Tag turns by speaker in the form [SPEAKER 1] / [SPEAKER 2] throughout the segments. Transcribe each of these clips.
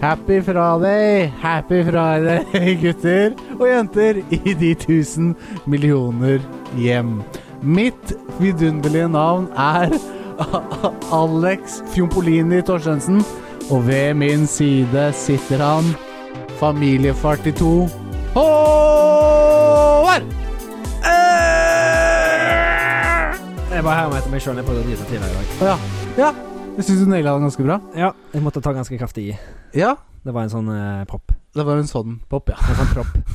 [SPEAKER 1] Happy friday, happy friday, gutter og jenter i de tusen millioner hjem. Mitt vidunderlige navn er Alex Fjompolini Torstensen, og ved min side sitter han, familiefar til to, Håvard!
[SPEAKER 2] Jeg bare hermer etter meg sjøl. Jeg prøvde å drite tidligere i dag.
[SPEAKER 1] Ja, ja. Jeg syns du naila den ganske bra.
[SPEAKER 2] Ja, jeg måtte ta ganske kraftig i.
[SPEAKER 1] Ja,
[SPEAKER 2] Det var en sånn eh, propp.
[SPEAKER 1] det var en sånn pop, ja.
[SPEAKER 2] En sånn propp.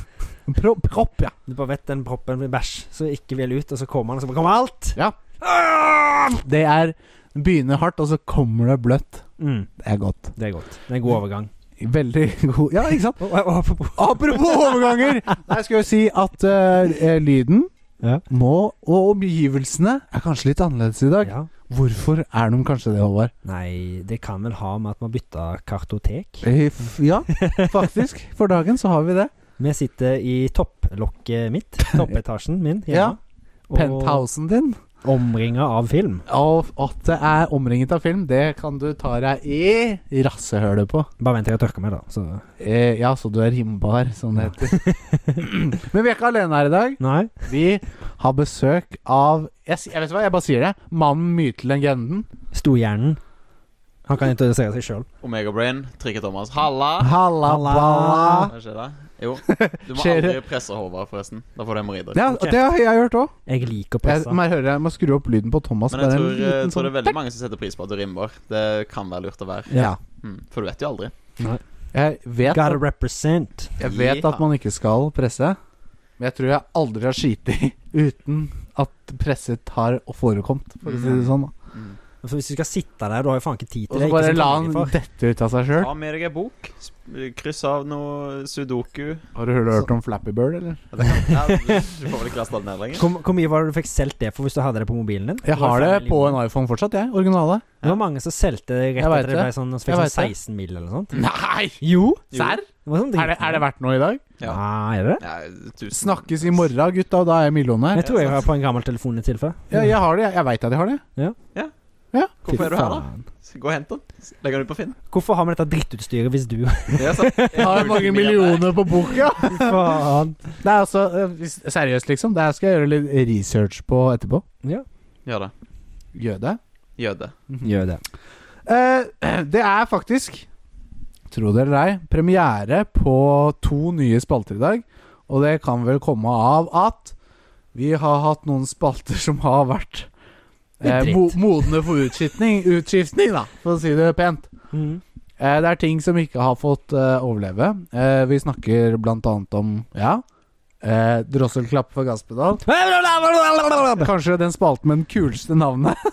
[SPEAKER 1] Pro propp, ja.
[SPEAKER 2] Du bare vet den proppen blir bæsj, så ikke vil ut, og så kommer den, og så bare kommer alt. Ah!
[SPEAKER 1] Ja. Det er Begynner hardt, og så kommer det bløtt.
[SPEAKER 2] Mm,
[SPEAKER 1] Det er godt.
[SPEAKER 2] det er godt. Det er en god overgang.
[SPEAKER 1] Veldig god Ja, ikke sant?
[SPEAKER 2] Og- og- og Apropos
[SPEAKER 1] Apropos overganger! Nei, jeg skulle jo si at eh, eh, lyden
[SPEAKER 2] Ja.
[SPEAKER 1] må, og omgivelsene er kanskje litt annerledes i dag.
[SPEAKER 2] ja.
[SPEAKER 1] Hvorfor er de kanskje det, Håvard?
[SPEAKER 2] Nei, det kan vel ha med at man bytta kartotek.
[SPEAKER 1] Eh, f- Ja, faktisk. For dagen så har vi det.
[SPEAKER 2] Vi sitter i topplokket mitt. Toppetasjen min hjemme. og
[SPEAKER 1] Penthousen din.
[SPEAKER 2] Omringa av film.
[SPEAKER 1] Og at det er omringet av film, det kan du ta deg i rassehølet på.
[SPEAKER 2] Bare vent til jeg tørker meg, da. Så.
[SPEAKER 1] Eh, ja, så du er rimbar, som det heter. Men vi er ikke alene her i dag.
[SPEAKER 2] Nei.
[SPEAKER 1] Vi har besøk av Jeg, s- jeg vet hva, jeg bare sier det. Mannen, myten, legenden.
[SPEAKER 2] Storhjernen. Han kan introdusere seg sjøl.
[SPEAKER 3] Omega-brain, Trikke Thomas. Halla!
[SPEAKER 1] Halla,
[SPEAKER 2] Halla.
[SPEAKER 1] balla.
[SPEAKER 3] Hva skjer da? Jo, du må
[SPEAKER 1] Skjer det?
[SPEAKER 3] aldri presse Håvard, forresten. Da får du hemoroider.
[SPEAKER 1] Ja, det har jeg hørt òg.
[SPEAKER 2] Jeg liker å
[SPEAKER 1] Jeg,
[SPEAKER 2] presse.
[SPEAKER 1] må jeg høre, jeg må skru opp lyden på Thomas.
[SPEAKER 3] Men jeg
[SPEAKER 1] bare en
[SPEAKER 3] tror, eh,
[SPEAKER 1] liten
[SPEAKER 3] jeg tror det
[SPEAKER 1] sånn-
[SPEAKER 3] er veldig mange som setter pris på at du rimmer. Det kan være lurt å være.
[SPEAKER 1] Ja.
[SPEAKER 3] Mm, for du vet jo aldri.
[SPEAKER 1] Jeg vet,
[SPEAKER 2] Gotta
[SPEAKER 1] at,
[SPEAKER 2] represent.
[SPEAKER 1] jeg vet at man ikke skal presse, men jeg tror jeg aldri har skitet uten at presset har forekommet, for å si det sånn. da.
[SPEAKER 3] Mm.
[SPEAKER 2] For hvis du skal sitte der, du har jo faen ikke tid
[SPEAKER 1] Og
[SPEAKER 2] til det.
[SPEAKER 1] så
[SPEAKER 2] ikke
[SPEAKER 1] bare
[SPEAKER 2] sant,
[SPEAKER 1] la
[SPEAKER 2] dagen
[SPEAKER 1] han
[SPEAKER 2] for.
[SPEAKER 1] dette ut av seg sjøl.
[SPEAKER 3] Ta med deg ei bok. sp- Kryss av noe sudoku.
[SPEAKER 1] Har du hørt om Flappy Bird, eller?
[SPEAKER 3] Ja, det kan, ja, du får vel ikke lasta den ned lenger.
[SPEAKER 2] Hvor, hvor mye var det du fikk solgt det for hvis du hadde det på mobilen din?
[SPEAKER 1] Jeg har det på en iPhone fortsatt, jeg. Originale.
[SPEAKER 2] Det var mange som solgte det rett
[SPEAKER 1] Jeg vet
[SPEAKER 2] etter det
[SPEAKER 1] det.
[SPEAKER 2] ble sånn, og så
[SPEAKER 1] Jeg
[SPEAKER 2] fikk
[SPEAKER 1] vet
[SPEAKER 2] sånn
[SPEAKER 1] det.
[SPEAKER 2] 16 mil eller noe sånt.
[SPEAKER 1] Nei!
[SPEAKER 2] Jo!
[SPEAKER 1] Serr?
[SPEAKER 2] Det var sånn
[SPEAKER 1] Er, det- er det verdt noe i dag?
[SPEAKER 3] Ja.
[SPEAKER 2] Nei, er det det?
[SPEAKER 3] Ja, tusen.
[SPEAKER 1] Snakkes i morgen, gutta, og da er jeg millionær.
[SPEAKER 2] Jeg tror jeg har på en gammel telefon i tilfelle.
[SPEAKER 1] Ja, jeg har det. Jeg, jeg veit at jeg har det.
[SPEAKER 3] Hvorfor er du her, da?
[SPEAKER 2] Faen.
[SPEAKER 3] Gå og hent den. Legg den ut på Finn.
[SPEAKER 2] Hvorfor har vi dette drittutstyret hvis du
[SPEAKER 3] Det er sant.
[SPEAKER 1] Jeg har mange millioner på boka.
[SPEAKER 2] Faen.
[SPEAKER 1] Det er altså eh, hvis- Seriøst, liksom. Det her skal jeg gjøre litt research på etterpå.
[SPEAKER 3] Gjør det.
[SPEAKER 1] Gjør det.
[SPEAKER 3] Gjør det.
[SPEAKER 2] Gjør det.
[SPEAKER 1] Mhm. Eh, det er faktisk, tro det eller ei, premiere på to nye spalter i dag. Og det kan vel komme av at vi har hatt noen spalter som har vært eh,
[SPEAKER 2] Litt
[SPEAKER 1] mo
[SPEAKER 2] dritt.
[SPEAKER 1] modne for utskiftning, utskiftning, da, for å si det pent.
[SPEAKER 2] Mm.
[SPEAKER 1] Eh, det er ting som ikke har fått eh, overleve. Eh, vi snakker blant annet om ja, eh, drosselklapp for gasspedal. Kanskje den spalten med den kuleste navnet,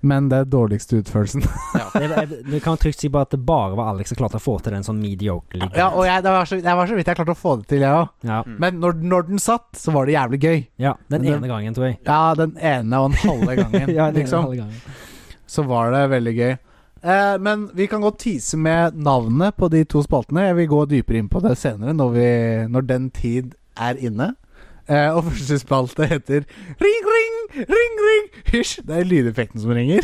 [SPEAKER 1] men det er dårligste utførelsen.
[SPEAKER 2] Jeg- jeg- Du kan trygt si bare at det bare var Alex som klarte å få til den sånn mediocre ligaen.
[SPEAKER 1] Ja, og jeg, det, var så, det var så vidt jeg klarte å få det til, jeg òg.
[SPEAKER 2] ja.
[SPEAKER 1] Men når, når den satt, så var det jævlig gøy.
[SPEAKER 2] ja. Den
[SPEAKER 1] Men
[SPEAKER 2] ene gangen, tror jeg.
[SPEAKER 1] Ja, den ene og den halve gangen,
[SPEAKER 2] Ja, den ene
[SPEAKER 1] liksom.
[SPEAKER 2] halve gangen.
[SPEAKER 1] Så var det veldig gøy. Eh, men vi kan godt tease med navnet på de to spaltene. Jeg vil gå dypere inn på det senere, når, vi, når den tid er inne. Eh, og første spalte heter Ring, ring, ring, ring Hysj! Det er lydeffekten som ringer.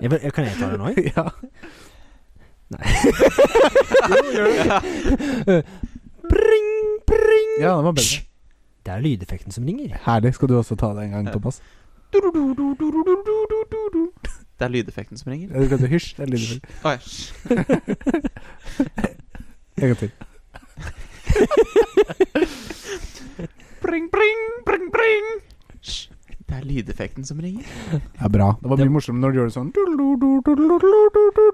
[SPEAKER 2] Jeg vil, kan jeg ta den nå? jeg?
[SPEAKER 1] ja.
[SPEAKER 2] Pring, pring.
[SPEAKER 1] ja, det var bedre.
[SPEAKER 2] Hysj. Det er lydeffekten som ringer.
[SPEAKER 1] Herlig. Skal du også ta det en gang, Thomas?
[SPEAKER 3] Det er lydeffekten som ringer.
[SPEAKER 1] Ja, du kan si hysj. Det er lydeffekten.
[SPEAKER 3] Oi.
[SPEAKER 1] En gang til.
[SPEAKER 3] Pring, pring, pring, pring. Hysj. Det er lydeffekten som ringer.
[SPEAKER 1] Det er bra. Det var mye morsommere når du gjorde det sånn.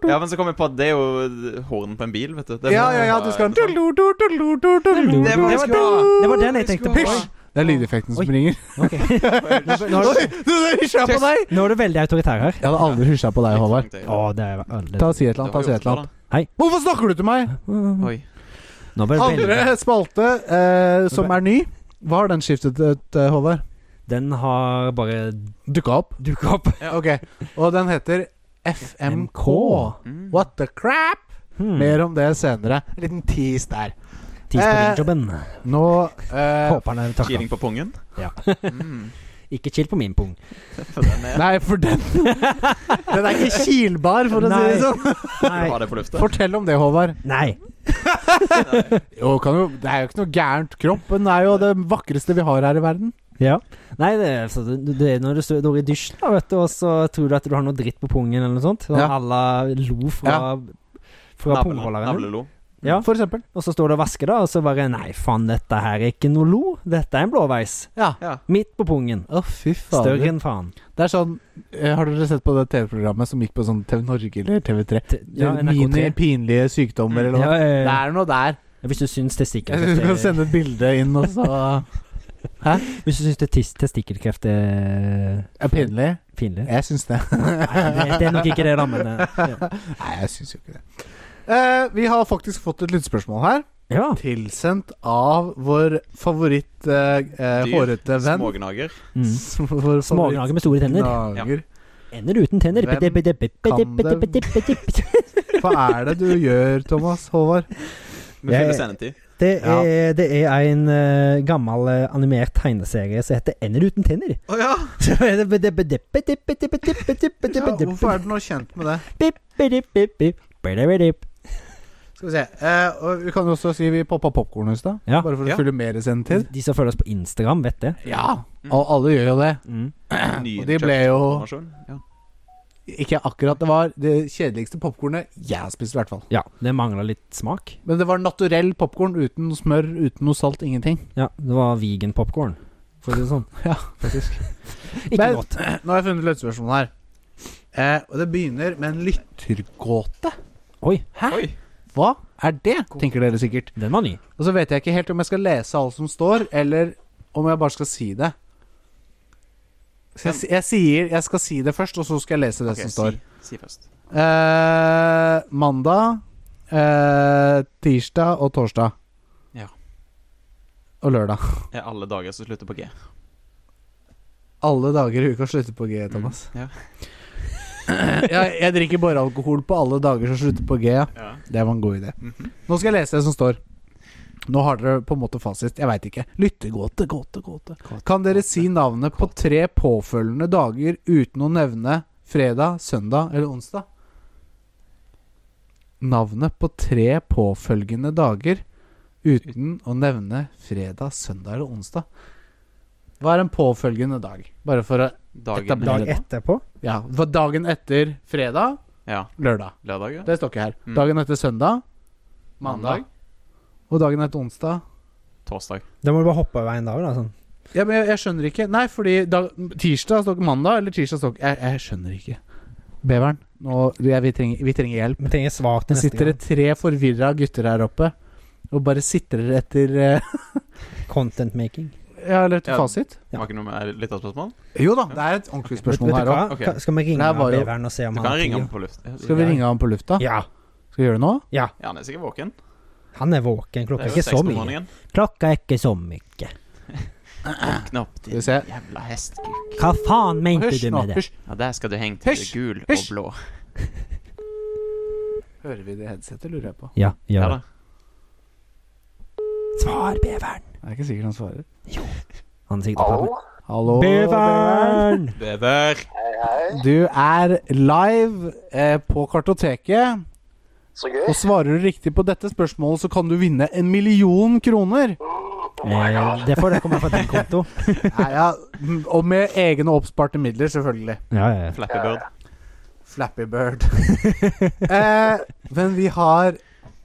[SPEAKER 3] Ja, men så kom jeg på at det er jo horn på en bil, vet du. Det er-
[SPEAKER 1] Ja, ja, ja, du skal
[SPEAKER 3] Det
[SPEAKER 2] Det var,
[SPEAKER 3] var- det var-
[SPEAKER 2] det var den jeg tenkte på.
[SPEAKER 1] Hysj! Det er lydeffekten som
[SPEAKER 2] Oi.
[SPEAKER 1] ringer.
[SPEAKER 2] Ok. Nå, er du-
[SPEAKER 1] hysja
[SPEAKER 3] på
[SPEAKER 1] deg!
[SPEAKER 2] nå er du veldig autoritær her.
[SPEAKER 1] Jeg hadde aldri hysja på deg, Håvard.
[SPEAKER 3] tenkte jeg.
[SPEAKER 2] Å, det er aldri
[SPEAKER 1] Ta og Si et eller
[SPEAKER 3] Det
[SPEAKER 1] annet. ta og Si
[SPEAKER 3] var
[SPEAKER 1] et eller annet.
[SPEAKER 3] gjort,
[SPEAKER 1] Hvorfor snakker du til meg?
[SPEAKER 3] da.
[SPEAKER 2] Nå
[SPEAKER 3] Oi.
[SPEAKER 2] var det veldig-
[SPEAKER 1] Andre spalte eh, som er ny. Hva har den skiftet ut, eh, Håvard?
[SPEAKER 2] Den har bare
[SPEAKER 1] Dukka opp.
[SPEAKER 2] dukka opp.
[SPEAKER 1] Ok. Og den heter FMK.
[SPEAKER 3] Mm.
[SPEAKER 1] What the crap?
[SPEAKER 2] Hmm.
[SPEAKER 1] Mer om det senere. En liten tease der.
[SPEAKER 2] Tis på
[SPEAKER 1] Eh,
[SPEAKER 2] ringjobben.
[SPEAKER 1] Nå eh,
[SPEAKER 2] Håper han er takka.
[SPEAKER 3] Kiling på pungen?
[SPEAKER 2] Ja.
[SPEAKER 3] Mm.
[SPEAKER 2] I Ikke chill på min pung.
[SPEAKER 3] For den er-
[SPEAKER 1] Nei, for den Den er ikke kilbar, for å si det
[SPEAKER 2] Nei.
[SPEAKER 1] sånn.
[SPEAKER 3] Du
[SPEAKER 2] Nei.
[SPEAKER 3] har det på lufta.
[SPEAKER 1] Fortell om det, Håvard.
[SPEAKER 2] Nei.
[SPEAKER 1] Jo, kan jo, det er jo ikke noe gærent. Kroppen er jo det vakreste vi har her i verden.
[SPEAKER 2] Ja. Nei, det er, så det, det er når du står i dusjen, da, vet du, og så tror du at du har noe dritt på pungen eller noe sånt. Sånn
[SPEAKER 1] Ja.
[SPEAKER 2] à la lo fra, fra
[SPEAKER 3] Navle-
[SPEAKER 2] pungholderen.
[SPEAKER 3] Navlelo.
[SPEAKER 2] Ja.
[SPEAKER 1] For eksempel.
[SPEAKER 2] Og så står du og vasker, da, og så bare Nei, faen, dette her er ikke noe lo. Dette er en blåveis.
[SPEAKER 1] Ja.
[SPEAKER 3] Ja.
[SPEAKER 2] Midt på pungen.
[SPEAKER 1] Å, fy
[SPEAKER 2] Større
[SPEAKER 1] fader.
[SPEAKER 2] enn faen.
[SPEAKER 1] Det er sånn eh, Har dere sett på det TV-programmet som gikk på sånn TV Norge eller TV3?
[SPEAKER 2] T- Ja,
[SPEAKER 1] Mine
[SPEAKER 2] NRK3.
[SPEAKER 1] Eh, pinlige sykdommer eller
[SPEAKER 2] Ja,
[SPEAKER 1] noe.
[SPEAKER 2] ja,
[SPEAKER 1] Det
[SPEAKER 2] ja.
[SPEAKER 1] er noe der.
[SPEAKER 2] Hvis du syns
[SPEAKER 1] Du kan
[SPEAKER 2] testikkelkreft er-
[SPEAKER 1] sende et bilde inn, og så
[SPEAKER 2] Hvis du syns tes- testikkelkreft er
[SPEAKER 1] er pinlig.
[SPEAKER 2] pinlig
[SPEAKER 1] Jeg syns det.
[SPEAKER 2] Nei, det, det er nok ikke det, da, men det- ja.
[SPEAKER 1] Nei, jeg syns jo ikke det. Eh, vi har faktisk fått et lyttspørsmål her.
[SPEAKER 2] ja.
[SPEAKER 1] Tilsendt av vår favoritt eh, eh,
[SPEAKER 3] Dyr.
[SPEAKER 1] hårete venn.
[SPEAKER 3] Smågnager.
[SPEAKER 2] Mm.
[SPEAKER 1] Vår favoritt
[SPEAKER 2] Smågnage med store tenner.
[SPEAKER 1] gnager.
[SPEAKER 2] Ender uten tenner.
[SPEAKER 1] Hvem
[SPEAKER 2] Bitte, bitte, bitte,
[SPEAKER 1] kan
[SPEAKER 2] bitte,
[SPEAKER 1] det?
[SPEAKER 2] bitte, bitte, bitte.
[SPEAKER 1] Hva er det du gjør, Thomas Håvard?
[SPEAKER 3] Med
[SPEAKER 2] Jeg-
[SPEAKER 3] fulle sendetid.
[SPEAKER 2] Det
[SPEAKER 1] Ja.
[SPEAKER 2] er, det er en eh, gammel eh, animert tegneserie som heter Ender uten tenner.
[SPEAKER 3] Å ja!
[SPEAKER 1] Ja, hvorfor er du nå kjent med det? Skal vi se. Eh, og vi kan jo også si vi poppa popkorn i stad.
[SPEAKER 2] Ja.
[SPEAKER 1] Bare for å
[SPEAKER 3] Ja.
[SPEAKER 1] fylle mer sendetid.
[SPEAKER 2] De som følger oss på Instagram, vet det.
[SPEAKER 1] Ja. Og alle gjør jo det.
[SPEAKER 2] Mm.
[SPEAKER 1] Og de ble jo
[SPEAKER 3] E. ja.
[SPEAKER 1] ikke akkurat Det var det kjedeligste popkornet jeg har spist, i hvert fall.
[SPEAKER 2] Ja, det mangler litt smak.
[SPEAKER 1] Men det var naturell popkorn uten noe smør, uten noe salt, ingenting.
[SPEAKER 2] Ja, det var vegan popcorn for å si det sånn.
[SPEAKER 1] Ja,
[SPEAKER 2] faktisk. Ikke
[SPEAKER 1] Men-
[SPEAKER 2] godt.
[SPEAKER 1] Nå har jeg funnet lyttespørsmålet her. Eh, og det begynner med en lyttergåte.
[SPEAKER 2] Oi,
[SPEAKER 1] Hæ?
[SPEAKER 3] Oi.
[SPEAKER 1] Hva er det? tenker dere sikkert.
[SPEAKER 2] den var ny.
[SPEAKER 1] Og så vet jeg ikke helt om jeg skal lese alt som står, eller om jeg bare skal si det. Så jeg, si- jeg sier Jeg skal si det først, og så skal jeg lese det
[SPEAKER 3] Ok,
[SPEAKER 1] som står.
[SPEAKER 3] Si, si først.
[SPEAKER 1] Eh, mandag, eh, tirsdag og torsdag.
[SPEAKER 3] Ja.
[SPEAKER 1] Og lørdag.
[SPEAKER 3] Er alle dager som slutter på G.
[SPEAKER 1] Alle dager i uka slutter på G, Thomas.
[SPEAKER 3] Mm, Ja.
[SPEAKER 1] jeg, jeg drikker bare alkohol på alle dager som slutter på G. Ja.
[SPEAKER 3] Ja.
[SPEAKER 1] Det var en god idé.
[SPEAKER 3] Mhm.
[SPEAKER 1] Nå skal jeg lese det som står. Nå har dere på en måte fasit. Jeg veit ikke. Lyttegåte, gåte, gåte. Kan dere si navnet på tre påfølgende dager uten å nevne fredag, søndag eller onsdag? Navnet på tre påfølgende dager uten å nevne fredag, søndag eller onsdag. Hva er en påfølgende dag? Bare for å
[SPEAKER 3] Dagen
[SPEAKER 1] Etablere.
[SPEAKER 2] Dag etterpå.
[SPEAKER 1] Ja, for dagen etter fredag,
[SPEAKER 3] Ja.
[SPEAKER 1] lørdag.
[SPEAKER 3] Lørdag, ja.
[SPEAKER 1] Det står ikke her.
[SPEAKER 3] Mm.
[SPEAKER 1] Dagen etter søndag, mandag. Og dagen etter onsdag
[SPEAKER 3] Torsdag.
[SPEAKER 2] Da må du bare hoppe over en dag, da. Sånn.
[SPEAKER 1] Ja, men jeg, jeg skjønner ikke. Nei, fordi da, tirsdag står ikke mandag, eller tirsdag står ikke jeg, jeg skjønner ikke. Beveren, nå, jeg, vi, trenger, vi trenger hjelp.
[SPEAKER 2] Vi trenger svakt
[SPEAKER 1] Det
[SPEAKER 2] neste
[SPEAKER 1] sitter det
[SPEAKER 2] gang.
[SPEAKER 1] tre forvirra gutter her oppe og bare sitrer etter eh,
[SPEAKER 2] Content making.
[SPEAKER 1] Ja, eller etter
[SPEAKER 3] Ja.
[SPEAKER 1] fasit.
[SPEAKER 2] Ja.
[SPEAKER 3] Var ikke noe mer lytterspørsmål?
[SPEAKER 1] Jo da, det er et ordentlig spørsmål
[SPEAKER 2] Vet- vet
[SPEAKER 1] her
[SPEAKER 2] du
[SPEAKER 1] òg.
[SPEAKER 2] hva?
[SPEAKER 3] Ok.
[SPEAKER 2] Ka- Skal vi
[SPEAKER 1] Det
[SPEAKER 2] ringe
[SPEAKER 1] her var jo-
[SPEAKER 2] beveren og se om
[SPEAKER 3] Du
[SPEAKER 2] han
[SPEAKER 3] kan
[SPEAKER 2] har
[SPEAKER 3] ringe
[SPEAKER 2] tid?
[SPEAKER 3] ham på luft. Ja,
[SPEAKER 1] Skal vi ringe ham på lufta?
[SPEAKER 2] Ja.
[SPEAKER 1] Skal vi gjøre det nå?
[SPEAKER 3] Ja, han er sikkert våken.
[SPEAKER 2] Han er våken. Klokka er ikke så mye. Klokka er ikke så mye.
[SPEAKER 3] Våkne opp,
[SPEAKER 1] Skal vi
[SPEAKER 3] din
[SPEAKER 1] se.
[SPEAKER 3] jævla hestkuk.
[SPEAKER 2] Hva faen mente
[SPEAKER 1] Hysj
[SPEAKER 2] du
[SPEAKER 1] nå,
[SPEAKER 2] med det?
[SPEAKER 1] hysj.
[SPEAKER 3] Ja, der skal du henge til
[SPEAKER 1] Hysj!
[SPEAKER 3] gul og
[SPEAKER 1] Hysj!
[SPEAKER 3] blå.
[SPEAKER 1] Hører vi det i headsetet, lurer jeg på.
[SPEAKER 2] Ja,
[SPEAKER 3] Ja
[SPEAKER 2] gjør
[SPEAKER 3] da.
[SPEAKER 2] det. Svar, beveren.
[SPEAKER 1] Det er ikke sikkert han svarer.
[SPEAKER 2] Han er sikkert og prater.
[SPEAKER 1] Hallo,
[SPEAKER 2] Beveren!
[SPEAKER 3] Bever.
[SPEAKER 1] Du er live eh, på Kartoteket. Og svarer du riktig på dette spørsmålet, så kan du vinne en million kroner.
[SPEAKER 2] Eh, det får det komme fra din konto.
[SPEAKER 1] Nei, ja, mm, og med egne oppsparte midler, selvfølgelig.
[SPEAKER 2] Ja, ja, ja.
[SPEAKER 3] Flappy Bird.
[SPEAKER 1] Flappy Bird. eh, men vi har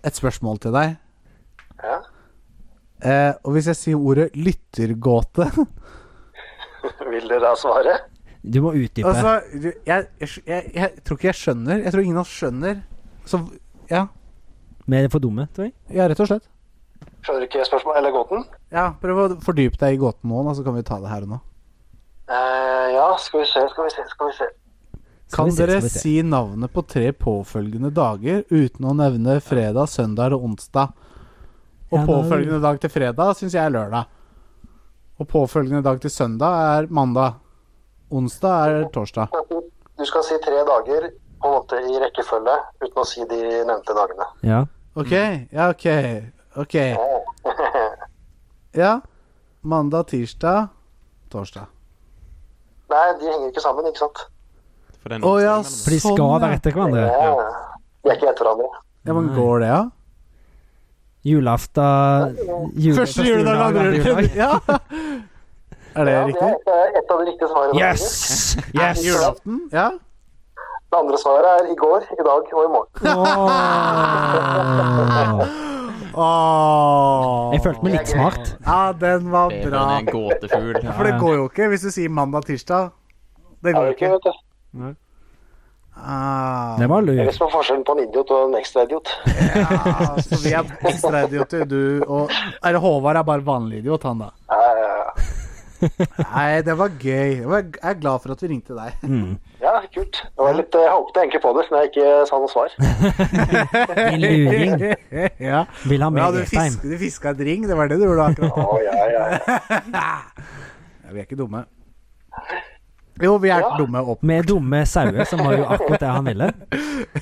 [SPEAKER 1] et spørsmål til deg. Eh, og hvis jeg sier ordet lyttergåte
[SPEAKER 4] Vil dere ha svaret?
[SPEAKER 2] Du må utdype.
[SPEAKER 1] Altså, du, jeg, jeg, jeg, jeg tror ikke jeg skjønner. Jeg tror ingen av oss skjønner. Så ja,
[SPEAKER 2] Vi er for dumme, tror jeg.
[SPEAKER 1] ja, rett og slett.
[SPEAKER 4] Skjønner du ikke spørsmålet eller gåten?
[SPEAKER 1] Ja, Prøv å fordype deg i gåten nå, da, så kan vi ta det her og nå.
[SPEAKER 4] Eh, ja, skal vi se, skal vi se, skal vi se.
[SPEAKER 2] Skal
[SPEAKER 1] Kan
[SPEAKER 2] vi se,
[SPEAKER 1] dere
[SPEAKER 2] skal vi se.
[SPEAKER 1] si navnet på tre påfølgende dager uten å nevne fredag, søndag og onsdag? Og
[SPEAKER 2] Ja, da-
[SPEAKER 1] påfølgende dag til fredag syns jeg er lørdag. Og påfølgende dag til søndag er mandag. Onsdag er torsdag.
[SPEAKER 4] Du skal si tre dager på en måte i rekkefølge uten å si de nevnte dagene.
[SPEAKER 2] Ja.
[SPEAKER 1] OK. Ja, OK. OK. Ja. Mandag, tirsdag, torsdag.
[SPEAKER 4] Nei, de henger ikke sammen, ikke sant?
[SPEAKER 3] For den
[SPEAKER 1] Å ja,
[SPEAKER 3] omstillingen
[SPEAKER 2] For de skal
[SPEAKER 1] sånn, ja.
[SPEAKER 2] være etter hverandre.
[SPEAKER 4] Ja. De er ikke etter hverandre.
[SPEAKER 1] Ja, men går det, ja?
[SPEAKER 2] Julaften jule,
[SPEAKER 1] Første juledag, andre juledag. Ja. Er det
[SPEAKER 4] Ja, det
[SPEAKER 1] riktig?
[SPEAKER 4] er et- et av de riktige svarene.
[SPEAKER 2] Yes! Yes!
[SPEAKER 1] Julaften? Mm, Ja.
[SPEAKER 4] Det andre svaret er i går, i dag og i morgen.
[SPEAKER 2] Åh.
[SPEAKER 1] Åh.
[SPEAKER 2] Jeg følte meg litt smart.
[SPEAKER 1] Ja, den var bra.
[SPEAKER 3] er bedre enn en gåtefugl.
[SPEAKER 1] For det går jo ikke hvis du sier mandag-tirsdag. Det
[SPEAKER 4] Er
[SPEAKER 1] går
[SPEAKER 4] det ikke,
[SPEAKER 1] ikke.
[SPEAKER 4] vet du?
[SPEAKER 1] Ah,
[SPEAKER 2] Det var
[SPEAKER 4] Det er
[SPEAKER 2] lurt.
[SPEAKER 4] det som er forskjellen på en idiot og en ekstra idiot.
[SPEAKER 1] ja, så vi er ekstraidioter, du og Eller Håvard er bare vanlig idiot, han da.
[SPEAKER 4] Eh,
[SPEAKER 1] Nei, det var gøy. Det var- Jeg er glad for at vi ringte deg.
[SPEAKER 4] Ja, kult. Det var litt, eh, jeg håpet egentlig på det, siden jeg ikke sa noe svar.
[SPEAKER 2] Din luring.
[SPEAKER 1] ja.
[SPEAKER 2] Vil ha mer
[SPEAKER 1] ja, du,
[SPEAKER 2] Jessheim.
[SPEAKER 1] fisk, du fiska et ring, det var det du gjorde akkurat.
[SPEAKER 4] Å, ja, ja. ja.
[SPEAKER 1] Ja, vi er ikke dumme. Jo, vi er dumme opp.
[SPEAKER 2] Med dumme sauer, som var jo akkurat det han ville.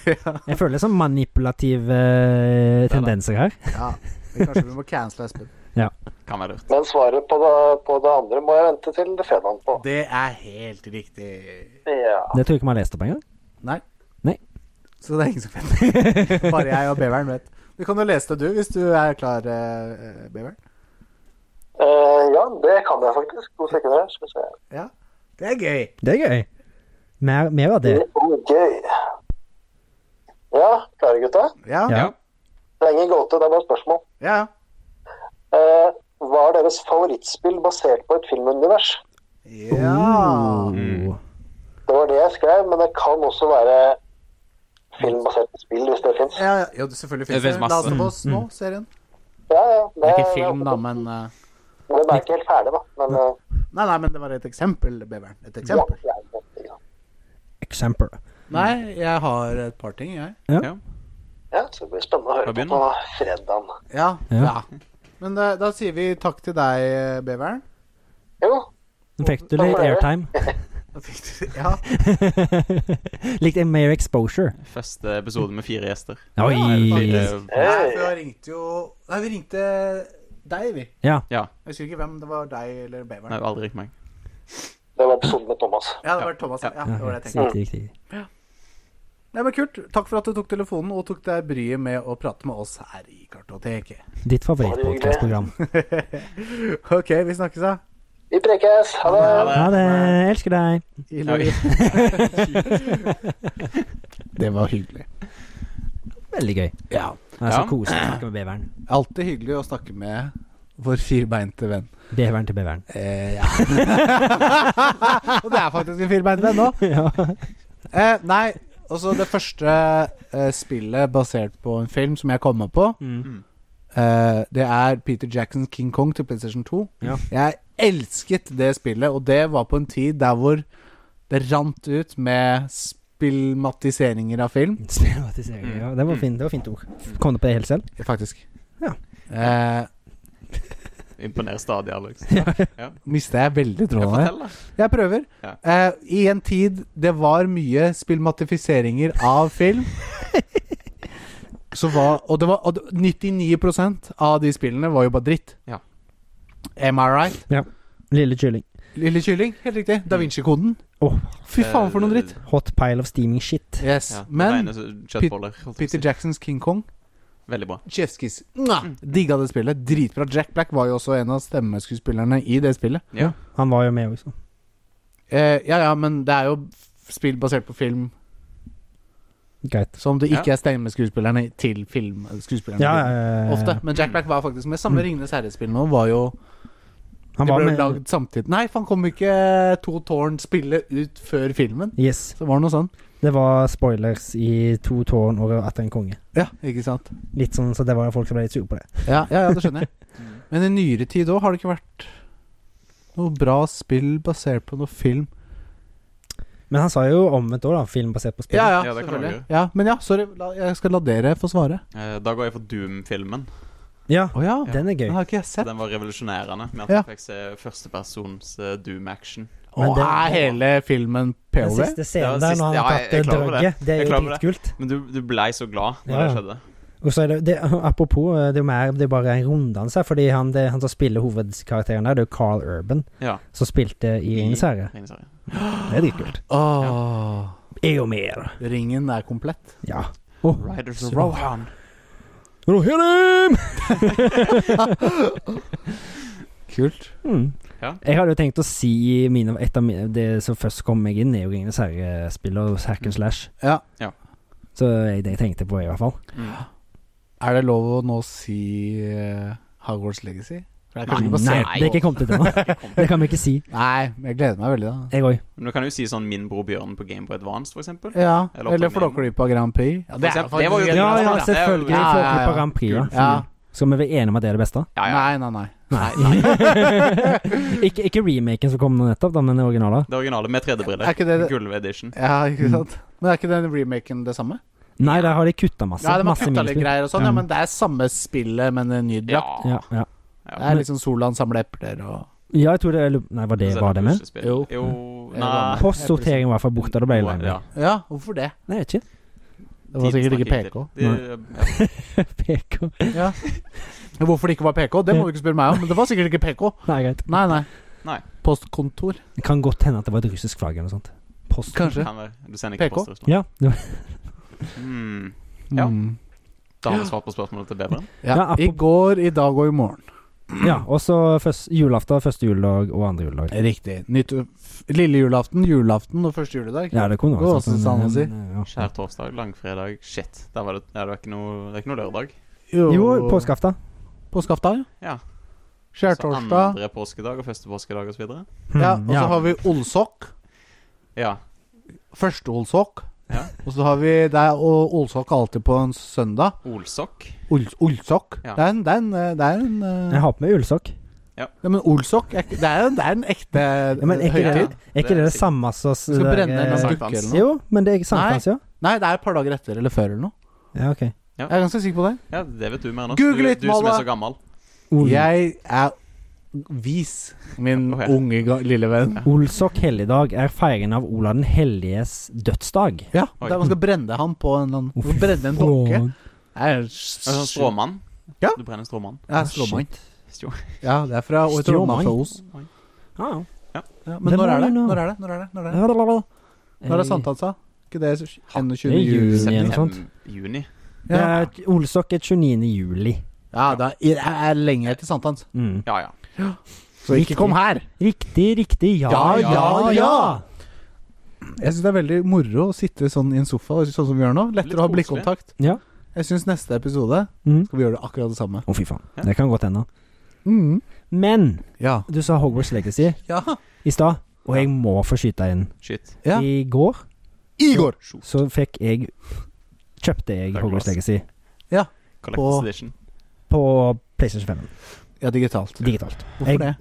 [SPEAKER 2] Jeg føler det er sånn manipulative eh, tendenser her.
[SPEAKER 1] Ja. men Kanskje vi må cancele Espen.
[SPEAKER 3] Kan være lurt.
[SPEAKER 4] Men svaret på det, på det andre må jeg vente til det fredagen på.
[SPEAKER 1] Det er helt riktig.
[SPEAKER 4] Ja.
[SPEAKER 2] Det tror jeg ikke vi har lest opp engang.
[SPEAKER 1] Nei.
[SPEAKER 2] Nei.
[SPEAKER 1] Så det er ingen som vet. Bare jeg og beveren vet. Du kan jo lese det, du, hvis du er klar, eh, beveren.
[SPEAKER 4] Eh, ja, det kan jeg faktisk. To sekunder her, skal vi se.
[SPEAKER 1] Ja. Det er gøy.
[SPEAKER 2] Det er gøy. Mer, mer av det.
[SPEAKER 4] Gøy. Ja, klare gutta?
[SPEAKER 1] Ja.
[SPEAKER 2] Ja.
[SPEAKER 4] Det er ingen gåte, det er bare spørsmål.
[SPEAKER 1] Ja.
[SPEAKER 4] Eh, hva er deres favorittspill basert på et filmunivers?
[SPEAKER 1] ja.
[SPEAKER 2] Oh.
[SPEAKER 4] Det var det jeg skrev, men det kan også være film basert på spill, hvis det fins.
[SPEAKER 1] Ja, ja. Jo, det- selvfølgelig
[SPEAKER 3] Det
[SPEAKER 1] finnes
[SPEAKER 3] finnes
[SPEAKER 1] det.
[SPEAKER 3] masse.
[SPEAKER 1] Last of Us nå, serien.
[SPEAKER 4] Ja, ja.
[SPEAKER 1] Mm. Det er ikke film, da, men eh,
[SPEAKER 4] Den er ikke helt ferdig, da. Men eh,
[SPEAKER 1] Nei, nei, men det var et eksempel, beveren. Et
[SPEAKER 4] ja,
[SPEAKER 1] eksempel.
[SPEAKER 4] ja, ja.
[SPEAKER 2] Example.
[SPEAKER 1] Nei, jeg har et par ting, jeg.
[SPEAKER 3] Ja.
[SPEAKER 4] ja, så det blir spennende å
[SPEAKER 3] Da
[SPEAKER 4] høre på
[SPEAKER 3] begynner
[SPEAKER 4] på fredagen.
[SPEAKER 1] Ja.
[SPEAKER 2] Ja.
[SPEAKER 1] ja. Men da, da sier vi takk til deg, eh, beveren.
[SPEAKER 4] Jo,
[SPEAKER 2] Nå fikk du litt airtime.
[SPEAKER 1] Da fikk du- Ja.
[SPEAKER 2] Likte jeg mer exposure.
[SPEAKER 3] Første episode med fire gjester.
[SPEAKER 2] Oi!
[SPEAKER 3] Eh,
[SPEAKER 1] Nei,
[SPEAKER 4] Hei.
[SPEAKER 1] for jeg ringte jo Nei, vi ringte deg, vi.
[SPEAKER 2] Ja.
[SPEAKER 3] Ja.
[SPEAKER 1] Jeg husker ikke hvem. Det var deg eller
[SPEAKER 3] Nei,
[SPEAKER 1] beveren.
[SPEAKER 3] det var aldri meg.
[SPEAKER 4] det var episoden med Thomas.
[SPEAKER 1] Ja, det var Thomas. Ja, det var det jeg
[SPEAKER 2] Riktig,
[SPEAKER 1] tenkte.
[SPEAKER 2] riktig, riktig.
[SPEAKER 1] Nei, men Kult, takk for at du tok telefonen og tok deg bryet med å prate med oss her i Kartoteket.
[SPEAKER 2] Ditt favorittpodkastprogram.
[SPEAKER 1] OK, vi snakkes, da.
[SPEAKER 4] Vi prekes! Ha det!
[SPEAKER 2] Ha det. Elsker deg.
[SPEAKER 1] I
[SPEAKER 3] Oi.
[SPEAKER 1] lur. Det var hyggelig.
[SPEAKER 2] Veldig gøy.
[SPEAKER 1] Ja.
[SPEAKER 2] Det er så
[SPEAKER 3] Ja.
[SPEAKER 2] koselig å snakke med beveren.
[SPEAKER 1] Alltid hyggelig å snakke med vår firbeinte venn.
[SPEAKER 2] Beveren til beveren.
[SPEAKER 1] Eh, ja. og det er faktisk en firbeint venn nå.
[SPEAKER 2] Ja.
[SPEAKER 1] Eh, nei, altså det første eh, spillet basert på en film som jeg kommer på,
[SPEAKER 2] Mm.
[SPEAKER 1] eh, det er Peter Jacksons King Kong til PlayStation 2.
[SPEAKER 2] Ja.
[SPEAKER 1] Jeg elsket det spillet, og det var på en tid der hvor det rant ut med spillmatiseringer av film,
[SPEAKER 2] Spematisering. Ja, det var fint, det var fint ord. Mm. Kom du på det helt selv?
[SPEAKER 1] faktisk.
[SPEAKER 2] Ja.
[SPEAKER 1] Eh,
[SPEAKER 3] Imponerer stadig, Alex.
[SPEAKER 1] Mista jeg veldig
[SPEAKER 3] Ja,
[SPEAKER 1] tråden her.
[SPEAKER 3] fortell, da.
[SPEAKER 1] Jeg prøver.
[SPEAKER 3] Ja.
[SPEAKER 1] Eh, I en tid det var mye spillmatifiseringer av film så var, og, det var, og det- 99 av de spillene var jo bare dritt.
[SPEAKER 3] Ja.
[SPEAKER 1] Am I right?
[SPEAKER 2] Lille kylling.
[SPEAKER 1] Lille kylling, helt riktig. Da Vinci-koden.
[SPEAKER 2] Åh,
[SPEAKER 1] Fy faen for noe dritt.
[SPEAKER 2] hot pile of steaming shit.
[SPEAKER 1] Yes.
[SPEAKER 3] Eh, Ja,
[SPEAKER 1] Men
[SPEAKER 3] det regnes kjøttboller. holdt jeg på å
[SPEAKER 1] Peter
[SPEAKER 3] si.
[SPEAKER 1] Jacksons King Kong,
[SPEAKER 3] Veldig bra.
[SPEAKER 1] Chefskis.
[SPEAKER 3] Mm.
[SPEAKER 1] Digga det spillet. Dritbra. Jack Black var jo også en av stemmeskuespillerne i det spillet.
[SPEAKER 3] Ja.
[SPEAKER 2] Han var jo med også.
[SPEAKER 1] Eh, ja ja, men det er jo spill basert på film
[SPEAKER 2] Greit.
[SPEAKER 1] som det ikke er stemmeskuespillerne til filmskuespillerne.
[SPEAKER 2] Ja, eh,
[SPEAKER 1] Ofte. Men Jack Black var faktisk med. Samme Ringenes herre-spill nå var jo
[SPEAKER 2] Han
[SPEAKER 1] Det
[SPEAKER 2] var
[SPEAKER 1] ble jo
[SPEAKER 2] med.
[SPEAKER 1] lagd samtidig. Nei, for han kom ikke To tårn spillet ut før filmen.
[SPEAKER 2] Yes.
[SPEAKER 1] Så var det noe sånn.
[SPEAKER 2] Det var spoilers i To tårn og Atter en konge.
[SPEAKER 1] Ja, ikke sant.
[SPEAKER 2] Litt sånn, så det var folk som ble litt sure på det.
[SPEAKER 1] Ja, ja, ja det skjønner jeg.
[SPEAKER 3] Mm.
[SPEAKER 1] Men i nyere tid òg har det ikke vært noe bra spill basert på noe film.
[SPEAKER 2] Men han sa jo omvendt òg, da. Film basert på spill.
[SPEAKER 3] Ja, det kan
[SPEAKER 1] selvfølgelig.
[SPEAKER 3] man gjøre.
[SPEAKER 1] Ja, men ja, sorry. La, jeg skal la dere få svare.
[SPEAKER 3] Eh, Da går jeg for Doom-filmen.
[SPEAKER 2] Ja,
[SPEAKER 1] Å ja.
[SPEAKER 2] Den er gøy.
[SPEAKER 1] Den har ikke jeg sett.
[SPEAKER 3] Den var revolusjonerende med at
[SPEAKER 1] Ja.
[SPEAKER 3] jeg fikk se førstepersons eh, Doom-action.
[SPEAKER 2] Men
[SPEAKER 1] Og
[SPEAKER 2] den-
[SPEAKER 1] er hele filmen
[SPEAKER 2] Den
[SPEAKER 1] POV?
[SPEAKER 2] siste scenen
[SPEAKER 3] Ja,
[SPEAKER 2] der,
[SPEAKER 3] siste-
[SPEAKER 2] når han
[SPEAKER 3] ja,
[SPEAKER 2] har
[SPEAKER 3] jeg-
[SPEAKER 2] tatt
[SPEAKER 3] jeg
[SPEAKER 2] eh,
[SPEAKER 3] er klar over det.
[SPEAKER 2] drøgget, det
[SPEAKER 3] Jeg
[SPEAKER 2] er
[SPEAKER 3] er
[SPEAKER 2] jo
[SPEAKER 3] klar over det.
[SPEAKER 2] dritkult.
[SPEAKER 3] Men du, du blei så glad når
[SPEAKER 2] Ja,
[SPEAKER 3] det
[SPEAKER 2] ja.
[SPEAKER 3] skjedde.
[SPEAKER 2] Og så er det, det Apropos, eh, det er jo mer Det er bare en runddans her, fordi han, det, han som spiller hovedkarakteren der, det er jo Carl Urban,
[SPEAKER 3] Ja.
[SPEAKER 2] som spilte i Ringenes herre.
[SPEAKER 3] Ringenes herre.
[SPEAKER 2] Det er dritkult.
[SPEAKER 1] Åh,
[SPEAKER 2] Jeg og mer.
[SPEAKER 1] Ringen er komplett.
[SPEAKER 2] Ja.
[SPEAKER 3] Riders of Rohan.
[SPEAKER 2] Oh. Rohirrim!
[SPEAKER 1] Kult.
[SPEAKER 2] Mm.
[SPEAKER 3] Ja.
[SPEAKER 2] Jeg hadde jo tenkt å si mine, et av mine, det som først kom meg inn, er jo Ringenes herre-spill og hack and slash.
[SPEAKER 1] Ja.
[SPEAKER 2] Så jeg, det jeg tenkte på, i hvert fall.
[SPEAKER 3] Mm.
[SPEAKER 1] Er det lov å nå si eh, Hogwarts Legacy? For det er kanskje
[SPEAKER 2] Nei,
[SPEAKER 1] ikke
[SPEAKER 2] nei,
[SPEAKER 1] basert-
[SPEAKER 2] det er ikke kommet ut ennå. Det kan vi ikke si.
[SPEAKER 1] nei, men jeg gleder meg veldig, da.
[SPEAKER 2] Jeg òg.
[SPEAKER 3] Men du kan jo si sånn Min bror Bjørn på Gameboy Advance, for eksempel.
[SPEAKER 1] Ja,
[SPEAKER 3] Eller
[SPEAKER 1] Eller
[SPEAKER 3] opp og ned.
[SPEAKER 1] Flåklypa Grand Prix. Ja,
[SPEAKER 3] For eksempel- det var jo-
[SPEAKER 1] helt
[SPEAKER 2] Ja,
[SPEAKER 1] bra.
[SPEAKER 2] ja,
[SPEAKER 3] det er jo-
[SPEAKER 2] selvfølgelig.
[SPEAKER 1] Ja, ja, ja.
[SPEAKER 2] Folkelig på Grand Prix. Ja.
[SPEAKER 1] Ja.
[SPEAKER 2] Skal vi være enige om at det er det beste?
[SPEAKER 3] Ja, ja.
[SPEAKER 1] Nei, nei, nei.
[SPEAKER 2] Nei. ikke, ikke remaken som kom nå nettopp, da, men den originale.
[SPEAKER 3] Det originale med 3D-briller.
[SPEAKER 1] Er ikke det det-
[SPEAKER 3] Gulledition.
[SPEAKER 1] Ja, ikke sant. Men er ikke den remaken det samme?
[SPEAKER 2] Nei, der har de kutta masse.
[SPEAKER 1] Ja, de har
[SPEAKER 2] masse
[SPEAKER 1] kutta litt
[SPEAKER 2] minispill.
[SPEAKER 1] greier og sånn, ja,
[SPEAKER 2] Ja.
[SPEAKER 1] men det er samme spillet, men en ny
[SPEAKER 3] Ja.
[SPEAKER 1] drakt.
[SPEAKER 2] Ja, ja.
[SPEAKER 1] Det er liksom Solan samler epler og
[SPEAKER 2] ja, jeg tror det eller- Nei, var det, var det med?
[SPEAKER 3] puslespill.
[SPEAKER 1] Jo.
[SPEAKER 3] Jo
[SPEAKER 1] Det var
[SPEAKER 3] Nei.
[SPEAKER 1] med.
[SPEAKER 2] Postsortering var i hvert fall borte. Det ble lenge.
[SPEAKER 3] Ja.
[SPEAKER 1] Ja, hvorfor det?
[SPEAKER 2] Nei, ikke
[SPEAKER 1] Det var sikkert ikke PK.
[SPEAKER 3] Det-
[SPEAKER 2] PK.
[SPEAKER 1] Ja. Men Hvorfor det ikke var PK, det må du ikke spørre meg om, men det var sikkert ikke PK.
[SPEAKER 2] Nei, greit.
[SPEAKER 1] Nei, nei.
[SPEAKER 3] Nei.
[SPEAKER 1] Postkontor.
[SPEAKER 2] Det kan godt hende at det var et russisk flagg eller noe sånt. Post.
[SPEAKER 1] Kanskje.
[SPEAKER 3] Kan være. Du sender ikke
[SPEAKER 1] PK?
[SPEAKER 3] poster. sånn.
[SPEAKER 2] Ja, det var,
[SPEAKER 3] Hmm. Ja.
[SPEAKER 1] Mm.
[SPEAKER 3] Da har vi svart på spørsmålet til Beveren.
[SPEAKER 1] Ja.
[SPEAKER 2] Ja,
[SPEAKER 1] I
[SPEAKER 2] apropos-
[SPEAKER 1] går, i dag og i morgen.
[SPEAKER 2] ja og så først- julaften, første juledag og andre juledag.
[SPEAKER 1] Riktig. Nytt, uh, f- lille julaften, julaften og første juledag.
[SPEAKER 2] Ja, det kunne
[SPEAKER 1] Det var
[SPEAKER 2] vært sånn,
[SPEAKER 1] også sant å si.
[SPEAKER 2] men, ja.
[SPEAKER 3] Skjærtorsdag, langfredag Shit. Der var det, ja, det, var ikke noe, det er ikke noe lørdag.
[SPEAKER 2] Jo, påskeaften.
[SPEAKER 1] Påskeaften,
[SPEAKER 3] Ja. Så
[SPEAKER 1] Skjærtorsdag.
[SPEAKER 3] Altså andre påskedag og første påskedag osv.
[SPEAKER 1] Ja, og så
[SPEAKER 2] Mm. Ja.
[SPEAKER 1] har vi Olsok.
[SPEAKER 3] Ja.
[SPEAKER 1] Første Olsok.
[SPEAKER 3] Ja.
[SPEAKER 1] Og så har vi Det er og Olsok er alltid på en søndag.
[SPEAKER 3] Olsokk.
[SPEAKER 1] Ol, Olsok.
[SPEAKER 3] Ja.
[SPEAKER 1] Det er en, det er en, eh, det er en eh,
[SPEAKER 2] Jeg har på meg ullsokk.
[SPEAKER 1] Nei, men Olsok er, ikke- det, er en, det er en ekte eh,
[SPEAKER 2] Ja, men er ikke
[SPEAKER 1] høytid.
[SPEAKER 2] det, er ikke det det samme som
[SPEAKER 1] Skal
[SPEAKER 2] det der,
[SPEAKER 1] brenne en
[SPEAKER 2] eh,
[SPEAKER 3] sankthans.
[SPEAKER 1] dukke eller noe.
[SPEAKER 2] Jo, men det er ikke sankthans, ja.
[SPEAKER 1] Nei, det er et par dager etter eller før eller noe.
[SPEAKER 2] Ja, ok.
[SPEAKER 1] Jeg er ganske sikker på det.
[SPEAKER 3] Ja, det vet du mer enn oss.
[SPEAKER 1] Google
[SPEAKER 3] du,
[SPEAKER 1] litt,
[SPEAKER 3] du som
[SPEAKER 1] Mala.
[SPEAKER 3] er så gammel. Altså,
[SPEAKER 2] Ol-
[SPEAKER 1] Jeg er vis, min
[SPEAKER 3] Ok.
[SPEAKER 1] unge ga- lille venn.
[SPEAKER 2] Olsok helligdag er feiringen av Olav den helliges dødsdag.
[SPEAKER 1] Ja,
[SPEAKER 3] Oi.
[SPEAKER 1] der man skal brenne ham på en eller
[SPEAKER 2] Å,
[SPEAKER 1] annen
[SPEAKER 2] fy
[SPEAKER 1] Brenne en dokke.
[SPEAKER 2] faen.
[SPEAKER 1] Det er
[SPEAKER 3] En sånn
[SPEAKER 1] stråmann.
[SPEAKER 3] stråmann.
[SPEAKER 1] Ja.
[SPEAKER 3] Du brenner en stråmann.
[SPEAKER 1] Ja, stråmann.
[SPEAKER 3] Stjå-
[SPEAKER 1] Ja, det er fra og Stråmann
[SPEAKER 2] Stråmann.
[SPEAKER 1] fra Os.
[SPEAKER 2] Ja, ja.
[SPEAKER 1] Ja, men
[SPEAKER 2] Det
[SPEAKER 1] når
[SPEAKER 2] må
[SPEAKER 1] er det?
[SPEAKER 2] vi nå.
[SPEAKER 1] Når er det? Når er det? Når er det?
[SPEAKER 2] Nå
[SPEAKER 1] Når er det sankthansa? Ikke det 21.
[SPEAKER 2] det er juni.
[SPEAKER 1] juni?
[SPEAKER 2] noe sånt.
[SPEAKER 3] Septem- Juni.
[SPEAKER 1] Ja,
[SPEAKER 2] Olsok er 29. juli.
[SPEAKER 1] ja det er, er lenge til sankthans.
[SPEAKER 2] Mm.
[SPEAKER 3] Ja, ja.
[SPEAKER 1] Så ikke kom her!
[SPEAKER 2] Riktig, riktig. Ja,
[SPEAKER 1] Ja,
[SPEAKER 2] ja,
[SPEAKER 1] ja,
[SPEAKER 2] ja.
[SPEAKER 1] ja. Jeg syns det er veldig moro å sitte sånn i en sofa, sånn som vi gjør nå.
[SPEAKER 3] Litt
[SPEAKER 1] Lettere å ha
[SPEAKER 3] koselig.
[SPEAKER 1] blikkontakt.
[SPEAKER 2] Ja.
[SPEAKER 1] Jeg syns neste episode
[SPEAKER 2] Mm.
[SPEAKER 1] skal vi gjøre det akkurat det samme.
[SPEAKER 2] Å, fy faen.
[SPEAKER 3] Ja.
[SPEAKER 2] Det kan godt hende. Men
[SPEAKER 1] Ja.
[SPEAKER 2] du sa Hogwarts Legacy
[SPEAKER 1] Mm. Ja.
[SPEAKER 2] i stad, og jeg må få skyte inn.
[SPEAKER 3] Shit.
[SPEAKER 1] Ja.
[SPEAKER 2] I går
[SPEAKER 1] Igor!
[SPEAKER 3] Shoot.
[SPEAKER 2] så fikk jeg Kjøpte jeg
[SPEAKER 3] Takk,
[SPEAKER 2] Hogwarts
[SPEAKER 3] Lars.
[SPEAKER 2] Legacy
[SPEAKER 3] Collectors
[SPEAKER 1] På-
[SPEAKER 3] Edition.
[SPEAKER 2] på PlayStation 5
[SPEAKER 1] Ja, digitalt.
[SPEAKER 2] digitalt.
[SPEAKER 1] Hvorfor
[SPEAKER 2] Jeg,
[SPEAKER 1] det?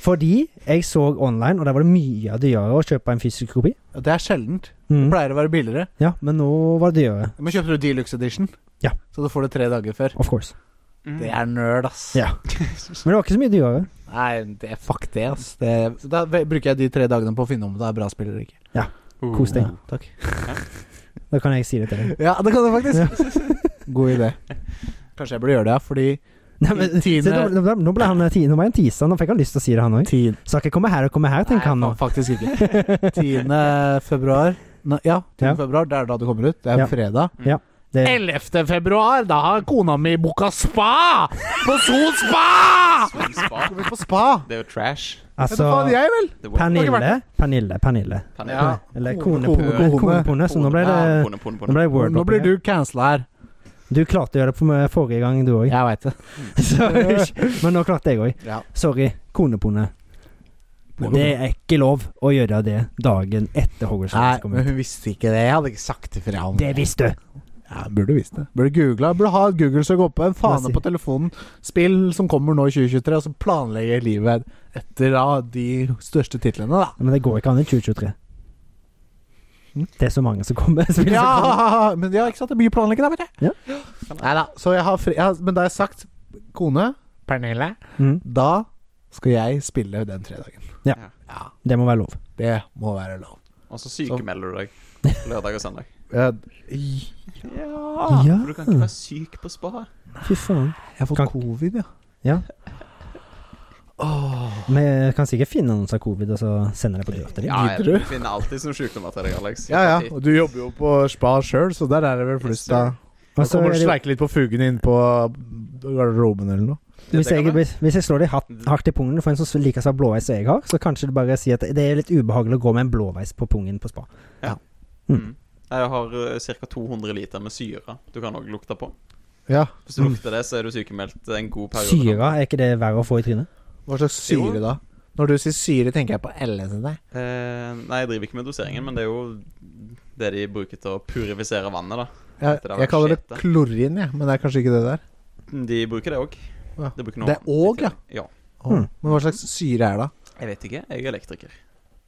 [SPEAKER 2] fordi jeg så online, og der var det mye dyrere å kjøpe en fysisk kopi.
[SPEAKER 1] Ja, det er sjeldent. Det
[SPEAKER 2] Mm.
[SPEAKER 1] pleier å være billigere.
[SPEAKER 2] Ja, men nå var det dyrere.
[SPEAKER 1] Men kjøper du Deluxe Edition,
[SPEAKER 2] Ja.
[SPEAKER 1] så du får det tre dager før.
[SPEAKER 2] Of course.
[SPEAKER 3] Mm.
[SPEAKER 1] Det er nerd, ass.
[SPEAKER 2] Ja. Men det var ikke så mye dyrere.
[SPEAKER 1] Nei, det, fuck det, ass. Det, da ve- bruker jeg de tre dagene på å finne om det er bra spill eller ikke.
[SPEAKER 3] Uh.
[SPEAKER 2] Kos deg.
[SPEAKER 1] Oh, Takk.
[SPEAKER 2] Da kan jeg si det til deg.
[SPEAKER 1] Ja, det kan du faktisk. God idé. Kanskje jeg burde gjøre det, ja, fordi
[SPEAKER 2] Nei, men,
[SPEAKER 1] Tine-
[SPEAKER 2] se, nå, ble- nå ble han eh, ti- Nå ble han tisa, nå fikk han lyst til å si det, han òg.
[SPEAKER 1] tid
[SPEAKER 2] Skal ikke komme her og komme her, tenker han nå.
[SPEAKER 1] fa- faktisk ikke. 10. februar Nei, Ja, 10.
[SPEAKER 2] Ja.
[SPEAKER 1] februar, det er da det kommer ut. Det er
[SPEAKER 2] Ja.
[SPEAKER 1] fredag.
[SPEAKER 2] Det,
[SPEAKER 1] 11. februar, da har kona mi booka spa! På Sol spa!
[SPEAKER 3] Swing spa.
[SPEAKER 1] Skal vi på spa?
[SPEAKER 3] Det er jo trash.
[SPEAKER 1] Vet du
[SPEAKER 2] altså
[SPEAKER 1] hva jeg vil?
[SPEAKER 3] Det var-
[SPEAKER 2] Pernille, Pernille, Pernille.
[SPEAKER 3] Pernille.
[SPEAKER 1] Ja.
[SPEAKER 2] Eller
[SPEAKER 1] Kone-
[SPEAKER 2] kone
[SPEAKER 1] kone-
[SPEAKER 2] Konepone. Så nå ble det
[SPEAKER 3] Ja, pone, pone, pone.
[SPEAKER 2] Nå ble det word
[SPEAKER 1] Nå blir du cancela her.
[SPEAKER 2] Du klarte å gjøre det på meg forrige gang, du òg.
[SPEAKER 1] Jeg veit det.
[SPEAKER 2] Men nå klarte jeg òg.
[SPEAKER 1] Ja.
[SPEAKER 2] Sorry, konepone. Det er ikke lov å gjøre det dagen etter Hogwarts.
[SPEAKER 1] Nei,
[SPEAKER 2] Legacy kom
[SPEAKER 1] men
[SPEAKER 2] ut.
[SPEAKER 1] hun visste ikke det. Jeg hadde ikke sagt det fra om
[SPEAKER 2] Det visste du!
[SPEAKER 1] Ja, burde visst det. Burde googla. Burde ha et Google-søk oppe. En
[SPEAKER 2] Hva
[SPEAKER 1] fane
[SPEAKER 2] sier-
[SPEAKER 1] på telefonen. Spill som kommer nå i 2023, og så planlegger jeg livet etter da, de største titlene, da.
[SPEAKER 2] Men det går ikke an i 2023. Det er så mange som kommer. som vil-
[SPEAKER 1] Ja, men ja, ikke sant? Det er mye planlegging, da, vet du.
[SPEAKER 2] Ja.
[SPEAKER 1] Nei da. Så jeg har fri... Jeg har, men da har jeg sagt Kone, Pernille,
[SPEAKER 2] Mm,
[SPEAKER 1] da skal jeg spille den fredagen.
[SPEAKER 2] Ja.
[SPEAKER 1] ja.
[SPEAKER 2] det må være lov.
[SPEAKER 1] Det må være lov.
[SPEAKER 3] Og så sykemelder du deg lørdag og søndag.
[SPEAKER 1] Ja.
[SPEAKER 2] Ja.
[SPEAKER 3] For du kan ikke være syk på spa.
[SPEAKER 2] Fy faen.
[SPEAKER 1] Jeg har fått
[SPEAKER 2] Kan-
[SPEAKER 1] covid, ja.
[SPEAKER 2] Ja. Vi kan sikkert finne noen som har covid, og så sender det på døra til dem.
[SPEAKER 3] Ja,
[SPEAKER 1] Gidder du?
[SPEAKER 3] jeg finner alltid sånn sjukdomsmateriale, Alex.
[SPEAKER 1] Ja, ja. Og du jobber jo på spa sjøl, så der er det vel flust av Man
[SPEAKER 2] Og så
[SPEAKER 1] kommer og
[SPEAKER 2] er det-
[SPEAKER 1] sleike litt på fugene inn på garderoben eller noe.
[SPEAKER 2] Hvis
[SPEAKER 3] Det
[SPEAKER 2] jeg,
[SPEAKER 3] kan være.
[SPEAKER 2] hvis hvis jeg slår deg hardt, hardt i pungen for en som liker seg blåveis som jeg har, så kanskje du bare sier at det er litt ubehagelig å gå med en blåveis på pungen på spa.
[SPEAKER 3] Mm. Jeg har ca. 200 liter med syre du kan òg lukte på.
[SPEAKER 1] Ja.
[SPEAKER 3] Hvis du lukter det, så er du sykemeldt en god periode.
[SPEAKER 2] Syre, er ikke det verre å få i trynet?
[SPEAKER 1] Hva slags syre,
[SPEAKER 3] Jo.
[SPEAKER 1] da? Når du sier syre, tenker jeg på LSD.
[SPEAKER 3] Eh, nei, jeg driver ikke med doseringen, men det er jo det de bruker til å purifisere vannet, da.
[SPEAKER 1] Jeg,
[SPEAKER 3] Det der var
[SPEAKER 1] jeg kaller det
[SPEAKER 3] skjete.
[SPEAKER 1] klorin, jeg, men det er kanskje ikke det der.
[SPEAKER 3] De bruker det òg.
[SPEAKER 1] Ja.
[SPEAKER 3] Det, bruker noe
[SPEAKER 1] Det er
[SPEAKER 3] annet.
[SPEAKER 1] og, ja.
[SPEAKER 3] ja.
[SPEAKER 1] Å,
[SPEAKER 2] Mm.
[SPEAKER 1] Men hva slags syre er det, da?
[SPEAKER 3] Jeg vet ikke. Jeg er elektriker.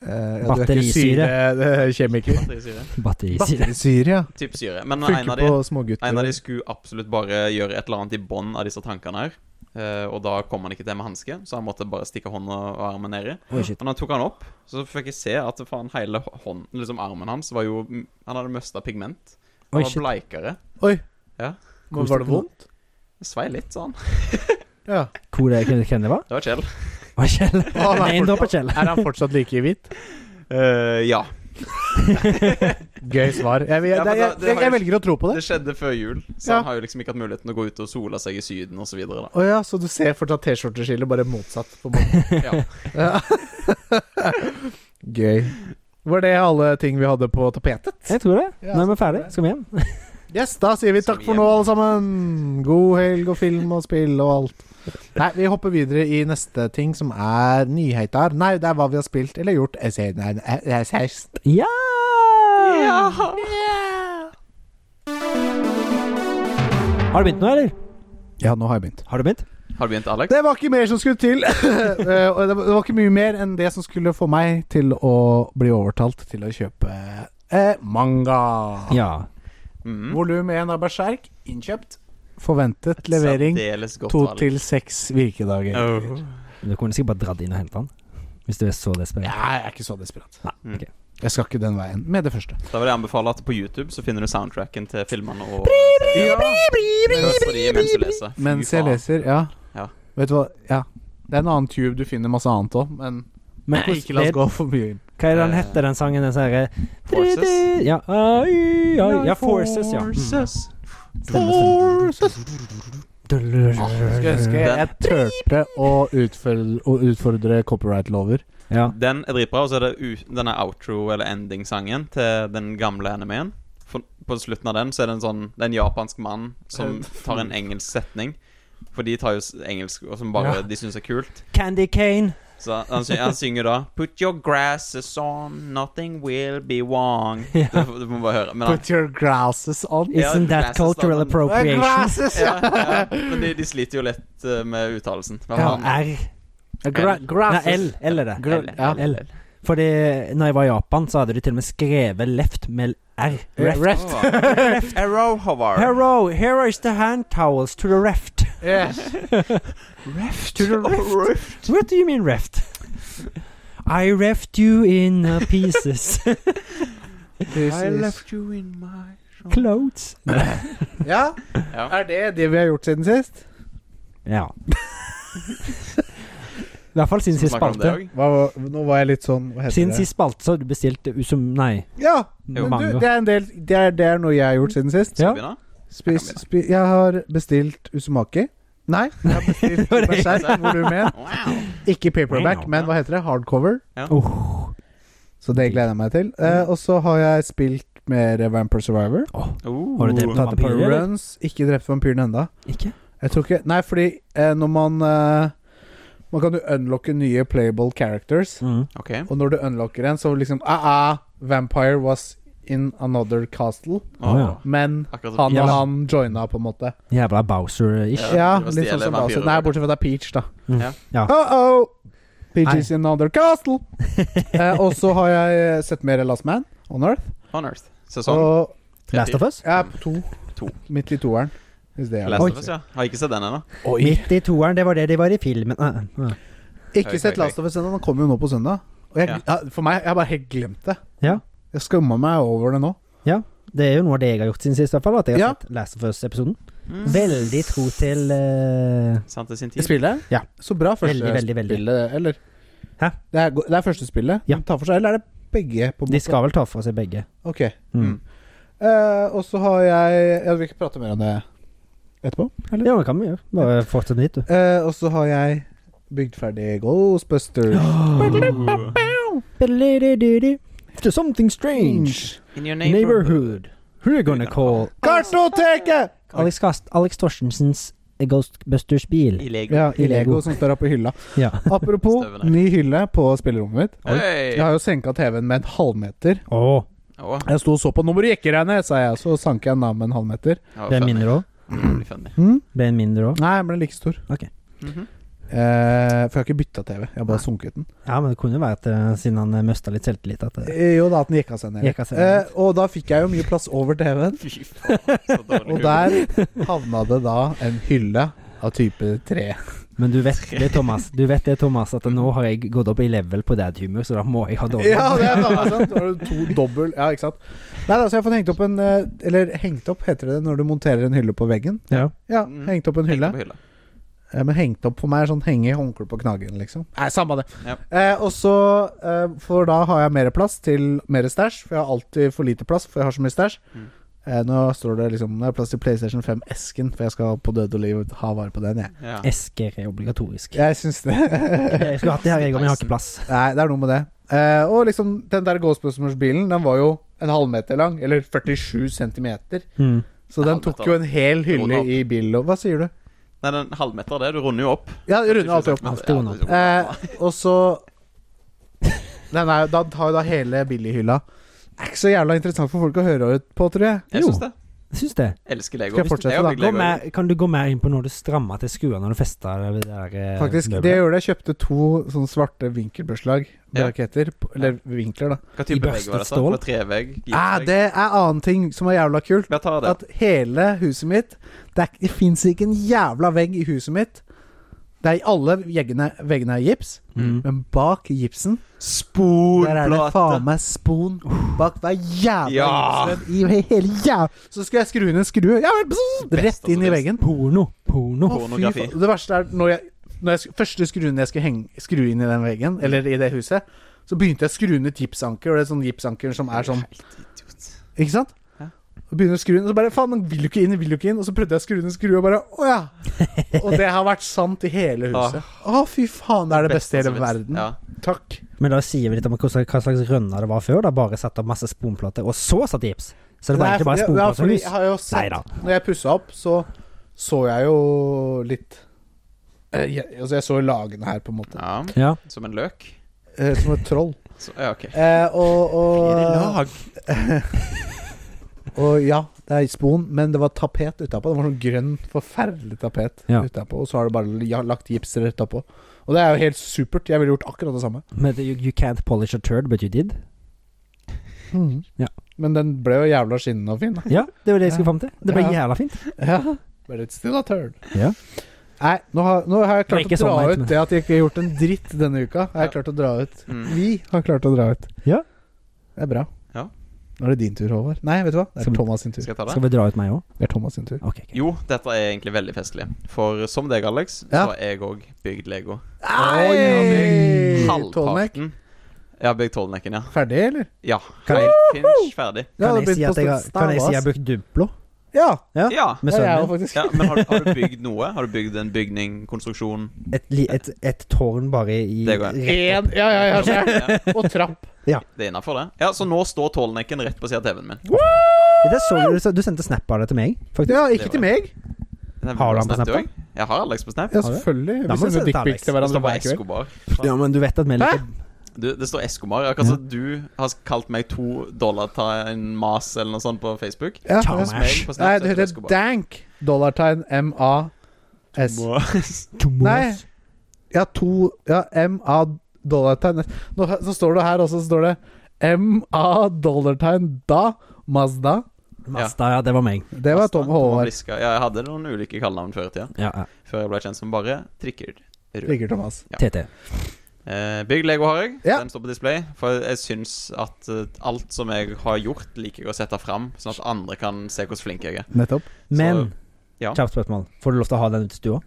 [SPEAKER 1] Eh, ja, du er ikke
[SPEAKER 2] Batterisyre.
[SPEAKER 1] syre- eh, Kjemiker.
[SPEAKER 3] Batterisyre.
[SPEAKER 2] Batterisyre.
[SPEAKER 1] Batterisyre, ja.
[SPEAKER 3] Typ syre. Men en av,
[SPEAKER 1] Funker
[SPEAKER 3] de,
[SPEAKER 1] på
[SPEAKER 3] en av de
[SPEAKER 1] smågutter.
[SPEAKER 3] skulle absolutt bare gjøre et eller annet i bånn av disse tankene her. Eh, og da kom han ikke til med hanske, så han måtte bare stikke hånda og armen nedi.
[SPEAKER 2] Oi, shit.
[SPEAKER 3] Men han tok han opp, så fikk jeg se at faen hele hånden, liksom armen hans var jo Han hadde mista pigment. Han
[SPEAKER 2] Oi,
[SPEAKER 3] var
[SPEAKER 2] shit.
[SPEAKER 3] bleikere.
[SPEAKER 1] Oi!
[SPEAKER 3] Ja.
[SPEAKER 1] Men var det vondt?
[SPEAKER 3] Det svei litt, sa han.
[SPEAKER 1] Ja.
[SPEAKER 2] Hvor det, hvem hvem det var?
[SPEAKER 3] Det var Kjell.
[SPEAKER 2] Var Kjell?
[SPEAKER 1] Å, nei,
[SPEAKER 2] Nei, en
[SPEAKER 1] fortsatt.
[SPEAKER 2] dråpe Kjell.
[SPEAKER 1] Er han fortsatt like hvit?
[SPEAKER 3] Eh, ja.
[SPEAKER 1] Gøy svar. Jeg, jeg,
[SPEAKER 3] Ja, men
[SPEAKER 1] jeg,
[SPEAKER 3] da-
[SPEAKER 1] jeg,
[SPEAKER 3] det
[SPEAKER 1] jeg,
[SPEAKER 3] har jo-
[SPEAKER 1] velger å tro på
[SPEAKER 3] Det
[SPEAKER 1] det.
[SPEAKER 3] skjedde før jul, så
[SPEAKER 1] Ja.
[SPEAKER 3] han har jo liksom ikke hatt muligheten å gå ut og sola seg i Syden osv.
[SPEAKER 1] Å ja, så du ser fortsatt T-skjorteskillet, bare motsatt. På måten.
[SPEAKER 3] Ja.
[SPEAKER 1] Ja. Gøy. Var det alle ting vi hadde på tapetet?
[SPEAKER 2] Jeg tror det.
[SPEAKER 1] Ja,
[SPEAKER 2] Nå er vi
[SPEAKER 1] så-
[SPEAKER 2] ferdige. Skal vi hjem?
[SPEAKER 1] Yes, da sier vi takk for nå, alle sammen. God helg og film og spill og alt. Nei, vi hopper videre i neste ting, som er nyheter. Nei, det er hva vi har spilt eller gjort. Jeg sier- nei, nei, jeg sier-
[SPEAKER 2] Ja! Har du begynt nå, eller?
[SPEAKER 1] Ja, nå har jeg begynt.
[SPEAKER 2] Har du begynt?
[SPEAKER 3] Har du begynt, Alex?
[SPEAKER 1] Det var ikke mer som skulle til. Eh, og det var det var ikke mye mer enn det som skulle få meg til å bli overtalt til å kjøpe eh, manga.
[SPEAKER 2] Ja.
[SPEAKER 3] Mm.
[SPEAKER 1] Volum 1 av Berserk innkjøpt. Forventet levering
[SPEAKER 3] Særdeles godt
[SPEAKER 1] to
[SPEAKER 3] valg.
[SPEAKER 1] til seks virkedager.
[SPEAKER 3] Oh.
[SPEAKER 2] Du kunne sikkert bare dratt inn og hentet den. Hvis du er så desperat.
[SPEAKER 1] Ja, jeg er ikke så desperat.
[SPEAKER 2] Nei, ok.
[SPEAKER 1] Jeg skal ikke den veien med det første.
[SPEAKER 3] Da vil jeg anbefale at på YouTube så finner du soundtracken til filmene og
[SPEAKER 1] Ja.
[SPEAKER 3] Hør på de mens du leser. Fy
[SPEAKER 1] Mens jeg
[SPEAKER 3] faen.
[SPEAKER 1] leser, ja.
[SPEAKER 3] Ja.
[SPEAKER 1] Vet du hva, ja. Det er en annen tube du finner masse annet òg, men
[SPEAKER 2] Men
[SPEAKER 1] ikke la oss gå for mye inn.
[SPEAKER 2] Hva er det den heter, den sangen? Den sånn sånne
[SPEAKER 3] Forces.
[SPEAKER 2] Ja, ai, ai, ja, Forces, ja. sånn.
[SPEAKER 3] Forces.
[SPEAKER 1] Skulle ønske jeg turte å utfordre, å utfordre copyright-lover.
[SPEAKER 2] ja.
[SPEAKER 3] Den er dritbra, og så er det u denne outro- eller ending-sangen til den gamle animeen. For, på slutten av den så er det en sånn Det er en japansk mann som
[SPEAKER 2] Eh,
[SPEAKER 3] tar
[SPEAKER 2] mm.
[SPEAKER 3] en engelsk setning. For de tar jo s- engelsk, og som bare
[SPEAKER 1] Ja.
[SPEAKER 3] de syns er kult.
[SPEAKER 2] Candy Cane.
[SPEAKER 3] Så han, sy han synger da Put your grasses on, nothing will be wrong.
[SPEAKER 2] Ja.
[SPEAKER 3] Du, du må bare høre. Men han,
[SPEAKER 1] Put your glasses on.
[SPEAKER 3] Ja,
[SPEAKER 2] Isn't that
[SPEAKER 3] glasses, da,
[SPEAKER 2] cultural
[SPEAKER 3] men-
[SPEAKER 2] appropriation?
[SPEAKER 1] Glasses,
[SPEAKER 3] ja,
[SPEAKER 1] ja.
[SPEAKER 3] ja, men de, de sliter jo litt eh, med uttalelsen. Men
[SPEAKER 2] Ja,
[SPEAKER 3] han-
[SPEAKER 2] R.
[SPEAKER 1] Gra
[SPEAKER 2] Nei,
[SPEAKER 1] grasses.
[SPEAKER 2] L. L er det.
[SPEAKER 1] Gr- ja.
[SPEAKER 2] L. Fordi når jeg var i Japan, så hadde de til og med skrevet left med R. Eh, Reft.
[SPEAKER 1] Reft.
[SPEAKER 3] Åh. Arrow Hovar.
[SPEAKER 2] Hero, here is the hand towels to the reft.
[SPEAKER 1] Yes.
[SPEAKER 2] To the reft. What do you mean reft? I reft you in uh, pieces.
[SPEAKER 1] This
[SPEAKER 3] I
[SPEAKER 1] is-
[SPEAKER 3] left you in my
[SPEAKER 2] Clothes.
[SPEAKER 1] Ja,
[SPEAKER 3] Ja.
[SPEAKER 1] er det det vi har gjort siden sist?
[SPEAKER 2] Ja. I hvert fall siden sist
[SPEAKER 3] Snakker om det
[SPEAKER 2] spalte.
[SPEAKER 3] også?
[SPEAKER 1] Hva, var- nå var jeg litt sånn Hva heter
[SPEAKER 2] Siden
[SPEAKER 1] det?
[SPEAKER 2] sist spalte så har du bestilt uh, som Nei,
[SPEAKER 1] Ja,
[SPEAKER 2] jo.
[SPEAKER 1] men du,
[SPEAKER 2] manga.
[SPEAKER 1] det er en del Det er, det er noe jeg har gjort siden sist.
[SPEAKER 3] Skal
[SPEAKER 2] Ja.
[SPEAKER 3] vi begynne?
[SPEAKER 1] Spis, spi, jeg har bestilt Usumaki. Nei, jeg har bestilt
[SPEAKER 2] var det jeg
[SPEAKER 1] Berserk volum 1.
[SPEAKER 3] Wow.
[SPEAKER 1] Ikke paperback,
[SPEAKER 2] Wow.
[SPEAKER 1] men hva heter det? Hardcover.
[SPEAKER 3] Ja.
[SPEAKER 2] Oh.
[SPEAKER 1] Så det gleder jeg meg til. Eh,
[SPEAKER 2] Mm.
[SPEAKER 1] og så har jeg spilt mer Vampire Survivor.
[SPEAKER 3] Oh.
[SPEAKER 2] Har du drept
[SPEAKER 1] Tatt det på
[SPEAKER 2] Vampyrer, eller?
[SPEAKER 1] runs. Ikke drept vampyren enda
[SPEAKER 2] Ikke?
[SPEAKER 1] Jeg tror ikke Nei, fordi eh, når man eh, Man kan jo unlocke nye playable characters.
[SPEAKER 2] Mm.
[SPEAKER 3] Ok.
[SPEAKER 1] Og når du unlocker en, så liksom ah, ah, Vampire was in another castle.
[SPEAKER 2] Å, ja.
[SPEAKER 3] Åh.
[SPEAKER 1] Men
[SPEAKER 3] Akkurat som
[SPEAKER 1] han
[SPEAKER 2] Ja.
[SPEAKER 1] og han joina, på en måte.
[SPEAKER 2] Jævla Bowser-ish.
[SPEAKER 1] Ja,
[SPEAKER 3] Ja, det
[SPEAKER 1] litt
[SPEAKER 3] var stjele
[SPEAKER 1] sånn som
[SPEAKER 3] vampyrer,
[SPEAKER 1] Bowser. Nei,
[SPEAKER 3] da.
[SPEAKER 1] bortsett fra at det er Peach, da.
[SPEAKER 3] Ja.
[SPEAKER 2] Ja.
[SPEAKER 1] Oh, oh. Peach
[SPEAKER 2] Nei.
[SPEAKER 1] is in another castle. eh, og så har jeg eh, sett mer Last Man on Earth.
[SPEAKER 3] On Earth. Sesong
[SPEAKER 1] Og
[SPEAKER 2] Last of Us?
[SPEAKER 1] jeg er på to.
[SPEAKER 3] Sånn. To.
[SPEAKER 1] Midt i toeren. Hvis det er
[SPEAKER 3] Last
[SPEAKER 1] lov.
[SPEAKER 3] of Us, ja. Har ikke sett den ennå.
[SPEAKER 1] Oi.
[SPEAKER 2] Midt i toeren, det var det de var i filmen. Ah, ah.
[SPEAKER 1] Ikke
[SPEAKER 3] Oi,
[SPEAKER 1] sett
[SPEAKER 3] oi, oi.
[SPEAKER 1] Last of Us ennå. Den kommer jo nå på søndag. Og jeg,
[SPEAKER 3] Ja.
[SPEAKER 1] ja, for meg, jeg har bare helt glemt det.
[SPEAKER 2] Ja.
[SPEAKER 1] Jeg skammer meg over det nå.
[SPEAKER 2] Det er jo noe av det jeg har gjort siden sist, i hvert fall. At jeg har
[SPEAKER 1] Ja.
[SPEAKER 2] sett Last of Us-episoden. Veldig tro til eh,
[SPEAKER 3] Mm. Sant til sin
[SPEAKER 1] I
[SPEAKER 3] tid.
[SPEAKER 1] spillet?
[SPEAKER 2] Ja.
[SPEAKER 1] Så bra første
[SPEAKER 2] Veldig, veldig, veldig.
[SPEAKER 1] spillet, eller?
[SPEAKER 2] Hæ?
[SPEAKER 1] Det er, go- det er første spillet?
[SPEAKER 2] Ja.
[SPEAKER 1] De tar for seg, eller er det begge? på en
[SPEAKER 2] De
[SPEAKER 1] måte?
[SPEAKER 2] skal vel ta for seg begge.
[SPEAKER 1] Ok.
[SPEAKER 2] Mm.
[SPEAKER 1] Eh, og så har jeg Jeg vil ikke prate mer om det etterpå.
[SPEAKER 2] Ja, det kan vi gjøre. Bare fortsett dit, du.
[SPEAKER 1] Eh, og så har jeg bygd ferdig Ghostbusters.
[SPEAKER 2] To something strange
[SPEAKER 3] In your
[SPEAKER 2] neighborhood. Who are you gonna call?
[SPEAKER 1] Kartoteket!
[SPEAKER 2] Alex, Kast, Alex eh, Torsensens Ghostbusters-bil.
[SPEAKER 3] I Lego.
[SPEAKER 1] Ja, i Lego som står her på hylla.
[SPEAKER 2] Ja.
[SPEAKER 1] Apropos
[SPEAKER 3] Støvende.
[SPEAKER 1] ny hylle på spillerommet mitt.
[SPEAKER 3] Hey.
[SPEAKER 1] Jeg har jo senka TV-en med en halvmeter.
[SPEAKER 2] Å,
[SPEAKER 3] Å,
[SPEAKER 1] Jeg sto og så på 'Nå må du jekke deg ned', sa jeg, så sank jeg den av med en halvmeter.
[SPEAKER 3] det var
[SPEAKER 2] ble den
[SPEAKER 3] funny.
[SPEAKER 2] mindre òg?
[SPEAKER 3] Mm, det blir funny.
[SPEAKER 1] Hm?
[SPEAKER 2] Ble den mindre òg?
[SPEAKER 1] Nei, den ble like stor.
[SPEAKER 3] Mhm.
[SPEAKER 1] Eh, for jeg har ikke bytta TV, jeg har bare sunket den.
[SPEAKER 2] Ja, men det kunne jo være at eh, siden han eh, møsta litt selvtillit, at det
[SPEAKER 1] Eh, Jo da, at den jekka seg ned.
[SPEAKER 2] Jekka seg ned.
[SPEAKER 1] Eh, og da fikk jeg jo mye plass over TV-en,
[SPEAKER 3] Fy faen, så dårlig
[SPEAKER 1] og der havna det da en hylle av type 3.
[SPEAKER 2] Men du vet det, Thomas, Du vet det, Thomas at nå har jeg gått opp i level på dad humor, så da må jeg ha dårlig
[SPEAKER 1] Ja, det er bare sant. Da har du to dobbel Ja, ikke sant. Nei da, så jeg får hengt opp en eh, Eller hengt opp, heter det når du monterer en hylle på veggen.
[SPEAKER 2] Ja.
[SPEAKER 1] Ja,
[SPEAKER 3] Mm.
[SPEAKER 1] hengt opp en hylle.
[SPEAKER 3] Tenkte på hylla.
[SPEAKER 1] Eh, Men hengt opp for meg er sånn henge i håndkle på knagen, liksom. Nei, samme det.
[SPEAKER 3] Ja.
[SPEAKER 1] Eh, og så eh, For da har jeg mer plass til mer stæsj, for jeg har alltid for lite plass, for jeg har så mye stæsj.
[SPEAKER 3] Mm.
[SPEAKER 1] Eh, nå står det liksom Nå er det plass til PlayStation 5-esken, for jeg skal på død og liv ha vare på den, jeg.
[SPEAKER 3] Ja.
[SPEAKER 2] Esker er obligatorisk.
[SPEAKER 1] Jeg syns det.
[SPEAKER 2] Jeg skulle hatt det her, jeg òg, men jeg har ikke plass.
[SPEAKER 1] Nei, det er noe med det. Eh, og liksom, den der Ghostbusters-bilen, den var jo en halvmeter lang, eller 47 centimeter.
[SPEAKER 2] Mm.
[SPEAKER 1] Så den
[SPEAKER 3] Halvmeter.
[SPEAKER 1] tok jo en hel hylle
[SPEAKER 3] Rundt opp.
[SPEAKER 1] i bilen. og- Hva sier du?
[SPEAKER 3] Nei, den halvmeter, det. Du runder jo opp.
[SPEAKER 1] Ja, jeg runder alltid opp.
[SPEAKER 2] Alltid runder opp.
[SPEAKER 1] Eh, og så Den er, jo- da tar jo da hele billighylla. Er ikke så jævla interessant for folk å høre ut på, tror jeg.
[SPEAKER 3] jeg syns det.
[SPEAKER 2] Syns det.
[SPEAKER 3] Elsker Lego.
[SPEAKER 1] Skal jeg
[SPEAKER 3] Hvis du-
[SPEAKER 1] fortsette
[SPEAKER 3] jeg har
[SPEAKER 1] da?
[SPEAKER 3] bygd
[SPEAKER 2] Gå
[SPEAKER 3] Lego.
[SPEAKER 2] mer, kan du gå mer inn på når du strammer til skruene når du fester det der eh,
[SPEAKER 1] Faktisk, det
[SPEAKER 2] møbelet?
[SPEAKER 1] jeg gjorde, jeg kjøpte to sånne svarte vinkelbuslag med
[SPEAKER 3] Ja.
[SPEAKER 1] raketter. på- Eller vinkler, da.
[SPEAKER 3] Hva
[SPEAKER 2] I
[SPEAKER 3] type vegg
[SPEAKER 2] børstet
[SPEAKER 3] var det?
[SPEAKER 2] stål?
[SPEAKER 3] Stål? På trevegg?
[SPEAKER 1] Ah, det er annen ting som var jævla kult.
[SPEAKER 3] Jeg tar det.
[SPEAKER 1] at hele huset mitt Det, er ikke- det fins ikke en jævla vegg i huset mitt. Det er i alle veggene, veggene er gips,
[SPEAKER 2] Mm.
[SPEAKER 1] men bak gipsen der er det faen meg spon bak hver jævla
[SPEAKER 3] Ja.
[SPEAKER 1] gipsvegg i he- hele jævla Så skulle jeg skru inn en skrue, ja, vel, bzzz,
[SPEAKER 3] Best
[SPEAKER 1] rett
[SPEAKER 3] av
[SPEAKER 1] inn i
[SPEAKER 3] det
[SPEAKER 1] veggen.
[SPEAKER 2] Porno. Porno.
[SPEAKER 1] Å, fy
[SPEAKER 3] Pornografi.
[SPEAKER 1] faen. Det verste er når jeg, når jeg sk- første skruen jeg skulle henge, skru inn i den veggen, eller i det huset, så begynte jeg å skru inn et gipsanker, og det er sånn gipsanker som er sånn
[SPEAKER 3] Helt idiot.
[SPEAKER 1] Ikke sant?
[SPEAKER 3] Ja.
[SPEAKER 1] Og begynner å skru inn, og så bare faen, den vil jo ikke inn, den vil jo ikke inn. Og så prøvde jeg å skru inn en skru, og bare å ja. Og det har vært sant i hele huset. Å, fy faen, det er det beste i hele
[SPEAKER 3] Ah. som finnes.
[SPEAKER 1] verden.
[SPEAKER 3] Ja.
[SPEAKER 1] Takk.
[SPEAKER 2] Men da sier vi litt om hvordan- hva slags rønner det var før. Da bare satt opp masse sponplater, og så satt gips. Så det var
[SPEAKER 1] Nei,
[SPEAKER 2] egentlig bare
[SPEAKER 1] fordi- ja, fordi jeg
[SPEAKER 2] sponplatehus.
[SPEAKER 1] har jo sett,
[SPEAKER 2] Neida.
[SPEAKER 1] Når jeg pussa opp, så så jeg jo litt eh, jeg, Altså, jeg så lagene her, på en måte.
[SPEAKER 3] ja.
[SPEAKER 2] Ja.
[SPEAKER 3] Som en løk?
[SPEAKER 1] Eh, som et troll.
[SPEAKER 3] Så, ja, OK.
[SPEAKER 1] Eh, og, og, og ja, det er spon, men det var tapet utapå. Det var sånn grønn, forferdelig tapet
[SPEAKER 2] Ja.
[SPEAKER 1] utapå. Og så har det bare ja, lagt gips rett oppå. Og det er jo helt supert. Jeg ville gjort akkurat det samme.
[SPEAKER 2] Men det- you, you can't polish a turd, but you did. Mm. Ja.
[SPEAKER 1] Men den ble jo jævla skinnende og fin. da.
[SPEAKER 2] Ja, det var det jeg skulle fram til. Det ble
[SPEAKER 1] Ja.
[SPEAKER 2] jævla fint.
[SPEAKER 1] Ja. But it's still a turd.
[SPEAKER 2] Ja.
[SPEAKER 1] Nei, nå har, nå har jeg
[SPEAKER 2] Det
[SPEAKER 1] klart
[SPEAKER 2] er
[SPEAKER 1] å
[SPEAKER 2] ikke
[SPEAKER 1] dra
[SPEAKER 2] sånn,
[SPEAKER 1] ut
[SPEAKER 2] men-
[SPEAKER 1] det at jeg ikke har gjort en dritt denne uka. Har jeg klart å dra ut.
[SPEAKER 3] Mm.
[SPEAKER 1] Vi har klart å dra ut.
[SPEAKER 2] Ja.
[SPEAKER 1] Det er bra.
[SPEAKER 3] Ja.
[SPEAKER 1] Nå er det din tur, Håvard. Nei, vet du hva? Det
[SPEAKER 2] Skal-
[SPEAKER 1] er Thomas sin tur.
[SPEAKER 3] Skal jeg ta det?
[SPEAKER 2] Skal vi dra ut meg òg?
[SPEAKER 1] Det er Thomas sin tur.
[SPEAKER 2] Ok. ok.
[SPEAKER 3] Jo, dette er egentlig veldig festlig. For som deg, Alex,
[SPEAKER 1] Ja.
[SPEAKER 3] så har jeg òg bygd Lego.
[SPEAKER 1] Hei! Tallnek.
[SPEAKER 3] Halvparten. Jeg har bygd Tollnekken, ja.
[SPEAKER 1] Ferdig, eller?
[SPEAKER 3] Ja. Helt finish ferdig.
[SPEAKER 1] Ja, det
[SPEAKER 2] Kan jeg, si
[SPEAKER 1] begynte
[SPEAKER 2] at jeg,
[SPEAKER 1] på
[SPEAKER 2] har- kan jeg si jeg har brukt Duplo
[SPEAKER 1] Ja,
[SPEAKER 2] Ja.
[SPEAKER 3] Ja.
[SPEAKER 2] med
[SPEAKER 1] det er jeg
[SPEAKER 2] sønnen
[SPEAKER 1] jo
[SPEAKER 2] min?
[SPEAKER 1] faktisk.
[SPEAKER 3] ja men har, har du bygd noe? Har du bygd en bygning? Konstruksjon?
[SPEAKER 2] Et, li- et, et tårn bare i
[SPEAKER 3] Det går.
[SPEAKER 2] rett opp.
[SPEAKER 1] ja, ja, ja, skjær.
[SPEAKER 3] Ja,
[SPEAKER 1] Og trapp.
[SPEAKER 3] det er innafor, det. Ja, Så nå står Tollnekken rett på siden av TV-en min.
[SPEAKER 2] Det så du, du så- du sendte snap av det til meg, faktisk.
[SPEAKER 1] Ja, ikke til meg.
[SPEAKER 3] Den er
[SPEAKER 2] Har du han på
[SPEAKER 3] Snap,
[SPEAKER 2] Snap,
[SPEAKER 3] også? Jeg har Alex på Snap.
[SPEAKER 1] Ja,
[SPEAKER 2] Har du?
[SPEAKER 1] selvfølgelig.
[SPEAKER 2] Da
[SPEAKER 1] Vi
[SPEAKER 2] må du
[SPEAKER 1] sender
[SPEAKER 2] sende til
[SPEAKER 1] dickpics til
[SPEAKER 2] Alex.
[SPEAKER 3] Det
[SPEAKER 1] hverandre
[SPEAKER 3] står bare
[SPEAKER 1] hver kveld.
[SPEAKER 3] Escobar.
[SPEAKER 2] Ja, men du vet at vi liker
[SPEAKER 3] Du, det står Escobar. Akkurat som du har kalt meg to dollar ta en mas eller noe sånt på Facebook.
[SPEAKER 1] Ja,
[SPEAKER 2] Ciao,
[SPEAKER 1] ja.
[SPEAKER 2] man.
[SPEAKER 3] Meg på Snap,
[SPEAKER 1] Nei,
[SPEAKER 3] så
[SPEAKER 1] det
[SPEAKER 3] heter
[SPEAKER 1] heter
[SPEAKER 3] Escobar.
[SPEAKER 1] dank. Dollartegn M-A-S. Nei.
[SPEAKER 2] Tomos.
[SPEAKER 1] Ja, to Ja, M-A dollartegn Nå Så står det her også, så står det M-A dollartegn da Mazda.
[SPEAKER 2] Masta, ja, det var meg.
[SPEAKER 1] Det var Tom Håvard.
[SPEAKER 3] Bliska. Ja, jeg hadde noen ulike kallenavn før i tida.
[SPEAKER 2] Ja, ja.
[SPEAKER 3] Før jeg ble kjent som bare Trikker. Rød.
[SPEAKER 1] Ligger Thomas.
[SPEAKER 3] Ja.
[SPEAKER 2] TT.
[SPEAKER 3] Eh, bygg Lego har jeg.
[SPEAKER 1] Ja.
[SPEAKER 3] Den står på display. For jeg syns at eh, alt som jeg har gjort, liker jeg å sette fram, sånn at andre kan se hvor flink jeg er.
[SPEAKER 1] Nettopp.
[SPEAKER 2] Men
[SPEAKER 3] Ja.
[SPEAKER 2] Kjapt spørsmål. Får du lov til å ha den ute i stua?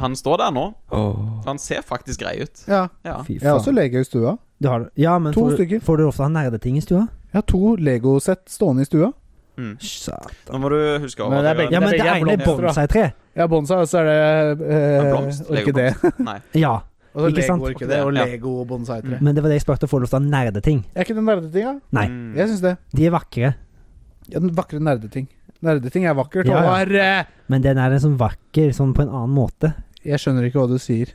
[SPEAKER 3] Han står der nå.
[SPEAKER 2] Oh.
[SPEAKER 3] Han ser faktisk grei ut.
[SPEAKER 1] Ja.
[SPEAKER 3] Ja.
[SPEAKER 2] Fy
[SPEAKER 1] Jeg har også
[SPEAKER 2] faen.
[SPEAKER 1] Lego i stua.
[SPEAKER 2] Du har, ja, men
[SPEAKER 1] To
[SPEAKER 2] får, du-
[SPEAKER 1] stykker.
[SPEAKER 2] får du lov til å ha nerdeting i stua?
[SPEAKER 1] Jeg har to Lego-sett stående i stua.
[SPEAKER 3] Mm.
[SPEAKER 2] Satan.
[SPEAKER 3] Nå må du huske over
[SPEAKER 1] Men det er
[SPEAKER 3] at
[SPEAKER 1] begge-
[SPEAKER 2] Ja, men det
[SPEAKER 1] Jeg er
[SPEAKER 2] ene er
[SPEAKER 1] blomster, da.
[SPEAKER 2] bonsai-tre.
[SPEAKER 1] Ja, bonsai, og så er det eh,
[SPEAKER 3] blomst,
[SPEAKER 1] orkidé.
[SPEAKER 3] Nei.
[SPEAKER 2] Ja,
[SPEAKER 1] Og så
[SPEAKER 2] Ikke sant?
[SPEAKER 1] Lego-orkidé og
[SPEAKER 3] Ja.
[SPEAKER 1] Lego og bonsai-tre.
[SPEAKER 2] men det var det jeg spurte. Får du lov til å ha nerdeting?
[SPEAKER 1] Mm. Er ikke det nerdeting, da?
[SPEAKER 2] Nei.
[SPEAKER 3] Mm.
[SPEAKER 1] Jeg syns det.
[SPEAKER 2] De er vakre,
[SPEAKER 1] Ja, den vakre nerdeting. Nerdeting er vakkert.
[SPEAKER 2] Ja, ja.
[SPEAKER 1] Og er, eh,
[SPEAKER 2] men den er liksom vakker sånn på en annen måte.
[SPEAKER 1] jeg skjønner ikke hva du sier.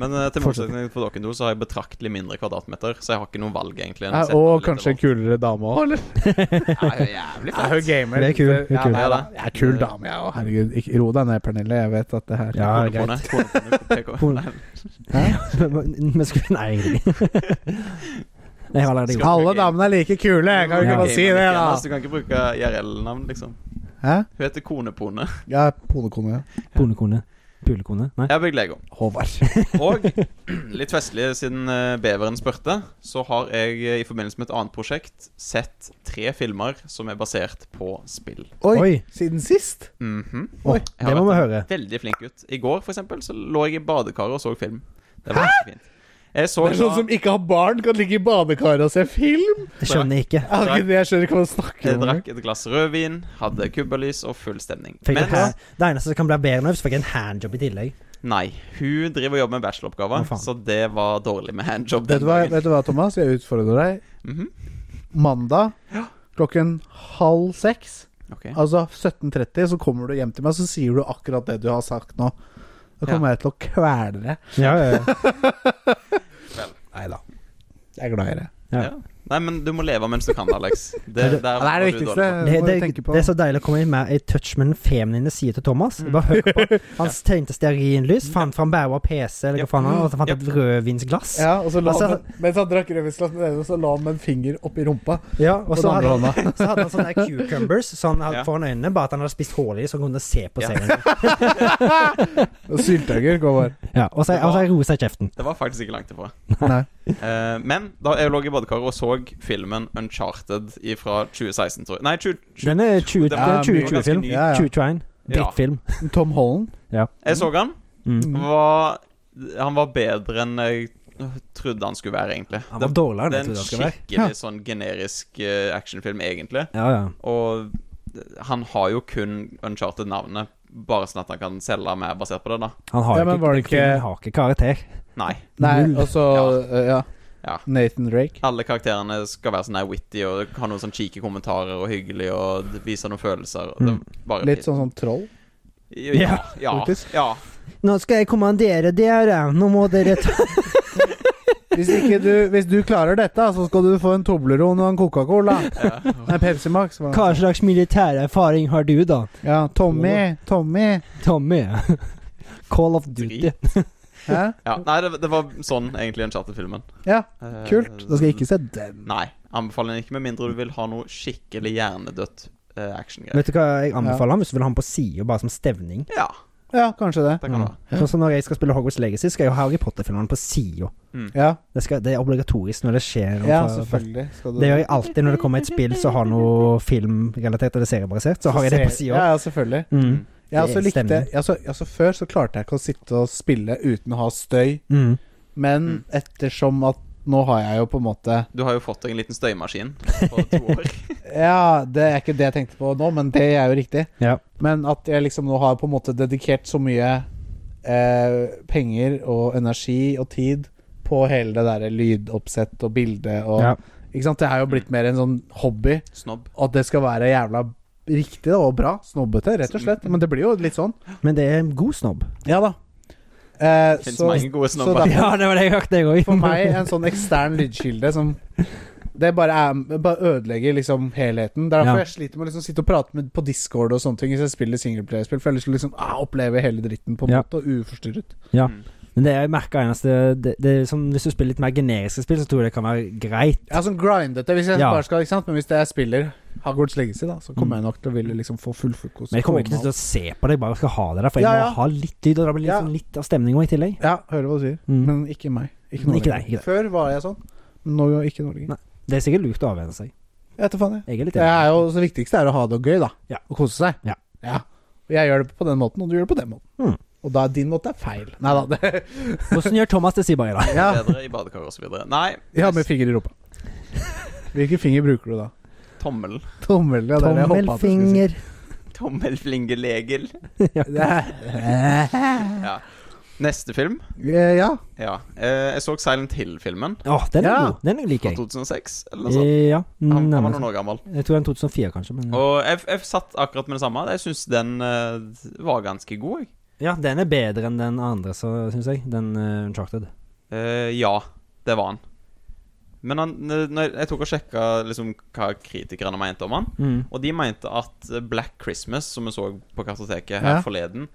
[SPEAKER 3] Men eh, til
[SPEAKER 2] Fortsett.
[SPEAKER 3] motsetning for dere to, så har jeg betraktelig mindre kvadratmeter, så jeg har ikke noe valg, egentlig. enn å
[SPEAKER 1] Ja,
[SPEAKER 3] sette
[SPEAKER 1] og
[SPEAKER 3] litt
[SPEAKER 1] kanskje en kulere dame òg, eller?
[SPEAKER 3] over. Det er jo jævlig
[SPEAKER 1] Jeg er jo
[SPEAKER 3] fett.
[SPEAKER 1] gamer.
[SPEAKER 2] Hun er kul, hun er
[SPEAKER 1] Ja,
[SPEAKER 2] kul.
[SPEAKER 1] nei da. Jeg er kul dame, jeg òg. Herregud. Ikke, ro deg ned, Pernille. Jeg vet at det her
[SPEAKER 2] Ja,
[SPEAKER 3] Kone, kone, kone, kone, kone. Nei.
[SPEAKER 2] men skulle Nei, egentlig. Nei, jeg har allerede gjort det.
[SPEAKER 1] Alle damene er like kule, kan du
[SPEAKER 2] Ja.
[SPEAKER 1] ikke bare si
[SPEAKER 3] Gamer
[SPEAKER 1] det,
[SPEAKER 3] altså. ikke ennå, så
[SPEAKER 1] da?
[SPEAKER 3] Du kan ikke bruke IRL-navn, liksom.
[SPEAKER 1] Hæ?
[SPEAKER 3] Hun heter Konepone.
[SPEAKER 1] Jeg er polekone.
[SPEAKER 2] Bonekone. Pulekone. Nei.
[SPEAKER 3] Jeg har bygd Lego.
[SPEAKER 1] Håvard.
[SPEAKER 3] Og litt festlig, siden eh, beveren spurte, så har jeg eh, i forbindelse med et annet prosjekt sett tre filmer som er basert på spill.
[SPEAKER 1] Oi,
[SPEAKER 2] Oi,
[SPEAKER 1] siden sist?
[SPEAKER 3] Mhm.
[SPEAKER 2] Oi,
[SPEAKER 3] Jeg har
[SPEAKER 2] det må vi
[SPEAKER 3] vært
[SPEAKER 2] høre.
[SPEAKER 3] Veldig flink gutt. I går, for eksempel, så lå jeg i badekaret og så film. Det var ganske fint. Jeg så
[SPEAKER 1] Det er sånn som ikke har barn, kan ligge i badekaret og se film?
[SPEAKER 2] Jeg skjønner ikke.
[SPEAKER 1] Jeg, har ikke, jeg skjønner ikke hva du snakker
[SPEAKER 3] Jeg
[SPEAKER 1] om.
[SPEAKER 3] drakk et glass rødvin, hadde kubbelys og full stemning.
[SPEAKER 2] Fikk
[SPEAKER 3] Men
[SPEAKER 2] en ha- det eneste som kan bli bedre nå, er hvis jeg fikk en handjob i tillegg.
[SPEAKER 3] nei, hun driver og jobber med bacheloroppgave,
[SPEAKER 2] Å, faen.
[SPEAKER 3] så det var dårlig med handjob.
[SPEAKER 1] Vet
[SPEAKER 3] den
[SPEAKER 1] du, hva,
[SPEAKER 3] dagen.
[SPEAKER 1] vet du hva, Thomas? Jeg utfordrer deg.
[SPEAKER 3] Mhm,
[SPEAKER 1] Mandag klokken halv seks,
[SPEAKER 3] ok.
[SPEAKER 1] altså 17.30, så kommer du hjem til meg, så sier du akkurat det du har sagt nå. Da kommer jeg til å kvele deg.
[SPEAKER 2] Ja, ja, ja.
[SPEAKER 1] Nei da. Jeg er glad i det.
[SPEAKER 3] Nei, men du må leve mens du kan, Alex. Det,
[SPEAKER 2] Ja, det-
[SPEAKER 3] der
[SPEAKER 1] det er det
[SPEAKER 3] var du dårlig
[SPEAKER 1] viktigste.
[SPEAKER 3] på.
[SPEAKER 2] Det,
[SPEAKER 1] må
[SPEAKER 2] det,
[SPEAKER 1] du tenke på. Mm.
[SPEAKER 2] det er så deilig å komme inn med i touch med den feminine siden til Thomas. Bare hør på Han tenkte stearinlys, fant fram bæra PC, eller
[SPEAKER 3] Yep.
[SPEAKER 2] hva faen han og så fant
[SPEAKER 3] Yep.
[SPEAKER 2] et rødvinsglass.
[SPEAKER 1] Ja, og så la
[SPEAKER 2] Altså-
[SPEAKER 1] han, mens han drakk rødvinsglass med den ene, så la han med en finger oppi rumpa.
[SPEAKER 2] Ja, og
[SPEAKER 1] på
[SPEAKER 2] så
[SPEAKER 1] den
[SPEAKER 2] hadde,
[SPEAKER 1] andre hånda.
[SPEAKER 2] så hadde han sånne der cucumbers sånn han
[SPEAKER 3] Ja.
[SPEAKER 2] foran øynene, bare at han hadde spist hull i, så han kunne se på
[SPEAKER 3] Ja.
[SPEAKER 2] serien.
[SPEAKER 1] Og Syltøyer går bare.
[SPEAKER 2] Ja, og så og så har jeg rosa i kjeften.
[SPEAKER 3] Det var faktisk ikke langt ifra.
[SPEAKER 1] Nei.
[SPEAKER 3] Eh, men da jeg lå i badekaret og så filmen Uncharted fra 2016, tror jeg. Nei, 20,
[SPEAKER 2] Den er 20
[SPEAKER 3] Det
[SPEAKER 2] den
[SPEAKER 3] var
[SPEAKER 2] er
[SPEAKER 1] mye,
[SPEAKER 3] ganske
[SPEAKER 2] 2020-film.
[SPEAKER 3] ny.
[SPEAKER 1] Ja, ja.
[SPEAKER 2] 2021.
[SPEAKER 3] Ja.
[SPEAKER 2] Drittfilm.
[SPEAKER 1] Tom Holland.
[SPEAKER 3] jeg så han.
[SPEAKER 2] Mm.
[SPEAKER 3] Var, han var bedre enn jeg trodde han skulle være, egentlig.
[SPEAKER 2] Han
[SPEAKER 3] Det-
[SPEAKER 2] var dårligere enn
[SPEAKER 3] Det
[SPEAKER 2] jeg
[SPEAKER 3] er en
[SPEAKER 2] trodde han skulle være.
[SPEAKER 3] skikkelig sånn generisk eh, actionfilm, egentlig.
[SPEAKER 2] Ja, ja.
[SPEAKER 3] Og han har jo kun Uncharted-navnet, bare sånn at han kan selge mer basert på det, da.
[SPEAKER 2] Han har
[SPEAKER 1] Ja, men
[SPEAKER 2] ikke,
[SPEAKER 1] var det ikke-
[SPEAKER 2] filmen har ikke karakter.
[SPEAKER 3] Nei.
[SPEAKER 1] Nei,
[SPEAKER 2] Null.
[SPEAKER 1] og så eh, ja.
[SPEAKER 3] Ja.
[SPEAKER 1] Nathan Drake.
[SPEAKER 3] Alle karakterene skal være sånn her witty og ha noen sånn cheeky kommentarer og hyggelig og vise noen følelser. og Det er bare
[SPEAKER 1] Litt sånn som troll.
[SPEAKER 3] Ja. Ja.
[SPEAKER 1] faktisk.
[SPEAKER 3] ja.
[SPEAKER 2] Nå skal jeg kommandere dere, nå må dere ta
[SPEAKER 1] Hvis, ikke du, hvis du klarer dette, så skal du få en Toblerone og en Coca-Cola. Nei, Pepsi Max. var det.
[SPEAKER 2] Hva slags militærerfaring har du, da?
[SPEAKER 1] Ja, Tommy. Tommy.
[SPEAKER 2] Tommy? Call of Duty.
[SPEAKER 1] Hæ?
[SPEAKER 3] ja. Nei, det, det var sånn egentlig Uncharted-filmen.
[SPEAKER 1] Ja,
[SPEAKER 3] Eh,
[SPEAKER 1] kult. Da skal jeg ikke se den.
[SPEAKER 3] Nei. Anbefaler den ikke, med mindre du vil ha noe skikkelig hjernedødt uh, actiongreier.
[SPEAKER 2] Vet du hva jeg anbefaler ham? Hvis du vil ha ham på sida, bare som stevning.
[SPEAKER 3] Ja,
[SPEAKER 1] Ja, kanskje det.
[SPEAKER 3] det kan du ha.
[SPEAKER 2] Sånn som når jeg skal spille Hogwarts Legacy, skal jeg jo ha Harry Potter-filmene på sida.
[SPEAKER 1] Ja,
[SPEAKER 2] Det, skal- det er obligatorisk når det skjer noe.
[SPEAKER 1] ja
[SPEAKER 2] fra-
[SPEAKER 1] selvfølgelig. Skal du
[SPEAKER 2] Det gjør jeg alltid når det kommer et spill som har noe filmrelatert eller seriebasert. Så har jeg det på
[SPEAKER 1] Ja,
[SPEAKER 2] sida.
[SPEAKER 1] ja, selvfølgelig.
[SPEAKER 2] Mm.
[SPEAKER 1] Jeg også
[SPEAKER 2] Det
[SPEAKER 1] likte
[SPEAKER 2] stemmer.
[SPEAKER 1] jeg også, jeg også Før så klarte jeg ikke å sitte og spille uten å ha støy,
[SPEAKER 2] Mm.
[SPEAKER 1] men
[SPEAKER 3] Mm.
[SPEAKER 1] ettersom at nå har jeg jo på en måte
[SPEAKER 3] Du har jo fått deg en liten støymaskin på to år.
[SPEAKER 1] Ja, det er ikke det jeg tenkte på nå, men det er jo riktig.
[SPEAKER 2] Ja.
[SPEAKER 1] Men at jeg liksom nå har på en måte dedikert så mye eh, penger og energi og tid på hele det derre lydoppsett og bilde og
[SPEAKER 2] Ja.
[SPEAKER 1] Ikke sant? Det har jo blitt mer en sånn hobby.
[SPEAKER 3] Snobb.
[SPEAKER 1] At det skal være jævla riktig da, og bra. Snobbete, rett og slett. Men det blir jo litt sånn.
[SPEAKER 2] Men det er en god snobb.
[SPEAKER 1] Ja da. Eh,
[SPEAKER 3] Fins
[SPEAKER 1] så,
[SPEAKER 3] mange gode
[SPEAKER 1] så
[SPEAKER 3] snobber.
[SPEAKER 1] da- Ja,
[SPEAKER 2] det var det jeg hørte, jeg òg.
[SPEAKER 1] for meg en sånn ekstern lydkilde som det bare, er, bare ødelegger liksom helheten. Det er derfor
[SPEAKER 2] Ja.
[SPEAKER 1] jeg sliter med å liksom sitte og prate med på Discord og sånne ting hvis jeg spiller singleplayerspill, for jeg har lyst til å liksom, ah, oppleve hele dritten på en
[SPEAKER 2] Ja.
[SPEAKER 1] måte, og uforstyrret.
[SPEAKER 2] Ja.
[SPEAKER 3] Mm.
[SPEAKER 2] Men det jeg merker eneste det, det er sånn, Hvis du spiller litt mer generiske spill, så tror jeg det kan være greit.
[SPEAKER 1] Ja, sånn grindete, hvis jeg
[SPEAKER 2] Ja. Mm.
[SPEAKER 1] bare skal, ikke sant? men hvis jeg spiller Hogwarts Legacy, da, så kommer jeg nok til å ville liksom få full fokus.
[SPEAKER 2] Men jeg kommer ikke til å se på det, jeg bare skal ha det der. For jeg
[SPEAKER 1] Ja,
[SPEAKER 2] må
[SPEAKER 1] ja.
[SPEAKER 2] ha litt lyd, og det blir litt,
[SPEAKER 1] Ja.
[SPEAKER 2] sånn, litt av stemning også i tillegg.
[SPEAKER 1] Ja, hører hva du sier,
[SPEAKER 2] Mm.
[SPEAKER 1] men ikke meg. Ikke
[SPEAKER 2] Men
[SPEAKER 1] nå lenger.
[SPEAKER 2] ikke deg, ikke deg.
[SPEAKER 1] Før var jeg sånn, men nå er jeg ikke nå lenger.
[SPEAKER 2] Nei. Det er sikkert lurt å avvenne seg.
[SPEAKER 1] Jeg vet da faen, jeg.
[SPEAKER 2] Jeg er litt
[SPEAKER 1] Det
[SPEAKER 2] enig.
[SPEAKER 1] er jo så viktigste er å ha det gøy, da.
[SPEAKER 2] Ja.
[SPEAKER 1] Og kose seg.
[SPEAKER 2] Ja.
[SPEAKER 1] Jeg gjør det på den måten, og du gjør det på den måten.
[SPEAKER 2] Mm.
[SPEAKER 1] Og da din måte er feil. Nei da. det-
[SPEAKER 2] Hvordan gjør Thomas det, Siberg, da?
[SPEAKER 1] Ja.
[SPEAKER 3] Bedre i badekar og så videre. Nei,
[SPEAKER 1] Jeg har med finger i rumpa. Hvilken finger bruker du da?
[SPEAKER 3] tommel.
[SPEAKER 1] Tommel. Ja, det er det jeg håpet at du skulle si.
[SPEAKER 2] Tommelfinger.
[SPEAKER 3] Tommelflingelegel.
[SPEAKER 1] Det er-
[SPEAKER 3] Ja. Neste film.
[SPEAKER 1] Eh, Ja.
[SPEAKER 3] Ja. Eh, jeg så Silent Hill-filmen
[SPEAKER 2] Å, den er
[SPEAKER 1] Ja.
[SPEAKER 2] god. Den liker
[SPEAKER 3] fra
[SPEAKER 2] jeg. Eh,
[SPEAKER 3] 2006, eller noe sånt.
[SPEAKER 2] Ja.
[SPEAKER 3] Han, han var
[SPEAKER 2] nærmest.
[SPEAKER 3] noen år gammel.
[SPEAKER 2] Jeg tror den er 2004, kanskje. Men
[SPEAKER 3] Og jeg, jeg satt akkurat med det samme. Jeg syns den eh, var ganske god, jeg.
[SPEAKER 2] ja, den er bedre enn den andre, syns jeg. Den eh, Uncharted.
[SPEAKER 3] Eh, ja, det var han. Men han, når jeg tok og sjekka liksom, hva kritikerne mente om han,
[SPEAKER 2] Mm.
[SPEAKER 3] og de mente at Black Christmas, som vi så på kartoteket
[SPEAKER 1] Ja.
[SPEAKER 3] her forleden,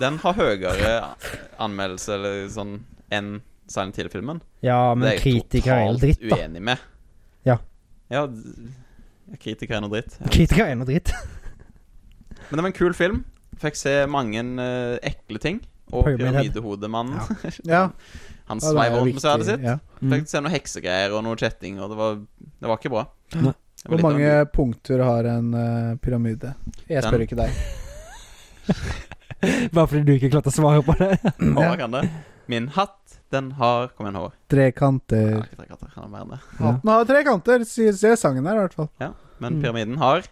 [SPEAKER 3] den har høyere anmeldelse eller sånn enn Silent Hill-filmen.
[SPEAKER 2] Ja,
[SPEAKER 3] det
[SPEAKER 2] men
[SPEAKER 3] er jeg
[SPEAKER 2] kritikere er jo dritt, da.
[SPEAKER 3] uenig med.
[SPEAKER 2] Ja.
[SPEAKER 3] Ja, d- ja, kritikere er noe dritt.
[SPEAKER 2] Kritikere er noe dritt.
[SPEAKER 3] Men det var en kul film. Fikk se mange eh, ekle ting. Og
[SPEAKER 2] Pyramid Head.
[SPEAKER 3] pyramidehodemannen.
[SPEAKER 1] ja.
[SPEAKER 3] Han
[SPEAKER 1] Ja, det er
[SPEAKER 3] sveiver
[SPEAKER 1] jo
[SPEAKER 3] rundt museet
[SPEAKER 1] viktig,
[SPEAKER 3] sitt.
[SPEAKER 1] Ja.
[SPEAKER 2] Mm.
[SPEAKER 3] Fikk se noen heksegreier og noe kjetting, og det var, det var ikke bra.
[SPEAKER 2] Nei.
[SPEAKER 3] Det var
[SPEAKER 1] Hvor
[SPEAKER 3] litt av en
[SPEAKER 1] mange punkter har en eh, pyramide? Jeg spør
[SPEAKER 3] Den.
[SPEAKER 1] ikke deg.
[SPEAKER 2] Bare fordi du ikke klarte å svare på det.
[SPEAKER 3] gul-
[SPEAKER 1] Ja.
[SPEAKER 3] Hva kan det? Min hatt, den har Kom igjen, hår.
[SPEAKER 1] Tre
[SPEAKER 3] Jeg
[SPEAKER 1] kanter.
[SPEAKER 3] har ikke tre katter, han har mer enn det.
[SPEAKER 2] Ja.
[SPEAKER 1] Hatten har tre kanter, sier sier sangen her i hvert fall.
[SPEAKER 3] Ja, men
[SPEAKER 2] Mm.
[SPEAKER 3] pyramiden har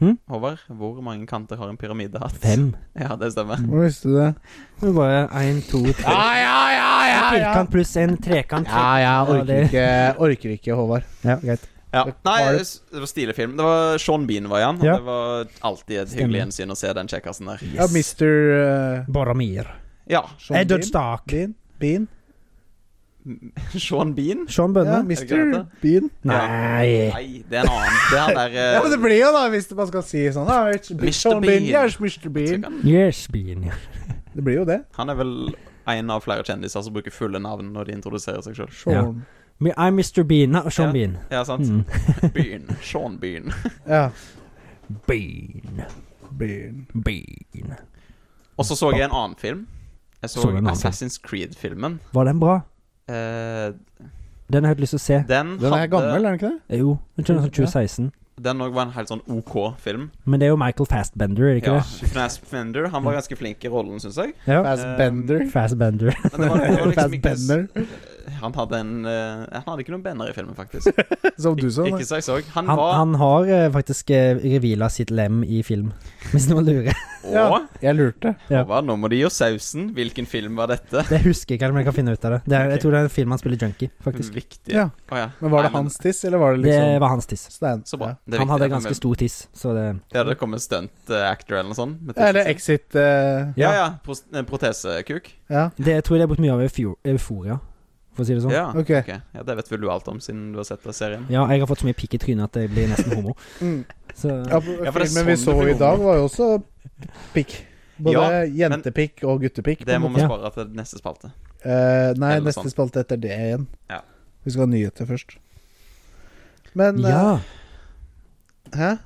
[SPEAKER 2] Hm?
[SPEAKER 3] Håvard, hvor mange kanter har en pyramidehatt?
[SPEAKER 2] Fem.
[SPEAKER 3] Ja, det stemmer.
[SPEAKER 1] Hvor visste du det?
[SPEAKER 2] Det er bare én, to, tre.
[SPEAKER 1] Ja, ja, ja,
[SPEAKER 2] En firkant pluss en trekant.
[SPEAKER 1] Ja, jeg
[SPEAKER 2] Ja,
[SPEAKER 1] orker
[SPEAKER 2] det-
[SPEAKER 1] ikke, orker ikke Håvard.
[SPEAKER 2] Ja, greit.
[SPEAKER 3] Ja.
[SPEAKER 1] Det
[SPEAKER 3] Nei,
[SPEAKER 1] var-
[SPEAKER 3] det s- det var stilig film. Det var Sean Bean var i han, og
[SPEAKER 2] Ja.
[SPEAKER 3] det var alltid et
[SPEAKER 2] Stemmer.
[SPEAKER 3] hyggelig gjensyn å se den kjekkasen der.
[SPEAKER 1] Ja, Mr. eh,
[SPEAKER 2] Boromir.
[SPEAKER 3] Ja.
[SPEAKER 1] Sean
[SPEAKER 2] Edward
[SPEAKER 1] Bean.
[SPEAKER 2] Stark.
[SPEAKER 1] Bean? Bean?
[SPEAKER 3] Sean Bean?
[SPEAKER 2] Sean
[SPEAKER 1] Ja,
[SPEAKER 2] Bønne.
[SPEAKER 3] Er det greit,
[SPEAKER 1] Mr.
[SPEAKER 3] da?
[SPEAKER 1] Bean.
[SPEAKER 2] Nei.
[SPEAKER 3] Nei, det er en annen. Det er han der eh,
[SPEAKER 1] Ja, men det blir jo da, hvis man skal si sånn. Ja, it's
[SPEAKER 3] Mr.
[SPEAKER 1] Sean Bean.
[SPEAKER 3] Bean.
[SPEAKER 1] Yes, Mr. Bean.
[SPEAKER 2] Yes, Bean.
[SPEAKER 1] Det blir jo det.
[SPEAKER 3] Han er vel en av flere kjendiser som bruker fulle navn når de introduserer seg sjøl.
[SPEAKER 1] Sean.
[SPEAKER 2] Me- I'm Mr. Bean. Nei, Sean Bean.
[SPEAKER 3] Ja, sant?
[SPEAKER 2] Mm.
[SPEAKER 3] Bean. Sean Bean.
[SPEAKER 1] Ja.
[SPEAKER 2] Bean.
[SPEAKER 1] Bean.
[SPEAKER 2] Bean.
[SPEAKER 3] Og så så jeg en annen film. Jeg så,
[SPEAKER 2] Så du en annen
[SPEAKER 3] Assassin's Creed-filmen.
[SPEAKER 2] Var den bra?
[SPEAKER 3] Eh,
[SPEAKER 2] Den har jeg helt lyst til å se.
[SPEAKER 3] den,
[SPEAKER 1] Den er
[SPEAKER 3] hadde-
[SPEAKER 1] gammel, er den ikke det?
[SPEAKER 2] Eh, Jo, den tror jeg er
[SPEAKER 1] Ja.
[SPEAKER 2] sånn 2016.
[SPEAKER 3] Den òg var en helt sånn OK film.
[SPEAKER 2] Men det er jo Michael Fastbender, er det ikke
[SPEAKER 3] Ja, Fender, han var ganske flink i rollen, syns jeg.
[SPEAKER 2] det? Ja.
[SPEAKER 1] Fast Bender.
[SPEAKER 2] Fastbender.
[SPEAKER 3] Eh, Men det var, det var liksom
[SPEAKER 1] Fast
[SPEAKER 3] ikke,
[SPEAKER 1] Bender,
[SPEAKER 3] han hadde en eh, Han hadde ikke noen banner i filmen, faktisk.
[SPEAKER 1] som du så.
[SPEAKER 3] Ikke så jeg så. Han,
[SPEAKER 2] Han,
[SPEAKER 3] var
[SPEAKER 2] han har eh, faktisk eh, Revila sitt lem i film, hvis noen lurer.
[SPEAKER 1] Ja.
[SPEAKER 3] Å,
[SPEAKER 1] Jeg lurte.
[SPEAKER 2] ja.
[SPEAKER 3] Håvard, nå må de gi oss sausen. Hvilken film var dette?
[SPEAKER 2] Det husker jeg ikke, men jeg kan finne ut av det. det er,
[SPEAKER 3] Ok.
[SPEAKER 2] Jeg tror det er en film han spiller junkie, faktisk.
[SPEAKER 3] Viktig.
[SPEAKER 1] Ja.
[SPEAKER 3] Å, ja.
[SPEAKER 1] Men var det
[SPEAKER 3] Nei, men-
[SPEAKER 1] hans tiss, eller
[SPEAKER 3] Mm,
[SPEAKER 1] var det
[SPEAKER 2] Det
[SPEAKER 1] liksom
[SPEAKER 2] var hans tiss.
[SPEAKER 1] Stein?
[SPEAKER 3] Så bra.
[SPEAKER 1] Ja.
[SPEAKER 3] Det er
[SPEAKER 2] Han
[SPEAKER 3] viktig,
[SPEAKER 2] hadde
[SPEAKER 3] at vi-
[SPEAKER 2] ganske stor tiss, så det
[SPEAKER 3] Ja, det kom en stunt eh, actor eller noe sånt. med
[SPEAKER 1] Eller
[SPEAKER 3] tissen.
[SPEAKER 1] Exit eh,
[SPEAKER 3] Ja, ja. Pros eh, protesekuk.
[SPEAKER 1] Ja,
[SPEAKER 2] Det tror jeg de har brukt mye av i Eufo- Euforia, for å si det sånn. Ja.
[SPEAKER 3] Ja,
[SPEAKER 1] ok.
[SPEAKER 3] ok. ja, det vet vel du alt om, siden du har sett den serien.
[SPEAKER 2] jeg har fått så mye pikk i trynet at jeg blir nesten homo.
[SPEAKER 1] Mm.
[SPEAKER 2] Så
[SPEAKER 1] Ja,
[SPEAKER 3] det er
[SPEAKER 1] filmen vi
[SPEAKER 3] sånn
[SPEAKER 1] så
[SPEAKER 3] det blir
[SPEAKER 1] i dag, var jo også pikk. Både
[SPEAKER 3] Ja,
[SPEAKER 1] jentepikk og guttepikk. på
[SPEAKER 3] Det
[SPEAKER 1] en
[SPEAKER 3] må
[SPEAKER 1] måte.
[SPEAKER 3] vi
[SPEAKER 2] Ja.
[SPEAKER 3] spare til neste spalte.
[SPEAKER 1] Eh, nei,
[SPEAKER 3] Eller noe
[SPEAKER 1] neste
[SPEAKER 3] sånt.
[SPEAKER 1] spalte etter det igjen.
[SPEAKER 3] Ja.
[SPEAKER 1] Vi skal ha nyheter først. Men eh,
[SPEAKER 2] Ja.
[SPEAKER 1] Hæ?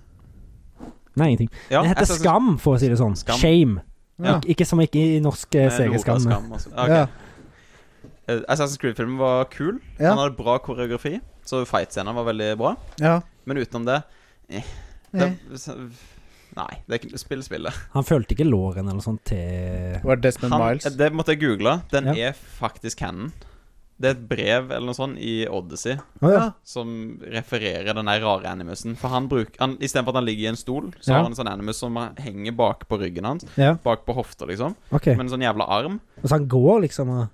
[SPEAKER 2] Nei, ingenting.
[SPEAKER 3] Ja,
[SPEAKER 2] det heter
[SPEAKER 3] Assassin's- Eh,
[SPEAKER 2] Skam, for å si det sånn.
[SPEAKER 3] Skam.
[SPEAKER 2] Shame.
[SPEAKER 1] Ja.
[SPEAKER 2] Ik ikke som ikke i norsk eh,
[SPEAKER 3] Eh,
[SPEAKER 2] serieskam.
[SPEAKER 3] Nora Skam også. Ok.
[SPEAKER 1] Ja.
[SPEAKER 3] Eh, Assassin's Creed-filmen var kul.
[SPEAKER 1] Ja.
[SPEAKER 3] Han hadde bra koreografi, så fight-scenen var veldig bra.
[SPEAKER 1] ja.
[SPEAKER 3] Men utenom det
[SPEAKER 1] Nei.
[SPEAKER 3] det så- Nei, det er ikke spill spillet.
[SPEAKER 2] Han følte ikke låren eller noe sånt til
[SPEAKER 1] Det var Desmond
[SPEAKER 3] Han,
[SPEAKER 1] Miles.
[SPEAKER 3] eh, det måtte jeg google. Den
[SPEAKER 2] Ja.
[SPEAKER 3] er faktisk canon. Det er et brev eller noe sånt i Odyssey
[SPEAKER 1] ja.
[SPEAKER 3] som refererer den der rare animusen. For han bruker han, Istedenfor at han ligger i en stol, så
[SPEAKER 2] Ja.
[SPEAKER 3] har han en sånn animus som henger bak på ryggen hans.
[SPEAKER 2] Ja,
[SPEAKER 3] Bak på hofta, liksom.
[SPEAKER 2] ok.
[SPEAKER 3] Med en sånn jævla arm.
[SPEAKER 2] Og så han går, liksom, og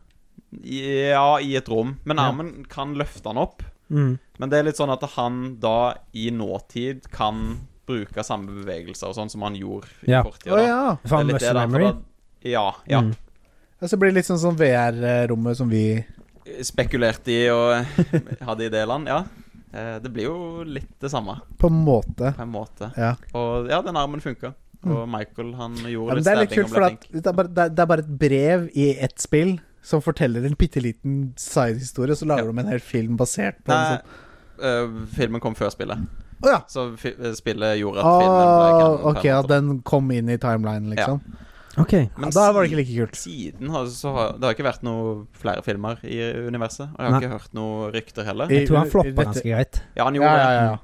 [SPEAKER 3] Ja, i et rom. Men
[SPEAKER 2] Ja.
[SPEAKER 3] armen kan løfte han opp.
[SPEAKER 2] mm.
[SPEAKER 3] Men det er litt sånn at han da i nåtid kan bruke samme bevegelser og sånn som han gjorde i
[SPEAKER 2] Ja.
[SPEAKER 3] fortida.
[SPEAKER 1] Å
[SPEAKER 3] da.
[SPEAKER 1] ja.
[SPEAKER 2] For han
[SPEAKER 3] Det er litt
[SPEAKER 2] muscle
[SPEAKER 3] det da, for
[SPEAKER 2] memory.
[SPEAKER 3] da- Ja. ja.
[SPEAKER 2] Mm.
[SPEAKER 1] ja. Så blir det litt sånn som VR-rommet som vi
[SPEAKER 3] Spekulerte i og hadde idéland, ja. Eh, Det blir jo litt det samme,
[SPEAKER 1] På en måte.
[SPEAKER 3] på en måte.
[SPEAKER 1] Ja.
[SPEAKER 3] Og ja, den armen funka. Og Michael, han gjorde
[SPEAKER 1] Mm. Ja, men
[SPEAKER 3] litt
[SPEAKER 1] det er litt kult,
[SPEAKER 3] stabbing og
[SPEAKER 1] for
[SPEAKER 3] ble
[SPEAKER 1] at
[SPEAKER 3] flink.
[SPEAKER 1] det, er bare, det, er, det er bare et brev i ett spill som forteller en bitte liten sidehistorie, og så lager
[SPEAKER 3] Ja.
[SPEAKER 1] de en hel film basert på
[SPEAKER 3] Nei,
[SPEAKER 1] en sånn
[SPEAKER 3] eh, filmen kom før spillet,
[SPEAKER 1] Å ja!
[SPEAKER 3] så fi eh, spillet gjorde at filmen ble
[SPEAKER 1] Ah,
[SPEAKER 3] canon på en
[SPEAKER 1] ok, at
[SPEAKER 3] måte.
[SPEAKER 1] den kom inn i timelinen, liksom.
[SPEAKER 2] Ok.
[SPEAKER 1] Ja, da var det ikke like kult.
[SPEAKER 3] Siden har, så har det har ikke vært noe flere filmer i universet. Og jeg
[SPEAKER 2] Nei.
[SPEAKER 3] har ikke hørt noe rykter heller.
[SPEAKER 1] I-
[SPEAKER 2] Jeg tror
[SPEAKER 1] i-
[SPEAKER 2] han
[SPEAKER 1] i
[SPEAKER 2] floppa
[SPEAKER 1] dette-
[SPEAKER 2] ganske greit.
[SPEAKER 3] Ja, han
[SPEAKER 1] Ja,
[SPEAKER 3] gjorde
[SPEAKER 1] ja, ja.
[SPEAKER 3] det.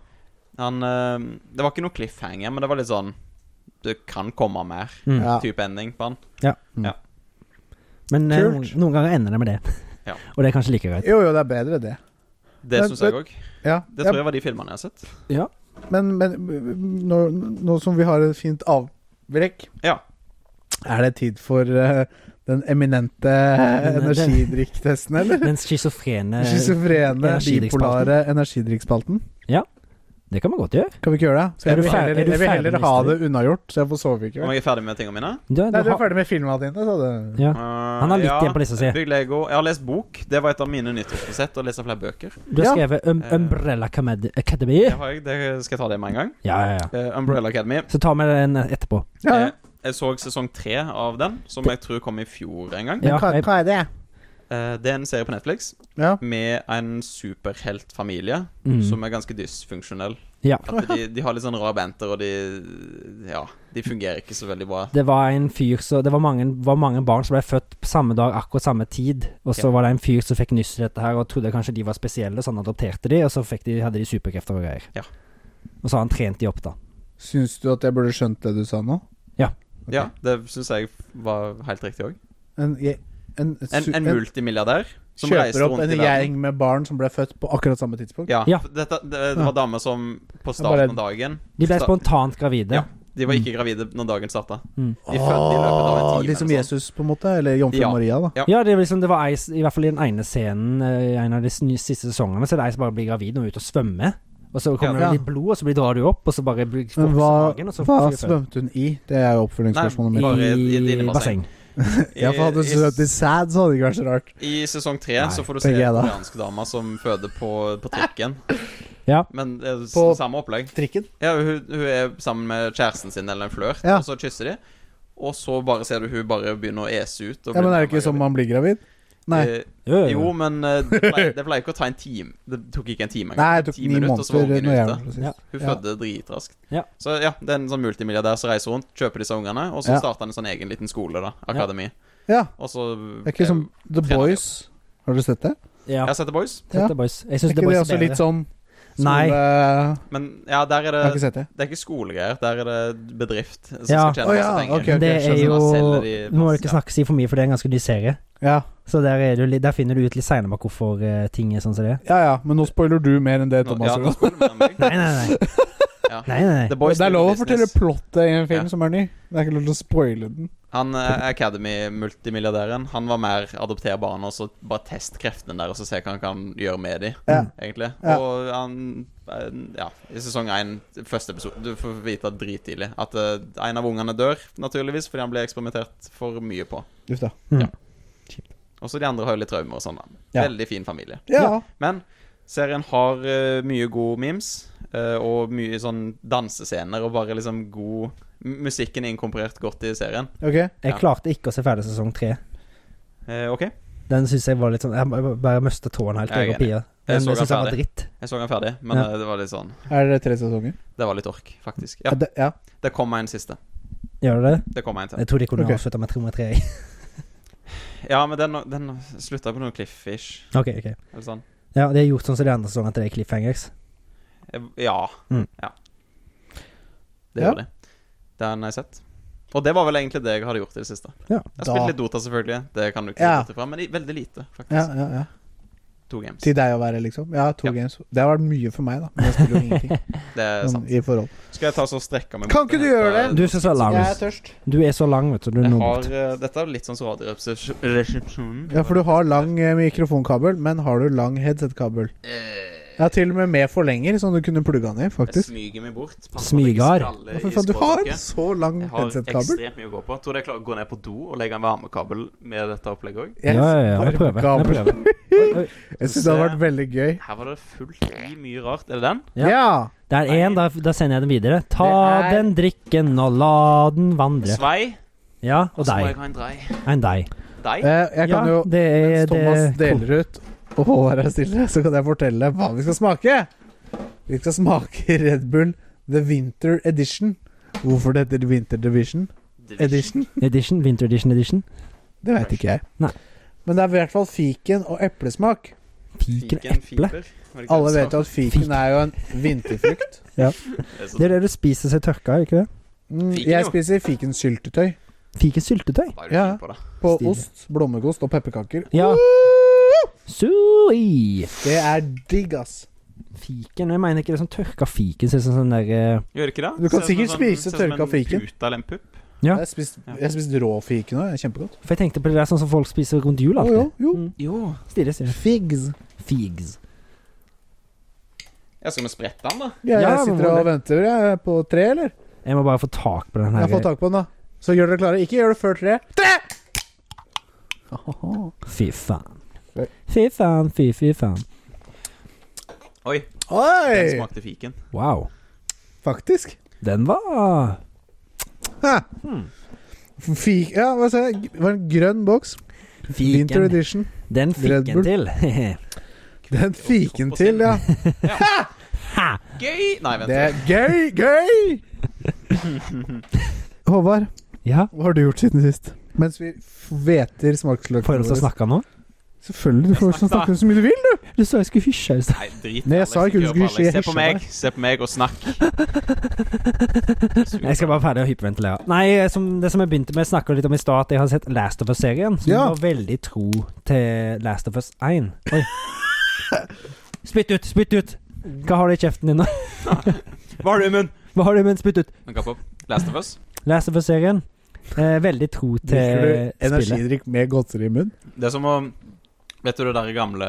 [SPEAKER 3] Han, eh, det var ikke noe cliffhanger, men det var litt sånn det kan komme mer
[SPEAKER 2] Mm.
[SPEAKER 1] Ja.
[SPEAKER 3] type ending på den.
[SPEAKER 2] Men eh,
[SPEAKER 1] Kult.
[SPEAKER 2] noen, noen ganger ender det med det.
[SPEAKER 3] Ja.
[SPEAKER 2] Og det er kanskje like greit.
[SPEAKER 1] Jo, jo, det er bedre, det.
[SPEAKER 3] Det
[SPEAKER 1] Men-
[SPEAKER 3] syns jeg òg.
[SPEAKER 1] Ja.
[SPEAKER 3] Det tror jeg var de filmene jeg har sett.
[SPEAKER 1] Men, men nå, nå som vi har et fint avbrekk,
[SPEAKER 3] Ja.
[SPEAKER 1] er det tid for eh, den eminente energidrikktesten, eller?
[SPEAKER 2] Den schizofrene
[SPEAKER 1] Schizofrene,
[SPEAKER 2] Eh, energidrikkspalten.
[SPEAKER 1] bipolare energidrikkspalten.
[SPEAKER 2] Det kan vi godt gjøre.
[SPEAKER 1] Kan vi ikke gjøre det?
[SPEAKER 2] Er
[SPEAKER 1] Jeg
[SPEAKER 2] du
[SPEAKER 1] vil
[SPEAKER 2] fer-
[SPEAKER 1] heller,
[SPEAKER 2] er du
[SPEAKER 1] jeg vil heller
[SPEAKER 2] ferdig med
[SPEAKER 1] ha det
[SPEAKER 2] historien?
[SPEAKER 1] unnagjort, så jeg får sove i
[SPEAKER 3] Om
[SPEAKER 1] kveld.
[SPEAKER 3] jeg er ferdig med tingene mine?
[SPEAKER 2] Du,
[SPEAKER 1] Nei,
[SPEAKER 2] du
[SPEAKER 1] du er
[SPEAKER 2] har,
[SPEAKER 1] ferdig med filma dine, sa du.
[SPEAKER 2] ja.
[SPEAKER 3] Eh,
[SPEAKER 2] Han har litt
[SPEAKER 3] ja,
[SPEAKER 2] igjen på lista si.
[SPEAKER 3] Bygg Lego. Jeg har lest bok. Det var et av mine nyttårsforsett, å lese flere bøker.
[SPEAKER 2] du har
[SPEAKER 1] Ja.
[SPEAKER 2] skrevet um,
[SPEAKER 3] Eh.
[SPEAKER 2] Umbrella Acad- Academy.
[SPEAKER 3] Det har jeg, det skal jeg ta det med en gang.
[SPEAKER 2] Ja, ja, ja.
[SPEAKER 3] Eh, Umbrella Academy.
[SPEAKER 2] Så tar vi den etterpå.
[SPEAKER 1] Ja, ja.
[SPEAKER 3] Eh, Jeg så sesong tre av den, som jeg tror kom i fjor en gang.
[SPEAKER 2] Ja, jeg-
[SPEAKER 1] er det?
[SPEAKER 3] Eh, Det er en serie på Netflix
[SPEAKER 1] Ja.
[SPEAKER 3] med en superheltfamilie
[SPEAKER 2] Mm.
[SPEAKER 3] som er ganske dysfunksjonell.
[SPEAKER 2] Ja.
[SPEAKER 3] At de, de har litt sånn rar banter, og de Ja, de fungerer ikke så veldig bra.
[SPEAKER 2] Det var en fyr så Det var mange, var mange barn som ble født på samme dag, akkurat samme tid. Og så
[SPEAKER 3] Ja.
[SPEAKER 2] var det en fyr som fikk nyss i dette her og trodde kanskje de var spesielle, så han adopterte de, og så fikk de, hadde de superkrefter og greier.
[SPEAKER 3] Ja.
[SPEAKER 2] Og så har han trent de opp, da.
[SPEAKER 1] Syns du at jeg burde skjønt det du sa nå?
[SPEAKER 3] Ja, det syns jeg var helt riktig òg.
[SPEAKER 1] En, jeg- en,
[SPEAKER 3] En,
[SPEAKER 1] su-
[SPEAKER 3] en multimilliardær som reiser
[SPEAKER 1] kjøper opp
[SPEAKER 3] rundt
[SPEAKER 1] en
[SPEAKER 3] i verden.
[SPEAKER 1] gjeng med barn som ble født på akkurat samme tidspunkt?
[SPEAKER 3] Ja,
[SPEAKER 2] Ja.
[SPEAKER 3] for Dette, det, det var damer som på
[SPEAKER 1] Bare-
[SPEAKER 3] starten av dagen
[SPEAKER 2] De ble
[SPEAKER 3] sta-
[SPEAKER 2] spontant gravide.
[SPEAKER 3] Ja. De var ikke gravide når dagen starta.
[SPEAKER 2] Mm.
[SPEAKER 3] De fødte i løpet av en
[SPEAKER 1] Åh,
[SPEAKER 3] time.
[SPEAKER 1] Liksom
[SPEAKER 3] eller sånn.
[SPEAKER 1] Jesus, på en måte? Eller Jomfru
[SPEAKER 3] Ja.
[SPEAKER 1] Maria, da.
[SPEAKER 2] Ja, det, er liksom, det var ei, s- i hvert fall i den ene scenen eh, i en av de s- nye siste sesongene, så er det ei som bare blir gravid og er ute og svømmer. Og så kommer
[SPEAKER 1] Ja.
[SPEAKER 2] det litt blod, og så blir, drar du opp, og så bare blir får
[SPEAKER 1] Men
[SPEAKER 2] du
[SPEAKER 1] hva,
[SPEAKER 2] magen, altså, og så
[SPEAKER 1] hva
[SPEAKER 2] får du føde.
[SPEAKER 1] svømte hun i? Det er jo oppfølgingsspørsmålet mitt.
[SPEAKER 3] Nei, Bare i- i et
[SPEAKER 2] I basseng.
[SPEAKER 3] innebasseng.
[SPEAKER 1] Ja, for hadde hun svømt i sæd, så hadde det ikke vært så rart.
[SPEAKER 3] I, I sesong tre
[SPEAKER 1] Nei,
[SPEAKER 3] så får du se
[SPEAKER 1] tenker jeg da.
[SPEAKER 3] koreanske damer som føder på, på trikken.
[SPEAKER 2] Ja.
[SPEAKER 3] Men det er s-
[SPEAKER 1] På-
[SPEAKER 3] samme opplegg.
[SPEAKER 1] Trikken?
[SPEAKER 3] Ja, hun, hun er sammen med kjæresten sin eller en flørt,
[SPEAKER 1] Ja.
[SPEAKER 3] og så kysser de. Og så bare ser du hun bare begynne å ese ut. Og
[SPEAKER 1] Ja, men
[SPEAKER 3] blir
[SPEAKER 1] er det ikke
[SPEAKER 3] gravid.
[SPEAKER 1] sånn man blir gravid? Nei.
[SPEAKER 3] Eh,
[SPEAKER 2] Jo, jo, jo.
[SPEAKER 3] jo, men eh, det pleier, det pleier ikke å ta en time. Det tok ikke en time
[SPEAKER 1] Nei, det tok
[SPEAKER 3] Ti
[SPEAKER 1] ni
[SPEAKER 3] minutter, så var
[SPEAKER 1] måneder.
[SPEAKER 3] ungen
[SPEAKER 1] Når jeg
[SPEAKER 3] ute.
[SPEAKER 1] var presis.
[SPEAKER 2] Ja.
[SPEAKER 3] Hun
[SPEAKER 1] Ja.
[SPEAKER 3] fødde dritraskt.
[SPEAKER 2] Ja.
[SPEAKER 3] Så ja, det er en sånn multimilliardær som reiser rundt, kjøper disse ungene, og så
[SPEAKER 1] Ja.
[SPEAKER 3] starter han en sånn egen liten skole, da. Akademi.
[SPEAKER 1] ja.
[SPEAKER 3] Og så
[SPEAKER 1] Det er ikke som The
[SPEAKER 3] Trener
[SPEAKER 1] Boys. Har dere sett det?
[SPEAKER 2] Ja.
[SPEAKER 3] Jeg har sett The Boys,
[SPEAKER 2] Sett
[SPEAKER 1] Ja.
[SPEAKER 2] The Boys. Jeg
[SPEAKER 1] Er
[SPEAKER 2] syns The
[SPEAKER 1] ikke det
[SPEAKER 2] Boys
[SPEAKER 1] også
[SPEAKER 2] er
[SPEAKER 1] litt
[SPEAKER 2] bedre.
[SPEAKER 1] sånn
[SPEAKER 2] Nei.
[SPEAKER 1] skole-
[SPEAKER 3] men ja, der er
[SPEAKER 1] Jeg har ikke
[SPEAKER 3] det
[SPEAKER 1] sett det.
[SPEAKER 3] Det er ikke skolegreier, der er det bedrift som
[SPEAKER 2] Ja.
[SPEAKER 3] skal tjene
[SPEAKER 1] Å,
[SPEAKER 3] masse
[SPEAKER 1] ja,
[SPEAKER 3] penger.
[SPEAKER 1] ok, ok,
[SPEAKER 2] Det er
[SPEAKER 1] skjønner.
[SPEAKER 2] jo
[SPEAKER 3] Sånn at selger de
[SPEAKER 2] Nå må du ikke
[SPEAKER 3] masse-
[SPEAKER 2] snakke si for mye, for det er en ganske ny serie.
[SPEAKER 1] Ja.
[SPEAKER 2] Så der, er du, litt- der finner du ut litt seinere bak hvorfor eh, ting er sånn som det er.
[SPEAKER 1] ja ja, men nå spoiler du mer enn det
[SPEAKER 3] Nå-
[SPEAKER 1] Thomas
[SPEAKER 3] ja, nå
[SPEAKER 1] gjorde.
[SPEAKER 3] spør du meg om meg.
[SPEAKER 2] Nei, nei, nei.
[SPEAKER 3] Ja.
[SPEAKER 2] nei, nei, nei.
[SPEAKER 3] The Boys
[SPEAKER 1] det er lov å fortelle
[SPEAKER 3] business.
[SPEAKER 1] plottet i en film
[SPEAKER 3] Ja.
[SPEAKER 1] som er ny. Det er ikke lov til å spoile den.
[SPEAKER 3] Han eh, Academy-multimilliardæren Han var mer adopter barn og så bare test kreftene der og så se hva han kan gjøre med de,
[SPEAKER 1] Ja.
[SPEAKER 3] egentlig.
[SPEAKER 1] Ja.
[SPEAKER 3] Og han eh, Ja, i sesong én, første episode, du får vite drittidlig at eh, en av ungene dør, naturligvis, fordi han ble eksperimentert for mye på.
[SPEAKER 1] Uff da.
[SPEAKER 3] Og så de andre har jo litt traumer og sånn. da.
[SPEAKER 1] Ja.
[SPEAKER 3] Veldig fin familie.
[SPEAKER 1] Ja.
[SPEAKER 3] Men serien har eh, mye gode memes eh, og mye sånn dansescener og bare liksom god m- Musikken er inkorporert godt i serien.
[SPEAKER 1] Ok.
[SPEAKER 2] Jeg klarte ikke å se ferdig sesong tre.
[SPEAKER 3] Eh, OK,
[SPEAKER 2] Den syns jeg var litt sånn Jeg bare- bare mista tåen helt.
[SPEAKER 3] Jeg
[SPEAKER 2] Jeg,
[SPEAKER 3] er
[SPEAKER 2] jeg,
[SPEAKER 3] Jeg
[SPEAKER 2] jeg
[SPEAKER 3] så den
[SPEAKER 2] syns jeg var
[SPEAKER 3] ferdig.
[SPEAKER 2] dritt.
[SPEAKER 3] jeg så den ferdig, men
[SPEAKER 2] Ja.
[SPEAKER 3] eh, det var litt sånn
[SPEAKER 1] Er det tre sesonger?
[SPEAKER 3] Det var litt ork, faktisk. Ja,
[SPEAKER 1] Er det, ja.
[SPEAKER 3] det kom en siste.
[SPEAKER 2] Gjør du det?
[SPEAKER 3] Det kom en til.
[SPEAKER 2] Jeg tror de kunne
[SPEAKER 1] Ok.
[SPEAKER 2] avslutta med 303.
[SPEAKER 3] Ja, men den, den slutta på noe cliff-ish,
[SPEAKER 2] ok, ok.
[SPEAKER 3] eller sånn.
[SPEAKER 2] Ja, de har gjort sånn som de andre sesongene, at det er cliffhangers.
[SPEAKER 3] Eh, Ja.
[SPEAKER 2] Mm.
[SPEAKER 3] Ja. Det
[SPEAKER 1] Ja.
[SPEAKER 3] gjør det. Den har jeg sett. Og det var vel egentlig det jeg hadde gjort i det siste.
[SPEAKER 2] Ja,
[SPEAKER 3] jeg har
[SPEAKER 1] da-
[SPEAKER 3] spilt litt Dota, selvfølgelig. Det kan du ikke
[SPEAKER 1] Ja.
[SPEAKER 3] se bort ifra, men i- veldig lite, faktisk.
[SPEAKER 1] Ja, ja, ja.
[SPEAKER 3] To games.
[SPEAKER 1] Til deg å være, liksom? Ja, to
[SPEAKER 3] Ja.
[SPEAKER 1] games. Det har vært mye for meg, da. Men jeg spiller jo ingenting.
[SPEAKER 3] Det er
[SPEAKER 1] sånn,
[SPEAKER 3] sant.
[SPEAKER 1] I forhold.
[SPEAKER 3] Skal jeg ta så strekke meg
[SPEAKER 1] Kan ikke du gjøre det?
[SPEAKER 2] Du er så lang.
[SPEAKER 1] Jeg er tørst.
[SPEAKER 2] Du er så lang, vet du. Du
[SPEAKER 3] Jeg
[SPEAKER 2] når
[SPEAKER 3] har,
[SPEAKER 2] bort.
[SPEAKER 3] eh, dette er litt sånn som radioresepsjonen.
[SPEAKER 1] Ja, for du har lang eh, mikrofonkabel, men har du lang headset-kabel? Ja, til og med med forlenger, som du kunne plugga den i,
[SPEAKER 3] Eh. Jeg
[SPEAKER 1] faktisk.
[SPEAKER 3] smyger meg bort.
[SPEAKER 2] Smygar.
[SPEAKER 1] Ja, for faen, du har så lang
[SPEAKER 3] Jeg har
[SPEAKER 1] headset-kabel.
[SPEAKER 3] ekstremt mye å gå på. Tror du jeg klarer å gå ned på do og legge en varmekabel med dette opplegget òg?
[SPEAKER 2] Ja,
[SPEAKER 1] Jeg-
[SPEAKER 2] ja, ja. Jeg prøver. Jeg
[SPEAKER 1] varmekabel.
[SPEAKER 2] prøver. Oi, oi.
[SPEAKER 1] Jeg syns det har vært veldig gøy.
[SPEAKER 3] Her var det fullt i mye rart. Er det den?
[SPEAKER 2] Ja.
[SPEAKER 1] Ja!
[SPEAKER 2] Det er én, da, da sender jeg den videre. Ta
[SPEAKER 1] Det er-
[SPEAKER 2] den drikken og la den vandre.
[SPEAKER 3] Svei.
[SPEAKER 2] Ja,
[SPEAKER 3] Og
[SPEAKER 2] og
[SPEAKER 3] så
[SPEAKER 2] deg.
[SPEAKER 3] må jeg ha en drei.
[SPEAKER 2] En deg.
[SPEAKER 3] Dei?
[SPEAKER 1] Eh, Jeg kan
[SPEAKER 2] ja,
[SPEAKER 1] jo
[SPEAKER 2] det er
[SPEAKER 1] Mens Thomas
[SPEAKER 2] det-
[SPEAKER 1] deler ut og Håvard er stille, så kan jeg fortelle hva vi skal smake. Vi skal smake Red Bull The Winter Edition. Hvorfor det heter Winter Division Edition?
[SPEAKER 2] Edition, Winter Edition Edition.
[SPEAKER 1] Det veit ikke jeg.
[SPEAKER 2] Nei.
[SPEAKER 1] Men det er i hvert fall fiken og eplesmak.
[SPEAKER 2] Fiken eple.
[SPEAKER 1] Alle vet jo at fiken er jo en vinterfrukt.
[SPEAKER 2] Det er det du spiser seg tørka, er det ikke det?
[SPEAKER 1] Mm,
[SPEAKER 3] Fiken,
[SPEAKER 1] jeg
[SPEAKER 3] jo.
[SPEAKER 1] spiser fikensyltetøy
[SPEAKER 2] Fikk et syltetøy.
[SPEAKER 3] Bare
[SPEAKER 1] Ja.
[SPEAKER 3] fyll på det.
[SPEAKER 1] på
[SPEAKER 2] Stilig.
[SPEAKER 1] ost, blommegost og pepperkaker.
[SPEAKER 2] Ja. Sui!
[SPEAKER 1] Det er digg, ass.
[SPEAKER 2] Fiken Jeg mener ikke det som tørka fiken. Ser ut som sånn der eh,
[SPEAKER 3] Gjør det ikke det?
[SPEAKER 1] Du kan
[SPEAKER 3] Ser ut som
[SPEAKER 1] sikkert
[SPEAKER 3] en- sånn-
[SPEAKER 1] spise
[SPEAKER 3] ser ut som
[SPEAKER 1] tørka
[SPEAKER 3] en
[SPEAKER 1] fiken.
[SPEAKER 3] pute eller en pupp.
[SPEAKER 2] Ja.
[SPEAKER 1] Jeg har spist, jeg har spist rå fiken òg. Kjempegodt.
[SPEAKER 2] For jeg tenkte på det der sånn som folk spiser rundt jul
[SPEAKER 1] Å,
[SPEAKER 2] alltid.
[SPEAKER 1] jo, jo.
[SPEAKER 2] Mm.
[SPEAKER 3] Jo.
[SPEAKER 2] Stilig, stilig.
[SPEAKER 1] Figs.
[SPEAKER 2] Figs.
[SPEAKER 3] Ja, skal vi sprette den, da?
[SPEAKER 1] Ja,
[SPEAKER 2] Ja,
[SPEAKER 1] jeg
[SPEAKER 2] men
[SPEAKER 1] sitter
[SPEAKER 2] hvor-
[SPEAKER 1] og venter jeg, på tre, eller?
[SPEAKER 2] Jeg må bare få tak på
[SPEAKER 1] Jeg
[SPEAKER 2] den her.
[SPEAKER 1] har fått tak på den, da. Så gjør dere klare. Ikke gjør det før tre.
[SPEAKER 2] Fy faen.
[SPEAKER 1] Oi.
[SPEAKER 2] Fy faen, fy fy faen.
[SPEAKER 3] Oi, den
[SPEAKER 1] Oi!
[SPEAKER 3] smakte fiken.
[SPEAKER 2] Wow.
[SPEAKER 1] Faktisk.
[SPEAKER 2] Den var
[SPEAKER 1] Hæ.
[SPEAKER 2] Hmm.
[SPEAKER 1] Fik, ja, hva sa jeg? Det var en grønn boks. Winter
[SPEAKER 2] Fiken.
[SPEAKER 1] edition.
[SPEAKER 2] Den
[SPEAKER 1] Red
[SPEAKER 2] fikk en
[SPEAKER 1] Bull.
[SPEAKER 2] til.
[SPEAKER 1] Den fiken til, ja.
[SPEAKER 3] Gøy! Nei, vent.
[SPEAKER 1] Det er gøy, gøy! Håvard,
[SPEAKER 2] ja.
[SPEAKER 1] hva har du gjort siden sist? Mens vi hveter smaksløkene
[SPEAKER 2] Får jeg lov til å snakke nå?
[SPEAKER 1] Selvfølgelig. Du får lov til å snakke så mye du vil.
[SPEAKER 2] Du sa jeg skulle hysje. i sted.
[SPEAKER 3] Nei, drit i
[SPEAKER 1] Nei, jeg
[SPEAKER 3] Alex,
[SPEAKER 1] sa ikke du
[SPEAKER 3] hør på
[SPEAKER 1] skulle
[SPEAKER 3] Alex.
[SPEAKER 1] skje-
[SPEAKER 3] Se på
[SPEAKER 1] hysje
[SPEAKER 3] meg, se på meg og snakk.
[SPEAKER 2] Jeg skal bare ferdig å hyperventilere. Nei, eh, som, det som jeg begynte med, snakka litt om i stad, at jeg har sett Last of Us-serien. Som
[SPEAKER 1] Ja.
[SPEAKER 2] var veldig tro til Last of Us 1. Oi. Spytt ut! Spytt ut! Hva har du i kjeften din nå?
[SPEAKER 3] Hva har du i munnen?
[SPEAKER 2] Hva har du i munnen? Spytt ut!
[SPEAKER 3] Men kapp opp. Last of Us.
[SPEAKER 2] Last of Us-serien. Eh, veldig tro
[SPEAKER 1] Drikker
[SPEAKER 2] til
[SPEAKER 1] du
[SPEAKER 2] spillet.
[SPEAKER 1] energidrikk med godteri i munnen?
[SPEAKER 3] Det er som å Vet du det der gamle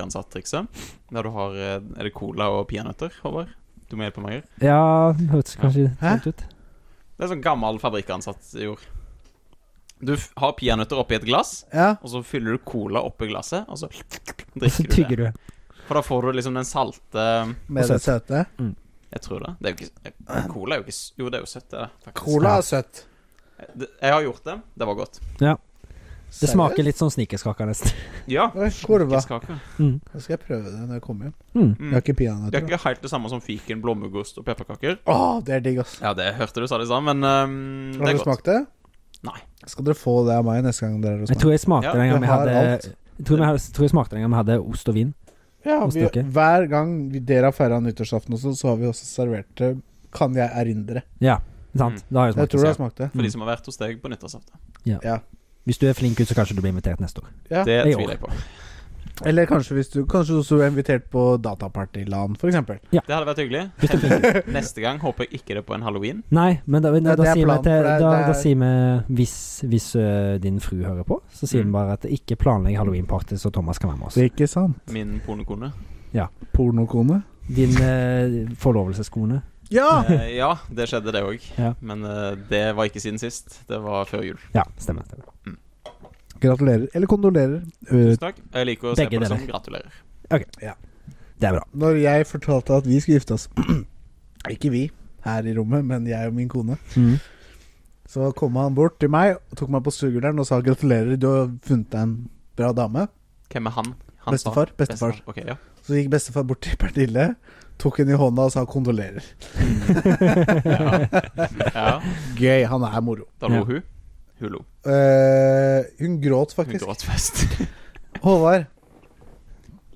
[SPEAKER 3] fabrikkansatt-trikset? Der du har eh, Er det cola og peanøtter, Håvard? Du må hjelpe meg her.
[SPEAKER 2] Ja, det hørtes kanskje
[SPEAKER 1] Hæ?
[SPEAKER 2] sånn ut.
[SPEAKER 3] Det er sånn gammel fabrikkansatt gjorde. Du f har peanøtter oppi et glass,
[SPEAKER 1] Ja.
[SPEAKER 3] og så fyller du cola oppi glasset, og så
[SPEAKER 2] Og så
[SPEAKER 3] drikker du det.
[SPEAKER 2] tygger du.
[SPEAKER 3] For da får du liksom den salte
[SPEAKER 1] Med det søte.
[SPEAKER 3] Jeg tror det. det er jo ikke, cola er jo ikke s- Jo, det er jo søtt, det. er det, faktisk.
[SPEAKER 1] Cola er søtt.
[SPEAKER 3] Det- Jeg har gjort det. Det var godt.
[SPEAKER 2] Det smaker litt sånn snikerskake, nesten.
[SPEAKER 3] Ja.
[SPEAKER 1] Oi, korva.
[SPEAKER 3] Fiskekaker.
[SPEAKER 2] Mm.
[SPEAKER 1] Da skal jeg prøve det når jeg kommer hjem. Jeg
[SPEAKER 2] Mm.
[SPEAKER 3] Mm.
[SPEAKER 1] har ikke
[SPEAKER 3] Det er
[SPEAKER 1] peanøtter. da.
[SPEAKER 3] ikke helt det samme som fiken, blommegost og pepperkaker.
[SPEAKER 1] Å, det er digg, ass.
[SPEAKER 3] Ja, det hørte du sa det samme, men ehm, det
[SPEAKER 1] Har
[SPEAKER 3] er
[SPEAKER 1] dere
[SPEAKER 3] godt.
[SPEAKER 1] smakt det?
[SPEAKER 3] Nei.
[SPEAKER 1] Skal dere få det av meg neste gang dere er og
[SPEAKER 2] Jeg
[SPEAKER 1] smaker?
[SPEAKER 2] tror jeg smakte
[SPEAKER 3] Ja,
[SPEAKER 2] den
[SPEAKER 1] jeg
[SPEAKER 2] gangen vi
[SPEAKER 1] har
[SPEAKER 2] hadde
[SPEAKER 1] alt.
[SPEAKER 2] jeg tror, vi hadde, tror jeg smakte den gangen vi hadde ost og vin.
[SPEAKER 1] Ja,
[SPEAKER 2] Hos
[SPEAKER 1] vi,
[SPEAKER 2] dere?
[SPEAKER 1] hver gang vi, dere har feira nyttårsaften også, så har vi også servert det, kan jeg erindre.
[SPEAKER 2] Ja, sant? Da har jeg
[SPEAKER 1] Mm. Jeg tror
[SPEAKER 2] smakt
[SPEAKER 1] du
[SPEAKER 2] det.
[SPEAKER 1] har smakt det.
[SPEAKER 3] For de som har vært hos deg på nyttårsaften.
[SPEAKER 2] Hvis du er flink gutt, så kanskje du blir invitert neste år.
[SPEAKER 1] Ja.
[SPEAKER 3] Det
[SPEAKER 2] jeg
[SPEAKER 3] tviler jeg på.
[SPEAKER 1] Eller kanskje hvis du Kanskje du også er invitert på dataparty-LAN, for eksempel.
[SPEAKER 3] Det hadde vært hyggelig. Neste gang håper jeg ikke det er på en halloween.
[SPEAKER 2] Nei, men da, da,
[SPEAKER 1] Ja, det er
[SPEAKER 2] sier vi
[SPEAKER 1] planen,
[SPEAKER 2] at det,
[SPEAKER 1] for det er-
[SPEAKER 2] da,
[SPEAKER 1] det er-
[SPEAKER 2] da sier vi hvis, hvis ø, din fru hører på, så sier vi
[SPEAKER 3] Mm.
[SPEAKER 2] bare at ikke planlegg halloweenparty så Thomas kan være med oss.
[SPEAKER 1] Det er ikke sant.
[SPEAKER 3] Min pornokone.
[SPEAKER 1] Pornokone.
[SPEAKER 2] Din ø, forlovelseskone.
[SPEAKER 1] Ja!
[SPEAKER 3] Eh, ja, det skjedde, det òg.
[SPEAKER 2] Ja.
[SPEAKER 3] Men eh, det var ikke siden sist. Det var før jul.
[SPEAKER 2] Ja, stemmer. stemmer.
[SPEAKER 1] Gratulerer. Eller kondolerer. Uh,
[SPEAKER 3] Tusen takk. Jeg liker å se
[SPEAKER 2] Begge
[SPEAKER 3] på det som
[SPEAKER 2] deler.
[SPEAKER 3] gratulerer.
[SPEAKER 2] Det er bra.
[SPEAKER 1] Når jeg fortalte at vi skulle gifte oss Ikke vi her i rommet, men jeg og min kone.
[SPEAKER 2] Mm.
[SPEAKER 1] Så kom han bort til meg og tok meg på sugerdelen og sa gratulerer, du har funnet deg en bra dame.
[SPEAKER 3] Hvem er han? han sa-
[SPEAKER 1] Bestefar. Bestefar.
[SPEAKER 3] Ok, ja.
[SPEAKER 1] Så gikk bestefar bort til Pernille, tok henne i hånda og sa kondolerer.
[SPEAKER 3] ja. ja.
[SPEAKER 1] Mm. Gøy. Han er moro.
[SPEAKER 3] Da lo
[SPEAKER 2] Ja.
[SPEAKER 3] hun. Hun lo.
[SPEAKER 1] Eh, hun gråt
[SPEAKER 3] Hun
[SPEAKER 1] faktisk.
[SPEAKER 3] gråt først.
[SPEAKER 1] Håvard.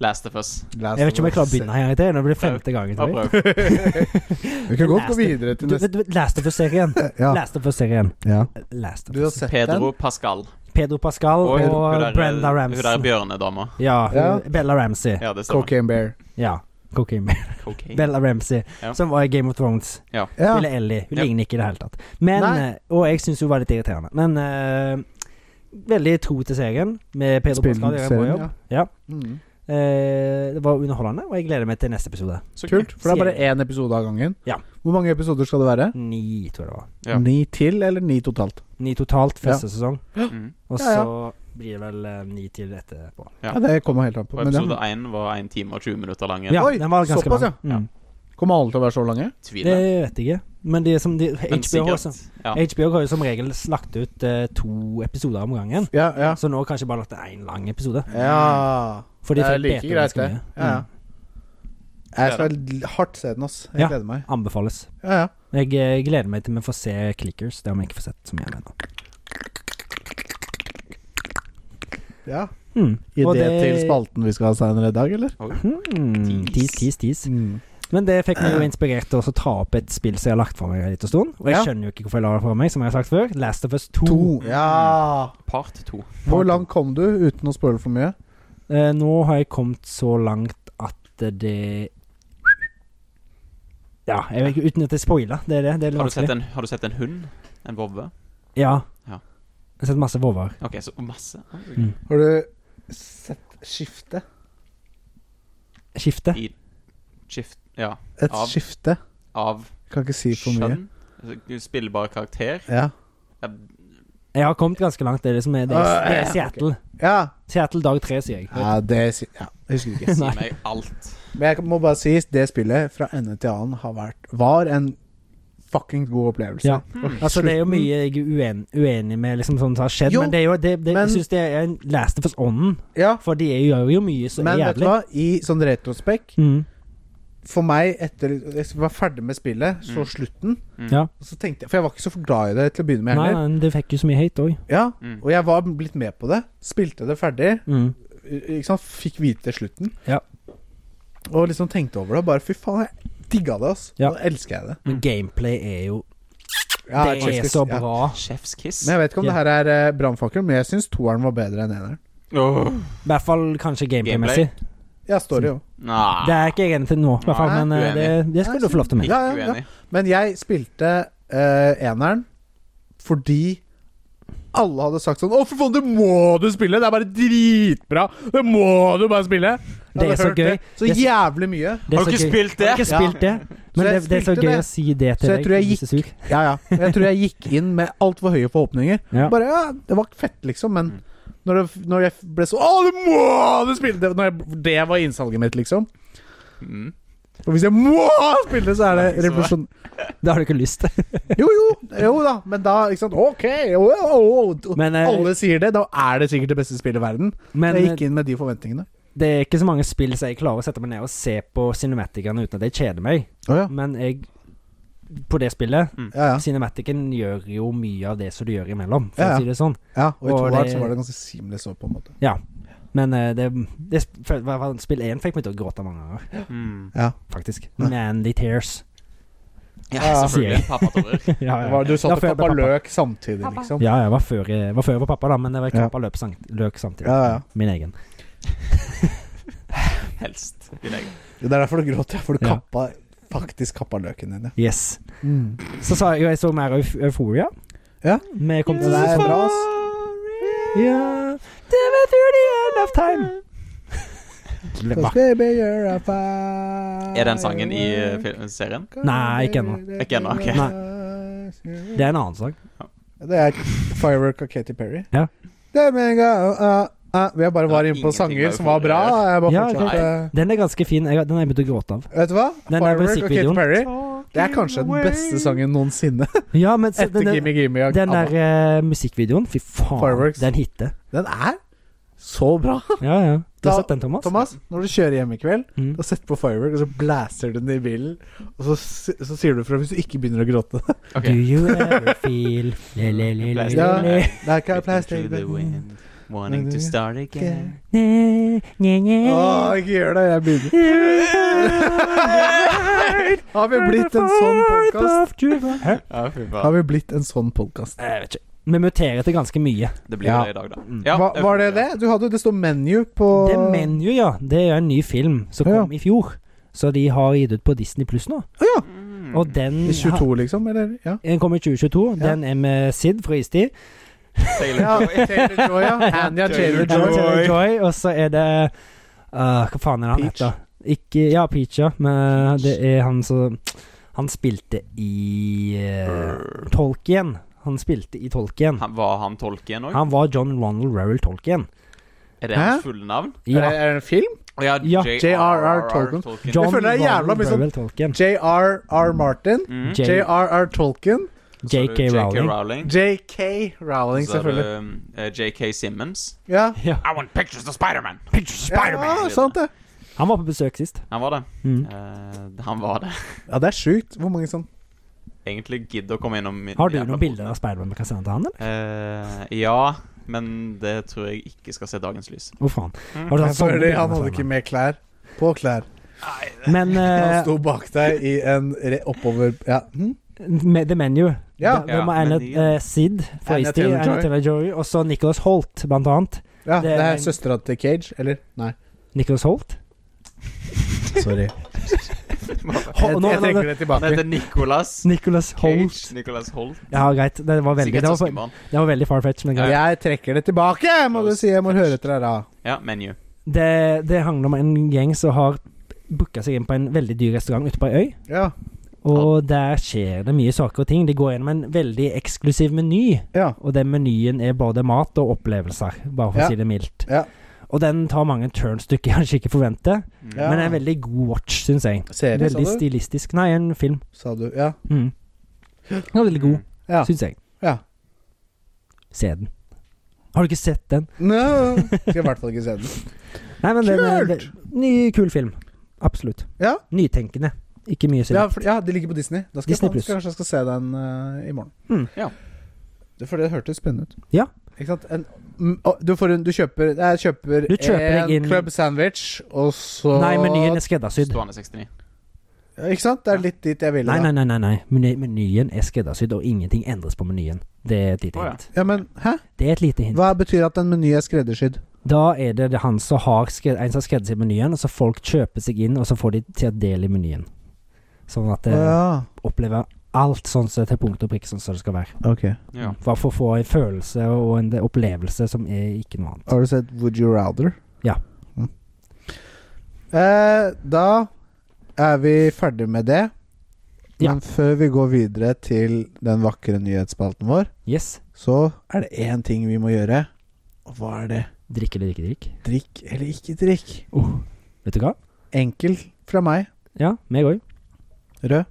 [SPEAKER 3] Last of us.
[SPEAKER 2] Jeg vet ikke om jeg klarer å begynne her. Det blir det
[SPEAKER 3] Prøv.
[SPEAKER 2] femte gangen.
[SPEAKER 3] Ja,
[SPEAKER 2] tror jeg.
[SPEAKER 3] prøv.
[SPEAKER 1] Vi kan godt gå
[SPEAKER 2] Last-
[SPEAKER 1] videre til
[SPEAKER 2] Du,
[SPEAKER 1] neste.
[SPEAKER 2] du, du, Last of Us-serien.
[SPEAKER 1] Ja.
[SPEAKER 2] Last of Us-serien.
[SPEAKER 1] ja.
[SPEAKER 2] Last of
[SPEAKER 1] Du har
[SPEAKER 2] Us.
[SPEAKER 1] sett
[SPEAKER 3] Pedro Pascal.
[SPEAKER 2] Pedro Pascal og,
[SPEAKER 3] Og, hun, hun der,
[SPEAKER 2] Brenda
[SPEAKER 3] Hun der
[SPEAKER 2] Ramsey.
[SPEAKER 3] bjørnedama.
[SPEAKER 2] Ja, hun,
[SPEAKER 1] Ja.
[SPEAKER 2] Bella Ramsey.
[SPEAKER 3] Ja, det
[SPEAKER 1] den?
[SPEAKER 3] stemmer.
[SPEAKER 1] Cocaine Bear.
[SPEAKER 2] Ja. Cocaine.
[SPEAKER 3] Cocaine.
[SPEAKER 2] Bella Ramsey,
[SPEAKER 3] Ja.
[SPEAKER 2] som var i Game of Thrones.
[SPEAKER 1] Ja.
[SPEAKER 2] Eller Ellie. Hun
[SPEAKER 3] Ja.
[SPEAKER 2] ligner ikke i det hele tatt. Men,
[SPEAKER 1] Nei.
[SPEAKER 2] eh, og jeg syns hun var litt irriterende. Men eh, veldig tro til serien. Med Pedro Pascal gjør en bra jobb.
[SPEAKER 1] ja.
[SPEAKER 2] Ja.
[SPEAKER 1] Mm.
[SPEAKER 2] Eh, det var underholdende, og jeg gleder meg til neste episode.
[SPEAKER 3] Så
[SPEAKER 1] Kult. For det er bare
[SPEAKER 2] Sier
[SPEAKER 1] én episode av gangen.
[SPEAKER 2] Ja.
[SPEAKER 1] Hvor mange episoder skal det være?
[SPEAKER 2] Ni, tror jeg det var.
[SPEAKER 3] Ja.
[SPEAKER 1] Ni til, eller ni totalt?
[SPEAKER 2] Ni totalt første sesong.
[SPEAKER 3] Mm.
[SPEAKER 2] Og
[SPEAKER 1] Ja, ja.
[SPEAKER 2] så blir det vel eh, ni til etterpå.
[SPEAKER 1] Ja,
[SPEAKER 3] Ja.
[SPEAKER 1] Det kommer helt an på.
[SPEAKER 3] Og
[SPEAKER 1] Men
[SPEAKER 3] episode
[SPEAKER 1] det
[SPEAKER 3] én var 1 time og 20 minutter lang.
[SPEAKER 2] Ja,
[SPEAKER 1] Oi,
[SPEAKER 2] den var ganske
[SPEAKER 1] såpass,
[SPEAKER 2] lang.
[SPEAKER 3] ja.
[SPEAKER 2] Mm.
[SPEAKER 1] kommer alle til å være så lange?
[SPEAKER 2] Det
[SPEAKER 3] Tviler.
[SPEAKER 2] vet jeg ikke. Men det er som de,
[SPEAKER 3] Men
[SPEAKER 2] HBO, har
[SPEAKER 3] sikkert.
[SPEAKER 2] som,
[SPEAKER 3] Ja.
[SPEAKER 2] HBO har jo som regel slakt ut eh, to episoder om gangen.
[SPEAKER 1] Ja. ja.
[SPEAKER 2] Så nå har kanskje bare lagt én lang episode.
[SPEAKER 3] Mm.
[SPEAKER 1] ja.
[SPEAKER 2] For de
[SPEAKER 1] Det er
[SPEAKER 2] fikk
[SPEAKER 1] like
[SPEAKER 2] bete
[SPEAKER 1] greit,
[SPEAKER 2] ganske
[SPEAKER 1] det.
[SPEAKER 2] mye.
[SPEAKER 1] Ja, ja.
[SPEAKER 2] Mm.
[SPEAKER 1] Jeg skal l- hardt se den, ass. Jeg
[SPEAKER 2] Ja.
[SPEAKER 1] gleder meg.
[SPEAKER 2] Anbefales.
[SPEAKER 1] Ja, ja.
[SPEAKER 2] Jeg eh, gleder meg til vi får se Clickers. Det har vi ikke fått sett så mye av ennå.
[SPEAKER 1] ja.
[SPEAKER 2] Mm.
[SPEAKER 1] Idé
[SPEAKER 2] og det-
[SPEAKER 1] til spalten vi skal ha senere i dag, eller?
[SPEAKER 2] Mm. Tis, tis, tis. Men det fikk meg jo inspirert til å ta opp et spill som jeg har lagt fra meg en liten stund. Og jeg
[SPEAKER 1] Ja.
[SPEAKER 2] skjønner jo ikke hvorfor jeg la det fra meg, som jeg har sagt før. Last of Us 2.
[SPEAKER 1] To. Ja.
[SPEAKER 3] Part to.
[SPEAKER 2] Mm.
[SPEAKER 1] Hvor langt kom du uten å spoile for mye?
[SPEAKER 2] Eh, nå har jeg kommet så langt at det Ja, jeg vet ikke, uten at jeg spoiler. Det er det. Det er litt
[SPEAKER 3] Har du, sett
[SPEAKER 2] vanskelig.
[SPEAKER 3] en, har du sett en hund? En vovve?
[SPEAKER 2] Ja.
[SPEAKER 3] Ja.
[SPEAKER 2] Jeg har sett masse vover.
[SPEAKER 3] OK, så masse.
[SPEAKER 2] Mm.
[SPEAKER 1] Har du sett skifte?
[SPEAKER 2] Skifte.
[SPEAKER 3] I skift Ja.
[SPEAKER 1] Et
[SPEAKER 3] Av-
[SPEAKER 1] skifte?
[SPEAKER 3] Av
[SPEAKER 1] Kan ikke si for mye.
[SPEAKER 3] skjønn? Altså, Spillbar karakter?
[SPEAKER 1] Ja.
[SPEAKER 2] Jeg har kommet ganske langt. Det er det som er Det er, det er Seattle.
[SPEAKER 1] Ja.
[SPEAKER 2] Seattle dag tre, sier jeg.
[SPEAKER 1] ja, det si- ja, Jeg husker ikke.
[SPEAKER 3] Si
[SPEAKER 2] Nei.
[SPEAKER 3] meg alt.
[SPEAKER 1] Men jeg må bare si det spillet fra ende til annen har vært, var en fucking god opplevelse.
[SPEAKER 2] Ja.
[SPEAKER 3] Mm.
[SPEAKER 1] Og
[SPEAKER 2] Altså, det er jo
[SPEAKER 1] slutten-
[SPEAKER 2] mye jeg er uen, uenig med, liksom, sånn som har skjedd,
[SPEAKER 1] Jo,
[SPEAKER 2] men det er jo det, det,
[SPEAKER 1] men-
[SPEAKER 2] Jeg syns det er en last of us-ånden,
[SPEAKER 1] Ja,
[SPEAKER 2] for de gjør jo mye så
[SPEAKER 1] men vet du
[SPEAKER 2] jævlig.
[SPEAKER 1] hva? I sånn retrospekt
[SPEAKER 2] Mm.
[SPEAKER 1] For meg, etter jeg var ferdig med spillet, så slutten
[SPEAKER 3] Mm.
[SPEAKER 2] Ja.
[SPEAKER 1] og så tenkte jeg, For jeg var ikke så glad i det til å begynne med
[SPEAKER 2] Nei,
[SPEAKER 1] heller.
[SPEAKER 2] nei, det fikk jo så mye hate òg.
[SPEAKER 1] Ja,
[SPEAKER 3] Mm.
[SPEAKER 1] Og jeg var blitt med på det. Spilte det ferdig.
[SPEAKER 2] Mm.
[SPEAKER 1] Ikke sant? Fikk vite slutten.
[SPEAKER 2] Ja.
[SPEAKER 1] Og liksom tenkte over det. og Bare fy faen, jeg digga det, ass.
[SPEAKER 2] Ja.
[SPEAKER 1] Nå elsker jeg det.
[SPEAKER 2] Men
[SPEAKER 3] Mm.
[SPEAKER 2] gameplay er jo
[SPEAKER 1] Ja, jeg
[SPEAKER 2] Det er
[SPEAKER 1] elsker-
[SPEAKER 2] så
[SPEAKER 1] ja.
[SPEAKER 2] bra.
[SPEAKER 3] Chef's kiss.
[SPEAKER 1] Men jeg vet ikke om
[SPEAKER 2] Ja.
[SPEAKER 1] det her er eh, brannfakkel, men jeg syns toeren var bedre enn eneren.
[SPEAKER 3] Åh.
[SPEAKER 2] I hvert fall kanskje gameplay-messig.
[SPEAKER 1] Ja, story òg.
[SPEAKER 3] Nei.
[SPEAKER 2] Det er ikke jeg enig til nå, i hvert fall,
[SPEAKER 1] Nei,
[SPEAKER 2] men eh, det, Mm. det skal du få lov til med.
[SPEAKER 1] Ja,
[SPEAKER 3] Ikke
[SPEAKER 1] ja, ja.
[SPEAKER 3] uenig.
[SPEAKER 1] Men jeg spilte eh, eneren fordi alle hadde sagt sånn Å, for faen, det må du spille! Det er bare dritbra! Det må du bare spille! Jeg
[SPEAKER 2] Det er
[SPEAKER 1] hadde
[SPEAKER 2] så
[SPEAKER 1] hørt det
[SPEAKER 2] gøy.
[SPEAKER 1] Så
[SPEAKER 2] Det er så-
[SPEAKER 1] jævlig mye.
[SPEAKER 2] Det er
[SPEAKER 3] Har du
[SPEAKER 2] så
[SPEAKER 3] ikke
[SPEAKER 2] gøy.
[SPEAKER 3] spilt
[SPEAKER 2] Har du
[SPEAKER 3] det?
[SPEAKER 2] ikke spilt det? Men
[SPEAKER 1] Så
[SPEAKER 2] det,
[SPEAKER 1] jeg
[SPEAKER 2] det er så
[SPEAKER 1] spilte
[SPEAKER 2] gøy
[SPEAKER 1] det.
[SPEAKER 2] å si det til
[SPEAKER 1] Så jeg
[SPEAKER 2] deg.
[SPEAKER 1] tror jeg
[SPEAKER 2] hvis du er sjuk.
[SPEAKER 1] Ja, ja. Men Jeg tror jeg gikk inn med altfor høye forhåpninger.
[SPEAKER 2] Ja. Mm.
[SPEAKER 1] Bare, ja, Det var fett, liksom, men når, det, når jeg ble så Å, det må du spille! Det, når jeg, det var innsalget mitt, liksom.
[SPEAKER 3] Mm.
[SPEAKER 1] Og hvis jeg må spille, det, så er det
[SPEAKER 3] Nei, så-
[SPEAKER 1] revolusjon...
[SPEAKER 2] Det har du ikke lyst til.
[SPEAKER 1] Jo, jo, jo da, men da ikke sant? OK! Jo, jo, jo.
[SPEAKER 2] Men, eh,
[SPEAKER 1] Alle sier det. Da er det sikkert det beste spillet i verden.
[SPEAKER 2] Men
[SPEAKER 1] jeg
[SPEAKER 2] eh,
[SPEAKER 1] gikk inn med de forventningene.
[SPEAKER 2] det er ikke så mange spill som jeg klarer å sette meg ned og se på cinematicene uten at jeg kjeder meg.
[SPEAKER 1] Å, ja.
[SPEAKER 2] Men jeg På det spillet
[SPEAKER 1] Ja, ja.
[SPEAKER 2] Cinematicen gjør jo mye av det som du gjør imellom, for
[SPEAKER 1] Ja, ja.
[SPEAKER 2] å si det sånn.
[SPEAKER 1] ja. Og i
[SPEAKER 2] Og
[SPEAKER 1] toeren
[SPEAKER 2] det-
[SPEAKER 1] så var det ganske seamless òg, på en måte.
[SPEAKER 2] Men eh, det, det sp- i hvert fall spill én fikk meg til å gråte mange ganger,
[SPEAKER 3] Mm.
[SPEAKER 2] faktisk.
[SPEAKER 1] Ja.
[SPEAKER 2] Manly tears.
[SPEAKER 3] Ja,
[SPEAKER 1] Ja,
[SPEAKER 3] selvfølgelig. Pappatårer.
[SPEAKER 2] ja, ja.
[SPEAKER 1] Det var- Du satt
[SPEAKER 2] Ja,
[SPEAKER 1] og
[SPEAKER 2] for jeg ble
[SPEAKER 1] pappa
[SPEAKER 2] pappa.
[SPEAKER 1] løk samtidig, liksom.
[SPEAKER 2] Ja, jeg var før jeg var, før jeg var pappa, da, men jeg var
[SPEAKER 1] Ja.
[SPEAKER 2] kappa løp, sang- løk samtidig.
[SPEAKER 1] Ja, ja.
[SPEAKER 2] Min egen.
[SPEAKER 3] Helst. Din egen.
[SPEAKER 1] Det er derfor du gråter, for du
[SPEAKER 2] Ja.
[SPEAKER 1] kappa faktisk kappa løken din. Ja.
[SPEAKER 2] Yes. Så sa jeg jo jeg så mer euf Euphoria.
[SPEAKER 1] Ja.
[SPEAKER 2] Men jeg kom til
[SPEAKER 1] Det er bra, ass.
[SPEAKER 2] Ja Damn it, through the end of time. Hva?
[SPEAKER 1] Baby, you're a fire.
[SPEAKER 3] Er den sangen i eh, fil- serien?
[SPEAKER 2] Nei, ikke ennå.
[SPEAKER 3] Ikke ennå, ok.
[SPEAKER 2] Det er en annen sang.
[SPEAKER 1] Det er Firework av Katy Perry.
[SPEAKER 2] Ja.
[SPEAKER 1] There we go, uh, uh. Vi har bare var
[SPEAKER 3] Det er
[SPEAKER 1] inne på
[SPEAKER 3] ingenting
[SPEAKER 1] sanger
[SPEAKER 3] med
[SPEAKER 1] som var bra. Jeg bare
[SPEAKER 2] Ja,
[SPEAKER 1] fortsatte.
[SPEAKER 2] Den er ganske fin. Jeg, har- den har jeg begynt å gråte av.
[SPEAKER 1] Vet du hva?
[SPEAKER 2] Den er
[SPEAKER 1] Firework av Katy
[SPEAKER 2] musikkvideoen.
[SPEAKER 1] Perry. Det er kanskje den beste sangen noensinne.
[SPEAKER 2] Ja, men så,
[SPEAKER 1] Etter
[SPEAKER 2] den, den,
[SPEAKER 1] Gimme Gimme. og
[SPEAKER 2] den
[SPEAKER 1] ABBA.
[SPEAKER 2] der eh, musikkvideoen, fy faen,
[SPEAKER 1] Fireworks.
[SPEAKER 2] den hitter.
[SPEAKER 1] Den er så bra.
[SPEAKER 2] Ja, ja. Du har
[SPEAKER 1] Da-
[SPEAKER 2] sett den, Thomas?
[SPEAKER 1] Thomas, når du kjører hjem i kveld,
[SPEAKER 2] Mm.
[SPEAKER 1] da setter du på Firework, og så blaster du den i bilen, og så, s- så sier du fra hvis du ikke begynner å gråte.
[SPEAKER 3] Ok.
[SPEAKER 2] Do you ever feel le, le, le, le,
[SPEAKER 3] Plastic.
[SPEAKER 1] Ja.
[SPEAKER 2] le, le.
[SPEAKER 1] Like a
[SPEAKER 3] Through
[SPEAKER 1] plastic mm.
[SPEAKER 3] the
[SPEAKER 1] bag.
[SPEAKER 3] wind, wanting to start again.
[SPEAKER 2] Ne, ne, ne.
[SPEAKER 1] Å, ikke gjør det. Jeg begynner. Har vi blitt en sånn podkast?
[SPEAKER 2] Hæ?
[SPEAKER 3] Ja, fy
[SPEAKER 1] Har
[SPEAKER 3] faen.
[SPEAKER 1] vi blitt en sånn podkast?
[SPEAKER 2] Jeg vet ikke. Vi muterer til ganske mye.
[SPEAKER 3] Det blir
[SPEAKER 1] Ja.
[SPEAKER 3] det i dag, da.
[SPEAKER 2] Mm.
[SPEAKER 3] Ja,
[SPEAKER 1] Hva, var det det? Du hadde, det står menu på
[SPEAKER 2] Det Menu, ja. Det er en ny film som
[SPEAKER 1] Ja.
[SPEAKER 2] kom i fjor. Så de har gitt ut på Disney Pluss nå.
[SPEAKER 3] Mm.
[SPEAKER 2] Og den
[SPEAKER 1] I 22, liksom? Eller? Ja.
[SPEAKER 2] Den kom i 2022.
[SPEAKER 1] Ja.
[SPEAKER 2] Den er med Sid fra Istid.
[SPEAKER 3] Taylor
[SPEAKER 1] ja
[SPEAKER 3] Joy.
[SPEAKER 1] Taylor Joy, ja. Anja Taylor
[SPEAKER 2] Ja,
[SPEAKER 1] Joy.
[SPEAKER 2] Taylor Joy. Og så er det øh, Hva faen er han
[SPEAKER 1] Peach.
[SPEAKER 2] heter? Ikke, ja, Peach, ja. Men eh, det er han som Han spilte i uh, Tolkien. Han spilte i Tolkien.
[SPEAKER 3] Han- Var han tolken òg?
[SPEAKER 2] Han var John Ronald Rowell Tolkien.
[SPEAKER 3] Er det
[SPEAKER 1] Hæ?
[SPEAKER 3] hans fulle navn?
[SPEAKER 1] Er
[SPEAKER 2] Ja.
[SPEAKER 1] det- er det en film?
[SPEAKER 3] Å ja,
[SPEAKER 2] Ja.
[SPEAKER 1] J.R.R. Tolkien.
[SPEAKER 2] John
[SPEAKER 1] Eh, Jeg føler det er jævla
[SPEAKER 2] Ronald
[SPEAKER 1] mye sånn-
[SPEAKER 2] Rowell Tolkien.
[SPEAKER 1] J.R.R. Martin.
[SPEAKER 3] Mm.
[SPEAKER 2] J-
[SPEAKER 1] J.R.R. Tolkien.
[SPEAKER 3] Så er det
[SPEAKER 2] JK Rowling.
[SPEAKER 3] Rowling.
[SPEAKER 1] J.K. Rowling,
[SPEAKER 3] Så er det
[SPEAKER 1] selvfølgelig.
[SPEAKER 3] um, eh, JK Simmons.
[SPEAKER 1] Ja.
[SPEAKER 2] Ja.
[SPEAKER 3] I want pictures of Spiderman!
[SPEAKER 1] ja, sant det.
[SPEAKER 2] Han var på besøk sist.
[SPEAKER 3] Han var det.
[SPEAKER 2] Mm.
[SPEAKER 3] Eh, han var det.
[SPEAKER 1] Ja, det er sjukt hvor mange sånn
[SPEAKER 3] Egentlig gidder å komme innom min
[SPEAKER 2] Har du
[SPEAKER 3] jævla
[SPEAKER 2] noen
[SPEAKER 3] bot.
[SPEAKER 2] bilder av Spiderman vi kan sende til han, eller?
[SPEAKER 3] Eh, ja, men det tror jeg ikke skal se dagens lys.
[SPEAKER 2] Hvor faen?
[SPEAKER 3] Mm.
[SPEAKER 2] Har du tatt sånne
[SPEAKER 1] Fordi
[SPEAKER 2] bilder
[SPEAKER 1] han
[SPEAKER 2] av
[SPEAKER 1] hadde
[SPEAKER 2] Spiderman?
[SPEAKER 1] ikke med klær. På klær.
[SPEAKER 2] Men
[SPEAKER 1] Han
[SPEAKER 2] eh,
[SPEAKER 1] sto bak deg i en re oppover... Ja. Hm?
[SPEAKER 2] med The Menu
[SPEAKER 1] Ja.
[SPEAKER 2] da- Hvem er
[SPEAKER 3] Ja,
[SPEAKER 2] Anna,
[SPEAKER 3] menyen.
[SPEAKER 2] eh, Sid Feisty,
[SPEAKER 1] Taylor-Joy.
[SPEAKER 2] Anna Taylor-Joy, og så Nicholas Holt, blant annet.
[SPEAKER 1] ja, det
[SPEAKER 2] det er
[SPEAKER 1] er
[SPEAKER 2] en-
[SPEAKER 1] søstera til Cage, eller? Nei,
[SPEAKER 2] Nicholas Holt?
[SPEAKER 1] sorry. Jeg,
[SPEAKER 2] nå-
[SPEAKER 1] jeg
[SPEAKER 2] nå-
[SPEAKER 1] trekker det
[SPEAKER 3] Han
[SPEAKER 1] tilbake.
[SPEAKER 3] heter Nicholas
[SPEAKER 2] Nicholas Holt.
[SPEAKER 3] Cage. Nicholas Holt.
[SPEAKER 2] Ja, greit. Det var veldig, det
[SPEAKER 3] Sikkert
[SPEAKER 2] var, for-
[SPEAKER 3] søskenbarn.
[SPEAKER 2] det var veldig far-fetched, men greit.
[SPEAKER 1] Jeg trekker det tilbake, må du si. Jeg må høre etter deg, da.
[SPEAKER 3] Ja, menu.
[SPEAKER 2] Det, det handler om en gjeng som har booka seg inn på en veldig dyr restaurant ute på ei øy.
[SPEAKER 1] Ja.
[SPEAKER 2] Og der skjer det mye saker og ting. De går gjennom en veldig eksklusiv meny,
[SPEAKER 1] Ja.
[SPEAKER 2] og den menyen er både mat og opplevelser, bare for
[SPEAKER 1] Ja.
[SPEAKER 2] å si det mildt.
[SPEAKER 1] Ja.
[SPEAKER 2] Og den tar mange turns du kanskje ikke forventer,
[SPEAKER 3] Mm.
[SPEAKER 1] Ja.
[SPEAKER 2] men er en veldig god watch, syns jeg.
[SPEAKER 1] Serie,
[SPEAKER 2] Veldig
[SPEAKER 1] sa du?
[SPEAKER 2] stilistisk. Nei, en film.
[SPEAKER 1] Sa du. Ja.
[SPEAKER 2] Mm. Den var veldig god,
[SPEAKER 1] Mm. Ja.
[SPEAKER 2] syns jeg.
[SPEAKER 1] Ja.
[SPEAKER 2] Se den. Har du ikke sett den?
[SPEAKER 1] No. Skal i hvert fall ikke se den.
[SPEAKER 2] Nei, men den er
[SPEAKER 1] Kult!
[SPEAKER 2] ve- ny, kul film. Absolutt.
[SPEAKER 1] Ja.
[SPEAKER 2] Nytenkende. Ikke mye synd.
[SPEAKER 1] Ja, for, ja, de ligger på Disney. Da skal
[SPEAKER 2] Disney
[SPEAKER 1] jeg
[SPEAKER 2] Plus.
[SPEAKER 1] kanskje jeg skal se den eh, i morgen.
[SPEAKER 2] Mm.
[SPEAKER 3] Ja.
[SPEAKER 1] Det, for det hørtes spennende ut.
[SPEAKER 2] Ja.
[SPEAKER 1] Ikke sant? En, mm, å, du, får en, du kjøper Jeg kjøper,
[SPEAKER 2] Du kjøper
[SPEAKER 1] en
[SPEAKER 2] deg inn-
[SPEAKER 1] club sandwich, og så
[SPEAKER 2] Nei, menyen er skreddersydd.
[SPEAKER 3] Stående 69.
[SPEAKER 1] Ja, Ikke sant? Det er litt dit jeg ville.
[SPEAKER 2] Nei,
[SPEAKER 1] da.
[SPEAKER 2] nei, nei, nei, nei. Meny- menyen er skreddersydd, og ingenting endres på menyen. Det er et lite
[SPEAKER 3] Å, ja.
[SPEAKER 2] hint.
[SPEAKER 1] Ja, men hæ?
[SPEAKER 2] Det er et lite hint.
[SPEAKER 1] Hva betyr at en meny er skreddersydd?
[SPEAKER 2] Da er det det han som har skred, en som har skreddersydd menyen, og så folk kjøper seg inn, og så får de til å dele i menyen. Sånn at det
[SPEAKER 1] Ja.
[SPEAKER 2] opplever alt sånn som til punkt og prikk, sånn som det skal være.
[SPEAKER 1] Ok.
[SPEAKER 3] Ja.
[SPEAKER 2] Bare for å få en følelse og en eh, opplevelse som er ikke noe annet.
[SPEAKER 1] Har du sett Would You Rather?
[SPEAKER 2] Ja.
[SPEAKER 1] Mm. Eh, da er vi ferdig med det.
[SPEAKER 2] Ja.
[SPEAKER 1] Men før vi går videre til den vakre nyhetsspalten vår,
[SPEAKER 2] Yes.
[SPEAKER 1] så er det én ting vi må gjøre. Og hva er det?
[SPEAKER 2] Drikke eller ikke drikke. Oh,
[SPEAKER 1] Drikk eller ikke drikk?
[SPEAKER 2] Vet du hva?
[SPEAKER 1] Enkel fra meg.
[SPEAKER 2] Ja, meg òg.
[SPEAKER 1] Rød.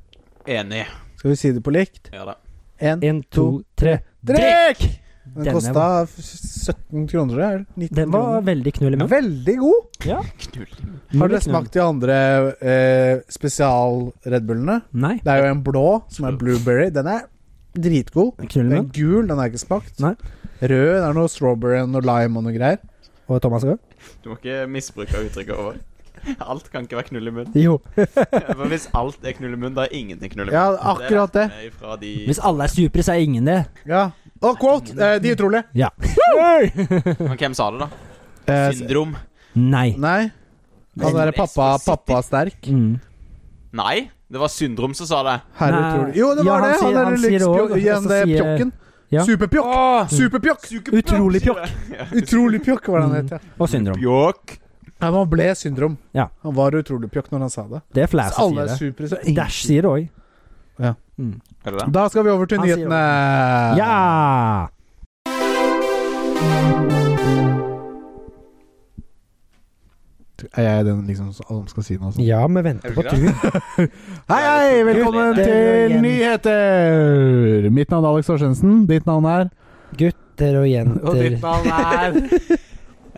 [SPEAKER 3] Enig.
[SPEAKER 1] Skal vi si det på likt?
[SPEAKER 3] Ja da.
[SPEAKER 1] Én.
[SPEAKER 2] Én, to, tre.
[SPEAKER 1] Drikk! Den
[SPEAKER 2] Denne
[SPEAKER 1] kosta 17 kroner, eller? 19
[SPEAKER 2] Den var
[SPEAKER 1] kroner.
[SPEAKER 2] veldig knull i munnen.
[SPEAKER 1] Veldig god.
[SPEAKER 3] Knull.
[SPEAKER 1] Har dere smakt de andre eh, spesial-redbullene?
[SPEAKER 2] Nei.
[SPEAKER 1] Det er jo en blå som er blueberry. Den er dritgod.
[SPEAKER 2] Knull i
[SPEAKER 1] Den er
[SPEAKER 2] munnen.
[SPEAKER 1] gul, den er ikke smakt.
[SPEAKER 2] Nei.
[SPEAKER 1] Rød, det er noe strawberry og noe lime og noe greier.
[SPEAKER 2] Og Thomas òg?
[SPEAKER 3] Du må ikke misbruke uttrykket over. Alt kan ikke være knull i munn.
[SPEAKER 2] Jo.
[SPEAKER 3] For hvis alt er knull i munn, da er ingenting knull i munn.
[SPEAKER 1] Ja, akkurat det.
[SPEAKER 3] er Fra de
[SPEAKER 2] Hvis alle er supre, så er ingen det.
[SPEAKER 1] Ja. Og quote! Eh, de utrolige.
[SPEAKER 2] Ja.
[SPEAKER 3] Men hvem sa det, da?
[SPEAKER 1] Eh, s-
[SPEAKER 3] Syndrom?
[SPEAKER 2] Nei.
[SPEAKER 1] nei. Han derre pappa, pappa sterk.
[SPEAKER 2] Mm.
[SPEAKER 3] Nei, det var Syndrom som sa det.
[SPEAKER 1] Herre
[SPEAKER 2] Nei.
[SPEAKER 1] utrolig. Jo, det
[SPEAKER 2] Ja,
[SPEAKER 1] var
[SPEAKER 2] han
[SPEAKER 1] det!
[SPEAKER 2] sier- han
[SPEAKER 1] Han
[SPEAKER 2] sier det også, og
[SPEAKER 1] derre
[SPEAKER 2] så
[SPEAKER 1] der
[SPEAKER 2] sier-
[SPEAKER 1] pjokken.
[SPEAKER 2] Ja.
[SPEAKER 1] Superpjokk! Superpjokk!
[SPEAKER 2] Utrolig pjokk.
[SPEAKER 3] Ja.
[SPEAKER 1] Utrolig pjokk, var det han het. Ja.
[SPEAKER 2] Og syndrom.
[SPEAKER 3] Pjokk.
[SPEAKER 1] Ja, men han ble syndrom.
[SPEAKER 2] Ja.
[SPEAKER 1] Han var utrolig pjokk når han sa det.
[SPEAKER 2] Det er flere
[SPEAKER 1] Så
[SPEAKER 2] som
[SPEAKER 1] alle er
[SPEAKER 2] sier det.
[SPEAKER 1] supre, så ingen
[SPEAKER 2] Dash sier det òg.
[SPEAKER 3] Er det det?
[SPEAKER 1] Da skal vi over til
[SPEAKER 2] Han sier det.
[SPEAKER 1] nyhetene.
[SPEAKER 2] Ja!
[SPEAKER 1] Er jeg den liksom som alle skal si noe sånt?
[SPEAKER 2] Ja, vi venter
[SPEAKER 3] Er du ikke det?
[SPEAKER 1] Hei, hei! Velkommen
[SPEAKER 3] Gutter.
[SPEAKER 1] til nyheter! Mitt navn er Alex Torstensen. Ditt navn er
[SPEAKER 2] Gutter og jenter.
[SPEAKER 1] navn er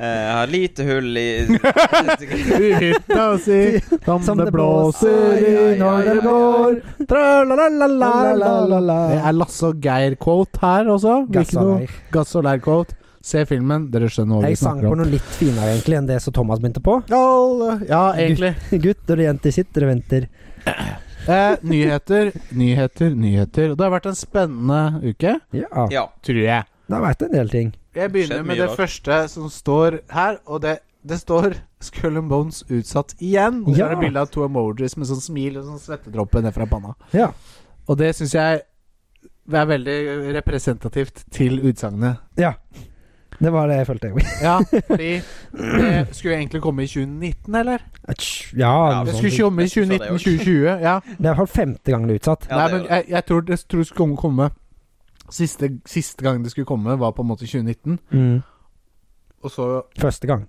[SPEAKER 3] Eh, Jeg har lite hull i
[SPEAKER 1] I hytta si som,
[SPEAKER 2] Som
[SPEAKER 1] det
[SPEAKER 2] det
[SPEAKER 1] blåser
[SPEAKER 2] blåser,
[SPEAKER 1] i
[SPEAKER 3] ja,
[SPEAKER 1] når
[SPEAKER 3] ja,
[SPEAKER 1] det
[SPEAKER 3] ja,
[SPEAKER 1] blår. Tra-la-la-la-la-la-la-la.
[SPEAKER 2] La-la-la-la-la.
[SPEAKER 1] Det er Lasse og Geir-quote her også.
[SPEAKER 2] Gass
[SPEAKER 1] Ikke
[SPEAKER 2] og
[SPEAKER 1] noe
[SPEAKER 2] leir.
[SPEAKER 1] Gass og Leir-quote. Se filmen, dere skjønner hva vi
[SPEAKER 2] Jeg sang
[SPEAKER 1] snakker
[SPEAKER 2] på
[SPEAKER 1] om.
[SPEAKER 2] noe litt finere egentlig enn det som Thomas begynte på.
[SPEAKER 1] All- Ja, egentlig.
[SPEAKER 2] Gutter og jenter sitter og venter.
[SPEAKER 1] Eh, nyheter, nyheter, nyheter. Og det har vært en spennende uke,
[SPEAKER 2] Ja.
[SPEAKER 3] Ja.
[SPEAKER 1] tror jeg.
[SPEAKER 2] Det har vært en del ting.
[SPEAKER 1] Jeg
[SPEAKER 3] Skjedd
[SPEAKER 1] begynner med
[SPEAKER 3] mye
[SPEAKER 1] det
[SPEAKER 3] rart.
[SPEAKER 1] første som står her, og det, det står Skull and Bones utsatt igjen. Og så
[SPEAKER 2] Ja.
[SPEAKER 1] er det bilde av to emojis med sånn smil og sånn svettedråpe ned fra panna.
[SPEAKER 2] Ja.
[SPEAKER 1] Og det syns jeg er veldig representativt til utsagnet.
[SPEAKER 2] Det var det jeg følte. jeg.
[SPEAKER 1] Ja, fordi det skulle egentlig komme i 2019, eller?
[SPEAKER 2] Atsch, Ja,
[SPEAKER 3] Ja,
[SPEAKER 1] Det
[SPEAKER 2] sånn.
[SPEAKER 1] skulle ikke komme i
[SPEAKER 3] Jeg synes det
[SPEAKER 1] 2019-2020. Ja.
[SPEAKER 2] det er i hvert fall femte gangen det er utsatt.
[SPEAKER 3] Ja,
[SPEAKER 1] Nei,
[SPEAKER 3] det
[SPEAKER 1] men
[SPEAKER 3] gjør det.
[SPEAKER 1] jeg, jeg tror det tror det skulle komme Siste, siste gang det skulle komme, var på en måte 2019.
[SPEAKER 2] Mm.
[SPEAKER 1] Og så
[SPEAKER 2] Første gang.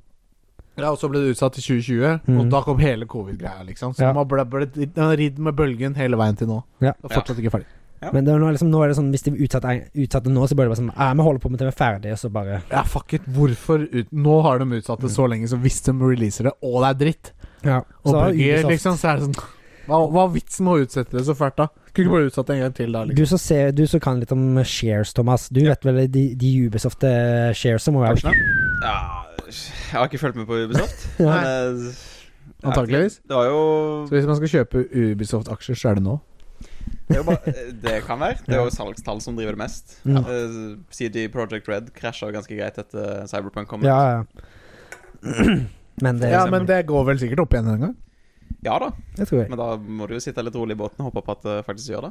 [SPEAKER 1] Ja, og så ble det utsatt til 2020, og
[SPEAKER 2] Mm.
[SPEAKER 1] da kom hele covid-greia, liksom. Så
[SPEAKER 2] Ja.
[SPEAKER 1] man ble, ble, den har ridd med bølgen hele veien til nå.
[SPEAKER 2] Ja.
[SPEAKER 1] Og fortsatt ikke ferdig.
[SPEAKER 3] Ja.
[SPEAKER 2] Men det er nå, liksom, nå er det sånn hvis de utsatte, utsatte nå, så bør det være sånn Ja, vi holder på med til vi er ferdige, og så bare
[SPEAKER 1] Ja, fuck it. Hvorfor ut, Nå har de utsatt
[SPEAKER 2] Mm.
[SPEAKER 1] det så lenge, så hvis de releaser det, og det er dritt,
[SPEAKER 2] ja.
[SPEAKER 1] og
[SPEAKER 2] Så har
[SPEAKER 1] bugger,
[SPEAKER 2] Ubisoft-
[SPEAKER 1] liksom, så er det sånn Hva hva er vitsen med å utsette det så fælt, da? Kunne ikke bare utsatt det en gang til, da? liksom
[SPEAKER 2] Du som, ser, du som kan litt om shares, Thomas. Du vet vel de, de Ubisoft eh, shares som må være
[SPEAKER 3] Ja Jeg har ikke fulgt med på Ubisoft.
[SPEAKER 2] Ja.
[SPEAKER 3] Men eh,
[SPEAKER 1] Antakeligvis.
[SPEAKER 3] Det var jo
[SPEAKER 1] Så hvis man skal kjøpe Ubisoft-aksjer, så er det nå.
[SPEAKER 3] Det, er jo bare, det kan være. Det er jo salgstall som driver det mest.
[SPEAKER 1] Ja.
[SPEAKER 3] Eh, CD Project Red krasja jo ganske greit etter Cyberpunk kom.
[SPEAKER 2] Ja, ja. Men det liksom-
[SPEAKER 1] Ja, men det går vel sikkert opp igjen en gang.
[SPEAKER 3] Ja da,
[SPEAKER 2] Det tror jeg.
[SPEAKER 3] men da må du jo sitte litt rolig i båten og håpe på at det faktisk gjør det.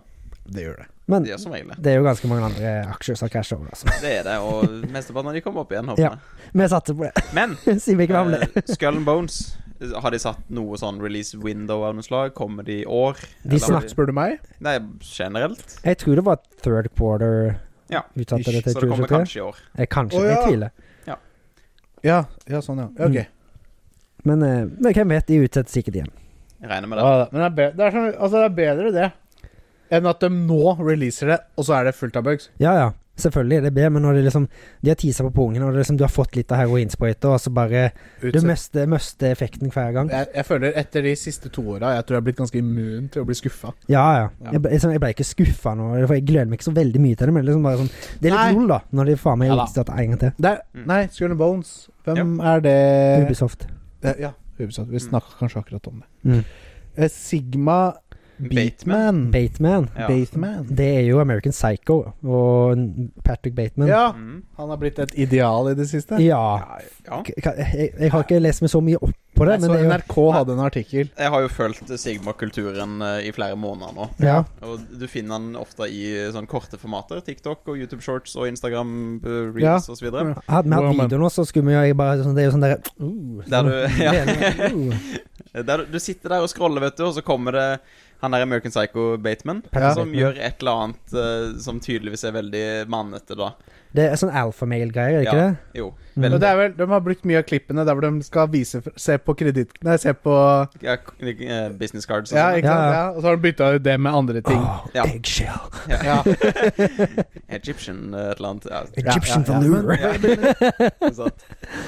[SPEAKER 1] Det gjør det.
[SPEAKER 2] Men
[SPEAKER 3] Det gjør som regel det.
[SPEAKER 2] det er jo ganske mange andre aksjer som krasjer over, altså.
[SPEAKER 3] Det er det, og mesteparten av de kommer opp igjen, håper
[SPEAKER 2] Ja.
[SPEAKER 3] jeg.
[SPEAKER 2] Vi satser på det,
[SPEAKER 3] Men
[SPEAKER 2] siden vi ikke var med det.
[SPEAKER 3] eh, Skull and Bones, eh, har de satt noe sånn release window av noe slag? Kommer de i år?
[SPEAKER 2] De
[SPEAKER 3] Eller har
[SPEAKER 2] snakker-
[SPEAKER 1] Spør du meg?
[SPEAKER 3] Nei, generelt.
[SPEAKER 2] Jeg tror det var third quarter
[SPEAKER 3] Ja.
[SPEAKER 2] utsatte det til
[SPEAKER 3] Så det
[SPEAKER 2] 2023.
[SPEAKER 3] kommer kanskje i år.
[SPEAKER 2] Eh, Kanskje.
[SPEAKER 1] Å, ja.
[SPEAKER 2] Jeg tviler.
[SPEAKER 1] Ja, ja sånn, ja. ja. Ok.
[SPEAKER 2] Men eh, men hvem vet, de utsetter sikkert igjen.
[SPEAKER 3] Jeg regner med det.
[SPEAKER 1] Ja, da. men det er, be- det, er sånn, altså, det er bedre det enn at de nå releaser det, og så er det fullt av bugs.
[SPEAKER 2] Ja, ja. Selvfølgelig, det er B, men når det liksom De har tisa på pungen, og det liksom, du har fått litt av heroinsprøyta, og så bare Du
[SPEAKER 1] Utsett.
[SPEAKER 2] mister, mister effekten hver gang.
[SPEAKER 1] Jeg, jeg føler etter de siste to åra Jeg tror jeg er blitt ganske immun til å bli skuffa.
[SPEAKER 2] Ja, ja.
[SPEAKER 1] Ja.
[SPEAKER 2] Jeg, ble- liksom, jeg ble ikke skuffa nå, for jeg gleder meg ikke så veldig mye til det, men liksom bare sånn Det er
[SPEAKER 1] Nei.
[SPEAKER 2] litt lol, da, når de faen meg
[SPEAKER 1] Ja da.
[SPEAKER 2] utsetter en gang til.
[SPEAKER 3] Mm.
[SPEAKER 1] Nei, Skull and Bones. Hvem er det
[SPEAKER 2] Ubisoft.
[SPEAKER 1] Eh, Ja, Ubisoft.
[SPEAKER 3] Mm.
[SPEAKER 1] Vi snakka kanskje akkurat om det.
[SPEAKER 2] Mm.
[SPEAKER 1] Eh, Sigma Bateman.
[SPEAKER 2] Bateman.
[SPEAKER 3] Ja.
[SPEAKER 1] Bateman.
[SPEAKER 2] Det er jo American Psycho og n- Patrick Bateman.
[SPEAKER 1] Ja,
[SPEAKER 3] Mm.
[SPEAKER 1] han har blitt et ideal i det siste.
[SPEAKER 2] Ja.
[SPEAKER 3] Ja, ja.
[SPEAKER 2] K- ka- Jeg, jeg har ikke lest meg så mye opp på det,
[SPEAKER 1] Jeg
[SPEAKER 2] men
[SPEAKER 1] så
[SPEAKER 2] det er jo
[SPEAKER 1] NRK hadde en artikkel.
[SPEAKER 3] Jeg har jo fulgt Sigma-kulturen eh, i flere måneder nå.
[SPEAKER 2] ja.
[SPEAKER 3] Og du finner den ofte i sånn korte formater. TikTok og YouTube Shorts og Instagram eh,
[SPEAKER 1] Ja.
[SPEAKER 3] Reels og osv. videre
[SPEAKER 2] Hadde vi hatt
[SPEAKER 1] Woman.
[SPEAKER 2] videoer nå, så skulle vi jo jeg bare sånn, Det er jo sånn derre uh,
[SPEAKER 3] Der du- ja.
[SPEAKER 2] Delen, uh.
[SPEAKER 3] Eh, Der, du- du sitter der og scroller, vet du, og så kommer det han der American Psycho Bateman,
[SPEAKER 1] Ja.
[SPEAKER 3] som gjør et eller annet eh, som tydeligvis er veldig mannete, da.
[SPEAKER 2] Det er sånn alfamale-greier, er det ikke
[SPEAKER 3] Ja.
[SPEAKER 2] det?
[SPEAKER 3] Jo.
[SPEAKER 2] Mm.
[SPEAKER 1] Og
[SPEAKER 3] Veldig.
[SPEAKER 1] det er vel, De har brukt mye av klippene der hvor de skal vise, se på kreditt... Nei, se på
[SPEAKER 3] Ja, k- eh, business cards og
[SPEAKER 1] Ja,
[SPEAKER 3] sånn.
[SPEAKER 1] ikke sant?
[SPEAKER 2] Ja, Ah, ja.
[SPEAKER 1] Ja, og så har de bytta ut det med andre ting.
[SPEAKER 2] Åh,
[SPEAKER 3] Ja.
[SPEAKER 2] Eggshell.
[SPEAKER 1] Ja.
[SPEAKER 3] Egyptian eh, et eller annet. Ja,
[SPEAKER 2] Egyptian
[SPEAKER 1] Ja, ja, ja.
[SPEAKER 2] velour.
[SPEAKER 3] sant.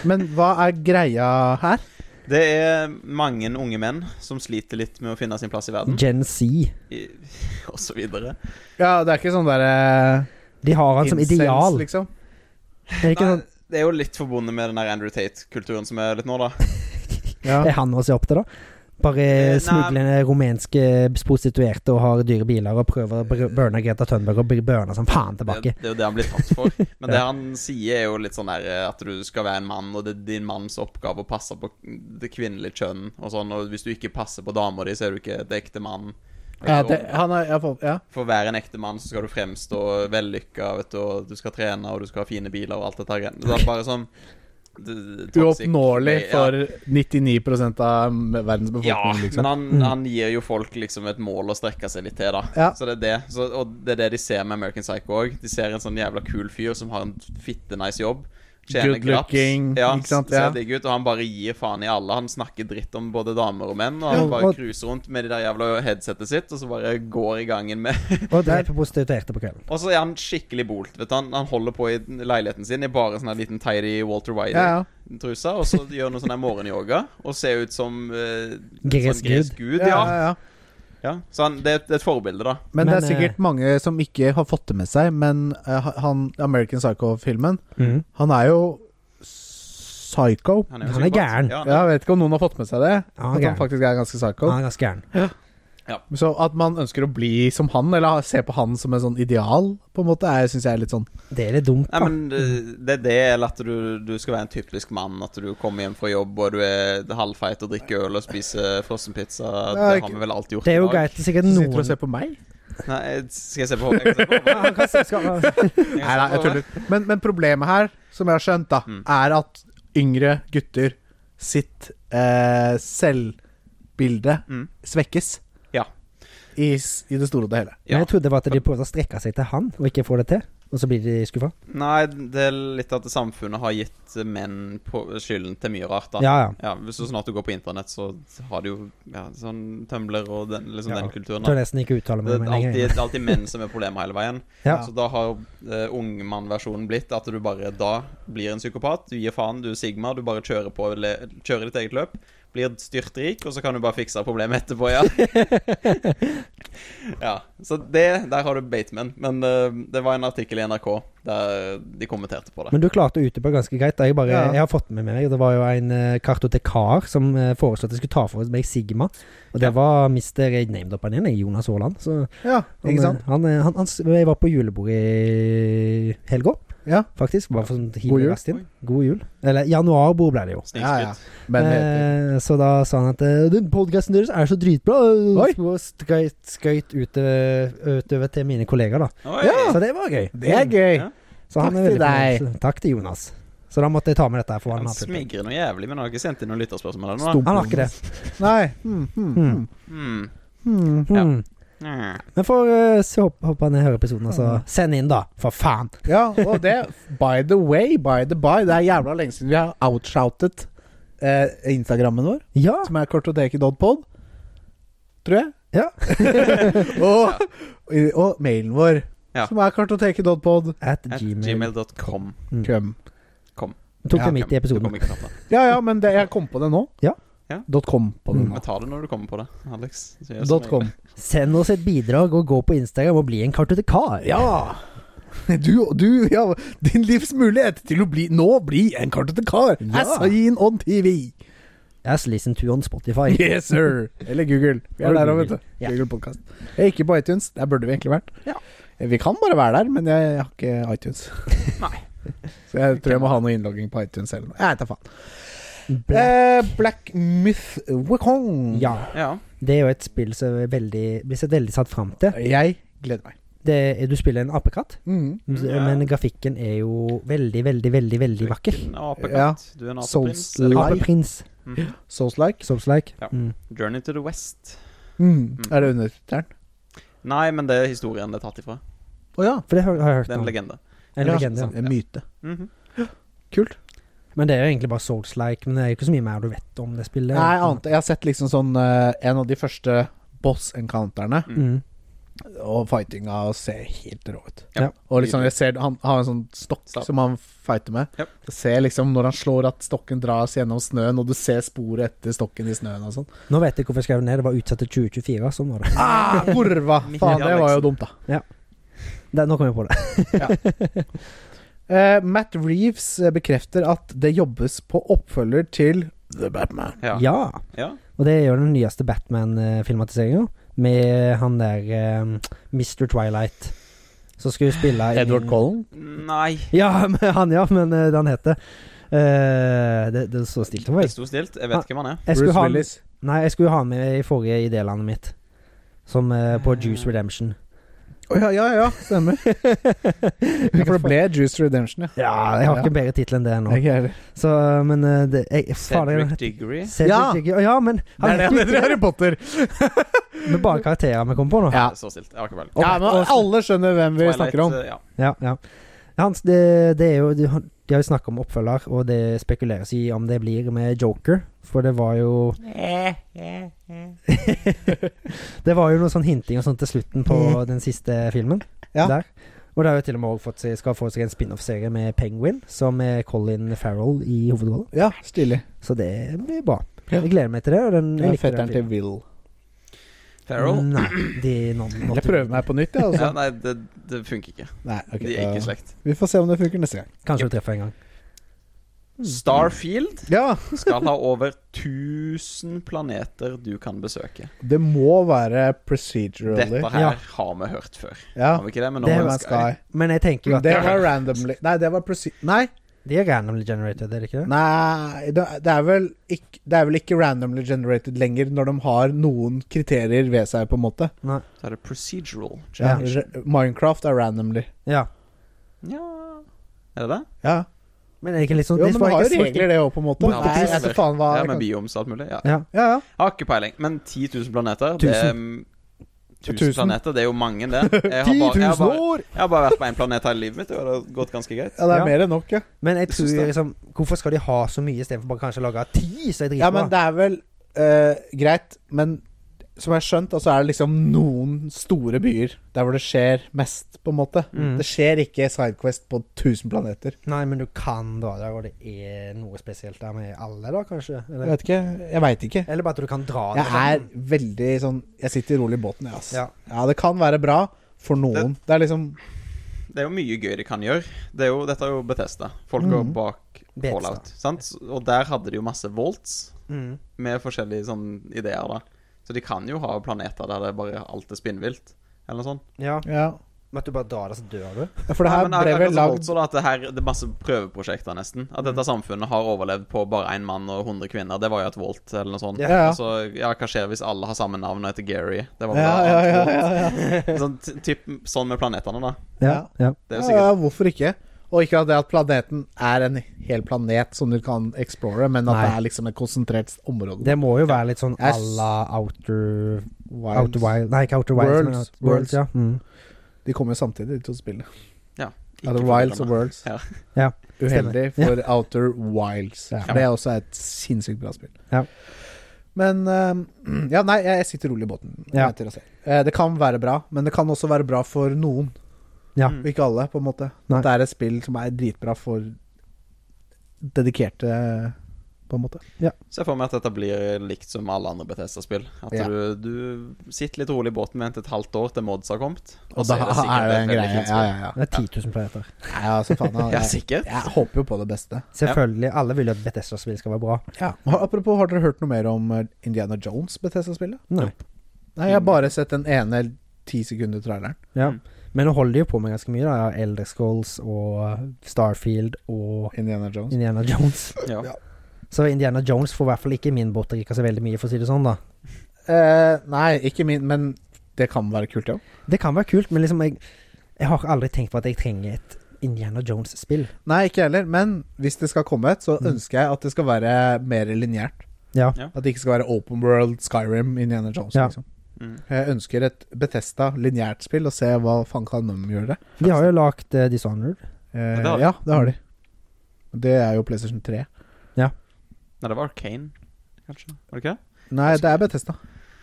[SPEAKER 1] Men hva er greia her?
[SPEAKER 3] Det er mange unge menn som sliter litt med å finne sin plass i verden,
[SPEAKER 2] Gen Z.
[SPEAKER 3] i, og så videre.
[SPEAKER 1] Ja, det er ikke sånn derre
[SPEAKER 2] De har han som ideal.
[SPEAKER 1] liksom.
[SPEAKER 2] Er, det ikke
[SPEAKER 3] Nei,
[SPEAKER 2] sånn,
[SPEAKER 3] det er jo litt forbundet med den der Andrew Tate-kulturen som er litt nå, da.
[SPEAKER 1] Ja.
[SPEAKER 2] er han å se opp til, da? Bare
[SPEAKER 3] Eh, nei.
[SPEAKER 2] smugle ned rumenske prostituerte og har dyre biler og prøver å br- burne Greta Thunberg og br- burne som faen tilbake.
[SPEAKER 3] Det, det er jo det han blir tatt for. Men det han sier, er jo litt sånn der eh, at du skal være en mann, og det er din manns oppgave å passe på det kvinnelige kjønn og sånn, og hvis du ikke passer på dama di, så er du ikke et ekte mann.
[SPEAKER 1] Ja, det, han er, ja, for- ja.
[SPEAKER 3] For å være en ekte mann så skal du fremstå vellykka, vet du, og du skal trene, og du skal ha fine biler og alt dette her. Det er bare sånn det- det- toxic-
[SPEAKER 1] Uoppnåelig
[SPEAKER 3] Ja.
[SPEAKER 1] for 99 av verdens befolkning,
[SPEAKER 3] Ja, men
[SPEAKER 1] liksom.
[SPEAKER 3] han, han gir jo folk liksom et mål å strekke seg litt til, da.
[SPEAKER 1] Ja.
[SPEAKER 3] Så det er det. Så, og det er det de ser med American Psycho òg. De ser en sånn jævla kul fyr som har en fitte nice jobb. Tjener
[SPEAKER 1] Good
[SPEAKER 3] graps.
[SPEAKER 1] looking,
[SPEAKER 3] ja,
[SPEAKER 1] ikke sant?
[SPEAKER 3] Ser
[SPEAKER 1] Ja.
[SPEAKER 3] digg ut, og han bare gir faen i alle. Han snakker dritt om både damer og menn, og han
[SPEAKER 2] Ja,
[SPEAKER 3] bare
[SPEAKER 2] og-
[SPEAKER 3] cruiser rundt med de der jævla headsetet sitt, og så bare går i gangen med
[SPEAKER 2] Og dreper prostituerte på kvelden.
[SPEAKER 3] Og så er han skikkelig bolt, vet du. Han, han holder på i leiligheten sin i bare sånn her liten tidy Walter Wiley
[SPEAKER 1] Ja, ja.
[SPEAKER 3] trusa og så gjør noe sånn her morgenyoga og ser ut som eh,
[SPEAKER 2] Gresk
[SPEAKER 3] sånn gresk gud. Ja,
[SPEAKER 1] ja, ja.
[SPEAKER 3] ja, så han, det, er et- det er et forbilde, da.
[SPEAKER 1] Men, det
[SPEAKER 2] Men,
[SPEAKER 1] er
[SPEAKER 2] eh,
[SPEAKER 1] sikkert mange som ikke har fått det med seg, men eh, han, American Psycho-filmen, han er jo psycho.
[SPEAKER 3] jo
[SPEAKER 2] Han er
[SPEAKER 3] psykopat.
[SPEAKER 2] gæren.
[SPEAKER 3] Ja,
[SPEAKER 1] Ja, jeg vet ikke om noen har fått med seg det.
[SPEAKER 2] Ja,
[SPEAKER 1] at
[SPEAKER 2] han er
[SPEAKER 1] han
[SPEAKER 2] gæren.
[SPEAKER 1] faktisk er ganske psycho.
[SPEAKER 2] Han er ganske gæren.
[SPEAKER 1] Så at man ønsker å bli som han, eller ha- se på han som en sånn ideal, på en måte, er- syns jeg er litt sånn
[SPEAKER 2] Det er litt dumt,
[SPEAKER 3] Nei,
[SPEAKER 2] da.
[SPEAKER 3] men eh, det er det, eller at du, du skal være en typisk mann. At du kommer hjem fra jobb og du er halvfeit og drikker øl og spiser frossenpizza. Det
[SPEAKER 1] er ikke-
[SPEAKER 3] har vi vel alltid gjort
[SPEAKER 2] Det er jo
[SPEAKER 3] i dag.
[SPEAKER 2] greit at sikkert
[SPEAKER 1] Så sitter du
[SPEAKER 2] noen
[SPEAKER 1] og ser på meg?
[SPEAKER 3] Nei, skal jeg se på håret? Jeg kan se på håret.
[SPEAKER 2] Han kan se- skal- altså.
[SPEAKER 3] Jeg kan
[SPEAKER 1] Nei, nei,
[SPEAKER 3] se
[SPEAKER 1] jeg
[SPEAKER 3] på håret.
[SPEAKER 1] tuller. Men, men problemet her, som jeg har skjønt, da,
[SPEAKER 3] Mm.
[SPEAKER 1] er at yngre gutter sitt eh, selvbilde
[SPEAKER 3] Mm.
[SPEAKER 1] svekkes.
[SPEAKER 3] Ja.
[SPEAKER 1] I, s- I det store og det hele.
[SPEAKER 2] Men jeg trodde det var at de prøvde å strekke seg til han, og ikke få det til. Og så blir de skuffa.
[SPEAKER 3] Nei, det er litt at samfunnet har gitt menn på skylden til mye rart, da.
[SPEAKER 2] Ja, ja.
[SPEAKER 3] Ja, Så snart du går på internett, så har du jo ja, sånn Tumblr og den, liksom
[SPEAKER 2] Ja.
[SPEAKER 3] den kulturen.
[SPEAKER 2] Tør
[SPEAKER 3] Da.
[SPEAKER 2] nesten ikke uttale meg om
[SPEAKER 3] Det er
[SPEAKER 2] det
[SPEAKER 3] alltid,
[SPEAKER 2] lenger.
[SPEAKER 3] det er alltid menn som er problemet hele veien.
[SPEAKER 2] Ja.
[SPEAKER 3] Så da har eh, ungmannversjonen blitt at du bare da blir en psykopat. Du gir faen, du er Sigma, du bare kjører på le- kjører ditt eget løp. blir styrtrik, og så kan du bare fikse problemet etterpå, ja. ja. Så det Der har du Bateman. Men eh, det var en artikkel i NRK der de kommenterte på det.
[SPEAKER 2] Men du klarte å utdype ganske greit. da. Jeg, bare,
[SPEAKER 1] Ja.
[SPEAKER 2] jeg har fått med meg Det var jo en eh, kartotekar som eh, foreslo at jeg skulle ta for meg Sigma. Og det
[SPEAKER 3] Ja.
[SPEAKER 2] var Mr. Jeg named up han igjen, jeg, Jonas Aaland. Så han,
[SPEAKER 1] Ja, ikke sant?
[SPEAKER 2] eh, Han, eh, han, han, s- jeg var på julebordet i helga,
[SPEAKER 1] Ja.
[SPEAKER 2] faktisk. Bare for sånn
[SPEAKER 1] God
[SPEAKER 2] hive
[SPEAKER 1] jul.
[SPEAKER 2] raskt inn. God jul. Eller januarbord ble det jo.
[SPEAKER 1] Ja, ja.
[SPEAKER 3] Snikskryt.
[SPEAKER 1] Men
[SPEAKER 2] Eh, så da sa han at eh, Den podkasten deres er så dritbra.
[SPEAKER 1] Oi.
[SPEAKER 2] Og skøyt, skøyt utover, utover til mine kollegaer, da.
[SPEAKER 3] Oi.
[SPEAKER 2] Så det var gøy.
[SPEAKER 1] det er gøy.
[SPEAKER 3] Ja.
[SPEAKER 2] Så han
[SPEAKER 1] Takk
[SPEAKER 2] er veldig
[SPEAKER 1] til deg.
[SPEAKER 2] fornøyd. Takk til Jonas. Så da måtte jeg ta med dette. her, For han,
[SPEAKER 3] Han
[SPEAKER 2] har fulgt med.
[SPEAKER 3] smigrer noe jævlig, men han har ikke sendt inn noen lytterspørsmål ennå.
[SPEAKER 1] Stump.
[SPEAKER 2] han har ikke det.
[SPEAKER 1] Nei. Hmm, hmm, hmm.
[SPEAKER 3] Hmm.
[SPEAKER 1] Hmm.
[SPEAKER 3] Ja.
[SPEAKER 2] Mm.
[SPEAKER 3] Mm.
[SPEAKER 2] Men får eh, se- hopp- hoppe ned i høreepisoden, og så send inn, da. For faen.
[SPEAKER 1] Ja, og det By the way, by the by, det er jævla lenge siden vi har outshoutet eh, Instagrammen vår,
[SPEAKER 2] Ja.
[SPEAKER 1] som er kortoteket.pod, tror jeg.
[SPEAKER 2] Ja.
[SPEAKER 1] og, og mailen vår,
[SPEAKER 3] Ja.
[SPEAKER 1] som er kortoteket.pod.
[SPEAKER 2] At
[SPEAKER 3] At
[SPEAKER 2] gmail.
[SPEAKER 3] gmail.com.
[SPEAKER 2] Mm.
[SPEAKER 1] Køm.
[SPEAKER 2] Tok
[SPEAKER 1] Ja,
[SPEAKER 2] det midt i
[SPEAKER 3] Du
[SPEAKER 2] episoden.
[SPEAKER 3] kommer ikke knapt da.
[SPEAKER 1] Ja ja, men det, jeg kom på det nå.
[SPEAKER 2] Ja.
[SPEAKER 3] Ja.
[SPEAKER 1] Dot com på det
[SPEAKER 2] Mm.
[SPEAKER 1] nå.
[SPEAKER 3] Men ta det når du kommer på det, Alex. Så gjør
[SPEAKER 1] Dot
[SPEAKER 3] som
[SPEAKER 1] com.
[SPEAKER 3] jeg.
[SPEAKER 2] Send oss et bidrag, og gå på Instagram og bli en kartotekar.
[SPEAKER 1] Ja! Du, du ja, Din livs mulighet til å bli nå bli en kartotekar!
[SPEAKER 2] Ja.
[SPEAKER 1] As seen on TV!
[SPEAKER 2] As listen to on Spotify.
[SPEAKER 1] Yes, sir! Eller Google. Vi er
[SPEAKER 2] Eller
[SPEAKER 1] der òg, vet
[SPEAKER 2] Google.
[SPEAKER 1] du.
[SPEAKER 2] Ja.
[SPEAKER 1] Google Podcast. Jeg er ikke på iTunes. Der burde vi egentlig vært. Eh,
[SPEAKER 2] Ja.
[SPEAKER 1] Vi kan bare være der, men jeg har ikke iTunes. Så jeg tror jeg må ha noe innlogging på iTunes eller noe. Jeg vet da faen.
[SPEAKER 2] Blæ.
[SPEAKER 1] Eh, Black Myth Wukong.
[SPEAKER 2] Ja.
[SPEAKER 3] Ja.
[SPEAKER 2] Det er jo et spill som er veldig, blir sett veldig satt fram til.
[SPEAKER 1] Jeg gleder meg.
[SPEAKER 2] Det er, du spiller en apekatt,
[SPEAKER 1] Mm.
[SPEAKER 3] Ja.
[SPEAKER 2] men grafikken er jo veldig, veldig, veldig veldig vakker.
[SPEAKER 3] En apekatt. Du er en apeprins.
[SPEAKER 1] Souls
[SPEAKER 3] eller-
[SPEAKER 1] Nei.
[SPEAKER 2] Apeprins.
[SPEAKER 3] Mhm.
[SPEAKER 1] Souls like.
[SPEAKER 2] Souls-like.
[SPEAKER 3] Ja.
[SPEAKER 2] Mm.
[SPEAKER 3] Journey to the West.
[SPEAKER 1] Mm. Er det undertittelen?
[SPEAKER 3] Nei, men det er historien det er tatt ifra.
[SPEAKER 1] Å ja.
[SPEAKER 2] For det har har jeg hørt
[SPEAKER 3] Det er en
[SPEAKER 2] om.
[SPEAKER 3] legende.
[SPEAKER 2] En
[SPEAKER 1] Ja,
[SPEAKER 2] legende.
[SPEAKER 1] En myte.
[SPEAKER 3] Mhm.
[SPEAKER 1] Kult.
[SPEAKER 2] Men det er jo egentlig bare Souls-like, men det er jo ikke så mye mer du vet om det spillet.
[SPEAKER 1] Nei, annet. Jeg har sett liksom sånn eh, En av de første boss-encounterne
[SPEAKER 2] Mm.
[SPEAKER 1] og fightinga og ser helt rå ut.
[SPEAKER 3] Ja.
[SPEAKER 1] Og liksom jeg ser Han har en sånn stokk
[SPEAKER 3] Stav.
[SPEAKER 1] som han fighter med.
[SPEAKER 3] Yep.
[SPEAKER 1] Jeg ser liksom når han slår at stokken dras gjennom snøen, og du ser sporet etter stokken i snøen og sånn.
[SPEAKER 2] Nå vet jeg hvorfor jeg skrev det ned. Det var utsatt til 2024. Sånn var det.
[SPEAKER 1] Ah, kurva!
[SPEAKER 3] Midt i
[SPEAKER 1] Faen, det var jo
[SPEAKER 3] Alexen.
[SPEAKER 1] dumt, da.
[SPEAKER 2] det nå kom jeg på det.
[SPEAKER 1] Eh, Matt Reeves eh, bekrefter at det jobbes på oppfølger til The Batman.
[SPEAKER 3] Ja.
[SPEAKER 2] Ja.
[SPEAKER 3] ja.
[SPEAKER 2] Og det er jo den nyeste Batman-filmatiseringa. Med han der eh, Mr. Twilight. Som skulle spille i-
[SPEAKER 1] Collen?
[SPEAKER 3] Nei,
[SPEAKER 2] Ja, men, han, ja, men eh, det han heter Eh, det, det er så stilt for
[SPEAKER 3] det
[SPEAKER 2] meg.
[SPEAKER 3] sto stilt.
[SPEAKER 1] Ah.
[SPEAKER 3] Jeg vet ikke hvem han er.
[SPEAKER 2] Jeg skulle
[SPEAKER 1] Bruce
[SPEAKER 2] ha,
[SPEAKER 1] Willis.
[SPEAKER 2] nei, jeg skulle ha med i forrige idélandet mitt. Som eh, på Juice Redemption.
[SPEAKER 1] Å ja, ja, ja, stemmer. Ja, For det ble Juice Redemption, ja.
[SPEAKER 2] Ja, jeg har ikke en bedre tittel enn det nå.
[SPEAKER 1] Jeg er-
[SPEAKER 2] Så, men eh, det, jeg, fader,
[SPEAKER 3] Cedric Diggory.
[SPEAKER 2] Cedric
[SPEAKER 1] Ja!
[SPEAKER 2] Diggory. Ja, men
[SPEAKER 1] Det er det han heter i Harry Potter.
[SPEAKER 2] Med bare karakterer vi kom på nå.
[SPEAKER 1] Ja.
[SPEAKER 3] Så stilt. Jeg har ikke peiling.
[SPEAKER 2] Og-
[SPEAKER 1] Ja, men alle skjønner hvem vi snakker om.
[SPEAKER 3] Twilight, eh, Ja.
[SPEAKER 2] Ja, ja. Hans, det, det er jo De, har- de har jo snakka om oppfølger, og det spekuleres i om det blir med Joker. For det var jo
[SPEAKER 1] Eh.
[SPEAKER 2] Det var jo noe sånn hinting og sånt til slutten på den siste filmen.
[SPEAKER 1] Mm. Ja.
[SPEAKER 2] Der. Og det har jo til og med også fått seg, skal få seg en spin-off-serie med Penguin, som er Colin Farrell i hovedrollen.
[SPEAKER 1] Ja, stilig.
[SPEAKER 2] Så det blir bra.
[SPEAKER 1] Ja.
[SPEAKER 2] Jeg gleder meg til det. Og den, jeg
[SPEAKER 1] Det er
[SPEAKER 2] likte
[SPEAKER 1] fetteren
[SPEAKER 2] den
[SPEAKER 1] til
[SPEAKER 2] filmen.
[SPEAKER 1] Will. Mm.
[SPEAKER 3] Farrell.
[SPEAKER 2] Nei, de, non,
[SPEAKER 1] Jeg prøver meg på nytt, jeg. Altså.
[SPEAKER 3] Ja, nei, det, det funker ikke.
[SPEAKER 1] Nei, ok, eh.
[SPEAKER 3] De er
[SPEAKER 1] da-
[SPEAKER 3] ikke i slekt.
[SPEAKER 1] Vi får se om det funker neste gang.
[SPEAKER 2] Kanskje du treffer en gang.
[SPEAKER 3] Starfield
[SPEAKER 1] Ja,
[SPEAKER 3] skal ha over 1000 planeter du kan besøke.
[SPEAKER 1] det må være procedurally.
[SPEAKER 3] Dette her
[SPEAKER 2] Ja.
[SPEAKER 3] har vi hørt før.
[SPEAKER 1] Ja,
[SPEAKER 3] Har vi ikke det? Men
[SPEAKER 1] det
[SPEAKER 3] nå
[SPEAKER 1] var Sky.
[SPEAKER 2] Men jeg tenker jo at
[SPEAKER 1] Det var randomly Nei, det var proce- Nei,
[SPEAKER 2] De er randomly generated, er det ikke det?
[SPEAKER 1] nei det det er, vel ikke, det er vel ikke randomly generated lenger når de har noen kriterier ved seg, på en måte.
[SPEAKER 3] Så er det procedural.
[SPEAKER 1] Ja.
[SPEAKER 3] challenge.
[SPEAKER 1] re- Minecraft er randomly.
[SPEAKER 2] Ja.
[SPEAKER 3] Ja Er det det?
[SPEAKER 1] Ja.
[SPEAKER 2] Men er det ikke litt sånn
[SPEAKER 1] Jo,
[SPEAKER 2] de
[SPEAKER 1] men
[SPEAKER 2] får
[SPEAKER 1] det har
[SPEAKER 2] ikke
[SPEAKER 1] jo
[SPEAKER 2] så-
[SPEAKER 1] regler, det òg, på en måte.
[SPEAKER 3] Ja,
[SPEAKER 1] Nei, jeg
[SPEAKER 3] det
[SPEAKER 1] vet
[SPEAKER 3] er-
[SPEAKER 1] faen hva
[SPEAKER 3] Det er
[SPEAKER 1] jeg kan-
[SPEAKER 3] med biomes og alt mulig. Ja.
[SPEAKER 2] Ja.
[SPEAKER 1] Ja, ja.
[SPEAKER 3] Jeg har ikke peiling, men 10 000 planeter det er, mm, 1000
[SPEAKER 1] Tusen.
[SPEAKER 3] planeter, det er jo mange, det. Jeg har, bare, jeg, har bare, jeg har bare vært på én planet hele livet mitt, og det har gått ganske greit.
[SPEAKER 1] Ja, det er
[SPEAKER 2] Ja.
[SPEAKER 1] mer enn nok, ja.
[SPEAKER 2] Men jeg
[SPEAKER 3] Jeg
[SPEAKER 2] tror
[SPEAKER 3] synes det.
[SPEAKER 2] liksom Hvorfor skal de ha så mye istedenfor bare kanskje å lage ti? Så jeg driter
[SPEAKER 1] Ja, men det er vel eh, greit, men som jeg har skjønt, altså er det liksom noen store byer der hvor det skjer mest, på en måte.
[SPEAKER 5] Mm.
[SPEAKER 1] Det skjer ikke Sidequest på 1000 planeter.
[SPEAKER 2] Nei, men du kan dra der, og det er noe spesielt der med alle, da, kanskje?
[SPEAKER 1] Jeg
[SPEAKER 2] Eller,
[SPEAKER 1] vet ikke. Jeg veit ikke.
[SPEAKER 2] eller bare at du kan dra
[SPEAKER 1] Jeg er
[SPEAKER 2] sånn.
[SPEAKER 1] veldig sånn Jeg sitter rolig i båten, jeg, ass.
[SPEAKER 2] Ja.
[SPEAKER 1] Ja, det kan være bra for noen. Det er liksom
[SPEAKER 3] Det er jo mye gøy de kan gjøre. Det er jo, dette er jo Bethesda. Folk går
[SPEAKER 1] Mhm.
[SPEAKER 3] bak
[SPEAKER 2] Bethesda.
[SPEAKER 3] Fallout. Sant? Og der hadde de jo masse volts
[SPEAKER 2] Mm.
[SPEAKER 3] med forskjellige sånne ideer. da Så de kan jo ha planeter der det bare alt er spinnvilt. Eller noe sånt.
[SPEAKER 2] Ja,
[SPEAKER 1] Ja.
[SPEAKER 2] men at du bare drar der, så dør du.
[SPEAKER 1] Ja, For det her
[SPEAKER 3] Nei, men
[SPEAKER 1] ble
[SPEAKER 3] akkurat
[SPEAKER 1] vel
[SPEAKER 3] som
[SPEAKER 1] lagd Mm.
[SPEAKER 3] Volts, og da, at det, her, det er masse prøveprosjekter, nesten. At dette samfunnet har overlevd på bare én mann og 100 kvinner. Det var jo et volt, eller noe sånt.
[SPEAKER 1] Ja, ja.
[SPEAKER 3] Altså, ja, hva skjer hvis alle har samme navn og heter Gary? Det var
[SPEAKER 1] ja, ja, ja, ja, ja.
[SPEAKER 3] ja. Sånn, t- typ, sånn med planetene, da.
[SPEAKER 1] Ja.
[SPEAKER 5] ja.
[SPEAKER 3] Det er
[SPEAKER 1] ja,
[SPEAKER 3] jo sikkert
[SPEAKER 1] ja, hvorfor ikke? Og ikke at det at planeten er en hel planet som du kan explore, men at
[SPEAKER 5] Nei.
[SPEAKER 1] det er liksom et konsentrert område.
[SPEAKER 2] Det må jo være litt sånn
[SPEAKER 1] Jeg
[SPEAKER 2] à
[SPEAKER 1] s-
[SPEAKER 2] la Outer
[SPEAKER 1] Wilds.
[SPEAKER 2] Outer Wild Nei, ikke Outer Wilds, men
[SPEAKER 1] Worlds.
[SPEAKER 2] Out- Worlds, ja. Mm.
[SPEAKER 1] De kommer jo samtidig, de to spillene.
[SPEAKER 3] ikke
[SPEAKER 1] Outer
[SPEAKER 3] forvirrende.
[SPEAKER 1] Wilds og Worlds.
[SPEAKER 3] Ja.
[SPEAKER 2] Ja,
[SPEAKER 1] Uheldig for Outer Wilds.
[SPEAKER 2] Ja.
[SPEAKER 1] For det er også et sinnssykt bra spill.
[SPEAKER 2] Ja.
[SPEAKER 1] Men eh, Ja, nei, jeg sitter rolig i båten. Jeg
[SPEAKER 2] Ja.
[SPEAKER 1] venter og ser. Eh, Det kan være bra, men det kan også være bra for noen.
[SPEAKER 2] Ja.
[SPEAKER 1] Og ikke alle, på en måte.
[SPEAKER 2] Nei.
[SPEAKER 1] Det er et spill som er dritbra for dedikerte, på en måte.
[SPEAKER 3] Se for meg at dette blir likt som alle andre Bethesda-spill. At
[SPEAKER 1] Ja.
[SPEAKER 3] du, du sitter litt rolig i båten med til et halvt år til mods har kommet.
[SPEAKER 1] Og da
[SPEAKER 3] så
[SPEAKER 1] er det,
[SPEAKER 3] sikkert et
[SPEAKER 1] en
[SPEAKER 3] veldig
[SPEAKER 1] greie.
[SPEAKER 3] fint
[SPEAKER 1] Ja,
[SPEAKER 3] spill.
[SPEAKER 1] ja, ja.
[SPEAKER 2] Det er 10 000 planeter.
[SPEAKER 1] ja så faen,
[SPEAKER 3] Ja,
[SPEAKER 1] jeg,
[SPEAKER 3] sikkert.
[SPEAKER 1] jeg håper jo på det beste.
[SPEAKER 2] Selvfølgelig. Alle vil jo at Bethesda-spill skal være bra.
[SPEAKER 1] Har- Apropos, har dere hørt noe mer om eh, Indiana Jones, Bethesda-spillet?
[SPEAKER 2] Nei.
[SPEAKER 1] Nei, jeg har bare sett den ene ti sekunder traileren.
[SPEAKER 2] Ja.
[SPEAKER 3] Mm.
[SPEAKER 2] Men nå holder de jo på med ganske mye, da. Ja, Elder Scrolls og Starfield og
[SPEAKER 1] Indiana Jones.
[SPEAKER 2] Indiana Jones.
[SPEAKER 3] Ja.
[SPEAKER 1] Ja.
[SPEAKER 2] Så Indiana Jones får i hvert fall ikke min båt til å drikke så veldig mye, for å si det sånn, da.
[SPEAKER 1] Eh, nei, ikke min, men det kan være kult, ja.
[SPEAKER 2] Det kan være kult, men liksom jeg, jeg har aldri tenkt på at jeg trenger et Indiana Jones-spill.
[SPEAKER 1] Nei, ikke jeg heller, men hvis det skal komme et, så
[SPEAKER 2] Mm.
[SPEAKER 1] ønsker jeg at det skal være mer lineært.
[SPEAKER 2] Ja.
[SPEAKER 3] Ja.
[SPEAKER 1] At det ikke skal være open world, Skyrim, Indiana Jones,
[SPEAKER 2] Ja.
[SPEAKER 1] liksom.
[SPEAKER 3] Mm.
[SPEAKER 1] Jeg ønsker et Betesta lineært spill, og se hva faen kan de gjøre det.
[SPEAKER 2] De har jo lagd eh, Dishonored.
[SPEAKER 1] Eh,
[SPEAKER 3] det har de.
[SPEAKER 1] ja, det har de. Det er jo PlayStation 3.
[SPEAKER 3] Nei, det var Arcane, kanskje. Var det ikke det?
[SPEAKER 1] Nei, det er Betesta.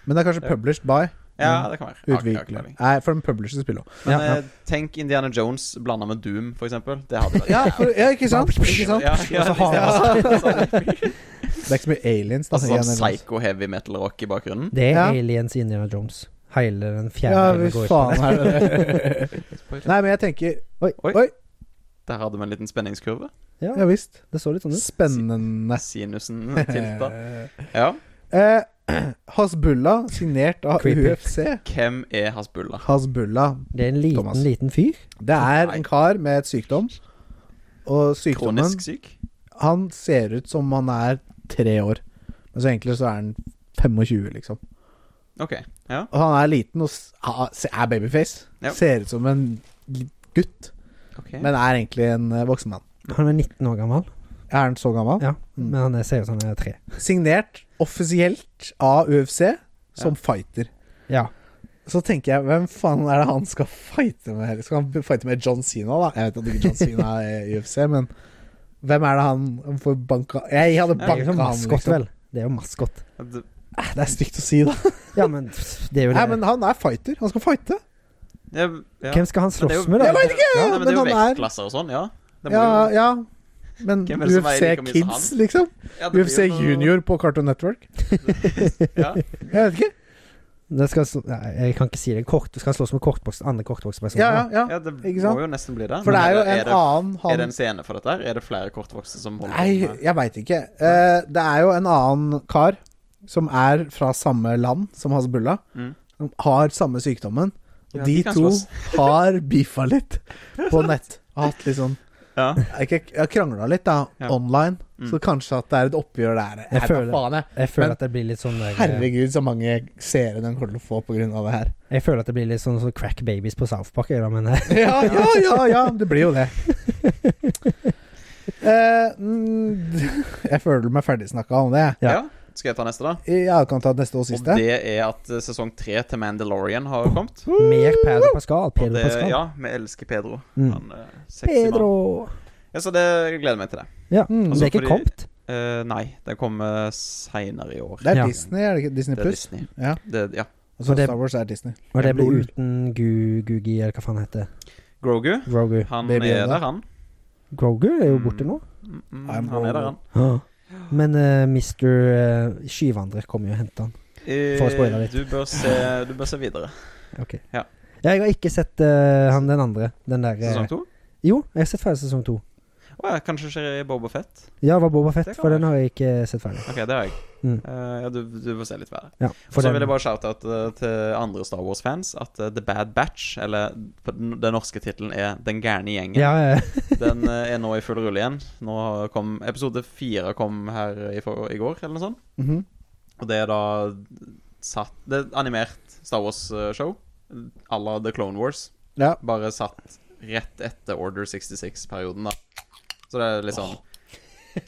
[SPEAKER 1] Men det er kanskje
[SPEAKER 3] Ja.
[SPEAKER 1] published by
[SPEAKER 3] Ja,
[SPEAKER 1] Mm.
[SPEAKER 3] det kan være. Jeg har ikke- jeg har ikke
[SPEAKER 1] utvikler.
[SPEAKER 3] peiling.
[SPEAKER 1] Nei, for de publisher spiller også.
[SPEAKER 3] Men
[SPEAKER 2] Ja, ja.
[SPEAKER 3] eh, tenk Indiana Jones blanda med Doom, for eksempel. Det hadde vært
[SPEAKER 1] Ja, for, ja, ikke sant? Ikke sant?
[SPEAKER 3] Ja, ja,
[SPEAKER 2] Og så har-
[SPEAKER 1] Det er ikke så mye aliens. Da,
[SPEAKER 3] Altså
[SPEAKER 1] i
[SPEAKER 3] sånn
[SPEAKER 1] Indiana Jones.
[SPEAKER 3] psycho heavy metal rock i bakgrunnen.
[SPEAKER 2] Det er
[SPEAKER 1] Ja.
[SPEAKER 2] Aliens Indiana Jones. Hele den fjerde
[SPEAKER 1] Ja,
[SPEAKER 2] filmen går
[SPEAKER 1] hva
[SPEAKER 2] ut på det.
[SPEAKER 1] faen er det Nei, men jeg tenker Oi,
[SPEAKER 3] Oi.
[SPEAKER 1] oi,
[SPEAKER 3] Der hadde vi en liten spenningskurve.
[SPEAKER 1] ja visst.
[SPEAKER 2] Det så litt sånn ut.
[SPEAKER 1] Spennende.
[SPEAKER 3] Sinusen tilta. Ja.
[SPEAKER 1] Eh, Hasbulla, signert av
[SPEAKER 2] Creepy.
[SPEAKER 1] UFC.
[SPEAKER 3] Hvem er Hasbulla?
[SPEAKER 1] Hasbulla.
[SPEAKER 2] Det er en liten,
[SPEAKER 1] Thomas.
[SPEAKER 2] liten fyr.
[SPEAKER 1] Det er en kar med et sykdom. Og sykdommen
[SPEAKER 3] Kronisk syk?
[SPEAKER 1] Han ser ut som han er tre år, men så egentlig så er han 25, liksom.
[SPEAKER 3] OK. Ja.
[SPEAKER 1] Og han er liten og s- ha- se- er babyface.
[SPEAKER 3] Ja.
[SPEAKER 1] Ser ut som en li- gutt,
[SPEAKER 3] ok
[SPEAKER 1] men er egentlig en eh, voksen mann.
[SPEAKER 2] Han er 19 år gammel,
[SPEAKER 1] Er han så gammel?
[SPEAKER 2] Ja,
[SPEAKER 1] Mm.
[SPEAKER 2] men han er- ser ut som han er tre.
[SPEAKER 1] Signert offisielt av UFC som
[SPEAKER 3] Ja.
[SPEAKER 1] fighter.
[SPEAKER 2] Ja.
[SPEAKER 1] Så tenker jeg, hvem faen er det han skal fighte med? her? Skal han fighte med John Cena, da? Jeg vet at ikke John Cena er i UFC, men hvem er det han får banka Jeg hadde
[SPEAKER 3] Ja,
[SPEAKER 2] Det er
[SPEAKER 1] banka
[SPEAKER 2] jo
[SPEAKER 1] han,
[SPEAKER 2] maskott,
[SPEAKER 1] liksom.
[SPEAKER 2] vel. Det er jo maskott.
[SPEAKER 3] Det-
[SPEAKER 1] Eh, Det er stygt å si, da.
[SPEAKER 2] Ja, men pff, det er jo det.
[SPEAKER 1] Nei, men han er fighter. Han skal fighte.
[SPEAKER 3] Ja, ja.
[SPEAKER 2] Hvem skal han
[SPEAKER 3] Men det er jo-
[SPEAKER 2] slåss med, da?
[SPEAKER 1] Jeg vet ikke,
[SPEAKER 3] Ja, nei, men, det er
[SPEAKER 1] men
[SPEAKER 3] jo
[SPEAKER 1] han er-
[SPEAKER 3] vektklasser og sånn, ja. Det må
[SPEAKER 1] Ja,
[SPEAKER 3] jo,
[SPEAKER 1] ja. Men
[SPEAKER 3] Hvem er det som veier like mye som
[SPEAKER 1] UFC-kids, liksom?
[SPEAKER 3] ja, det blir
[SPEAKER 1] UFC
[SPEAKER 3] jo noe-
[SPEAKER 1] junior på Cartoon Network?
[SPEAKER 3] Ja.
[SPEAKER 1] Jeg vet ikke.
[SPEAKER 2] Det skal, slå- nei, jeg kan ikke si det. Kort, skal han slåss med sånn kortboks, andre kortbokspersoner?
[SPEAKER 1] Ja, ja, ja.
[SPEAKER 3] ja, det
[SPEAKER 1] Ikke sant?
[SPEAKER 3] må jo nesten bli det.
[SPEAKER 1] For det er
[SPEAKER 3] Men
[SPEAKER 1] jo en
[SPEAKER 3] det,
[SPEAKER 1] annen
[SPEAKER 3] Er det
[SPEAKER 1] han
[SPEAKER 3] en scene for dette? her? Er det flere kortvokste som holder
[SPEAKER 1] Nei,
[SPEAKER 3] på med
[SPEAKER 1] jeg veit ikke. Eh, det er jo en annen kar som er fra samme land som Hasbulla,
[SPEAKER 3] Mm.
[SPEAKER 1] som har samme sykdommen. Og
[SPEAKER 3] Ja,
[SPEAKER 1] de
[SPEAKER 3] de kan
[SPEAKER 1] to
[SPEAKER 3] slåss.
[SPEAKER 1] har beefa litt på nett. Og Hatt litt sånn
[SPEAKER 3] Ja.
[SPEAKER 1] Jeg har krangla litt, da,
[SPEAKER 3] Ja.
[SPEAKER 1] online.
[SPEAKER 3] Mm.
[SPEAKER 1] Så kanskje at det er et oppgjør der. Jeg,
[SPEAKER 2] Jeg
[SPEAKER 1] vet
[SPEAKER 2] føler-
[SPEAKER 1] da faen, jeg.
[SPEAKER 2] Jeg føler
[SPEAKER 1] Men-
[SPEAKER 2] at det blir litt sånn der,
[SPEAKER 1] Herregud, så mange seere den kommer til å få pga. det her.
[SPEAKER 2] Jeg føler at det blir litt sånn, sånn crack babies på South Park. jeg da, Men eh,
[SPEAKER 1] Ja, ja, ja, ja. Det blir jo det. Eh, mm, jeg føler meg ferdigsnakka om det. jeg.
[SPEAKER 2] Ja.
[SPEAKER 3] ja. Skal jeg ta neste, da?
[SPEAKER 1] Ja, du kan ta neste og
[SPEAKER 3] Og
[SPEAKER 1] siste.
[SPEAKER 3] det er at eh, sesong tre til Mandalorian har kommet.
[SPEAKER 2] mer Pedro Pascal.
[SPEAKER 3] Og
[SPEAKER 2] Pedro
[SPEAKER 3] det,
[SPEAKER 2] Pascal.
[SPEAKER 3] ja, vi elsker Pedro.
[SPEAKER 2] Mm.
[SPEAKER 3] Han eh, sexy mann.
[SPEAKER 2] Pedro
[SPEAKER 3] Ja, så det jeg gleder meg til det.
[SPEAKER 2] Ja, men
[SPEAKER 1] Mm.
[SPEAKER 2] det er ikke
[SPEAKER 3] Altså, fordi-
[SPEAKER 2] kommet.
[SPEAKER 3] Eh, nei, den kommer seinere i år.
[SPEAKER 1] Det er
[SPEAKER 2] Ja.
[SPEAKER 1] Disney, er det ikke? Disney
[SPEAKER 3] Det er
[SPEAKER 1] Pluss?
[SPEAKER 3] Disney.
[SPEAKER 1] Ja.
[SPEAKER 3] Det, ja.
[SPEAKER 1] Og så
[SPEAKER 2] Og det-
[SPEAKER 1] Star Wars er Disney.
[SPEAKER 2] Og det
[SPEAKER 1] Jeg
[SPEAKER 2] blir
[SPEAKER 1] blir-
[SPEAKER 2] uten Gu, Gugi, eller hva faen han heter.
[SPEAKER 3] Grogu,
[SPEAKER 2] Grogu.
[SPEAKER 3] han
[SPEAKER 1] Baby
[SPEAKER 3] er
[SPEAKER 1] Yoda.
[SPEAKER 3] der, han.
[SPEAKER 2] Grogu er jo borte nå.
[SPEAKER 3] Mm, mm,
[SPEAKER 1] I'm
[SPEAKER 3] han er
[SPEAKER 1] Grogu.
[SPEAKER 3] der, han.
[SPEAKER 2] Men eh, Mr. eh, Skyvandrer kommer jo og henter han. Får jeg spoile
[SPEAKER 3] Eh,
[SPEAKER 2] litt?
[SPEAKER 3] Du bør se, du bør se videre.
[SPEAKER 2] Ok.
[SPEAKER 3] Ja.
[SPEAKER 2] Ja, jeg har ikke sett eh, han den andre. Den der eh,
[SPEAKER 3] Sesong to?
[SPEAKER 2] Jo, jeg har sett ferdig sesong to.
[SPEAKER 3] Å ja, kanskje skjer i Boba Fett.
[SPEAKER 2] Ja, det var Boba Fett,
[SPEAKER 3] Det kan
[SPEAKER 2] for
[SPEAKER 3] være.
[SPEAKER 2] den har jeg ikke sett ferdig.
[SPEAKER 3] Ok, det har jeg.
[SPEAKER 2] Mm.
[SPEAKER 3] Eh, ja, du, du bør se litt verre.
[SPEAKER 2] Ja,
[SPEAKER 3] Og
[SPEAKER 2] for
[SPEAKER 3] så
[SPEAKER 2] den,
[SPEAKER 3] vil jeg bare shout-out eh, til andre Star Wars-fans at eh, The Bad Batch, eller på den, den norske tittelen, er Den gærne gjengen.
[SPEAKER 2] ja, eh,
[SPEAKER 3] Den eh, er nå i full rulle igjen. Nå kom Episode fire kom her i, for, i går, eller noe sånt.
[SPEAKER 1] Mhm.
[SPEAKER 3] Og det er da satt Det er animert Star Wars-show à la The Clone Wars.
[SPEAKER 1] Ja.
[SPEAKER 3] Bare satt rett etter Order 66-perioden, da. Så det er litt sånn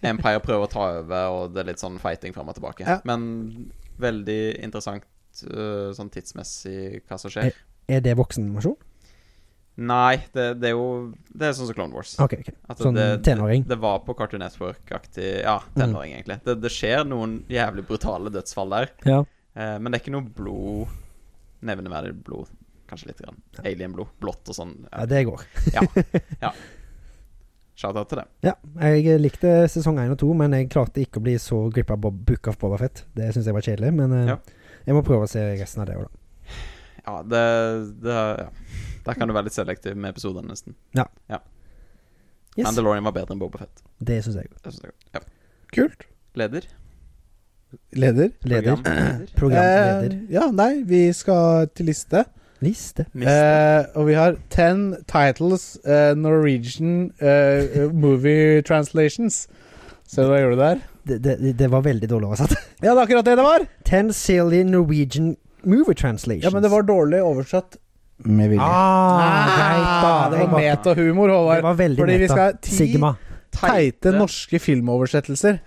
[SPEAKER 3] Empire prøver å ta over, og det er litt sånn fighting fram og tilbake.
[SPEAKER 1] Ja.
[SPEAKER 3] Men veldig interessant eh, sånn tidsmessig hva som skjer.
[SPEAKER 2] er det voksenversjon?
[SPEAKER 3] Nei, det, det er jo Det er sånn som Clone Wars.
[SPEAKER 2] Ok, ok.
[SPEAKER 3] At
[SPEAKER 2] Sånn tenåring. Mm.
[SPEAKER 3] Det, det var på Cartoon Network-aktig Ja, tenåring, egentlig. Det, det skjer noen jævlig brutale dødsfall der.
[SPEAKER 2] Ja.
[SPEAKER 3] Eh, men det er ikke noe blod Nevneverdig blod. Kanskje litt. Grann. Alien-blod. Blått og sånn.
[SPEAKER 2] ja,
[SPEAKER 3] Ja.
[SPEAKER 2] det går.
[SPEAKER 3] Shout-out til det.
[SPEAKER 2] Ja, jeg likte sesong 1 og 2, men jeg klarte ikke å bli så grippa av Bob- Book of Boba Fett. Det syns jeg var kjedelig, men eh,
[SPEAKER 3] Ja.
[SPEAKER 2] jeg må prøve å se resten av det òg, da.
[SPEAKER 3] Ja, det, det ja. Der kan du være litt selektiv med episodene, nesten.
[SPEAKER 2] Yes,
[SPEAKER 3] Mandalorian var bedre enn Boba Fett.
[SPEAKER 2] det syns jeg.
[SPEAKER 3] Det synes jeg. Ja.
[SPEAKER 1] Kult.
[SPEAKER 3] Leder?
[SPEAKER 1] Leder.
[SPEAKER 2] Leder.
[SPEAKER 3] Programleder?
[SPEAKER 2] Programleder.
[SPEAKER 1] Eh, ja, nei, vi skal til liste.
[SPEAKER 2] Liste.
[SPEAKER 3] Mister.
[SPEAKER 1] Eh, og vi har ten titles eh, Norwegian eh, movie translations. Ser du hva jeg gjorde der?
[SPEAKER 2] Det, det, det var veldig dårlig oversatt.
[SPEAKER 1] Ja, det er akkurat det det var!
[SPEAKER 2] Ten silly Norwegian movie translations.
[SPEAKER 1] Ja, Men det var dårlig oversatt. Med vilje.
[SPEAKER 2] ah, greit, da.
[SPEAKER 1] det var
[SPEAKER 2] Jeg-
[SPEAKER 1] metahumor, Håvard.
[SPEAKER 2] det var veldig
[SPEAKER 1] Fordi vi
[SPEAKER 2] meta.
[SPEAKER 1] skal ha ti
[SPEAKER 2] Sigma.
[SPEAKER 1] teite norske filmoversettelser.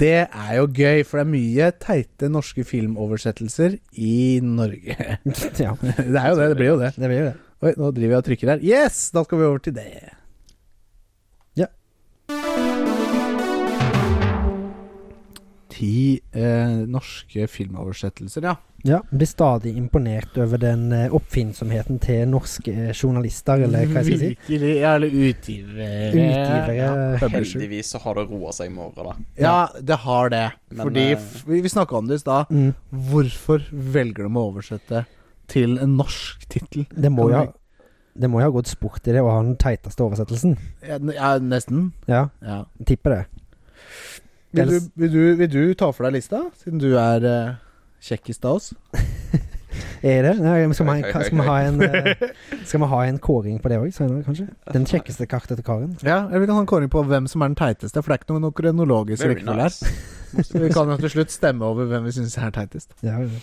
[SPEAKER 1] Det er jo gøy, for det er mye teite norske filmoversettelser i Norge.
[SPEAKER 2] ja,
[SPEAKER 1] Det er jo det. Det blir jo det.
[SPEAKER 2] det blir jo det.
[SPEAKER 1] Oi, nå driver jeg og trykker her. Yes! Da skal vi over til det.
[SPEAKER 2] Ja.
[SPEAKER 1] Ti eh, norske filmoversettelser, ja.
[SPEAKER 2] Ja, blir stadig imponert over den eh, oppfinnsomheten til norske eh, journalister, eller hva jeg skal si.
[SPEAKER 1] Virkelig. Ja, eller utgivere.
[SPEAKER 2] Utgivere. eh,
[SPEAKER 1] publisher.
[SPEAKER 3] Heldigvis så har det roa seg i morgen, da.
[SPEAKER 1] Ja, det har det.
[SPEAKER 3] Men,
[SPEAKER 1] Fordi
[SPEAKER 3] eh,
[SPEAKER 1] f vi vi snakka om det i stad.
[SPEAKER 2] Mm.
[SPEAKER 1] Hvorfor velger de å oversette til en norsk tittel?
[SPEAKER 2] Det må jo ha det må jo ha gått sport i det å ha den teiteste oversettelsen.
[SPEAKER 1] Ja, n- ja, nesten.
[SPEAKER 2] Ja,
[SPEAKER 1] Ja.
[SPEAKER 2] tipper det.
[SPEAKER 1] Vil, du,
[SPEAKER 2] Ellers-
[SPEAKER 1] vil, du, vil du ta for deg lista, siden du er eh, kjekkest av oss?
[SPEAKER 2] Er det? Nei, men skal, vi ha, en-
[SPEAKER 3] Oi, oi, oi,
[SPEAKER 2] skal, vi ha en, eh, skal vi ha en kåring på det òg senere, kanskje? Den kjekkeste kartete karen.
[SPEAKER 1] Ja, jeg vil ha en kåring på hvem som er den teiteste, for det er ikke noen kronologisk
[SPEAKER 3] Very
[SPEAKER 1] rekkefølge her.
[SPEAKER 3] nice. Most
[SPEAKER 1] Så vi
[SPEAKER 3] impressive.
[SPEAKER 1] kan jo til slutt stemme over hvem vi syns er teitest.
[SPEAKER 2] Ja, ja.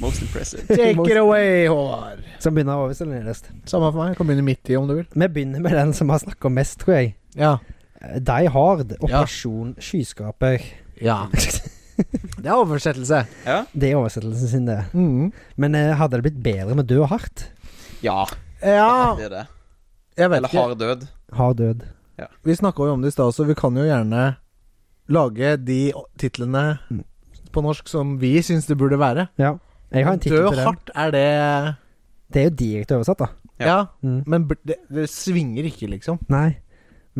[SPEAKER 3] Most impressive.
[SPEAKER 1] Take it away, Håvard.
[SPEAKER 2] Som begynner å overse nederst.
[SPEAKER 1] Samme for meg. Jeg kan begynne midt i, om du vil.
[SPEAKER 2] Vi begynner med den som har snakka mest, tror jeg.
[SPEAKER 1] Ja.
[SPEAKER 2] Eh, Die Hard,
[SPEAKER 1] Ja.
[SPEAKER 2] Operasjon Skyskaper.
[SPEAKER 1] ja. Det er oversettelse.
[SPEAKER 3] Ja?
[SPEAKER 2] Det er oversettelsen sin, det.
[SPEAKER 1] Mm.
[SPEAKER 2] Men eh, hadde det blitt bedre med død og hardt?
[SPEAKER 3] ja,
[SPEAKER 1] Ja,
[SPEAKER 3] det er det.
[SPEAKER 1] Ah. jeg vet
[SPEAKER 3] Eller
[SPEAKER 1] ikke.
[SPEAKER 3] hard død.
[SPEAKER 2] Hard død.
[SPEAKER 1] Vi snakka jo om det i stad, så vi kan jo gjerne lage de titlene
[SPEAKER 2] Mm.
[SPEAKER 1] på norsk som vi syns det burde være.
[SPEAKER 2] Ja. Jeg har en tittel
[SPEAKER 1] Død
[SPEAKER 2] til den.
[SPEAKER 1] hardt er det
[SPEAKER 2] Det er jo direkte oversatt, da.
[SPEAKER 1] Ja,
[SPEAKER 3] Ja.
[SPEAKER 2] Mm.
[SPEAKER 1] men bl- det, det svinger ikke, liksom.
[SPEAKER 2] Nei.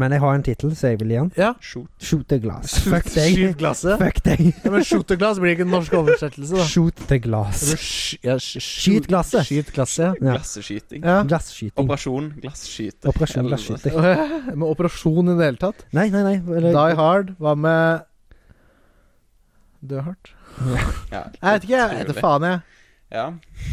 [SPEAKER 2] Men jeg har en tittel, så jeg vil gi den.
[SPEAKER 1] Ja.
[SPEAKER 3] Shoot.
[SPEAKER 2] Shoot the glass. Fuck deg.
[SPEAKER 1] Skyv glasset.
[SPEAKER 2] Fuck deg.
[SPEAKER 1] Ja, men shoot the glass blir ikke en norsk oversettelse, da.
[SPEAKER 2] Shoot the glass.
[SPEAKER 1] Eller sk- ja, sk-
[SPEAKER 2] Skyt glasset.
[SPEAKER 1] Skyt glasset,
[SPEAKER 2] Ja.
[SPEAKER 3] Glasseskyting.
[SPEAKER 1] ja. ja.
[SPEAKER 2] Glasskyting.
[SPEAKER 3] Operasjon glasskyter.
[SPEAKER 2] Operasjon
[SPEAKER 3] Eller-
[SPEAKER 2] glasskyter.
[SPEAKER 1] Med operasjon i det hele tatt.
[SPEAKER 2] Nei, nei, nei. Eller,
[SPEAKER 1] Die hard. Hva med Død hardt?
[SPEAKER 3] Ja.
[SPEAKER 1] Jeg vet ikke, jeg. Jeg vet faen, jeg.
[SPEAKER 3] Ja.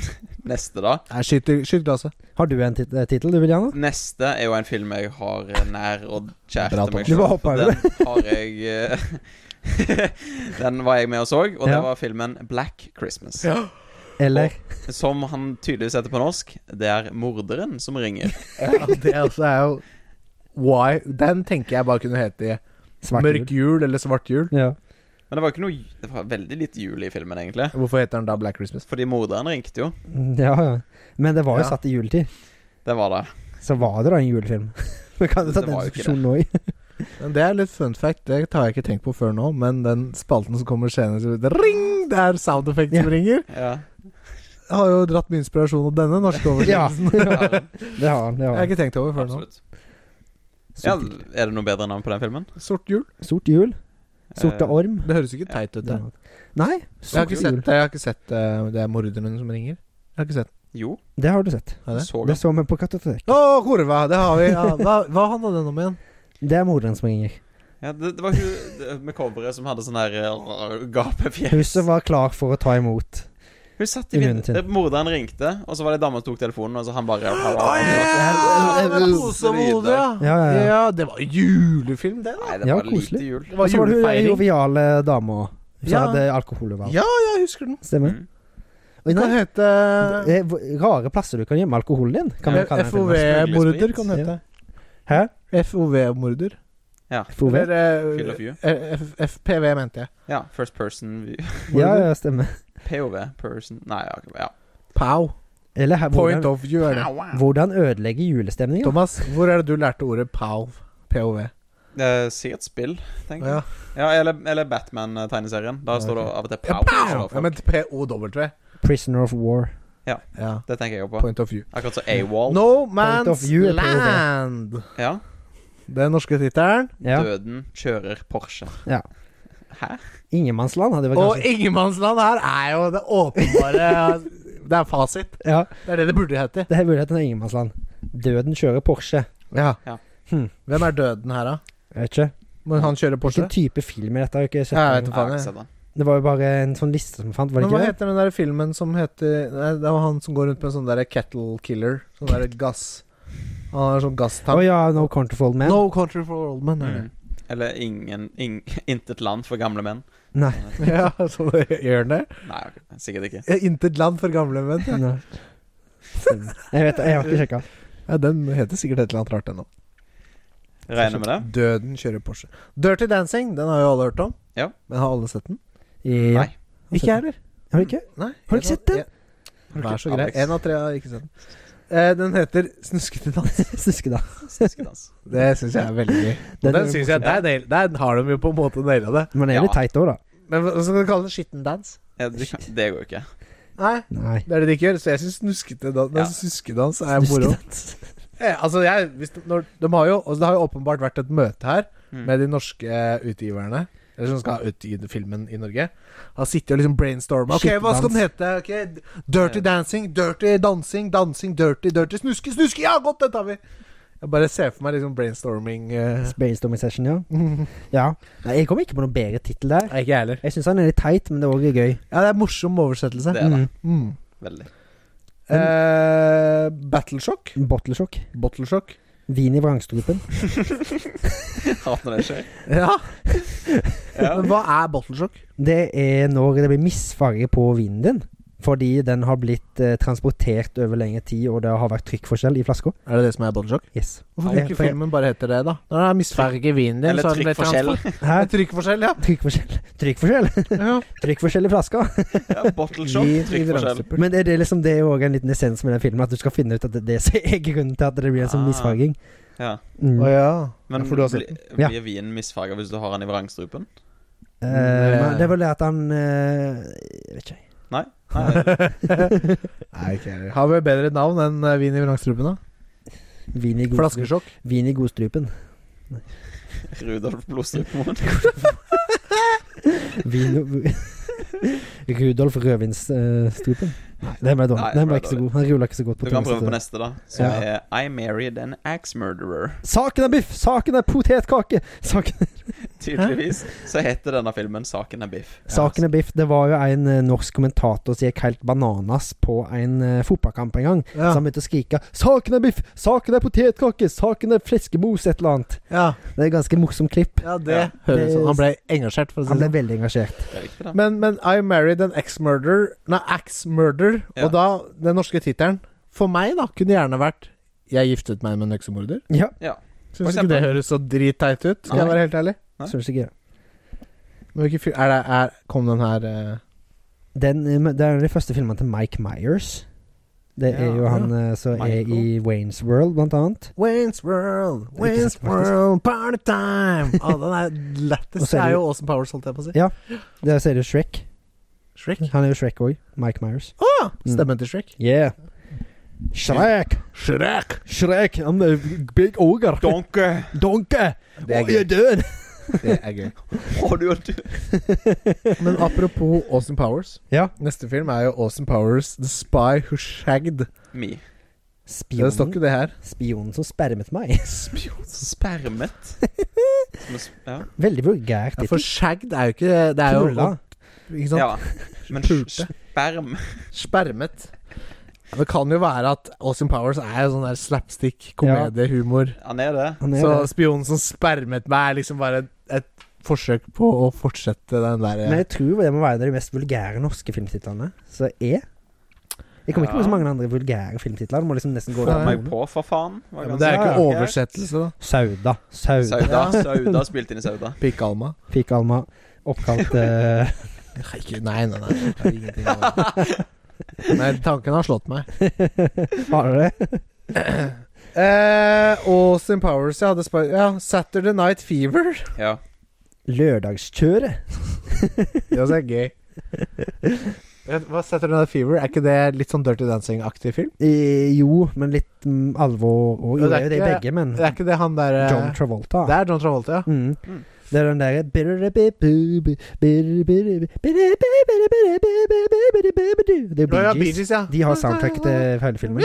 [SPEAKER 3] Neste, da.
[SPEAKER 1] Nei, Skyt, skyt glasset.
[SPEAKER 2] har du en tit- eh, tittel du vil gjerne?
[SPEAKER 3] Neste er jo en film jeg har nær og kjær
[SPEAKER 1] Bra,
[SPEAKER 3] til
[SPEAKER 1] Thomas.
[SPEAKER 3] meg
[SPEAKER 1] Du
[SPEAKER 2] bare hoppa
[SPEAKER 3] for
[SPEAKER 2] over.
[SPEAKER 3] Den har jeg eh, Den var jeg med og så, og det
[SPEAKER 2] Ja.
[SPEAKER 3] var filmen Black Christmas.
[SPEAKER 2] Eller
[SPEAKER 3] Som han tydeligvis heter på norsk. Det er morderen som ringer.
[SPEAKER 1] Ja, det altså er jo Why? Den tenker jeg bare kunne hete i
[SPEAKER 2] svart
[SPEAKER 1] Mørk jul eller Svart jul.
[SPEAKER 2] Ja.
[SPEAKER 3] Men det var ikke noe Det var veldig lite jul i filmen, egentlig.
[SPEAKER 1] Hvorfor heter den da Black Christmas?
[SPEAKER 3] Fordi morderen ringte jo.
[SPEAKER 2] Mm, ja, ja. Men det var jo
[SPEAKER 1] Ja.
[SPEAKER 2] satt i juletid.
[SPEAKER 3] Det var det.
[SPEAKER 2] Så var det da en julefilm. Men kan du ta
[SPEAKER 3] Det
[SPEAKER 2] den
[SPEAKER 3] var jo ikke
[SPEAKER 2] diskusjonen nå i?
[SPEAKER 1] Men det er litt fun fact. Det har jeg ikke tenkt på før nå, men den spalten som kommer senere, så det ring! Det er sound effect som ringer.
[SPEAKER 3] Ja.
[SPEAKER 1] Jeg har jo dratt min inspirasjon av denne norske oversettelsen.
[SPEAKER 2] Det har han. det har
[SPEAKER 1] Jeg har
[SPEAKER 2] han
[SPEAKER 1] ikke tenkt over før nå.
[SPEAKER 3] Absolutt. Ja, er det noe bedre navn på den filmen?
[SPEAKER 1] Sort hjul.
[SPEAKER 2] Sort hjul. Sorte
[SPEAKER 3] Eh,
[SPEAKER 2] orm.
[SPEAKER 1] Det høres ikke teit ut. Det.
[SPEAKER 2] Nei,
[SPEAKER 1] Jeg har
[SPEAKER 2] sort
[SPEAKER 1] ikke sett,
[SPEAKER 2] hjul.
[SPEAKER 1] det. jeg har ikke sett eh, det er morderen som ringer. Jeg har ikke sett
[SPEAKER 3] Jo,
[SPEAKER 2] Det har du sett.
[SPEAKER 1] har jeg det.
[SPEAKER 3] så
[SPEAKER 2] Det
[SPEAKER 3] godt.
[SPEAKER 2] så vi på Kattetek.
[SPEAKER 1] Å, kurva! Det har vi. Ja, hva, hva handla den om igjen?
[SPEAKER 2] Det er moren som ringer.
[SPEAKER 3] Ja, det, det var hun det- med coveret som hadde sånn der eh, gapefjes.
[SPEAKER 2] Huset var klar for å ta imot.
[SPEAKER 3] Hun satt
[SPEAKER 2] I
[SPEAKER 3] i
[SPEAKER 2] runden sin.
[SPEAKER 3] vinduet. Morderen ringte, og så var det ei dame som tok telefonen, og så han bare
[SPEAKER 1] ja, det var Pose og hode, ja.
[SPEAKER 2] Ja, ja, ja.
[SPEAKER 1] Ja, det var julefilm, det.
[SPEAKER 3] Nei, det
[SPEAKER 2] Ja,
[SPEAKER 3] var lite
[SPEAKER 2] koselig.
[SPEAKER 3] jul.
[SPEAKER 1] Det
[SPEAKER 2] Og
[SPEAKER 1] var
[SPEAKER 2] så var det hun
[SPEAKER 1] julefeiring.
[SPEAKER 2] joviale dama òg. Hun
[SPEAKER 1] Ja.
[SPEAKER 2] hadde alkoholvalg.
[SPEAKER 1] Ja, jeg husker den.
[SPEAKER 2] Stemmer.
[SPEAKER 3] Mm.
[SPEAKER 2] Oi,
[SPEAKER 1] Den
[SPEAKER 2] nei,
[SPEAKER 1] hete
[SPEAKER 2] det er v- rare plasser du kan gjemme alkoholen din. Kan vi kalle den filmen.
[SPEAKER 1] FOV-morder, kan den hete.
[SPEAKER 2] Hæ?
[SPEAKER 1] FOV-morder.
[SPEAKER 2] FOV?
[SPEAKER 1] eh,
[SPEAKER 3] Field of view.
[SPEAKER 1] FPV, mente jeg.
[SPEAKER 3] Ja, First Person view.
[SPEAKER 2] Ja, ja, stemmer.
[SPEAKER 3] POV. Person Nei, ja. ja.
[SPEAKER 1] Pow.
[SPEAKER 2] Eller her,
[SPEAKER 1] Point
[SPEAKER 2] hvordan,
[SPEAKER 1] of view er det.
[SPEAKER 2] hvordan ødelegge julestemninga?
[SPEAKER 1] Thomas, hvor er det du lærte ordet pow? POV.
[SPEAKER 3] Eh, si et spill, tenk.
[SPEAKER 1] Ja,
[SPEAKER 3] Ja, eller, eller Batman-tegneserien. Da står det av og til
[SPEAKER 1] ja
[SPEAKER 3] pow.
[SPEAKER 1] pow!
[SPEAKER 3] slår
[SPEAKER 1] Ja,
[SPEAKER 3] folk.
[SPEAKER 1] men POW.
[SPEAKER 2] Prisoner of war.
[SPEAKER 1] Ja.
[SPEAKER 3] Det tenker jeg jo på.
[SPEAKER 1] Point of view.
[SPEAKER 3] Akkurat som AWOL.
[SPEAKER 1] No
[SPEAKER 2] of
[SPEAKER 1] Man's
[SPEAKER 2] view er POV.
[SPEAKER 1] Land.
[SPEAKER 3] Ja.
[SPEAKER 1] Den norske tittelen.
[SPEAKER 2] Ja.
[SPEAKER 3] Døden kjører Porsche.
[SPEAKER 2] Ja.
[SPEAKER 3] Hæ?
[SPEAKER 2] Ingenmannsland hadde vært
[SPEAKER 1] Og
[SPEAKER 2] kanskje
[SPEAKER 1] Ingemannsland her er jo det åpenbare Det er fasit.
[SPEAKER 2] Ja,
[SPEAKER 1] Det er det det burde hete.
[SPEAKER 2] det er muligheten av ingenmannsland. Døden kjører Porsche.
[SPEAKER 1] Ja.
[SPEAKER 3] Ja.
[SPEAKER 2] Hm.
[SPEAKER 1] Hvem er døden her, da?
[SPEAKER 2] Jeg vet ikke.
[SPEAKER 1] Men han kjører Porsche?
[SPEAKER 2] Hvilken type film er dette? Jeg har ikke sett
[SPEAKER 1] Ja, jeg
[SPEAKER 2] den.
[SPEAKER 1] vet
[SPEAKER 3] Ja,
[SPEAKER 1] faen,
[SPEAKER 3] jeg
[SPEAKER 1] jeg.
[SPEAKER 3] har sett den.
[SPEAKER 2] Det var jo bare en sånn liste som fant, var det
[SPEAKER 1] Men hva
[SPEAKER 2] ikke det?
[SPEAKER 1] heter den der filmen som heter Nei, Det var han som går rundt med en sånn der kettle killer. Sånn der gass Han har en sånn
[SPEAKER 2] Å
[SPEAKER 1] gasstank.
[SPEAKER 2] ja, No Country for Old Men.
[SPEAKER 1] No country for old men. er det.
[SPEAKER 3] Mm. Eller ingen, ing, Intet land for gamle menn.
[SPEAKER 2] Nei.
[SPEAKER 1] Mm. ja, så det gjør den det?
[SPEAKER 3] Nei, ok, sikkert ikke.
[SPEAKER 1] Ja, Intet land for gamle menn. ja.
[SPEAKER 2] Nei. Stemmer. Jeg vet det, jeg har ikke sjekka.
[SPEAKER 1] Ja, den heter sikkert et eller annet rart ennå.
[SPEAKER 3] Regner med det.
[SPEAKER 1] Døden kjører Porsche. Dirty Dancing, den har jo alle hørt om.
[SPEAKER 3] Ja.
[SPEAKER 1] Men har alle sett den?
[SPEAKER 2] Ja.
[SPEAKER 3] Nei.
[SPEAKER 2] Ikke jeg heller. Har du ikke?
[SPEAKER 1] Nei.
[SPEAKER 2] Har
[SPEAKER 1] en
[SPEAKER 2] du ikke
[SPEAKER 1] av-
[SPEAKER 2] sett den?
[SPEAKER 1] en- Vær så grei.
[SPEAKER 3] Alex.
[SPEAKER 1] Én av tre har ikke sett den. Eh, den heter Snuskete dans.
[SPEAKER 2] Snuske, da.
[SPEAKER 3] Sniskedans.
[SPEAKER 1] Det syns jeg er veldig gøy.
[SPEAKER 2] Den
[SPEAKER 1] Den,
[SPEAKER 2] er-
[SPEAKER 1] den synes jeg, der, nail- der har de jo på en måte naila det.
[SPEAKER 2] Men det er jo litt
[SPEAKER 3] Ja.
[SPEAKER 2] teit òg, da.
[SPEAKER 1] Men hva hva skal du kalle det? Skitten dans?
[SPEAKER 3] Ja, du kan, det går jo ikke.
[SPEAKER 1] Nei.
[SPEAKER 2] Nei.
[SPEAKER 1] Det er det de ikke gjør. Så jeg syns snuskete dans,
[SPEAKER 3] Ja.
[SPEAKER 1] suskedans er moro.
[SPEAKER 2] Snuskedans.
[SPEAKER 1] Eh, altså jeg, hvis de, når, de har jo, altså det har jo åpenbart vært et møte her
[SPEAKER 3] Mm.
[SPEAKER 1] med de norske eh, utgiverne. Eller som skal utgi filmen i Norge. Har sittet og liksom brainstorma. Ok, hva skal den hete? Ok, Dirty
[SPEAKER 3] Ja.
[SPEAKER 1] dancing, dirty dancing, dancing, dirty, dirty. Snuske, snuske! Ja, godt, det tar vi! Jeg bare ser for meg liksom brainstorming eh.
[SPEAKER 2] Brainstorming session, ja. ja. Nei, jeg kom ikke på noen bedre tittel der.
[SPEAKER 1] Nei, ikke jeg heller.
[SPEAKER 2] Jeg syns han er litt teit, men det er òg gøy.
[SPEAKER 1] Ja, det er morsom oversettelse.
[SPEAKER 3] Det er det.
[SPEAKER 1] Mm.
[SPEAKER 3] Veldig.
[SPEAKER 1] Eh, Battleshock.
[SPEAKER 2] Bottleshock.
[SPEAKER 1] Bottleshock.
[SPEAKER 2] Mm. Vin i vrangstrupen.
[SPEAKER 3] Hater når det skjer.
[SPEAKER 1] Ja.
[SPEAKER 3] Ja.
[SPEAKER 1] Men hva er bottleshock?
[SPEAKER 2] Det er når det blir misfarge på vinen din. Fordi den har blitt eh, transportert over lengre tid, og det har vært trykkforskjell i flaska.
[SPEAKER 1] Er det det som er bottleshock?
[SPEAKER 2] Yes.
[SPEAKER 1] Hvorfor
[SPEAKER 2] Ja,
[SPEAKER 1] kan ikke
[SPEAKER 2] for-
[SPEAKER 1] filmen bare hete det, da? Når det er misfarge i vinen din,
[SPEAKER 3] Eller
[SPEAKER 1] så er sånn den litt
[SPEAKER 3] trykkforskjell.
[SPEAKER 1] transport-
[SPEAKER 2] Hæ?
[SPEAKER 1] Ja, Trykkforskjell, ja.
[SPEAKER 2] Trykkforskjell. Trykkforskjell Trykkforskjell i flaska.
[SPEAKER 3] Ja, bottle shop,
[SPEAKER 1] I- i
[SPEAKER 3] trykkforskjell.
[SPEAKER 1] vrangstrupper.
[SPEAKER 2] Men er det liksom det er jo også en liten essens med den filmen, at du skal finne ut at det, det som er grunnen til at det blir en sånn
[SPEAKER 3] Ah.
[SPEAKER 2] misfarging.
[SPEAKER 3] Ja.
[SPEAKER 2] Mm.
[SPEAKER 1] Å ja.
[SPEAKER 3] Men
[SPEAKER 1] Ja, for du har sett
[SPEAKER 3] bli-
[SPEAKER 2] Ja.
[SPEAKER 3] blir vinen misfarga hvis du har den i vrangstrupen?
[SPEAKER 2] Eh, men det er vel det at han eh, Jeg vet ikke. jeg.
[SPEAKER 3] Nei. Nei.
[SPEAKER 1] Nei, ikke heller. Har vi bedre navn enn eh, vin i vrangstrupen, da?
[SPEAKER 2] Vin i, god,
[SPEAKER 1] Flaskesjokk.
[SPEAKER 2] vin i godstrupen.
[SPEAKER 3] Rudolf Blodstrupemoen.
[SPEAKER 2] Vin Rudolf Rødvinsstrupen. Nei, den ble dårlig.
[SPEAKER 3] Nei,
[SPEAKER 2] Den ble
[SPEAKER 3] det
[SPEAKER 2] ikke
[SPEAKER 3] ble
[SPEAKER 2] så god. Han rulla ikke så godt
[SPEAKER 3] Du
[SPEAKER 2] på
[SPEAKER 3] kan
[SPEAKER 2] tunga.
[SPEAKER 3] prøve på
[SPEAKER 2] så-
[SPEAKER 3] neste, da. Som
[SPEAKER 2] Ja.
[SPEAKER 3] er I married an axe murderer.
[SPEAKER 2] Saken er biff! Saken er potetkake! Saken,
[SPEAKER 3] Tydeligvis så heter denne filmen 'Saken er biff'.
[SPEAKER 2] saken er biff. Det var jo en eh, norsk kommentator som gikk helt bananas på en eh, fotballkamp en gang.
[SPEAKER 1] Ja.
[SPEAKER 2] Så han begynte å skrike 'Saken er biff! Saken er potetkake! Saken er fleskemos!' et eller annet.
[SPEAKER 1] ja.
[SPEAKER 2] Det er et ganske morsomt klipp.
[SPEAKER 1] ja, det
[SPEAKER 3] Ja.
[SPEAKER 1] høres ut Han ble engasjert,
[SPEAKER 3] Altså.
[SPEAKER 1] for å
[SPEAKER 2] Han
[SPEAKER 1] si det
[SPEAKER 2] ble
[SPEAKER 1] sånn.
[SPEAKER 2] veldig engasjert.
[SPEAKER 3] Det er riktig, da.
[SPEAKER 1] Men, men I married an ex-murder Nei, ax-murder.
[SPEAKER 3] Ja.
[SPEAKER 1] Og da den norske tittelen For meg, da, kunne gjerne vært 'Jeg giftet meg med en heksemorder'.
[SPEAKER 2] Ja,
[SPEAKER 1] Syns
[SPEAKER 3] For
[SPEAKER 1] ikke det
[SPEAKER 3] eksempel.
[SPEAKER 1] høres så dritteit ut, skal jeg
[SPEAKER 3] Nei.
[SPEAKER 1] være helt ærlig.
[SPEAKER 3] Nei.
[SPEAKER 2] synes ikke det.
[SPEAKER 1] Men hvilken fi- er det, er, kom den her eh,
[SPEAKER 2] Den, eh, men det er jo de første filmene til Mike Myers. Det er
[SPEAKER 1] Ja,
[SPEAKER 2] jo
[SPEAKER 1] ja.
[SPEAKER 2] han eh, som er
[SPEAKER 3] Michael.
[SPEAKER 2] i Waynes World, blant annet.
[SPEAKER 1] Wayne's World,
[SPEAKER 2] Wayne's
[SPEAKER 1] World, party time! Å, den er
[SPEAKER 2] Og
[SPEAKER 1] lettest.
[SPEAKER 2] så
[SPEAKER 1] Det
[SPEAKER 2] er
[SPEAKER 1] er
[SPEAKER 2] det-
[SPEAKER 1] jo Awesome Powers, holdt jeg på å si.
[SPEAKER 2] Der ser du Shrek.
[SPEAKER 1] Shrek.
[SPEAKER 2] Han er jo Shrek òg. Mike Myers.
[SPEAKER 1] Ah,
[SPEAKER 2] Mm.
[SPEAKER 1] stemmen til Shrek.
[SPEAKER 2] Yeah. Shrek!
[SPEAKER 1] Shrek!
[SPEAKER 2] Shrek, I'm a big ogre.
[SPEAKER 3] Donkey!
[SPEAKER 2] Donkey!
[SPEAKER 1] Det er
[SPEAKER 2] Oh, you're dead.
[SPEAKER 1] Det er gøy.
[SPEAKER 3] Å, du, du.
[SPEAKER 1] Men apropos Awesome Powers.
[SPEAKER 2] Ja.
[SPEAKER 1] Neste film er jo Awesome Powers The Spy Who Shagged.
[SPEAKER 3] Me.
[SPEAKER 1] Det står
[SPEAKER 2] Spionen,
[SPEAKER 1] ikke det her.
[SPEAKER 2] spionen som spermet meg.
[SPEAKER 3] Spermet. Som er sp- Ja.
[SPEAKER 2] Veldig vulgært.
[SPEAKER 1] Ja, for shagged er jo ikke Det er jo
[SPEAKER 2] Knulla.
[SPEAKER 1] ikke sant?
[SPEAKER 3] ja. Men
[SPEAKER 1] Pulte.
[SPEAKER 3] sperm
[SPEAKER 1] Spermet. Ja, Det kan jo være at Awesome Powers er jo sånn der slapstick, komedie, humor.
[SPEAKER 3] Han er det.
[SPEAKER 2] Han er
[SPEAKER 1] Så
[SPEAKER 2] det.
[SPEAKER 1] spionen som spermet meg, er liksom bare et, et forsøk på å fortsette den der
[SPEAKER 2] Men jeg tror det må være en av de mest vulgære norske filmtitlene. Så E. Jeg kommer ikke på
[SPEAKER 3] Ja.
[SPEAKER 2] så mange andre vulgære filmtitler. Du må liksom nesten gå
[SPEAKER 1] Få
[SPEAKER 3] Få
[SPEAKER 2] over
[SPEAKER 3] meg
[SPEAKER 2] noen.
[SPEAKER 3] på, for faen.
[SPEAKER 1] ja,
[SPEAKER 3] Var
[SPEAKER 1] men Det er jo
[SPEAKER 2] ganske-
[SPEAKER 1] ikke oversettelse, da.
[SPEAKER 2] Sauda. Sauda.
[SPEAKER 3] Sauda.
[SPEAKER 1] Ja.
[SPEAKER 3] Sauda spilte inn i Sauda.
[SPEAKER 1] Pikk Alma.
[SPEAKER 2] Fikk Alma oppkalt eh,
[SPEAKER 1] Nei, ikke- nei, nei. nei. Jeg har ingenting av det. Nei, tanken har slått meg.
[SPEAKER 2] Var det det?
[SPEAKER 1] Eh, Awesome Powers, ja. det spør- ja. Saturday Night Fever.
[SPEAKER 3] Ja.
[SPEAKER 2] Lørdagskjøret.
[SPEAKER 1] Det også er gøy. Vet- Hva Saturday Night Fever? Er ikke det litt sånn Dirty Dancing-aktig film?
[SPEAKER 2] Eh, jo, men litt mm, alvor og Jo,
[SPEAKER 1] Det
[SPEAKER 2] det
[SPEAKER 1] er
[SPEAKER 2] er jo det
[SPEAKER 1] ikke-
[SPEAKER 2] begge, men
[SPEAKER 1] Det er ikke det han der eh,
[SPEAKER 2] John Travolta.
[SPEAKER 1] Det er John Travolta, ja.
[SPEAKER 2] Mm.
[SPEAKER 3] Mm.
[SPEAKER 2] Det er den derre Det er
[SPEAKER 1] Ja, ja,
[SPEAKER 2] Bee
[SPEAKER 1] Bee
[SPEAKER 2] Gees.
[SPEAKER 1] Gees, ja.
[SPEAKER 2] De har soundtrack
[SPEAKER 1] eh,
[SPEAKER 2] til hele filmen.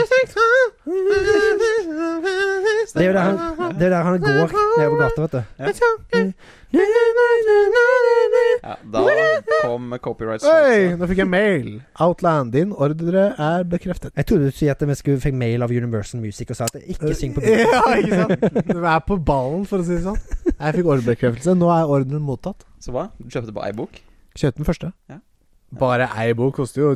[SPEAKER 2] Det er jo der han, det er der han går nedover gata, vet du.
[SPEAKER 3] ja. Da kom copyright
[SPEAKER 1] Oi,
[SPEAKER 3] strikes.
[SPEAKER 1] nå fikk jeg mail. Outland, din ordre er bekreftet.
[SPEAKER 2] Jeg trodde du skulle si at vi skulle fikk mail av Universal Music og sa at jeg ikke
[SPEAKER 1] Eh,
[SPEAKER 2] syng på Bee
[SPEAKER 1] Ja, ikke sant? Du er på ballen, for å si det sånn. Jeg fikk ordrebekreftelse. Nå er ordren mottatt.
[SPEAKER 3] Så hva? Du kjøpte på iBook?
[SPEAKER 1] Kjøp den første.
[SPEAKER 3] Ja.
[SPEAKER 1] Bare ei bok koster jo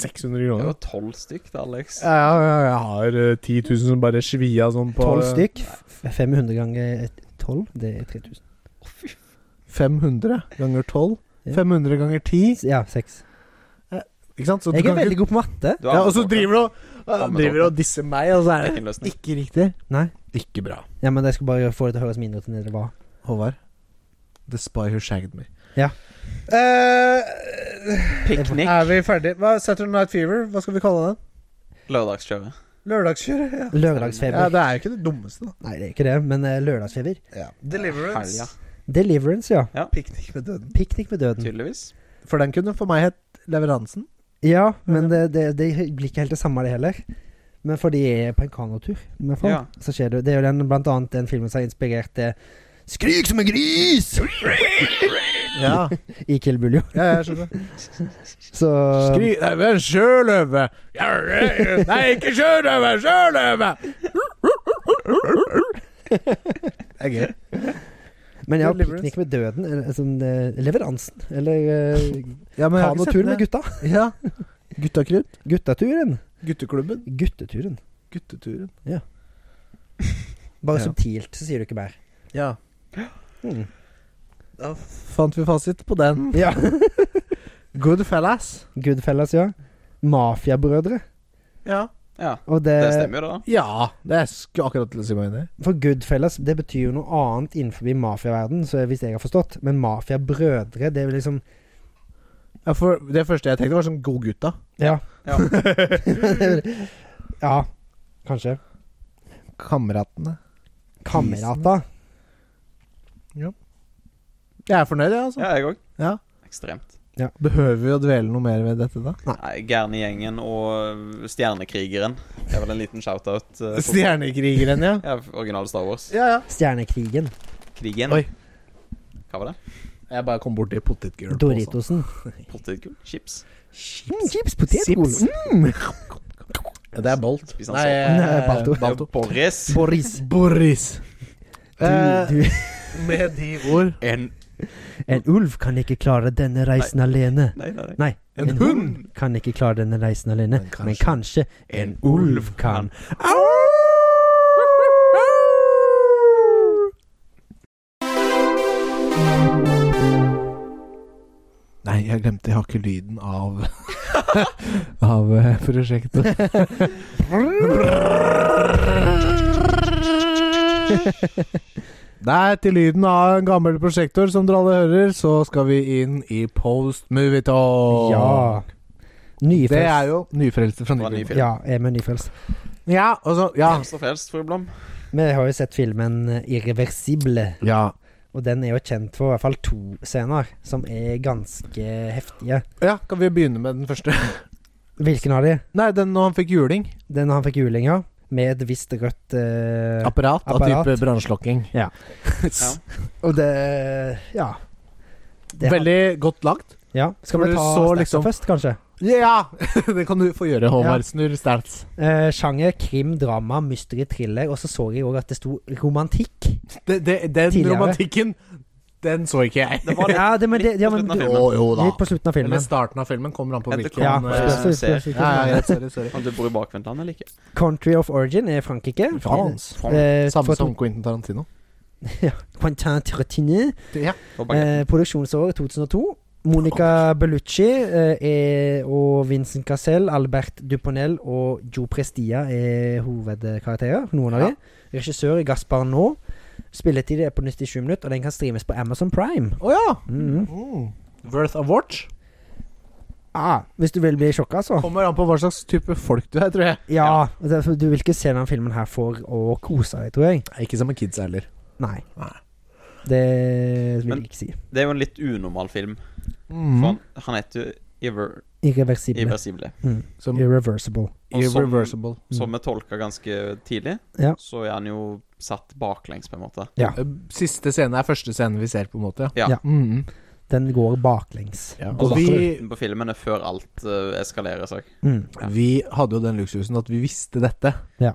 [SPEAKER 1] 600
[SPEAKER 3] Det er
[SPEAKER 1] kroner.
[SPEAKER 3] jo tolv stykk, da, Alex.
[SPEAKER 1] Ja, ja, ja, jeg har eh, 10 000 som bare svia sånn på
[SPEAKER 2] 12 stykk. F- 500 ganger 12, det er 3000.
[SPEAKER 1] 500 ganger 12.
[SPEAKER 2] Ja.
[SPEAKER 1] 500 ganger 10.
[SPEAKER 2] Ja, 6.
[SPEAKER 1] Ikke sant? Så du
[SPEAKER 2] Jeg er
[SPEAKER 1] kan
[SPEAKER 2] veldig
[SPEAKER 1] ikke
[SPEAKER 2] god på matte.
[SPEAKER 3] Du
[SPEAKER 1] ja, Og så
[SPEAKER 3] anbefalte.
[SPEAKER 1] driver du og,
[SPEAKER 3] Ja, men
[SPEAKER 1] driver
[SPEAKER 3] da-
[SPEAKER 1] og disser meg, og så
[SPEAKER 3] Det er
[SPEAKER 1] er
[SPEAKER 3] ikke en
[SPEAKER 1] det
[SPEAKER 3] løsning.
[SPEAKER 1] ikke riktig.
[SPEAKER 2] Nei.
[SPEAKER 1] Ikke bra.
[SPEAKER 2] Ja, men jeg skal bare få det til å høres mindre ut enn det det var.
[SPEAKER 1] Håvard. The Spy Who Shagged Me.
[SPEAKER 2] Ja.
[SPEAKER 1] Eh,
[SPEAKER 3] Piknik.
[SPEAKER 1] er vi ferdige? Hva, Saturday Night Fever, hva skal vi kalle den?
[SPEAKER 3] Lørdagskjøret.
[SPEAKER 1] Lørdagskjøret? Ja. ja,
[SPEAKER 2] Lørdagsfeber.
[SPEAKER 1] det er jo ikke det dummeste, da.
[SPEAKER 2] Nei, det er ikke det, men eh, lørdagsfeber.
[SPEAKER 1] Deliverance.
[SPEAKER 3] Helga.
[SPEAKER 2] Deliverance, ja.
[SPEAKER 1] Piknik med døden.
[SPEAKER 2] Piknik med døden.
[SPEAKER 3] Tydeligvis.
[SPEAKER 1] For den kunne for meg hett Leveransen.
[SPEAKER 2] Ja, men det, det, det blir ikke helt det samme, det heller. Men for de er på en kanotur, i hvert fall,
[SPEAKER 3] Ja.
[SPEAKER 2] så skjer det. Det er jo den, blant annet den filmen som har inspirert til Skrik som en gris!
[SPEAKER 1] Ja,
[SPEAKER 2] I Kill Buljo.
[SPEAKER 1] ja jeg skjønner.
[SPEAKER 2] Så
[SPEAKER 1] Skri... Nei, men sjøløve! Ja, ja, ja. Nei, ikke sjøløve! Sjøløve! Det er gøy.
[SPEAKER 2] Men ja,
[SPEAKER 1] Deliverance.
[SPEAKER 2] Piknik med døden, eller sånn, eh, Leveransen, eller eh,
[SPEAKER 1] Ja, men jeg har ikke sett
[SPEAKER 2] Kanotur med
[SPEAKER 1] det.
[SPEAKER 2] gutta.
[SPEAKER 1] Ja. Guttakrydd.
[SPEAKER 2] Guttaturen.
[SPEAKER 1] Gutteklubben.
[SPEAKER 2] Gutteturen.
[SPEAKER 1] Gutteturen.
[SPEAKER 2] Bare
[SPEAKER 1] Ja.
[SPEAKER 2] subtilt, så sier du ikke mer.
[SPEAKER 1] Ja.
[SPEAKER 2] Mm.
[SPEAKER 1] Da Mm. fant vi fasit på den.
[SPEAKER 2] Ja.
[SPEAKER 1] Goodfellas.
[SPEAKER 2] Goodfellas, ja. Mafiabrødre.
[SPEAKER 1] Ja.
[SPEAKER 3] Ja.
[SPEAKER 2] Og det,
[SPEAKER 1] Eh,
[SPEAKER 3] Det stemmer jo, da.
[SPEAKER 1] Ja, det skulle akkurat til å si meg enig i.
[SPEAKER 2] For Goodfellas, det betyr jo noe annet innenfor mafiaverden, så hvis jeg har forstått. Men mafiabrødre, det er jo liksom
[SPEAKER 1] Ja, for det første jeg tenkte, var sånn Godgutta.
[SPEAKER 2] Ja.
[SPEAKER 3] Ja.
[SPEAKER 2] ja, kanskje.
[SPEAKER 1] Kameratene.
[SPEAKER 2] Kamerata.
[SPEAKER 1] Jeg er fornøyd, jeg, altså.
[SPEAKER 3] Ja, jeg òg.
[SPEAKER 1] Ja.
[SPEAKER 3] Ekstremt.
[SPEAKER 1] Behøver vi å dvele noe mer ved dette, da?
[SPEAKER 3] Nei, Gærnegjengen og øh, Stjernekrigeren. Det er vel en liten shout-out. eh, på-
[SPEAKER 1] Stjernekrigeren, ja.
[SPEAKER 3] Ja, original Star Wars.
[SPEAKER 1] Ja, ja.
[SPEAKER 2] Stjernekrigen.
[SPEAKER 3] Krigen.
[SPEAKER 1] Oi.
[SPEAKER 3] Hva var det?
[SPEAKER 1] Jeg bare kom borti potetgull. sånn.
[SPEAKER 2] Doritosen.
[SPEAKER 3] Potetgull? Chips?
[SPEAKER 2] Mm, chips,
[SPEAKER 1] Sips.
[SPEAKER 2] potetgull.
[SPEAKER 1] Mm. Det er Bolt.
[SPEAKER 3] Spiser han
[SPEAKER 1] Nei,
[SPEAKER 3] såpe?
[SPEAKER 1] eh,
[SPEAKER 2] Balto.
[SPEAKER 1] Balto.
[SPEAKER 3] Boris.
[SPEAKER 2] Boris.
[SPEAKER 1] Boris.
[SPEAKER 2] Du,
[SPEAKER 1] Eh,
[SPEAKER 2] du.
[SPEAKER 1] med de ord
[SPEAKER 3] En
[SPEAKER 2] En ulv kan ikke klare denne reisen alene.
[SPEAKER 3] Nei, nei, nei.
[SPEAKER 2] Nei,
[SPEAKER 1] En
[SPEAKER 2] en,
[SPEAKER 1] hund.
[SPEAKER 2] hund kan ikke klare denne reisen alene.
[SPEAKER 1] Men
[SPEAKER 2] Men
[SPEAKER 1] kanskje-
[SPEAKER 2] kanskje, en ulv kan.
[SPEAKER 1] Nei, jeg glemte. Jeg har ikke lyden av av eh, prosjektet. Der, til lyden av en gammel prosjektor, som dere alle hører, så skal vi inn i Post Movie Talk.
[SPEAKER 2] Ja.
[SPEAKER 1] Det er
[SPEAKER 2] Nyfrelst.
[SPEAKER 1] jo nyfrelste fra
[SPEAKER 3] Fra ny
[SPEAKER 1] Nyfrelst.
[SPEAKER 3] film.
[SPEAKER 2] Ja, jeg er med nyfrelst.
[SPEAKER 1] Ja, og så Ja.
[SPEAKER 3] Helst og frelst, for Blom.
[SPEAKER 2] Vi har jo sett filmen eh, Irreversible,
[SPEAKER 1] ja.
[SPEAKER 2] og den er jo kjent for i hvert fall to scener som er ganske heftige.
[SPEAKER 1] Ja, kan vi begynne med den første?
[SPEAKER 2] Hvilken av de?
[SPEAKER 1] Nei, den når han fikk juling.
[SPEAKER 2] Den han fikk julinga med et visst rødt eh,
[SPEAKER 1] Apparat av
[SPEAKER 2] Apparat.
[SPEAKER 1] type brannslokking.
[SPEAKER 2] Ja. Og det Ja. Det har-
[SPEAKER 1] Veldig godt lagd.
[SPEAKER 2] ja. Skal
[SPEAKER 1] Hvor
[SPEAKER 2] vi
[SPEAKER 1] du
[SPEAKER 2] ta
[SPEAKER 1] så
[SPEAKER 2] statsa
[SPEAKER 1] liksom-
[SPEAKER 2] først, kanskje?
[SPEAKER 1] Ja! det kan du få gjøre, Håvard.
[SPEAKER 2] Ja.
[SPEAKER 1] Snurr stats.
[SPEAKER 2] Eh, sjanger krim, drama, mystery, thriller, og så så jeg òg at det sto romantikk.
[SPEAKER 1] Det, det, den
[SPEAKER 2] Tidligere.
[SPEAKER 1] romantikken, den så ikke jeg.
[SPEAKER 3] Det var litt
[SPEAKER 2] Ja, det, men det, ja,
[SPEAKER 3] på
[SPEAKER 2] men,
[SPEAKER 3] slutten av
[SPEAKER 2] du-
[SPEAKER 3] filmen.
[SPEAKER 1] Å, jo da.
[SPEAKER 2] litt på slutten av filmen.
[SPEAKER 1] Eller starten av filmen kommer an på
[SPEAKER 3] Ja, det
[SPEAKER 1] hvilken
[SPEAKER 2] Ja,
[SPEAKER 3] kom,
[SPEAKER 1] eh,
[SPEAKER 3] eh,
[SPEAKER 2] spørs-
[SPEAKER 3] ser.
[SPEAKER 2] spørs hvilken
[SPEAKER 1] ja, ja,
[SPEAKER 2] film.
[SPEAKER 1] ja, sorry, sorry.
[SPEAKER 3] Om du bor i bakvendtland eller ikke.
[SPEAKER 2] Country of origin er Frankrike.
[SPEAKER 1] Frans.
[SPEAKER 2] Eh, for-
[SPEAKER 1] Samme som Quentin Tarantino.
[SPEAKER 2] Quentin Tarantino.
[SPEAKER 1] Ja.
[SPEAKER 3] På bakken.
[SPEAKER 2] Eh, produksjonsåret 2002. Monica Bellucci eh, er, og Vincent Cassel, Albert Duponel og Joe Prestia er hovedkarakterer. Noen av
[SPEAKER 1] Ja.
[SPEAKER 2] de. Regissør er Gaspar Nå. Spilletid er på 97 minutter, og den kan streames på Amazon Prime.
[SPEAKER 1] Å ja!
[SPEAKER 2] Mhm.
[SPEAKER 1] Mm. Worth of watch.
[SPEAKER 2] Ah, hvis du vil bli sjokka, så.
[SPEAKER 1] Kommer an på hva slags type folk du er, tror jeg.
[SPEAKER 2] Ja, derfor- du vil ikke se den filmen her for å kose deg, tror jeg.
[SPEAKER 1] Ikke som med kids heller.
[SPEAKER 2] Nei.
[SPEAKER 1] Nei.
[SPEAKER 2] Det vil
[SPEAKER 3] Men-
[SPEAKER 2] jeg ikke si.
[SPEAKER 3] Det er jo en litt unormal film. For
[SPEAKER 1] Mm.
[SPEAKER 3] han, han heter jo Irre-
[SPEAKER 2] Irreversible.
[SPEAKER 3] Irreversible.
[SPEAKER 1] Som
[SPEAKER 2] Irreversible.
[SPEAKER 3] Og som-
[SPEAKER 1] irreversible.
[SPEAKER 3] Som vi tolka ganske tidlig,
[SPEAKER 2] Ja.
[SPEAKER 3] så er han jo satt baklengs, på en måte.
[SPEAKER 1] Eh, Siste scene er første scene vi ser, på en måte.
[SPEAKER 3] Ja.
[SPEAKER 2] Ja. altså,
[SPEAKER 1] Mm.
[SPEAKER 2] Den går baklengs.
[SPEAKER 1] Ja.
[SPEAKER 3] Og
[SPEAKER 1] Og
[SPEAKER 3] så
[SPEAKER 1] vi-
[SPEAKER 3] slutten på filmen er før alt eh, eskalerer seg.
[SPEAKER 2] Mm.
[SPEAKER 3] Ja.
[SPEAKER 1] Vi hadde jo den luksusen at vi visste dette.
[SPEAKER 2] Ja.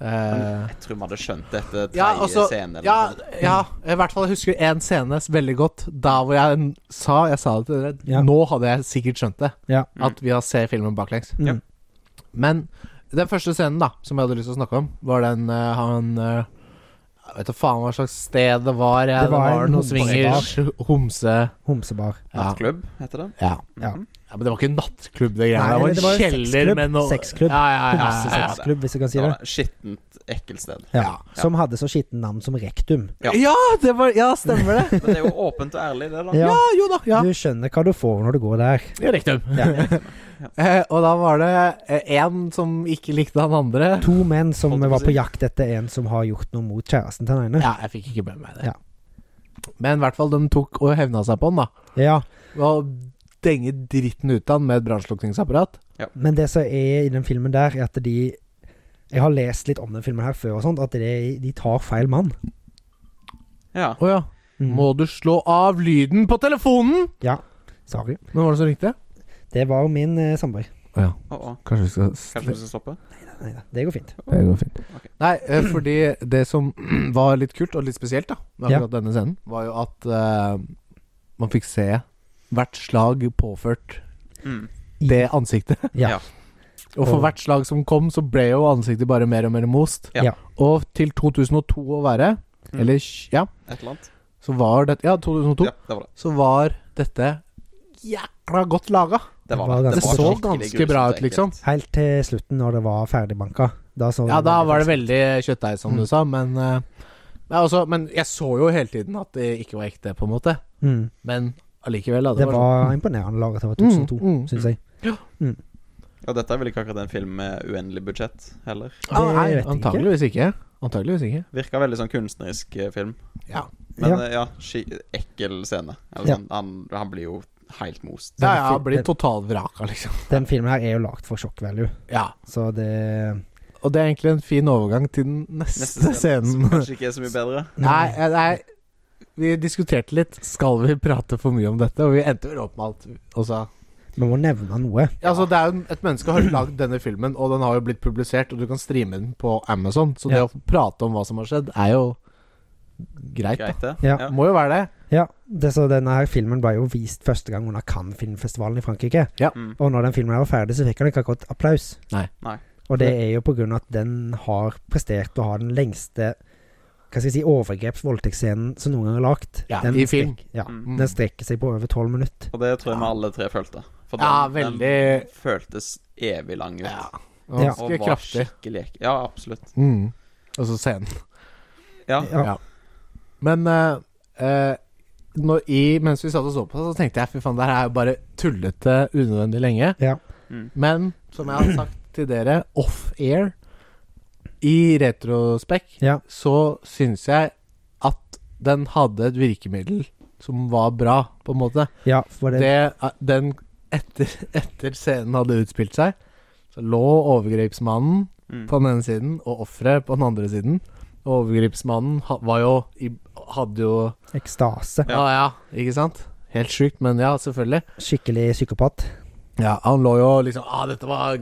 [SPEAKER 1] Eh,
[SPEAKER 3] Jeg tror vi hadde skjønt det etter tredje
[SPEAKER 1] Ja, altså,
[SPEAKER 3] scene. Eller
[SPEAKER 1] ja,
[SPEAKER 3] noe sånt.
[SPEAKER 1] ja, i hvert fall jeg husker én scene veldig godt. Da hvor jeg n- sa Jeg sa det til dere.
[SPEAKER 2] Ja.
[SPEAKER 1] Nå hadde jeg sikkert skjønt det.
[SPEAKER 2] Ja.
[SPEAKER 1] At vi har sett filmen baklengs.
[SPEAKER 2] Mm.
[SPEAKER 3] Mm. Ja.
[SPEAKER 1] Men den første scenen da som jeg hadde lyst til å snakke om, var den eh, han eh, Jeg vet da faen hva slags sted det var. Jeg,
[SPEAKER 2] Det
[SPEAKER 1] det
[SPEAKER 2] var
[SPEAKER 1] var,
[SPEAKER 2] en
[SPEAKER 1] noe
[SPEAKER 2] homsebar.
[SPEAKER 1] swingers, homse
[SPEAKER 2] Homsebar.
[SPEAKER 1] ja.
[SPEAKER 3] Nattklubb, heter det.
[SPEAKER 1] Ja.
[SPEAKER 2] Ja.
[SPEAKER 3] Mhm.
[SPEAKER 1] ja, Men det var ikke en nattklubb, det
[SPEAKER 2] Nei,
[SPEAKER 1] greia. Det var
[SPEAKER 2] eller
[SPEAKER 1] en
[SPEAKER 2] det var jo
[SPEAKER 1] kjeller
[SPEAKER 2] sexklubb.
[SPEAKER 1] med noe Ja,
[SPEAKER 2] Sexklubb.
[SPEAKER 1] ja, ja, ja, ja.
[SPEAKER 2] Homsesexklubb, hvis jeg kan si det.
[SPEAKER 3] Det var et Skittent, ekkelt sted.
[SPEAKER 2] Ja.
[SPEAKER 1] Ja.
[SPEAKER 2] Som hadde så skittent navn som rektum.
[SPEAKER 3] Ja.
[SPEAKER 1] ja, det var Ja, stemmer det.
[SPEAKER 3] Men det er jo åpent og ærlig, det, da.
[SPEAKER 2] Ja.
[SPEAKER 1] Ja, jo da. Ja.
[SPEAKER 2] Du skjønner hva du får når du går der.
[SPEAKER 1] Det er riktig.
[SPEAKER 2] Ja.
[SPEAKER 1] Eh, og da var det én som ikke likte han andre.
[SPEAKER 2] To menn som
[SPEAKER 3] Holdt jeg på å
[SPEAKER 2] var
[SPEAKER 3] si.
[SPEAKER 2] på jakt etter en som har gjort noe mot kjæresten til den ene.
[SPEAKER 1] Ja, jeg fikk ikke med meg det.
[SPEAKER 2] Ja.
[SPEAKER 1] Men i hvert fall, de tok og hevna seg på han, da.
[SPEAKER 2] Ja.
[SPEAKER 1] Og denge dritten ut av han med et brannslukningsapparat.
[SPEAKER 2] Men det som er i den filmen der, er at de Jeg har lest litt om den filmen her før, og sånt, at de, de tar feil mann.
[SPEAKER 3] Ja.
[SPEAKER 1] Å ja.
[SPEAKER 2] Mm.
[SPEAKER 1] Må du slå av lyden på telefonen?!
[SPEAKER 2] Sorry.
[SPEAKER 1] Hvem var det som ringte?
[SPEAKER 2] Det var min eh, samboer.
[SPEAKER 3] Å, å.
[SPEAKER 1] Kanskje vi skal
[SPEAKER 3] Kanskje vi skal stoppe?
[SPEAKER 2] Neida, Det går fint.
[SPEAKER 1] Det går fint.
[SPEAKER 3] Ok.
[SPEAKER 1] Nei, eh, fordi det som var litt kult, og litt spesielt, da med
[SPEAKER 2] Ja.
[SPEAKER 1] akkurat denne scenen, var jo at eh, man fikk se hvert slag påført
[SPEAKER 3] Mm.
[SPEAKER 1] det ansiktet.
[SPEAKER 2] Ja.
[SPEAKER 3] Ja.
[SPEAKER 1] Og for
[SPEAKER 2] Og-
[SPEAKER 1] hvert slag som kom, så ble jo ansiktet bare mer og mer most.
[SPEAKER 3] Ja.
[SPEAKER 2] Ja.
[SPEAKER 1] Og til 2002 å være,
[SPEAKER 3] Mm.
[SPEAKER 1] eller sj- ja,
[SPEAKER 3] Et eller annet.
[SPEAKER 1] så var dette Ja, 2002.
[SPEAKER 3] Ja, det var det.
[SPEAKER 1] Så var dette jækla godt laga.
[SPEAKER 2] Det
[SPEAKER 3] Det, var
[SPEAKER 2] var ganske-
[SPEAKER 3] det. var
[SPEAKER 2] Det så
[SPEAKER 3] skikkelig
[SPEAKER 1] ganske
[SPEAKER 3] grusomt
[SPEAKER 1] bra ut,
[SPEAKER 3] ekkelt.
[SPEAKER 1] liksom.
[SPEAKER 2] Helt til slutten, når det var ferdigbanka. Da så
[SPEAKER 1] Ja, da var det veldig kjøttdeig, som
[SPEAKER 2] Mm.
[SPEAKER 1] du sa, men eh, ja, altså, Men jeg så jo hele tiden at det ikke var ekte, på en måte.
[SPEAKER 2] mm.
[SPEAKER 1] Men allikevel, da.
[SPEAKER 2] Det var imponerende laget over
[SPEAKER 1] sånn.
[SPEAKER 2] 2002,
[SPEAKER 1] Mm, mm.
[SPEAKER 2] syns jeg.
[SPEAKER 3] Og dette er vel ikke akkurat en film med uendelig budsjett heller.
[SPEAKER 1] Ja, «Ah, nei,
[SPEAKER 2] Det vet jeg ikke.
[SPEAKER 1] antageligvis ikke. Antageligvis ikke.
[SPEAKER 3] Virka veldig sånn kunstnerisk eh, film.
[SPEAKER 1] Ja.
[SPEAKER 3] Men
[SPEAKER 2] Ja.
[SPEAKER 3] eh, ja, ski ekkel scene. Eller
[SPEAKER 2] Ja.
[SPEAKER 3] sånn. Han, han blir jo helt most.
[SPEAKER 1] Ja,
[SPEAKER 2] Den
[SPEAKER 1] ja,
[SPEAKER 2] fil-
[SPEAKER 1] blir
[SPEAKER 2] den-
[SPEAKER 1] totalvraka, liksom.
[SPEAKER 2] Den filmen her er jo lagd for shock value,
[SPEAKER 1] Ja.
[SPEAKER 2] så det
[SPEAKER 1] Og det er egentlig en fin overgang til den neste,
[SPEAKER 3] som
[SPEAKER 1] scenen.
[SPEAKER 3] kanskje ikke er så mye bedre.
[SPEAKER 1] Nei, eh, nei Vi diskuterte litt Skal vi prate for mye om dette Og vi endte vel opp med alt og sa-
[SPEAKER 2] Vi må nevne noe.
[SPEAKER 1] ja, altså, Det er jo et menneske har lagd denne filmen Og den har jo blitt publisert Og du kan streame den på Amazon Så det
[SPEAKER 2] Ja.
[SPEAKER 1] å prate om hva som har skjedd Er jo greit da
[SPEAKER 3] Greit, det.
[SPEAKER 2] Ja.
[SPEAKER 3] Ja.
[SPEAKER 1] Må jo være det
[SPEAKER 2] Ja, det, så denne her filmen ble jo vist første gang under Cannes filmfestivalen i Frankrike.
[SPEAKER 1] Ja.
[SPEAKER 3] Mm.
[SPEAKER 2] Og når den filmen her var ferdig, så fikk han ikke akkurat applaus.
[SPEAKER 1] Nei.
[SPEAKER 3] Nei.
[SPEAKER 2] Og det er jo på grunn av at den har prestert å ha den lengste hva skal jeg si, overgreps-voldtektsscenen som noen gang er lagd.
[SPEAKER 1] Ja,
[SPEAKER 2] den
[SPEAKER 1] i film.
[SPEAKER 2] strek- Ja,
[SPEAKER 3] Mm.
[SPEAKER 2] Den strekker seg på over tolv minutter.
[SPEAKER 3] Og det tror jeg vi alle tre følte. For
[SPEAKER 1] Ja,
[SPEAKER 3] den,
[SPEAKER 1] veldig
[SPEAKER 3] den føltes evig lang ut.
[SPEAKER 1] Ja.
[SPEAKER 2] Ja.
[SPEAKER 1] Ganske kraftig.
[SPEAKER 3] skikkelig ek- Ja, absolutt.
[SPEAKER 1] Mm. Og så scenen.
[SPEAKER 3] Ja.
[SPEAKER 2] Ja.
[SPEAKER 1] Ja. Men eh, eh, når, i, mens vi satt og så på det, så tenkte jeg fy faen, det her er jo bare tullete unødvendig lenge.
[SPEAKER 2] Ja.
[SPEAKER 3] Mm.
[SPEAKER 1] Men som jeg har sagt til dere, off-air, i retrospekt,
[SPEAKER 2] Ja.
[SPEAKER 1] så syns jeg at den hadde et virkemiddel som var bra, på en måte.
[SPEAKER 2] Ja, for det,
[SPEAKER 1] Det, eh, den etter, etter scenen hadde utspilt seg, så lå overgrepsmannen
[SPEAKER 3] Mm.
[SPEAKER 1] på den ene siden og offeret på den andre siden. Og overgripsmannen ha- var jo i, Hadde jo
[SPEAKER 2] ekstase.
[SPEAKER 1] ja. ja, ikke sant? Helt sjukt, men ja, selvfølgelig.
[SPEAKER 2] Skikkelig psykopat.
[SPEAKER 1] Ja, Han lå jo liksom ah, dette var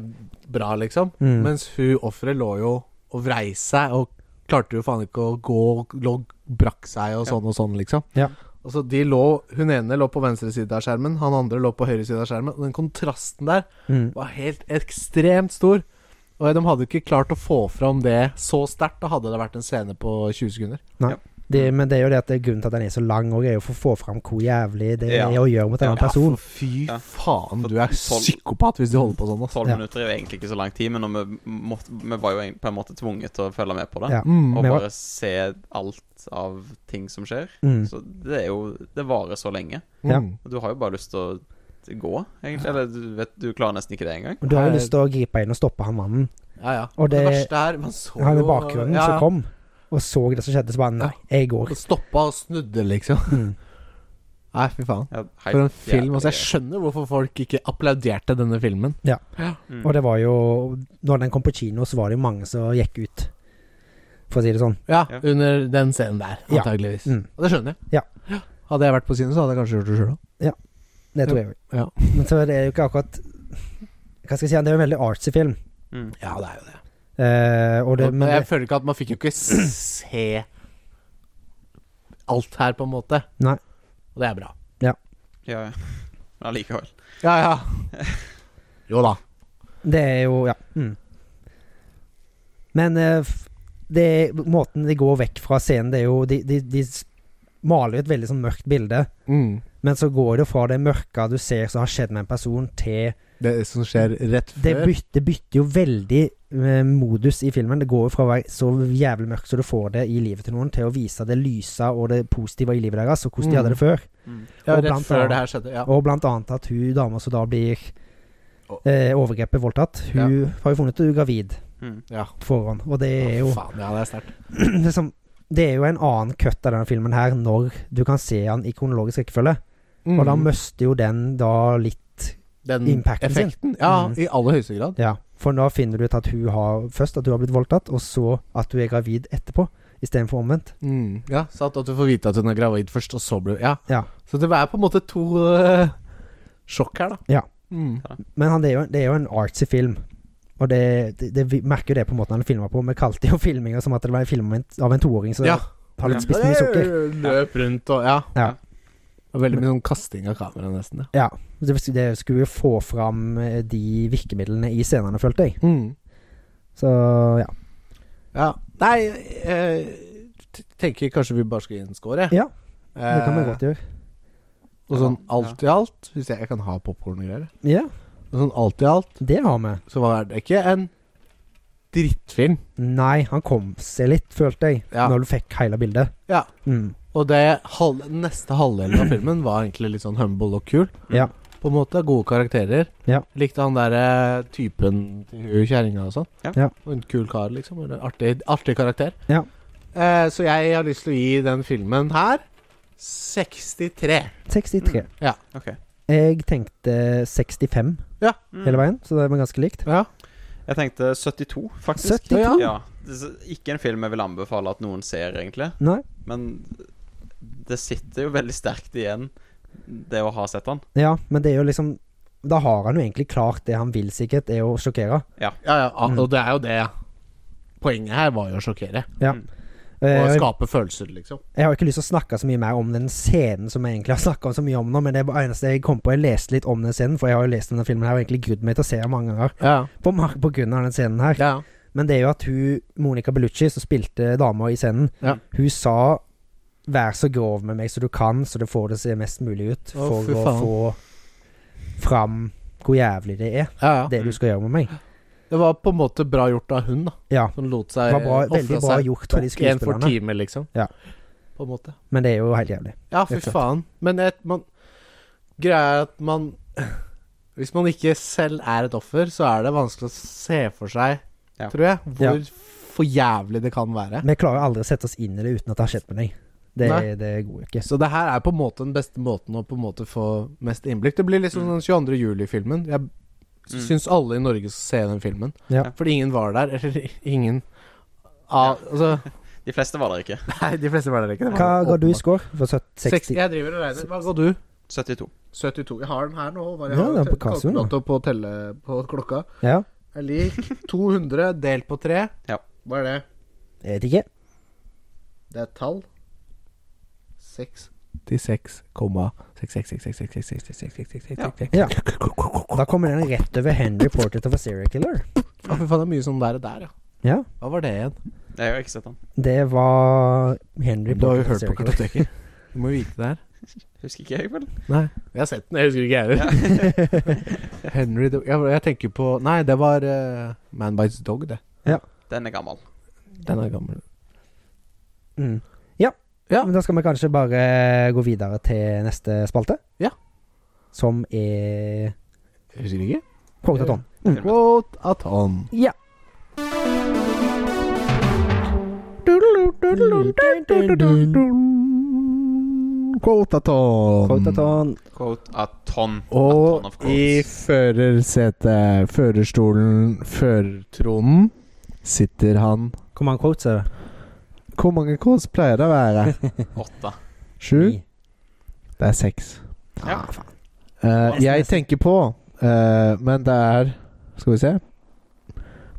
[SPEAKER 1] bra, liksom.
[SPEAKER 2] Mm.
[SPEAKER 1] Mens hun offeret lå jo og vrei seg og klarte jo faen ikke å gå, lå brakk seg og sånn og sånn, liksom.
[SPEAKER 2] Ja.
[SPEAKER 1] Og så de lå, Hun ene lå på venstre side av skjermen, han andre lå på høyre side av skjermen. Og den kontrasten der
[SPEAKER 2] Mm.
[SPEAKER 1] var helt ekstremt stor. Og de hadde ikke klart å få fram det så sterkt. Da hadde det vært en scene på 20 sekunder.
[SPEAKER 2] Det, men det er jo det at det er grunnen til at den er så lang òg, er jo for å få fram hvor jævlig det
[SPEAKER 3] Ja.
[SPEAKER 2] er å gjøre mot en
[SPEAKER 3] Ja,
[SPEAKER 2] annen person.
[SPEAKER 1] for fy
[SPEAKER 3] Ja.
[SPEAKER 1] faen, du er
[SPEAKER 3] Tolv-
[SPEAKER 1] psykopat hvis de holder på sånn. ass.
[SPEAKER 3] Tolv
[SPEAKER 2] Ja.
[SPEAKER 3] minutter er jo egentlig ikke så lang tid, men når vi, måtte, vi var jo egentlig på en måte tvunget til å følge med på det.
[SPEAKER 2] Ja.
[SPEAKER 1] Mm.
[SPEAKER 3] Og
[SPEAKER 2] vi var-
[SPEAKER 3] bare se alt av ting som skjer.
[SPEAKER 2] Mm.
[SPEAKER 3] Så det er jo Det varer så lenge.
[SPEAKER 2] Ja.
[SPEAKER 1] Mm.
[SPEAKER 3] Og Du har jo bare lyst til å gå, egentlig. Eller du vet, du klarer nesten ikke det engang.
[SPEAKER 2] Og Du har jo lyst til å gripe inn og stoppe han mannen.
[SPEAKER 1] Ja, ja.
[SPEAKER 2] Og det-
[SPEAKER 1] verste er Man så
[SPEAKER 2] Han i
[SPEAKER 1] jo
[SPEAKER 2] bakgrunnen
[SPEAKER 1] ja, ja.
[SPEAKER 2] som kom og så det som skjedde, så bare Nei, jeg går.
[SPEAKER 1] Og Stoppa og snudde, liksom.
[SPEAKER 2] Mm.
[SPEAKER 1] Nei, fy faen.
[SPEAKER 3] Ja, helt
[SPEAKER 1] For en film.
[SPEAKER 3] jævlig
[SPEAKER 1] Altså, jeg
[SPEAKER 3] greie.
[SPEAKER 1] skjønner hvorfor folk ikke applauderte denne filmen.
[SPEAKER 3] Mm.
[SPEAKER 2] Og det var jo Når den kom på kino, så var det jo mange som gikk ut, for å si det sånn.
[SPEAKER 1] Ja,
[SPEAKER 3] Ja.
[SPEAKER 1] under den scenen der,
[SPEAKER 2] Ja.
[SPEAKER 1] antageligvis.
[SPEAKER 2] Mm.
[SPEAKER 1] Og det skjønner jeg.
[SPEAKER 2] Ja.
[SPEAKER 1] Hadde jeg vært på kino, så hadde jeg kanskje gjort det sjøl òg.
[SPEAKER 2] Det tror jeg òg.
[SPEAKER 1] Ja.
[SPEAKER 2] Men så er det jo ikke akkurat Hva skal jeg si, det er jo en veldig artsy film.
[SPEAKER 3] Mm.
[SPEAKER 1] Ja, det er jo det.
[SPEAKER 2] Eh, og det,
[SPEAKER 1] men
[SPEAKER 2] men
[SPEAKER 1] jeg
[SPEAKER 2] det,
[SPEAKER 1] føler ikke at man fikk jo ikke se alt her, på en måte.
[SPEAKER 2] Nei.
[SPEAKER 1] Og det er bra.
[SPEAKER 3] Ja, ja. Men Allikevel.
[SPEAKER 1] Ja, ja. Jo da.
[SPEAKER 2] det er jo Ja. Mm. Men eh, f- det, er- måten de går vekk fra scenen, det er jo De, de, de s- maler jo et veldig sånn mørkt bilde.
[SPEAKER 1] Mm.
[SPEAKER 2] Men så går det jo fra det mørke du ser som har skjedd med en person, til
[SPEAKER 1] Det som skjer rett
[SPEAKER 2] Det
[SPEAKER 1] før
[SPEAKER 2] bytter, bytter jo veldig eh, modus i filmen. Det går jo fra å være så jævlig mørkt som du får det i livet til noen, til å vise det lyse og det positive i livet deres, og hvordan de
[SPEAKER 1] Mm.
[SPEAKER 2] hadde det før.
[SPEAKER 3] Mm.
[SPEAKER 1] Ja,
[SPEAKER 2] og
[SPEAKER 1] rett
[SPEAKER 2] blant
[SPEAKER 1] før
[SPEAKER 2] annet-
[SPEAKER 1] det her skjedde. Ja.
[SPEAKER 2] Og blant annet at hun dama som da blir eh, overgrepet, voldtatt, hun har jo funnet ut at hun er gravid
[SPEAKER 3] Mm.
[SPEAKER 1] Ja.
[SPEAKER 2] foran. Og det er jo
[SPEAKER 1] Å, faen, ja, det er sterkt.
[SPEAKER 2] liksom, Det er jo en annen cut av denne filmen her når du kan se den i kronologisk rekkefølge. Og
[SPEAKER 1] Mm.
[SPEAKER 2] da mister jo den da litt
[SPEAKER 1] Den
[SPEAKER 2] impacten sin.
[SPEAKER 1] effekten. Ja,
[SPEAKER 2] Mm.
[SPEAKER 1] i aller høyeste grad.
[SPEAKER 2] Ja, for da finner du ut at hun har først at hun har blitt voldtatt, og så at hun er gravid etterpå, istedenfor omvendt.
[SPEAKER 1] Mm. Ja, så at, at du får vite at hun er gravid først, og så blir Ja.
[SPEAKER 2] Ja.
[SPEAKER 1] Så det er på en måte to eh, sjokk her, da.
[SPEAKER 2] Ja.
[SPEAKER 1] Mm.
[SPEAKER 2] Men han, det, er jo, det er jo en artsy film, og det, det, det vi merker jo det på måten han filma på. Vi kalte jo filminga som at det var en film om en- av en toåring som
[SPEAKER 1] Ja.
[SPEAKER 2] har litt spist mye sukker.
[SPEAKER 1] Løp rundt og Ja.
[SPEAKER 2] Ja.
[SPEAKER 1] Og veldig mye sånn kasting av kamera, nesten. Ja.
[SPEAKER 2] Ja. Det, det skulle jo få fram eh, de virkemidlene i scenene, følte jeg. Så ja.
[SPEAKER 1] ja. Nei, eh, t- tenker kanskje vi bare skal gi en score, jeg.
[SPEAKER 2] Ja, Det kan vi
[SPEAKER 1] Eh,
[SPEAKER 2] godt gjøre.
[SPEAKER 1] Og sånn alt i alt, hvis jeg, jeg kan ha popkorn og greier
[SPEAKER 2] Ja,
[SPEAKER 1] Og Sånn alt i alt,
[SPEAKER 2] det har vi.
[SPEAKER 1] så var det ikke en drittfilm.
[SPEAKER 2] Nei, han kom seg litt, følte jeg,
[SPEAKER 1] Ja.
[SPEAKER 2] når du fikk hele bildet.
[SPEAKER 1] Ja.
[SPEAKER 2] Mm.
[SPEAKER 1] Og det halv, neste halvdelen av filmen var egentlig litt sånn humble og kul.
[SPEAKER 2] Ja.
[SPEAKER 1] På en måte. Gode karakterer.
[SPEAKER 2] Ja.
[SPEAKER 1] Likte han derre typen til hun kjerringa og sånn.
[SPEAKER 3] Ja.
[SPEAKER 2] Ja.
[SPEAKER 1] Og En kul kar, liksom. Eller Artig, artig karakter.
[SPEAKER 2] Ja.
[SPEAKER 1] Eh, så jeg har lyst til å gi den filmen her 63. Mm.
[SPEAKER 2] 63.
[SPEAKER 3] OK.
[SPEAKER 2] Jeg tenkte 65
[SPEAKER 3] Mm.
[SPEAKER 2] hele veien, så det var ganske likt.
[SPEAKER 1] Ja.
[SPEAKER 3] Jeg tenkte 72, faktisk.
[SPEAKER 2] 72?
[SPEAKER 1] Ja,
[SPEAKER 3] Ja. Det er Ikke en film jeg vil anbefale at noen ser, egentlig.
[SPEAKER 2] Nei.
[SPEAKER 3] Men det sitter jo veldig sterkt igjen, det å ha sett den.
[SPEAKER 2] Ja, men det er jo liksom Da har han jo egentlig klart det han vil, sikkert, er å sjokkere.
[SPEAKER 1] Ja, ja, a-
[SPEAKER 2] Mm.
[SPEAKER 1] Og det er jo det. Poenget her var jo å sjokkere.
[SPEAKER 2] Eh,
[SPEAKER 1] Og
[SPEAKER 2] Jeg
[SPEAKER 1] skape følelser, liksom.
[SPEAKER 2] jeg har ikke lyst til å snakke så mye mer om den scenen som jeg egentlig har snakka så mye om nå, men det er bare eneste jeg kom på. Jeg leste litt om den scenen, for jeg har jo lest denne filmen her og egentlig grudd meg til å se den mange ganger.
[SPEAKER 1] Ja,
[SPEAKER 2] På, mar- på grunn av den scenen her.
[SPEAKER 1] ja.
[SPEAKER 2] Men det er jo at hun, Monica Bellucci, som spilte dama i scenen,
[SPEAKER 1] Ja.
[SPEAKER 2] hun sa 'vær så grov med meg så du kan, så du får det se mest mulig ut',
[SPEAKER 1] Å,
[SPEAKER 2] for
[SPEAKER 1] fy
[SPEAKER 2] å
[SPEAKER 1] faen.
[SPEAKER 2] få fram hvor jævlig det er,
[SPEAKER 1] Ja, ja.
[SPEAKER 2] det du skal gjøre med meg.
[SPEAKER 1] Det var på en måte bra gjort av hun, da.
[SPEAKER 2] Ja.
[SPEAKER 1] Hun lot
[SPEAKER 2] Det
[SPEAKER 1] seg
[SPEAKER 2] var bra, veldig
[SPEAKER 1] ofre
[SPEAKER 2] bra
[SPEAKER 1] seg.
[SPEAKER 2] gjort av de
[SPEAKER 1] Tok en for
[SPEAKER 2] skuespillerne,
[SPEAKER 1] time, liksom.
[SPEAKER 2] Ja.
[SPEAKER 1] På en måte.
[SPEAKER 2] men det er jo helt jævlig.
[SPEAKER 1] Ja, fy
[SPEAKER 2] Rett og slett.
[SPEAKER 1] faen. Men et, man, greia er at man Hvis man ikke selv er et offer, så er det vanskelig å se for seg,
[SPEAKER 3] Ja.
[SPEAKER 1] tror jeg, hvor for jævlig det kan være.
[SPEAKER 2] Vi klarer aldri å sette oss inn i det uten at det har skjedd med deg. Det,
[SPEAKER 1] Nei.
[SPEAKER 2] det går jo ikke.
[SPEAKER 1] Så det her er på en måte den beste måten å på en måte få mest innblikk. Det blir liksom
[SPEAKER 2] Mm.
[SPEAKER 1] den 22. juli-filmen. Jeg
[SPEAKER 3] Mm.
[SPEAKER 1] syns alle i Norge skal se den filmen.
[SPEAKER 2] Ja.
[SPEAKER 1] Fordi ingen var der. Eller ingen av Altså,
[SPEAKER 3] De fleste var der ikke.
[SPEAKER 1] nei, de fleste var der ikke. Det var
[SPEAKER 2] Hva
[SPEAKER 1] åpenbart.
[SPEAKER 2] ga du i score? For søtt-
[SPEAKER 1] 60.
[SPEAKER 2] 60?
[SPEAKER 1] Jeg driver og regner. Hva ga du?
[SPEAKER 3] 72.
[SPEAKER 1] 72. Jeg har den her nå. Bare
[SPEAKER 2] Ja,
[SPEAKER 1] jeg
[SPEAKER 2] den
[SPEAKER 1] har
[SPEAKER 2] er på kassoen, da.
[SPEAKER 1] kalkulator på, telle, på klokka.
[SPEAKER 2] Ja.
[SPEAKER 1] Jeg liker 200 delt på 3.
[SPEAKER 3] Ja.
[SPEAKER 1] Hva er det?
[SPEAKER 2] Jeg vet ikke.
[SPEAKER 1] Det er et tall. 66,6666666666
[SPEAKER 2] Ja. Da kommer den rett over Henry Portrait of a Serial Killer.
[SPEAKER 1] Å, fy faen, det er mye sånn der og der, ja.
[SPEAKER 2] Ja.
[SPEAKER 1] Hva var det igjen?
[SPEAKER 3] Jeg har ikke sett den.
[SPEAKER 2] Det var Henry
[SPEAKER 1] Du har jo
[SPEAKER 2] Portrait of
[SPEAKER 1] hørt
[SPEAKER 2] a
[SPEAKER 1] på
[SPEAKER 2] Serial Killer.
[SPEAKER 1] kartoteket. Du må jo vite det her.
[SPEAKER 3] Husker ikke jeg, vel?
[SPEAKER 1] Nei. Jeg har sett den, jeg husker ikke jeg heller. Henry the- jeg, jeg tenker på Nei, det var eh, Man Bites Dog, det.
[SPEAKER 3] Den er gammel.
[SPEAKER 1] Den er gammel.
[SPEAKER 2] Mm. Ja.
[SPEAKER 1] Ja.
[SPEAKER 2] men da skal vi kanskje bare gå videre til neste spalte.
[SPEAKER 1] Ja.
[SPEAKER 2] Som er
[SPEAKER 1] Jeg husker ikke.
[SPEAKER 2] Quote Tom. Mm.
[SPEAKER 1] Quote at on.
[SPEAKER 2] Ja.
[SPEAKER 1] Quote at on.
[SPEAKER 2] Quote at on.
[SPEAKER 3] Quote a ton. a ton of
[SPEAKER 1] Og i
[SPEAKER 3] quotes.
[SPEAKER 1] førersetet, førerstolen, førertronen sitter han
[SPEAKER 2] Command quotes er det.
[SPEAKER 1] Hvor mange kors pleier det å være?
[SPEAKER 3] Åtte.
[SPEAKER 2] Mm.
[SPEAKER 1] Sju? Det er seks.
[SPEAKER 3] Ja.
[SPEAKER 2] Ah,
[SPEAKER 1] Eh, jeg tenker på, eh, men det er Skal vi se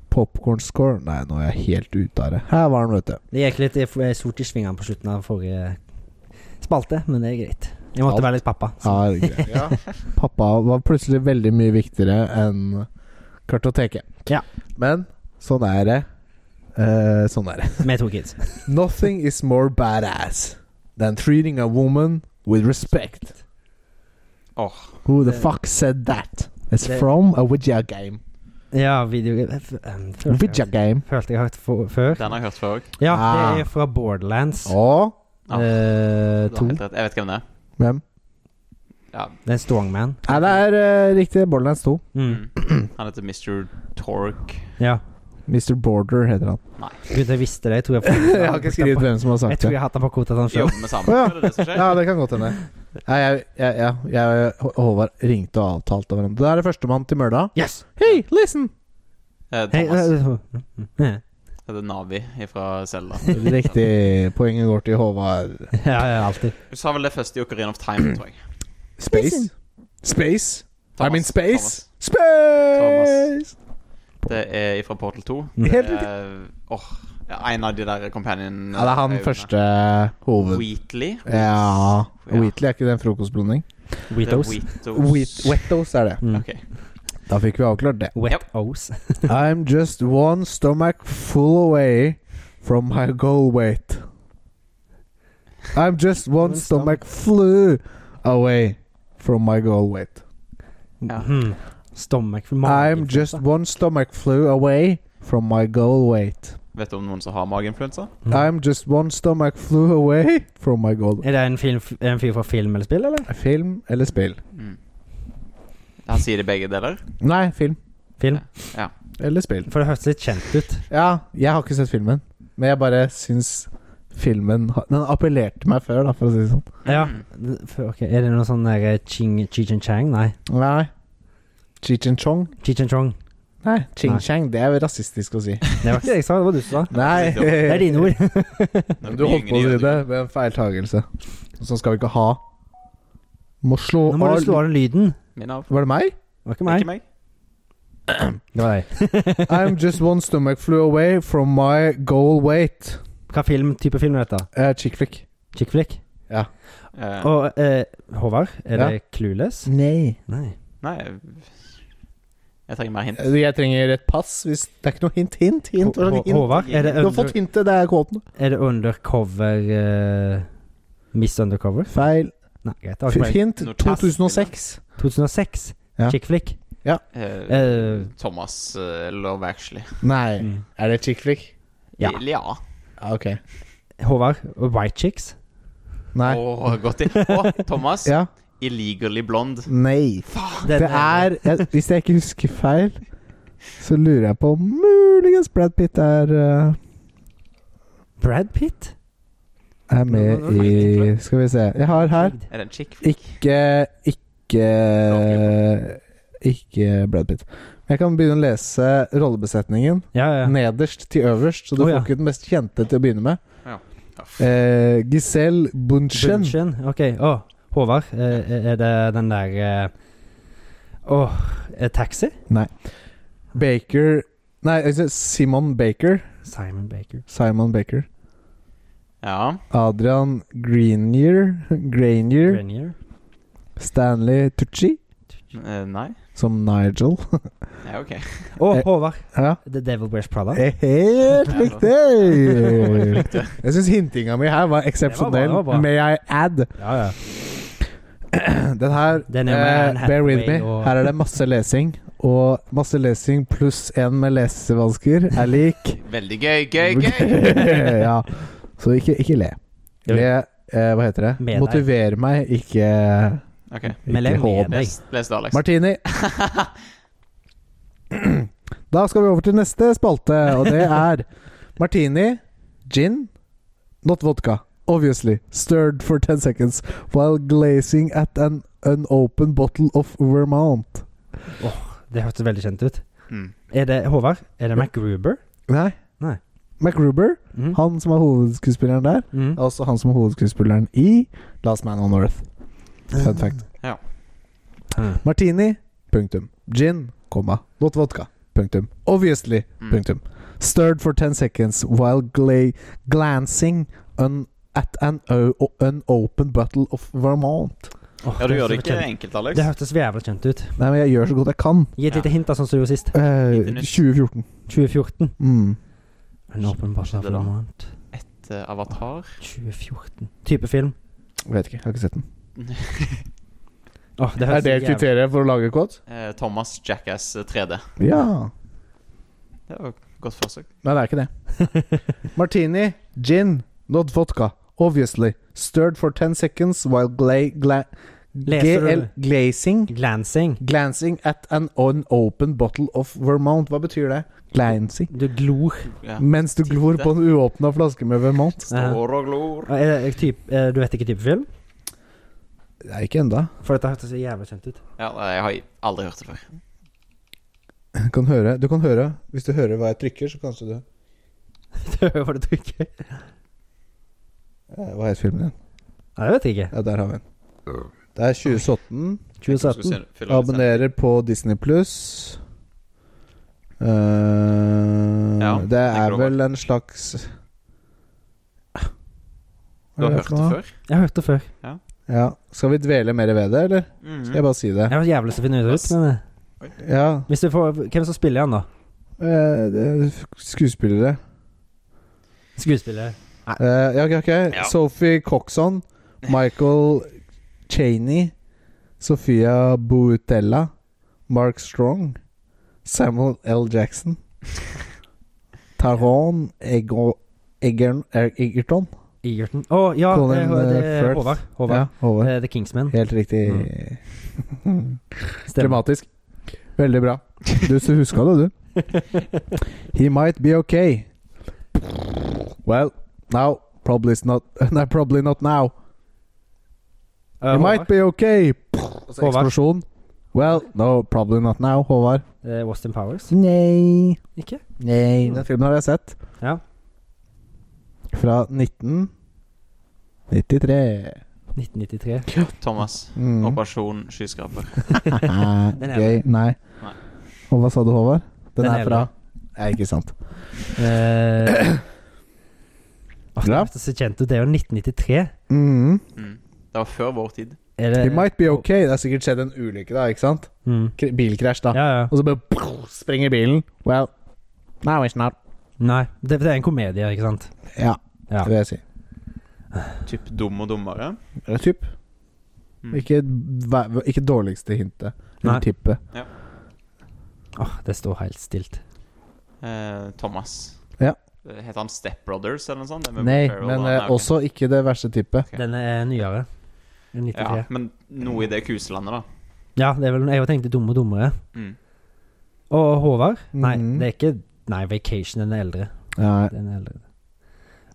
[SPEAKER 1] Popcorn score Nei, nå er jeg helt ute av det. Her var den, vet du.
[SPEAKER 2] Det gikk litt i- sort i svingene på slutten av forrige spalte, men det er greit. Jeg
[SPEAKER 1] Alt.
[SPEAKER 2] måtte være litt pappa.
[SPEAKER 1] Ja, det er greit. Pappa var plutselig veldig mye viktigere enn kartoteket.
[SPEAKER 2] Ja.
[SPEAKER 1] Men sånn er det. Eh, sånn er det.
[SPEAKER 2] Med to kids.
[SPEAKER 1] Nothing is more badass than treating a woman with respect.
[SPEAKER 3] Åh.
[SPEAKER 1] Who the
[SPEAKER 2] Det-
[SPEAKER 1] fuck said that? It's
[SPEAKER 2] Det-
[SPEAKER 1] from a video game.
[SPEAKER 2] Ja, video... f- um, følte jeg-
[SPEAKER 1] Video game.
[SPEAKER 2] Følte jeg har hørt for, før.
[SPEAKER 3] Den har jeg hørt før òg.
[SPEAKER 2] Ja,
[SPEAKER 1] Ah.
[SPEAKER 2] det er fra Borderlands.
[SPEAKER 1] Og
[SPEAKER 3] Ja.
[SPEAKER 2] eh,
[SPEAKER 3] Du har
[SPEAKER 2] to.
[SPEAKER 3] helt rett. Jeg vet hvem det er.
[SPEAKER 1] hvem?
[SPEAKER 3] Ja.
[SPEAKER 2] Det er en strongman.
[SPEAKER 1] Nei, det er eh, riktig. Borderlands 2.
[SPEAKER 2] Mm.
[SPEAKER 3] Mm. Han heter Mr. Torque.
[SPEAKER 2] Ja.
[SPEAKER 1] Mr. Border heter han.
[SPEAKER 2] Gud, jeg visste det. Jeg tror jeg,
[SPEAKER 1] jeg har ikke skrevet hvem som har
[SPEAKER 2] Jeg
[SPEAKER 1] sagt
[SPEAKER 2] tror jeg
[SPEAKER 1] det.
[SPEAKER 2] har hatt den på kvota sånn
[SPEAKER 3] Vi
[SPEAKER 2] sjøl.
[SPEAKER 3] jobber med sammen.
[SPEAKER 1] Å, ja.
[SPEAKER 3] Er det det som skjer?
[SPEAKER 1] Ja, det kan godt hende. Nei, jeg, jeg, ja, jeg og Håvard ringte og avtalte hverandre. Da er det førstemann til mølla.
[SPEAKER 2] Yes!
[SPEAKER 1] Hei, listen!
[SPEAKER 3] Eh,
[SPEAKER 2] Hei,
[SPEAKER 3] Thomas.
[SPEAKER 2] eh, eh,
[SPEAKER 3] Det er Navi fra Selda.
[SPEAKER 1] Riktig. Poenget går til Håvard.
[SPEAKER 2] ja, ja, alltid.
[SPEAKER 3] Du sa vel det første i Ocarina of Time, tror jeg.
[SPEAKER 1] Space. Space.
[SPEAKER 3] Thomas,
[SPEAKER 1] I'm in space.
[SPEAKER 3] Thomas.
[SPEAKER 1] Space!
[SPEAKER 3] Det er fra Portal 2.
[SPEAKER 1] Helt
[SPEAKER 3] Det er- Åh, ja, en av de der companion
[SPEAKER 1] Ja, det er han
[SPEAKER 3] øyene.
[SPEAKER 1] første hoved...
[SPEAKER 3] Wheatley.
[SPEAKER 1] Ja
[SPEAKER 3] Ja.
[SPEAKER 1] Wheatley er ikke den frokostblanding?
[SPEAKER 3] Det er
[SPEAKER 2] Weetos.
[SPEAKER 3] Wheatos.
[SPEAKER 1] Wettos er det.
[SPEAKER 2] Mm.
[SPEAKER 3] Ok.
[SPEAKER 1] Da fikk vi avklart det.
[SPEAKER 2] Wet O's.
[SPEAKER 1] I'm just one stomach full away from my goal weight. I'm just one
[SPEAKER 2] One
[SPEAKER 1] stomach flew away from my goal weight.
[SPEAKER 3] Ja.
[SPEAKER 2] Mm. Stomach for
[SPEAKER 1] I'm just one stomach flew away from my goal weight.
[SPEAKER 3] Vet du om noen som har mageinfluensa?
[SPEAKER 1] I'm just one stomach flew away from my goal weight.
[SPEAKER 2] Er det en, film, en fyr fra film eller spill, eller?
[SPEAKER 1] Film eller spill?
[SPEAKER 3] Mm. Han sier det begge deler.
[SPEAKER 1] Nei, film.
[SPEAKER 2] Film.
[SPEAKER 1] Eller spill.
[SPEAKER 2] For det hørtes litt kjent ut.
[SPEAKER 1] Ja, jeg har ikke sett filmen, men jeg bare syns filmen har- Den appellerte meg før, da, for å si det sånn.
[SPEAKER 2] Ja.
[SPEAKER 3] Mm.
[SPEAKER 2] For, ok, Er det noe sånn der ching, Cheech and Chang? Nei.
[SPEAKER 1] Nei. Cheech and Chong?
[SPEAKER 2] Cheech and Chong.
[SPEAKER 1] Nei,
[SPEAKER 2] Nei.
[SPEAKER 1] ching-chang, det er vel rasistisk å si.
[SPEAKER 2] Det var ikke det jeg sa, det var du som sa.
[SPEAKER 1] Nei.
[SPEAKER 3] Det er
[SPEAKER 2] Det er dine ord.
[SPEAKER 1] Men Du holdt på å si det ved en feiltagelse. Sånn skal vi ikke ha. Må slå
[SPEAKER 2] Nå må du slå av den lyden.
[SPEAKER 3] Min av.
[SPEAKER 1] Var det meg?
[SPEAKER 2] Det var ikke
[SPEAKER 3] Ikke
[SPEAKER 2] meg.
[SPEAKER 3] meg.
[SPEAKER 2] Det var deg.
[SPEAKER 1] I'm just one stomach flew away from my goal weight.
[SPEAKER 2] Hva film, type film er dette?
[SPEAKER 1] Uh, chick flick.
[SPEAKER 2] Chick flick?
[SPEAKER 3] Eh,
[SPEAKER 2] Og eh, Håvard, er
[SPEAKER 1] Ja.
[SPEAKER 2] det Clueless?
[SPEAKER 1] Nei.
[SPEAKER 2] Nei.
[SPEAKER 3] Nei Jeg trenger mer hint.
[SPEAKER 1] Eh, Jeg trenger et pass. Hvis det er ikke noe hint. Hint, hint. Hva
[SPEAKER 2] Hå-
[SPEAKER 1] slags
[SPEAKER 2] Hå-
[SPEAKER 1] hint?
[SPEAKER 2] Håvard, er det,
[SPEAKER 1] Du har fått
[SPEAKER 2] under,
[SPEAKER 1] hintet. Det er kåten.
[SPEAKER 2] er det undercover eh, Miss Undercover?
[SPEAKER 1] Feil.
[SPEAKER 2] Nei, greit. det var
[SPEAKER 1] F
[SPEAKER 2] ikke meg.
[SPEAKER 1] hint
[SPEAKER 3] Når tass-
[SPEAKER 1] 2006.
[SPEAKER 2] 2006.
[SPEAKER 1] Ja.
[SPEAKER 2] Chick flick.
[SPEAKER 1] Ja.
[SPEAKER 3] Eh, Thomas eh, Love Actually.
[SPEAKER 1] Nei.
[SPEAKER 2] Mm.
[SPEAKER 1] Er det chick flick?
[SPEAKER 6] Ja.
[SPEAKER 3] ja.
[SPEAKER 1] Ja, ok.
[SPEAKER 6] Håvard, White Chicks?
[SPEAKER 1] Nei.
[SPEAKER 3] Åh, godt inn. Åh, Thomas.
[SPEAKER 1] Ja.
[SPEAKER 3] Illegally blond.
[SPEAKER 1] Nei.
[SPEAKER 6] Den
[SPEAKER 1] Det er jeg, Hvis jeg ikke husker feil, så lurer jeg på om Muligens Brad Pitt er, eh,
[SPEAKER 6] Brad Pitt?
[SPEAKER 1] er med i Skal vi se. Jeg har her
[SPEAKER 3] Er det en chick?
[SPEAKER 1] Ikke Ikke Ikke Brad Pitt. Jeg kan begynne å lese rollebesetningen
[SPEAKER 2] Ja, ja.
[SPEAKER 1] nederst til øverst, så du
[SPEAKER 2] Å,
[SPEAKER 1] får
[SPEAKER 2] ja.
[SPEAKER 1] ikke den mest kjente til å begynne med.
[SPEAKER 3] Ja.
[SPEAKER 1] Eh, Giselle Bunchen.
[SPEAKER 2] Bunchen. Ok. Å, Håvard, eh, er det den der eh, Åh, eh, Taxi?
[SPEAKER 1] Baker Nei, altså, Simon Baker.
[SPEAKER 2] Simon Baker.
[SPEAKER 1] Simon Baker.
[SPEAKER 3] ja.
[SPEAKER 1] Adrian Greenier. Grainier.
[SPEAKER 2] Grenier.
[SPEAKER 1] Stanley Tucci Mm.
[SPEAKER 3] Eh, nei?
[SPEAKER 1] som Nigel.
[SPEAKER 3] Ja, ok.
[SPEAKER 2] Å,
[SPEAKER 1] Eh,
[SPEAKER 2] Håvard.
[SPEAKER 1] ja.
[SPEAKER 2] The Devil Wears Prada.
[SPEAKER 1] Helt riktig! Jeg syns hintinga mi her var
[SPEAKER 2] Det
[SPEAKER 1] eksepsjonell.
[SPEAKER 2] var bra, det var bra.
[SPEAKER 1] May I add?
[SPEAKER 2] Ja, ja.
[SPEAKER 1] Den her
[SPEAKER 2] Den er med Anne
[SPEAKER 1] eh, Bear with me.
[SPEAKER 2] Hathaway og-
[SPEAKER 1] Her er det masse lesing. Og masse lesing pluss en med lesevansker er lik
[SPEAKER 3] Veldig gøy, gøy, gøy!
[SPEAKER 1] ja. Så ikke, ikke le.
[SPEAKER 2] Jo.
[SPEAKER 1] Le eh, Hva heter det?
[SPEAKER 2] Med deg.
[SPEAKER 1] Motiver meg, ikke,
[SPEAKER 3] Ok,
[SPEAKER 2] Men le
[SPEAKER 1] ikke
[SPEAKER 2] med
[SPEAKER 1] hån.
[SPEAKER 2] deg.
[SPEAKER 3] les, les det, Alex.
[SPEAKER 1] Martini. Da skal vi over til neste spalte, og det er Martini, gin, not vodka. Obviously. Stirred for 10 seconds while glazing at an unopened bottle of Vermont.
[SPEAKER 2] Det hørtes veldig kjent ut.
[SPEAKER 3] Mm.
[SPEAKER 2] Er det Håvard? Er det MacGruber?
[SPEAKER 1] Nei.
[SPEAKER 2] Nei.
[SPEAKER 1] MacGruber,
[SPEAKER 2] Mm.
[SPEAKER 1] han som er hovedskuespilleren der,
[SPEAKER 2] Mm.
[SPEAKER 1] er også Altså han som er hovedskuespilleren i Last Man on Earth. Fun fact.
[SPEAKER 3] Ja.
[SPEAKER 2] Mm.
[SPEAKER 1] Martini, punktum. Gin, komma. Not vodka, punktum. Obviously,
[SPEAKER 3] Mm.
[SPEAKER 1] punktum. Stirred for 10 seconds while gla glancing un at an o- o- unopened bottle of Vermont.
[SPEAKER 2] Åh,
[SPEAKER 3] Ja, du gjør det
[SPEAKER 2] hørtes
[SPEAKER 3] ikke
[SPEAKER 2] kjent-
[SPEAKER 3] enkelt, Alex.
[SPEAKER 2] Det hørtes jævlig kjent ut.
[SPEAKER 1] Nei, men jeg gjør så godt jeg kan.
[SPEAKER 2] Gi et
[SPEAKER 3] Ja.
[SPEAKER 2] lite hint, da, sånn som du gjorde sist.
[SPEAKER 1] Eh,
[SPEAKER 3] Lite nytt.
[SPEAKER 1] 2014.
[SPEAKER 2] 2014.
[SPEAKER 1] Mm.
[SPEAKER 2] En åpen bottle of
[SPEAKER 3] Det da.
[SPEAKER 2] Vermont.
[SPEAKER 3] Eh, Avatar.
[SPEAKER 2] 2014. Type film.
[SPEAKER 1] Vet ikke, jeg har ikke sett den.
[SPEAKER 2] Åh, det hørtes jævlig-
[SPEAKER 1] kriteriet for å lage kåt?
[SPEAKER 3] Eh, Thomas Jackass 3D.
[SPEAKER 1] Ja.
[SPEAKER 3] Det var et godt forsøk.
[SPEAKER 1] Nei, det er ikke det. Martini, gin, not vodka. Obviously. Stirred for 10 seconds while gla gla
[SPEAKER 2] Leser du
[SPEAKER 1] gl
[SPEAKER 2] det?
[SPEAKER 1] glazing
[SPEAKER 2] Glancing.
[SPEAKER 1] Glancing at an unopened bottle of Vermont. Hva betyr det? Glancing.
[SPEAKER 2] Du glor.
[SPEAKER 3] Ja.
[SPEAKER 1] Mens du glor på en uåpna flaske med Vermont.
[SPEAKER 3] Står og glor.
[SPEAKER 2] Eh, Er det typ, eh, du vet ikke type film?
[SPEAKER 1] Det er ikke enda.
[SPEAKER 2] For dette hørtes så jævlig kjent ut.
[SPEAKER 3] Ja, nei, jeg har aldri hørt det før.
[SPEAKER 1] Kan høre. Du kan høre. Hvis du hører hva jeg trykker, så kanskje du
[SPEAKER 2] det var det du ikke
[SPEAKER 1] Eh, Hva het filmen din?
[SPEAKER 2] Nei, det vet jeg ikke.
[SPEAKER 1] Ja, der har vi den. Det er 2017.
[SPEAKER 3] Jeg tror du
[SPEAKER 2] 2017.
[SPEAKER 3] skal fylle ut selv.
[SPEAKER 1] Abonnerer på Disney pluss.
[SPEAKER 3] Ja,
[SPEAKER 1] Eh, det
[SPEAKER 3] den
[SPEAKER 1] er
[SPEAKER 3] grå
[SPEAKER 1] vel en slags
[SPEAKER 3] Du har hørt det før?
[SPEAKER 2] Jeg har hørt det før.
[SPEAKER 1] Ja. Skal vi dvele mer ved det, eller? Skal jeg
[SPEAKER 3] Mhm.
[SPEAKER 1] bare si det?
[SPEAKER 2] Jeg var jævlig til å finne det ut. Men eh,
[SPEAKER 1] Ja.
[SPEAKER 2] hvis du får, hvem som spiller han, da?
[SPEAKER 1] Eh, det- skuespillere.
[SPEAKER 2] Skuespiller.
[SPEAKER 1] Eh, ja, ok, ok.
[SPEAKER 3] Ja.
[SPEAKER 1] Sophie Coxon, Michael Cheney, Sofia Boutella, Mark Strong, Samuel L. Jackson, Taron Ego- Egern- Er- Egerton.
[SPEAKER 2] Egerton. Å ja,
[SPEAKER 1] Colin,
[SPEAKER 2] det, det,
[SPEAKER 1] eh, Firth.
[SPEAKER 2] er Håvard. Håvard.
[SPEAKER 1] Ja, Håvard.
[SPEAKER 2] Eh, mm. The Kingsman.
[SPEAKER 1] Helt riktig.
[SPEAKER 2] Stemmer. Eh,
[SPEAKER 1] Klimatisk. Veldig bra. Du så huska det, du. He might be okay. Well, now probably it's not Nei, probably not now.
[SPEAKER 2] Eh,
[SPEAKER 1] It might
[SPEAKER 2] Håvard. Altså,
[SPEAKER 1] be okay.
[SPEAKER 2] Håvard.
[SPEAKER 1] Eksplosjon. Well, no, probably not now, Håvard.
[SPEAKER 2] Eh, Austin Powers.
[SPEAKER 1] Nei.
[SPEAKER 2] Ikke?
[SPEAKER 1] Nei. Den filmen har jeg sett.
[SPEAKER 2] Mm. Ja.
[SPEAKER 1] Fra 1993.
[SPEAKER 2] 1993.
[SPEAKER 3] Thomas.
[SPEAKER 1] Mm.
[SPEAKER 3] Operasjon skyskraper.
[SPEAKER 2] Den er
[SPEAKER 1] Gøy. Nei.
[SPEAKER 3] Nei.
[SPEAKER 1] Og hva sa du, Håvard? Den,
[SPEAKER 2] Den
[SPEAKER 1] er
[SPEAKER 2] er
[SPEAKER 1] fra Nei, ikke sant.
[SPEAKER 2] Eh, åh, det
[SPEAKER 1] Bra.
[SPEAKER 2] hørtes så kjent ut. Det er jo 1993.
[SPEAKER 1] Mm.
[SPEAKER 3] Mm. Det var før vår tid.
[SPEAKER 2] Er det
[SPEAKER 1] It might be okay. Det har sikkert skjedd en ulykke, da. ikke sant?
[SPEAKER 2] Mm.
[SPEAKER 1] Kr- Bilkrasj, da.
[SPEAKER 2] Ja, ja.
[SPEAKER 1] Og så bare sprenger bilen. Well, now it's not.
[SPEAKER 2] Nei, det, det er en komedie, ikke sant?
[SPEAKER 1] Ja,
[SPEAKER 2] Ja.
[SPEAKER 1] det vil jeg si.
[SPEAKER 3] Typ dum og dummere.
[SPEAKER 1] Eller typ.
[SPEAKER 3] Mm.
[SPEAKER 1] Ikke, væ- ikke dårligste hintet. Eller
[SPEAKER 2] Nei.
[SPEAKER 1] tippet.
[SPEAKER 3] Ja.
[SPEAKER 5] Åh,
[SPEAKER 2] Det står helt stilt.
[SPEAKER 3] Eh, Thomas. Eh,
[SPEAKER 1] Ja.
[SPEAKER 3] Heter han Step Brothers eller noe sånt? Det er med
[SPEAKER 1] Nei,
[SPEAKER 3] Will Ferrell,
[SPEAKER 1] men
[SPEAKER 3] da.
[SPEAKER 1] eh,
[SPEAKER 3] Nei, ok.
[SPEAKER 1] også ikke det verste tippet.
[SPEAKER 3] Ok.
[SPEAKER 5] Den er nyere. Den er 93.
[SPEAKER 3] Ja, men noe i det kuselandet, da.
[SPEAKER 5] Ja, det er vel Jeg tenkte Dumme og dummere.
[SPEAKER 3] Mm.
[SPEAKER 5] Og Håvard? Nei,
[SPEAKER 1] Mhm.
[SPEAKER 5] det er ikke Nei, Vacation den er eldre.
[SPEAKER 1] Nei.
[SPEAKER 5] Den er eldre.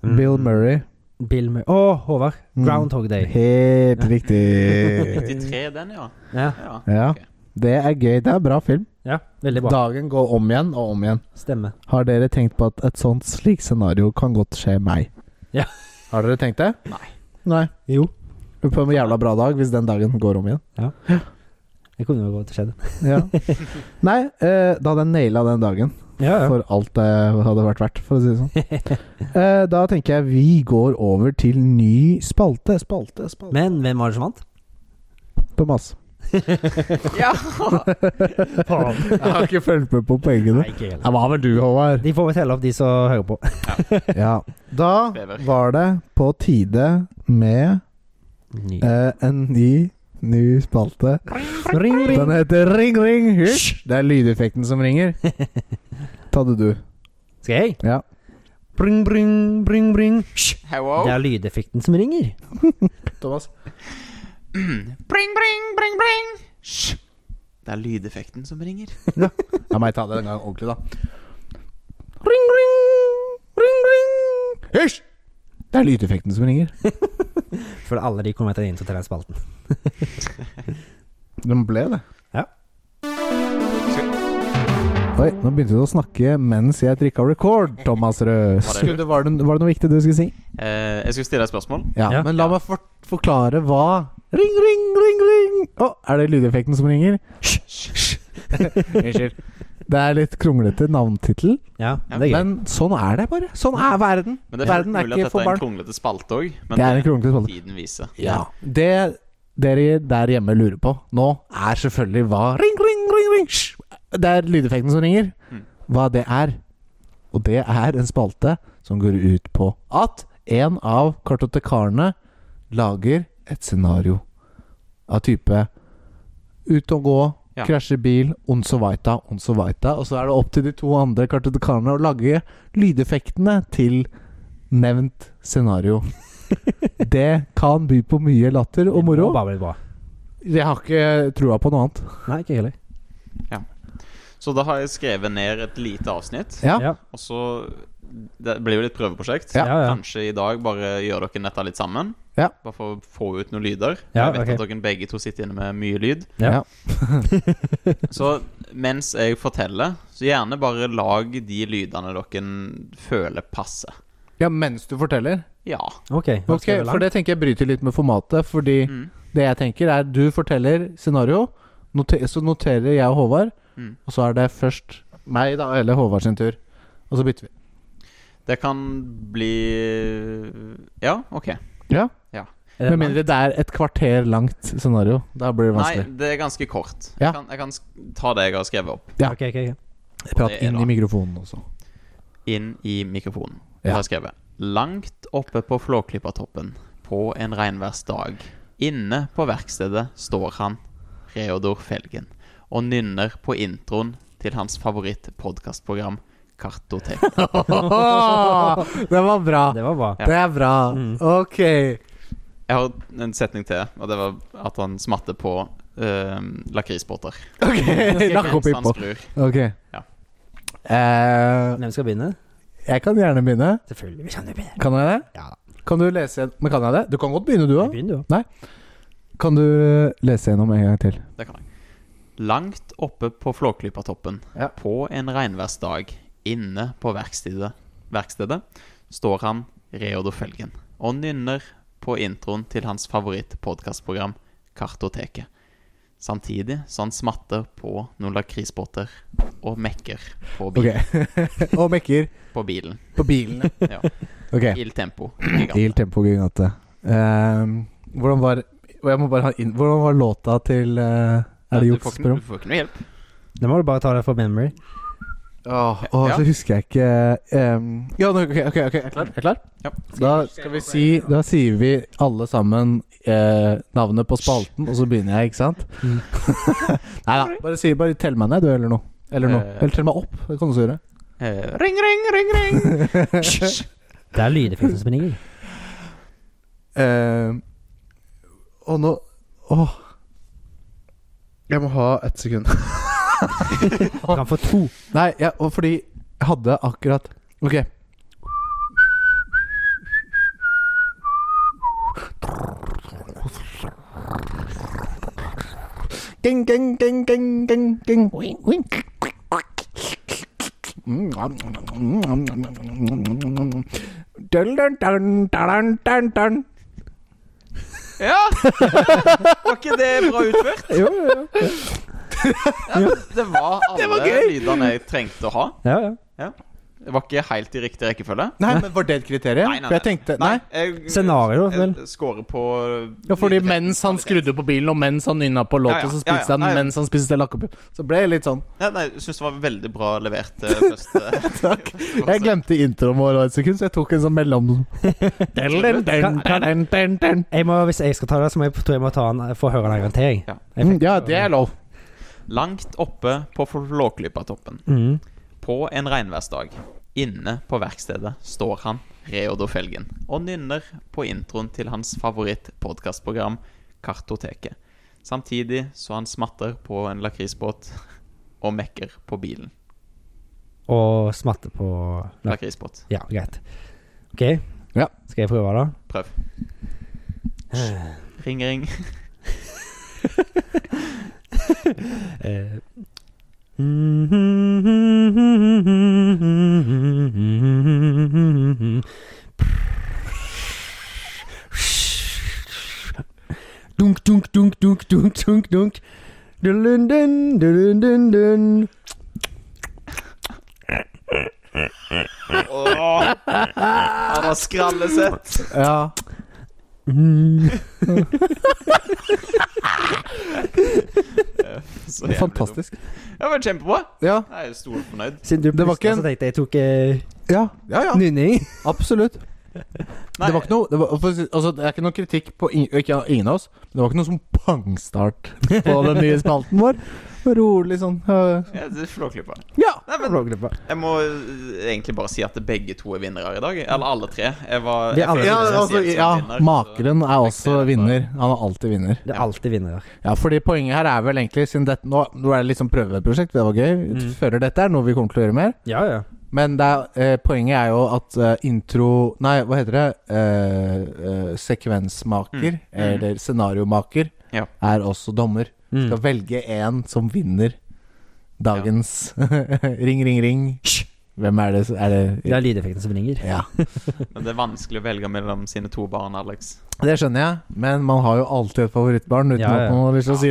[SPEAKER 1] Bill
[SPEAKER 5] Mm.
[SPEAKER 1] Murray.
[SPEAKER 5] Bill Murray. Å, Håvard.
[SPEAKER 1] Mm.
[SPEAKER 5] Groundhog Day.
[SPEAKER 1] Helt riktig.
[SPEAKER 3] 93, den, ja.
[SPEAKER 5] Ja,
[SPEAKER 3] ja.
[SPEAKER 1] Ja.
[SPEAKER 3] Ok.
[SPEAKER 1] Det er gøy. Det er bra film.
[SPEAKER 5] ja veldig bra.
[SPEAKER 1] Dagen går om igjen og om igjen.
[SPEAKER 5] Stemmer.
[SPEAKER 1] Har dere tenkt på at et sånt slik scenario kan godt skje meg?
[SPEAKER 5] Ja.
[SPEAKER 1] Har dere tenkt det?
[SPEAKER 3] Nei.
[SPEAKER 1] Nei.
[SPEAKER 5] Jo.
[SPEAKER 1] På en jævla bra dag, hvis den dagen går om igjen.
[SPEAKER 5] Det kunne jo godt skjedd.
[SPEAKER 1] Ja. Nei, eh, da hadde jeg naila den dagen
[SPEAKER 5] Ja, ja.
[SPEAKER 1] for alt det hadde vært verdt, for å si det sånn. Eh, da tenker jeg vi går over til ny spalte, spalte, spalte.
[SPEAKER 5] Men hvem var det som vant?
[SPEAKER 1] Thomas.
[SPEAKER 3] Ja!
[SPEAKER 1] Jeg har ikke fulgt med på poengene.
[SPEAKER 5] Nei, ikke heller.
[SPEAKER 1] Det var vel du, Håvard.
[SPEAKER 2] De får vel telle opp, de som hører på.
[SPEAKER 1] Ja. Da
[SPEAKER 3] Bever.
[SPEAKER 1] var det på tide med
[SPEAKER 5] Ny.
[SPEAKER 1] eh, en ny, ny spalte. Den heter Ring Ring Hysj. Det er lydeffekten som ringer. Ta det, du.
[SPEAKER 5] Skal jeg?
[SPEAKER 1] Ja.
[SPEAKER 5] Bring, bring, bring, bring. Hysj.
[SPEAKER 3] Hello?
[SPEAKER 5] Det er lydeffekten som ringer.
[SPEAKER 1] Thomas.
[SPEAKER 3] Bring, bring, bring, bring! Hysj! Det er lydeffekten som ringer.
[SPEAKER 1] La meg ta det en gang ordentlig, da. Ring, ring, ring, ring. Hysj! Det er lydeffekten som ringer.
[SPEAKER 5] For alle de kommer etter inn til den spalten.
[SPEAKER 1] Den ble det.
[SPEAKER 5] Ja.
[SPEAKER 1] Oi, nå begynte du å snakke mens jeg trykka record, Thomas Rød.
[SPEAKER 3] Var det lurt?
[SPEAKER 1] Skulle- Var, det- var det noe viktig du skulle si?
[SPEAKER 3] Eh, jeg skulle stille deg et spørsmål.
[SPEAKER 1] Ja,
[SPEAKER 5] Ja.
[SPEAKER 1] men la meg for forklare hva Ring, ring, ring, ring! Å, er det lydeffekten som ringer? Hysj, hysj. Unnskyld. Det er litt kronglete navntittel,
[SPEAKER 5] Ja,
[SPEAKER 3] Ja,
[SPEAKER 5] det er gøy.
[SPEAKER 1] men sånn er det bare. Sånn er verden.
[SPEAKER 3] Men det er
[SPEAKER 1] verden
[SPEAKER 3] fullt
[SPEAKER 1] er
[SPEAKER 3] mulig at
[SPEAKER 1] ikke
[SPEAKER 3] dette
[SPEAKER 1] for
[SPEAKER 3] er en
[SPEAKER 1] barn.
[SPEAKER 3] kronglete spalte òg. Men
[SPEAKER 1] Det er en kronglete spalte.
[SPEAKER 3] Tiden viser.
[SPEAKER 1] Ja. Det dere der hjemme lurer på nå, er selvfølgelig hva Ring, ring, ring, ring! hysj. Det er lydeffekten som ringer.
[SPEAKER 3] Mm.
[SPEAKER 1] Hva det er. Og det er en spalte som går ut på at en av kartotekarene lager et scenario av type ut og gå,
[SPEAKER 3] Ja.
[SPEAKER 1] krasjer bil, onsovajta, onsovajta. Og så er det opp til de to andre kartotekarene å lage lydeffektene til nevnt scenario. Det kan by på mye latter og moro.
[SPEAKER 5] Det må bare bli bra.
[SPEAKER 1] Jeg har ikke trua på noe annet.
[SPEAKER 5] Nei, ikke heller.
[SPEAKER 3] Så da har jeg skrevet ned et lite avsnitt.
[SPEAKER 1] Ja.
[SPEAKER 5] Ja.
[SPEAKER 3] Og så Det blir jo litt prøveprosjekt.
[SPEAKER 1] Ja.
[SPEAKER 5] Ja, ja.
[SPEAKER 3] Kanskje i dag bare gjør dere dette litt sammen.
[SPEAKER 1] Ja.
[SPEAKER 3] Bare for å få ut noen lyder.
[SPEAKER 5] Ja,
[SPEAKER 3] jeg vet
[SPEAKER 5] ok.
[SPEAKER 3] at dere begge to sitter inne med mye lyd.
[SPEAKER 1] Ja.
[SPEAKER 3] Så mens jeg forteller, så gjerne bare lag de lydene dere føler passer.
[SPEAKER 1] ja, mens du forteller.
[SPEAKER 3] Ja.
[SPEAKER 5] Ok. da
[SPEAKER 1] Ok,
[SPEAKER 5] skal vi
[SPEAKER 1] For
[SPEAKER 5] langt.
[SPEAKER 1] det tenker jeg bryter litt med formatet. Fordi
[SPEAKER 3] Mm.
[SPEAKER 1] det jeg tenker, er du forteller scenario, noter, så noterer jeg og Håvard,
[SPEAKER 3] Mm.
[SPEAKER 1] og så er det først meg da, eller Håvard sin tur. Og så bytter vi.
[SPEAKER 3] Det kan bli Ja, OK.
[SPEAKER 1] Ja,
[SPEAKER 5] Er det
[SPEAKER 1] Med mindre det er et kvarter langt scenario. Da blir det
[SPEAKER 3] Nei,
[SPEAKER 1] vanskelig.
[SPEAKER 3] det er ganske kort.
[SPEAKER 1] Ja.
[SPEAKER 3] Jeg, kan, jeg kan sk- ta det jeg har skrevet opp,
[SPEAKER 1] Ja.
[SPEAKER 5] langt? Ok, ok, ok.
[SPEAKER 1] Prat
[SPEAKER 3] det er
[SPEAKER 1] inn
[SPEAKER 3] da-
[SPEAKER 1] i mikrofonen også.
[SPEAKER 3] inn i mikrofonen.
[SPEAKER 1] Ja.
[SPEAKER 3] Jeg har skrevet Langt oppe på Flåklyppertoppen, på en regnværsdag, inne på verkstedet står han, Reodor Felgen, og nynner på introen til hans favorittpodkastprogram, Kartotek.
[SPEAKER 1] det var bra.
[SPEAKER 5] Det var bra.
[SPEAKER 3] Ja.
[SPEAKER 1] Det er bra.
[SPEAKER 5] Mm.
[SPEAKER 1] Ok.
[SPEAKER 3] Jeg har en setning til, og det var at han smatter på uh, lakrisbåter.
[SPEAKER 1] Ok, Lakk opp
[SPEAKER 3] Mens han
[SPEAKER 1] innpå.
[SPEAKER 3] skrur.
[SPEAKER 1] Ok.
[SPEAKER 3] Ja.
[SPEAKER 1] Eh,
[SPEAKER 5] Hvem skal begynne?
[SPEAKER 1] jeg kan gjerne begynne.
[SPEAKER 5] Selvfølgelig kan du begynne.
[SPEAKER 1] Kan jeg det?
[SPEAKER 5] Ja.
[SPEAKER 1] Kan du lese igjen- Men kan jeg det? Du kan godt begynne, du òg.
[SPEAKER 5] Begynn, du.
[SPEAKER 1] Kan du eh, lese gjennom en gang til?
[SPEAKER 3] Det kan jeg. Langt oppe på Flåklyppertoppen,
[SPEAKER 1] Ja.
[SPEAKER 3] på en regnværsdag, inne på verkstedet, verkstedet står han, Reodor Felgen, og nynner på introen til hans favorittpodkastprogram, Kartoteket. Samtidig så han smatter på noen lakrisbåter og mekker på,
[SPEAKER 1] Ok.
[SPEAKER 3] bil,
[SPEAKER 1] Og mekker
[SPEAKER 3] på bilen.
[SPEAKER 1] på bilen.
[SPEAKER 3] Ja.
[SPEAKER 1] Ok.
[SPEAKER 3] Il tempo.
[SPEAKER 1] Il tempo gigante. Ehm, hvordan var og jeg må bare ha inn, Hvordan var låta til eh, Er det
[SPEAKER 3] Du
[SPEAKER 1] juks,
[SPEAKER 3] får ikke-
[SPEAKER 1] spør om?
[SPEAKER 3] Du får ikke noe hjelp.
[SPEAKER 5] Da må du bare ta det for memory.
[SPEAKER 1] Åh, åh,
[SPEAKER 3] Ja.
[SPEAKER 1] så husker jeg ikke ehm, Ja, nå- ok, ok, ok, er klar? Er klar?
[SPEAKER 3] Ja.
[SPEAKER 1] Da skal vi si Da sier vi alle sammen eh, Mm. navnet på spalten, og så begynner jeg, ikke sant? Nei da, bare, si, bare tell meg ned, du, eller noe. Eller noe.
[SPEAKER 3] Eh.
[SPEAKER 1] Eller til og med opp. Det kan du også gjøre.
[SPEAKER 3] Eh, ring, ring, ring, ring!
[SPEAKER 5] Det er lydeffekten som ringer.
[SPEAKER 1] Eh, og nå Åh. Jeg må ha ett sekund.
[SPEAKER 2] Kan få to.
[SPEAKER 1] Nei, jeg, og fordi jeg hadde akkurat Ok. Ding, ding, ding, ding, ding, ding. Wink, wink. Mm. Dun, dun, dun, dun, dun, dun.
[SPEAKER 3] Ja! Var ikke det bra utført?
[SPEAKER 1] Jo, jo, jo.
[SPEAKER 3] Det var alle lydene jeg trengte å ha.
[SPEAKER 5] Ja, ja.
[SPEAKER 3] Ja. Det var ikke helt i riktig rekkefølge.
[SPEAKER 1] Nei, men var det et kriterium?
[SPEAKER 3] Nei, nei,
[SPEAKER 1] For jeg tenkte Nei.
[SPEAKER 3] jeg-
[SPEAKER 5] Scenario, vel?
[SPEAKER 3] Jeg scorer på eh,
[SPEAKER 1] Ja, fordi mens han skrudde på bilen, og mens han nynna på låta,
[SPEAKER 3] Ja, ja,
[SPEAKER 1] så
[SPEAKER 3] ja, ja,
[SPEAKER 1] spiste han
[SPEAKER 3] nei, ja.
[SPEAKER 1] mens han spiste lakkopi. Så ble det litt sånn.
[SPEAKER 3] Ja, nei, jeg syns det var veldig bra levert eh, første
[SPEAKER 1] Takk.
[SPEAKER 3] sånn.
[SPEAKER 1] Jeg glemte introen vår et sekund, så jeg tok en sånn mellom
[SPEAKER 2] Jeg må, hvis jeg skal ta det, så må jeg, tror jeg må ta den få høre den en gang til. jeg.
[SPEAKER 3] Ja.
[SPEAKER 1] Mm, Ja, det er lov.
[SPEAKER 3] Langt oppe på Flåklypa-toppen,
[SPEAKER 2] Mm.
[SPEAKER 3] på en regnværsdag, inne på verkstedet, står han, Reodor Felgen, og nynner på introen til hans favoritt-podkastprogram, Kartoteket. Samtidig så han smatter på en lakrisbåt og mekker på bilen.
[SPEAKER 2] Og smatte på Nei.
[SPEAKER 3] Lakrisbåt.
[SPEAKER 2] Ja, greit. OK.
[SPEAKER 1] Ja.
[SPEAKER 2] Skal jeg prøve, da?
[SPEAKER 3] Prøv. Ring, ring.
[SPEAKER 2] Eh, Dunk, dunk, dunk, dunk, dunk, dunk, dunk. Dun, dun, dun, dun, dun.
[SPEAKER 3] Åh, han har skrallesett.
[SPEAKER 1] Ja.
[SPEAKER 3] Så jævlig
[SPEAKER 1] Fantastisk.
[SPEAKER 3] dumt. Ja, men Kjempebra.
[SPEAKER 1] Ja.
[SPEAKER 3] Jeg er jo storfornøyd.
[SPEAKER 2] Siden du
[SPEAKER 1] Det var ikke
[SPEAKER 2] plutselig
[SPEAKER 1] en-
[SPEAKER 2] så tenkte jeg jeg tok eh,
[SPEAKER 1] Ja, ja, ja.
[SPEAKER 2] nynning.
[SPEAKER 1] absolutt.
[SPEAKER 3] Nei,
[SPEAKER 1] Det var ikke noe det, var, for å si- altså, det er ikke noe kritikk på ing- ikke, av ingen av oss. men Det var ikke noe sånn pangstart på den nye spalten vår. Rolig sånn øh,
[SPEAKER 3] ja, det er Flåklypa.
[SPEAKER 1] Ja!
[SPEAKER 3] Nei, men Jeg må eh, egentlig bare si at begge to er vinnere i dag. Eller alle tre. Jeg var,
[SPEAKER 2] Vi er
[SPEAKER 3] jeg føler
[SPEAKER 2] alle-
[SPEAKER 1] Ja,
[SPEAKER 3] meg selv
[SPEAKER 1] altså,
[SPEAKER 3] som
[SPEAKER 1] ja,
[SPEAKER 3] vinner, så-
[SPEAKER 1] makeren er også vinner. Han er alltid vinner.
[SPEAKER 2] Det er alltid vinnere.
[SPEAKER 1] Ja, fordi poenget her er vel egentlig siden dette, nå, nå er det liksom prøveprosjekt, det var gøy. Utfører dette er noe vi kommer til å gjøre mer.
[SPEAKER 2] Ja, ja.
[SPEAKER 1] Men det er, eh, poenget er jo at eh, intro Nei, hva heter det? Eh, eh, sekvensmaker, eller scenariomaker,
[SPEAKER 3] Ja.
[SPEAKER 1] er også dommer.
[SPEAKER 2] Mm.
[SPEAKER 1] Skal velge en som vinner dagens Ring, ring, ring. Hvem er det? som- Er
[SPEAKER 2] Det
[SPEAKER 1] det
[SPEAKER 2] er lydeffekten som ringer.
[SPEAKER 1] ja.
[SPEAKER 3] Men det er vanskelig å velge mellom sine to barn, Alex.
[SPEAKER 1] Det skjønner jeg, men man har jo alltid et favorittbarn uten
[SPEAKER 2] Ja, ja.
[SPEAKER 1] at man har lyst til å si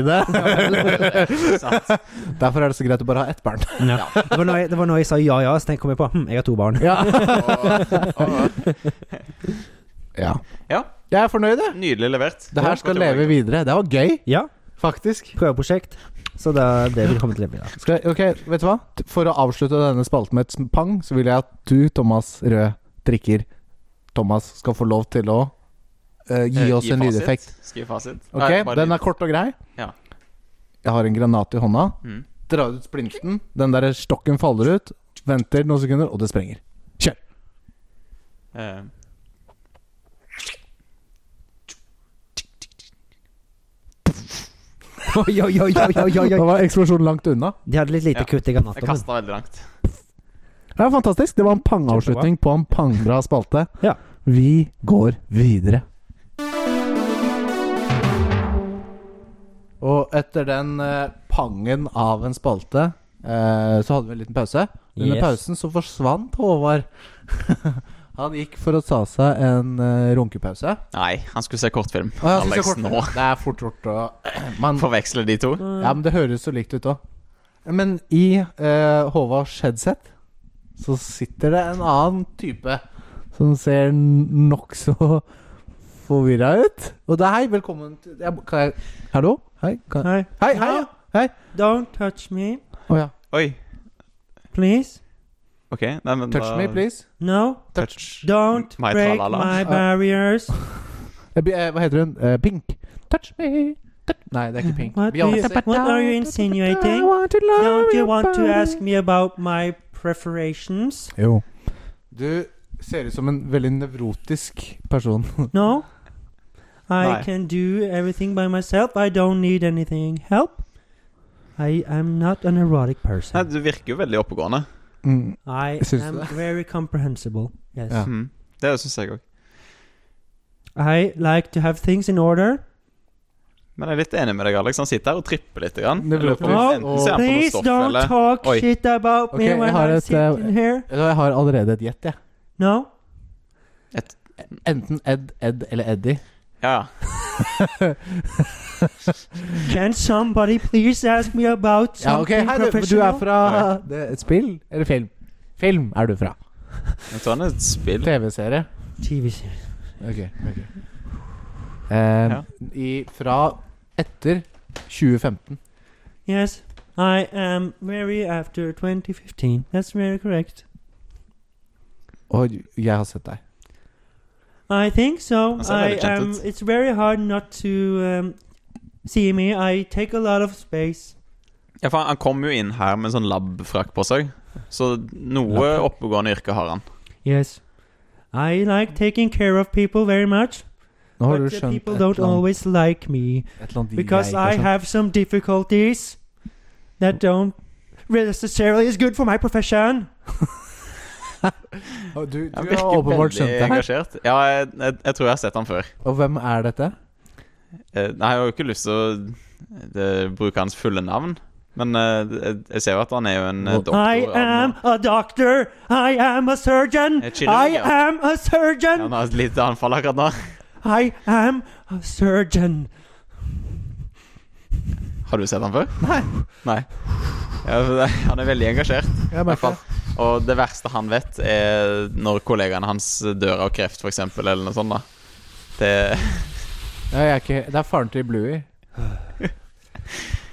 [SPEAKER 1] det.
[SPEAKER 3] Sant?
[SPEAKER 1] Derfor er det så greit å bare ha ett barn.
[SPEAKER 2] Det var når jeg, det var når jeg sa ja, ja, så tenkte- kom jeg på hm, jeg har to barn.
[SPEAKER 1] Ja.
[SPEAKER 3] Og- og-
[SPEAKER 1] ja.
[SPEAKER 3] Ja,
[SPEAKER 1] Jeg er fornøyd, jeg.
[SPEAKER 3] nydelig levert.
[SPEAKER 1] Det her skal leve videre. Det var gøy,
[SPEAKER 2] Ja,
[SPEAKER 1] faktisk.
[SPEAKER 2] prøveprosjekt. Så det er det vi kommer til å leve i. da.
[SPEAKER 1] Skal jeg, ok, vet du hva? T- For å avslutte denne spalten med et pang, så vil jeg at du, Thomas Rød Drikker Thomas, skal få lov til å eh, gi
[SPEAKER 3] Eh,
[SPEAKER 1] oss en
[SPEAKER 3] fasit.
[SPEAKER 1] lydeffekt.
[SPEAKER 3] Skriv fasit.
[SPEAKER 1] Ok, Den er kort og grei.
[SPEAKER 3] Ja.
[SPEAKER 1] Jeg har en granat i hånda.
[SPEAKER 3] Mm.
[SPEAKER 1] Drar ut splinten. Den der stokken faller ut. Venter noen sekunder, og det sprenger. Kjør!
[SPEAKER 3] Eh,
[SPEAKER 2] Oi, oi, oi, oi, oi, oi,
[SPEAKER 1] Da
[SPEAKER 2] oi.
[SPEAKER 1] var eksplosjonen langt unna.
[SPEAKER 2] De hadde litt lite
[SPEAKER 3] Ja.
[SPEAKER 2] kutt i
[SPEAKER 3] jeg
[SPEAKER 2] granatomen.
[SPEAKER 3] kasta veldig langt.
[SPEAKER 1] Det er fantastisk. Det var en pangavslutning på en pangbra spalte.
[SPEAKER 2] Ja.
[SPEAKER 1] Vi går videre. Og etter den eh, pangen av en spalte, eh, så hadde vi en liten pause. Under
[SPEAKER 2] Yes.
[SPEAKER 1] pausen så forsvant Håvard. Han gikk for å ta seg en eh, runkepause.
[SPEAKER 3] Nei, han skulle se kortfilm.
[SPEAKER 1] Å, jeg synes
[SPEAKER 3] Alex,
[SPEAKER 1] det er
[SPEAKER 3] nå
[SPEAKER 1] kort. Det er fort gjort å Man
[SPEAKER 3] forveksler de to.
[SPEAKER 1] ja, men det høres så likt ut òg. Men i eh, Håvards headset så sitter det en annen type som ser n- nokså forvirra ut. Og det er hei, velkommen til jeg, Kan jeg Hallo? Hei? Kan,
[SPEAKER 5] Hei.
[SPEAKER 1] hei, hei! ja. Hei!
[SPEAKER 5] Don't touch me,
[SPEAKER 1] Å ja.
[SPEAKER 3] Oi.
[SPEAKER 5] please.
[SPEAKER 3] OK. Nei, men
[SPEAKER 1] Touch
[SPEAKER 3] da
[SPEAKER 1] me, please.
[SPEAKER 5] No,
[SPEAKER 3] Touch.
[SPEAKER 5] don't
[SPEAKER 3] My
[SPEAKER 5] break
[SPEAKER 3] tralala.
[SPEAKER 5] my barriers.
[SPEAKER 1] Jeg blir- eh, hva heter hun? Eh, Pink. Touch me. Nei, det er ikke Pink.
[SPEAKER 2] What, do you,
[SPEAKER 1] Beyoncé.
[SPEAKER 2] what are you insinuating? Don't you want to ask me about my preparations?
[SPEAKER 1] Jo. Du ser ut som en veldig nevrotisk person.
[SPEAKER 2] No. I
[SPEAKER 3] Nei.
[SPEAKER 2] can do everything by myself. I don't need anything help. I am not an erotic
[SPEAKER 3] Nei,
[SPEAKER 2] person.
[SPEAKER 3] du virker jo veldig oppegående.
[SPEAKER 1] Mm.
[SPEAKER 2] I
[SPEAKER 1] Syns du
[SPEAKER 2] am
[SPEAKER 1] det?
[SPEAKER 2] very comprehensible. Yes.
[SPEAKER 1] Ja.
[SPEAKER 3] Mm. Det syns jeg òg.
[SPEAKER 2] I like to have things in order.
[SPEAKER 3] Men jeg er litt enig med deg, Alex. Han sitter her og tripper litt. Grann.
[SPEAKER 1] Det blir
[SPEAKER 3] Jeg lurer på om
[SPEAKER 2] opp-
[SPEAKER 3] Enten ser han på noe
[SPEAKER 2] Please
[SPEAKER 3] stoff
[SPEAKER 2] don't
[SPEAKER 3] eller
[SPEAKER 2] talk
[SPEAKER 3] Oi.
[SPEAKER 2] shit about
[SPEAKER 1] Okay,
[SPEAKER 2] me
[SPEAKER 1] jeg
[SPEAKER 2] when
[SPEAKER 1] har
[SPEAKER 2] I'm
[SPEAKER 1] et, eh,
[SPEAKER 2] sitting here.
[SPEAKER 1] Vet du hva, Jeg har allerede et gjett, jeg.
[SPEAKER 2] No.
[SPEAKER 1] Enten Ed, Ed eller Eddie.
[SPEAKER 3] Ja, ja.
[SPEAKER 2] Can somebody please ask me about
[SPEAKER 1] Ja, ok,
[SPEAKER 2] something
[SPEAKER 1] Hei, du, du er
[SPEAKER 2] professional?
[SPEAKER 1] fra det, er et spill? Eller film? Film er du fra.
[SPEAKER 3] Jeg tror han er et spill.
[SPEAKER 1] TV-serie.
[SPEAKER 2] TV series.
[SPEAKER 1] Ok. Eh,
[SPEAKER 3] Ja.
[SPEAKER 1] i, fra etter 2015.
[SPEAKER 2] Yes, I am very after 2015. That's very correct.
[SPEAKER 1] Og jeg har sett deg.
[SPEAKER 2] I think so.
[SPEAKER 3] Han ser
[SPEAKER 2] I
[SPEAKER 3] veldig kjent
[SPEAKER 2] am.
[SPEAKER 3] ut.
[SPEAKER 2] It's very hard not to um, see me. I take a lot of space.
[SPEAKER 3] Ja, for han- han kom jo inn her med en sånn lab-frakk på seg. Så noe
[SPEAKER 1] Lab-frakk.
[SPEAKER 3] oppegående yrke har han.
[SPEAKER 2] Yes, I like taking care of people very much,
[SPEAKER 1] Nå har
[SPEAKER 2] but
[SPEAKER 1] Oh, du
[SPEAKER 2] the
[SPEAKER 1] skjønt et
[SPEAKER 2] people
[SPEAKER 1] eller,
[SPEAKER 2] don't
[SPEAKER 1] annet,
[SPEAKER 2] always like me
[SPEAKER 1] et eller annet
[SPEAKER 2] because
[SPEAKER 1] jeg
[SPEAKER 2] I
[SPEAKER 1] ikke har skjønt.
[SPEAKER 2] have some difficulties that don't necessarily is good for my profession.
[SPEAKER 1] Å, Du,
[SPEAKER 3] Han
[SPEAKER 1] du har åpenbart skjønt det her.
[SPEAKER 3] engasjert. Ja, jeg, jeg, jeg tror jeg har sett han før.
[SPEAKER 1] Og hvem er dette?
[SPEAKER 3] Eh, Nei, jeg har jo ikke lyst til å eh, bruke hans fulle navn. Men eh, jeg, jeg ser jo at han er jo en eh,
[SPEAKER 1] Well,
[SPEAKER 3] doktor.
[SPEAKER 2] I
[SPEAKER 3] av
[SPEAKER 2] am
[SPEAKER 3] noe.
[SPEAKER 2] a doctor. I am a surgeon.
[SPEAKER 3] Eh, chill,
[SPEAKER 2] I
[SPEAKER 3] ja.
[SPEAKER 2] am a surgeon.
[SPEAKER 3] Han har et lite anfall akkurat nå.
[SPEAKER 2] I am a surgeon.
[SPEAKER 3] Har du sett han før? Nei. Nei. Ja, for det- han er veldig engasjert.
[SPEAKER 1] Jeg
[SPEAKER 3] hvert fall. Og det verste han vet, er når kollegaene hans dør av kreft, f.eks., eller noe sånt. da Det
[SPEAKER 1] Ja, jeg er ikke, det er faren til Bluey.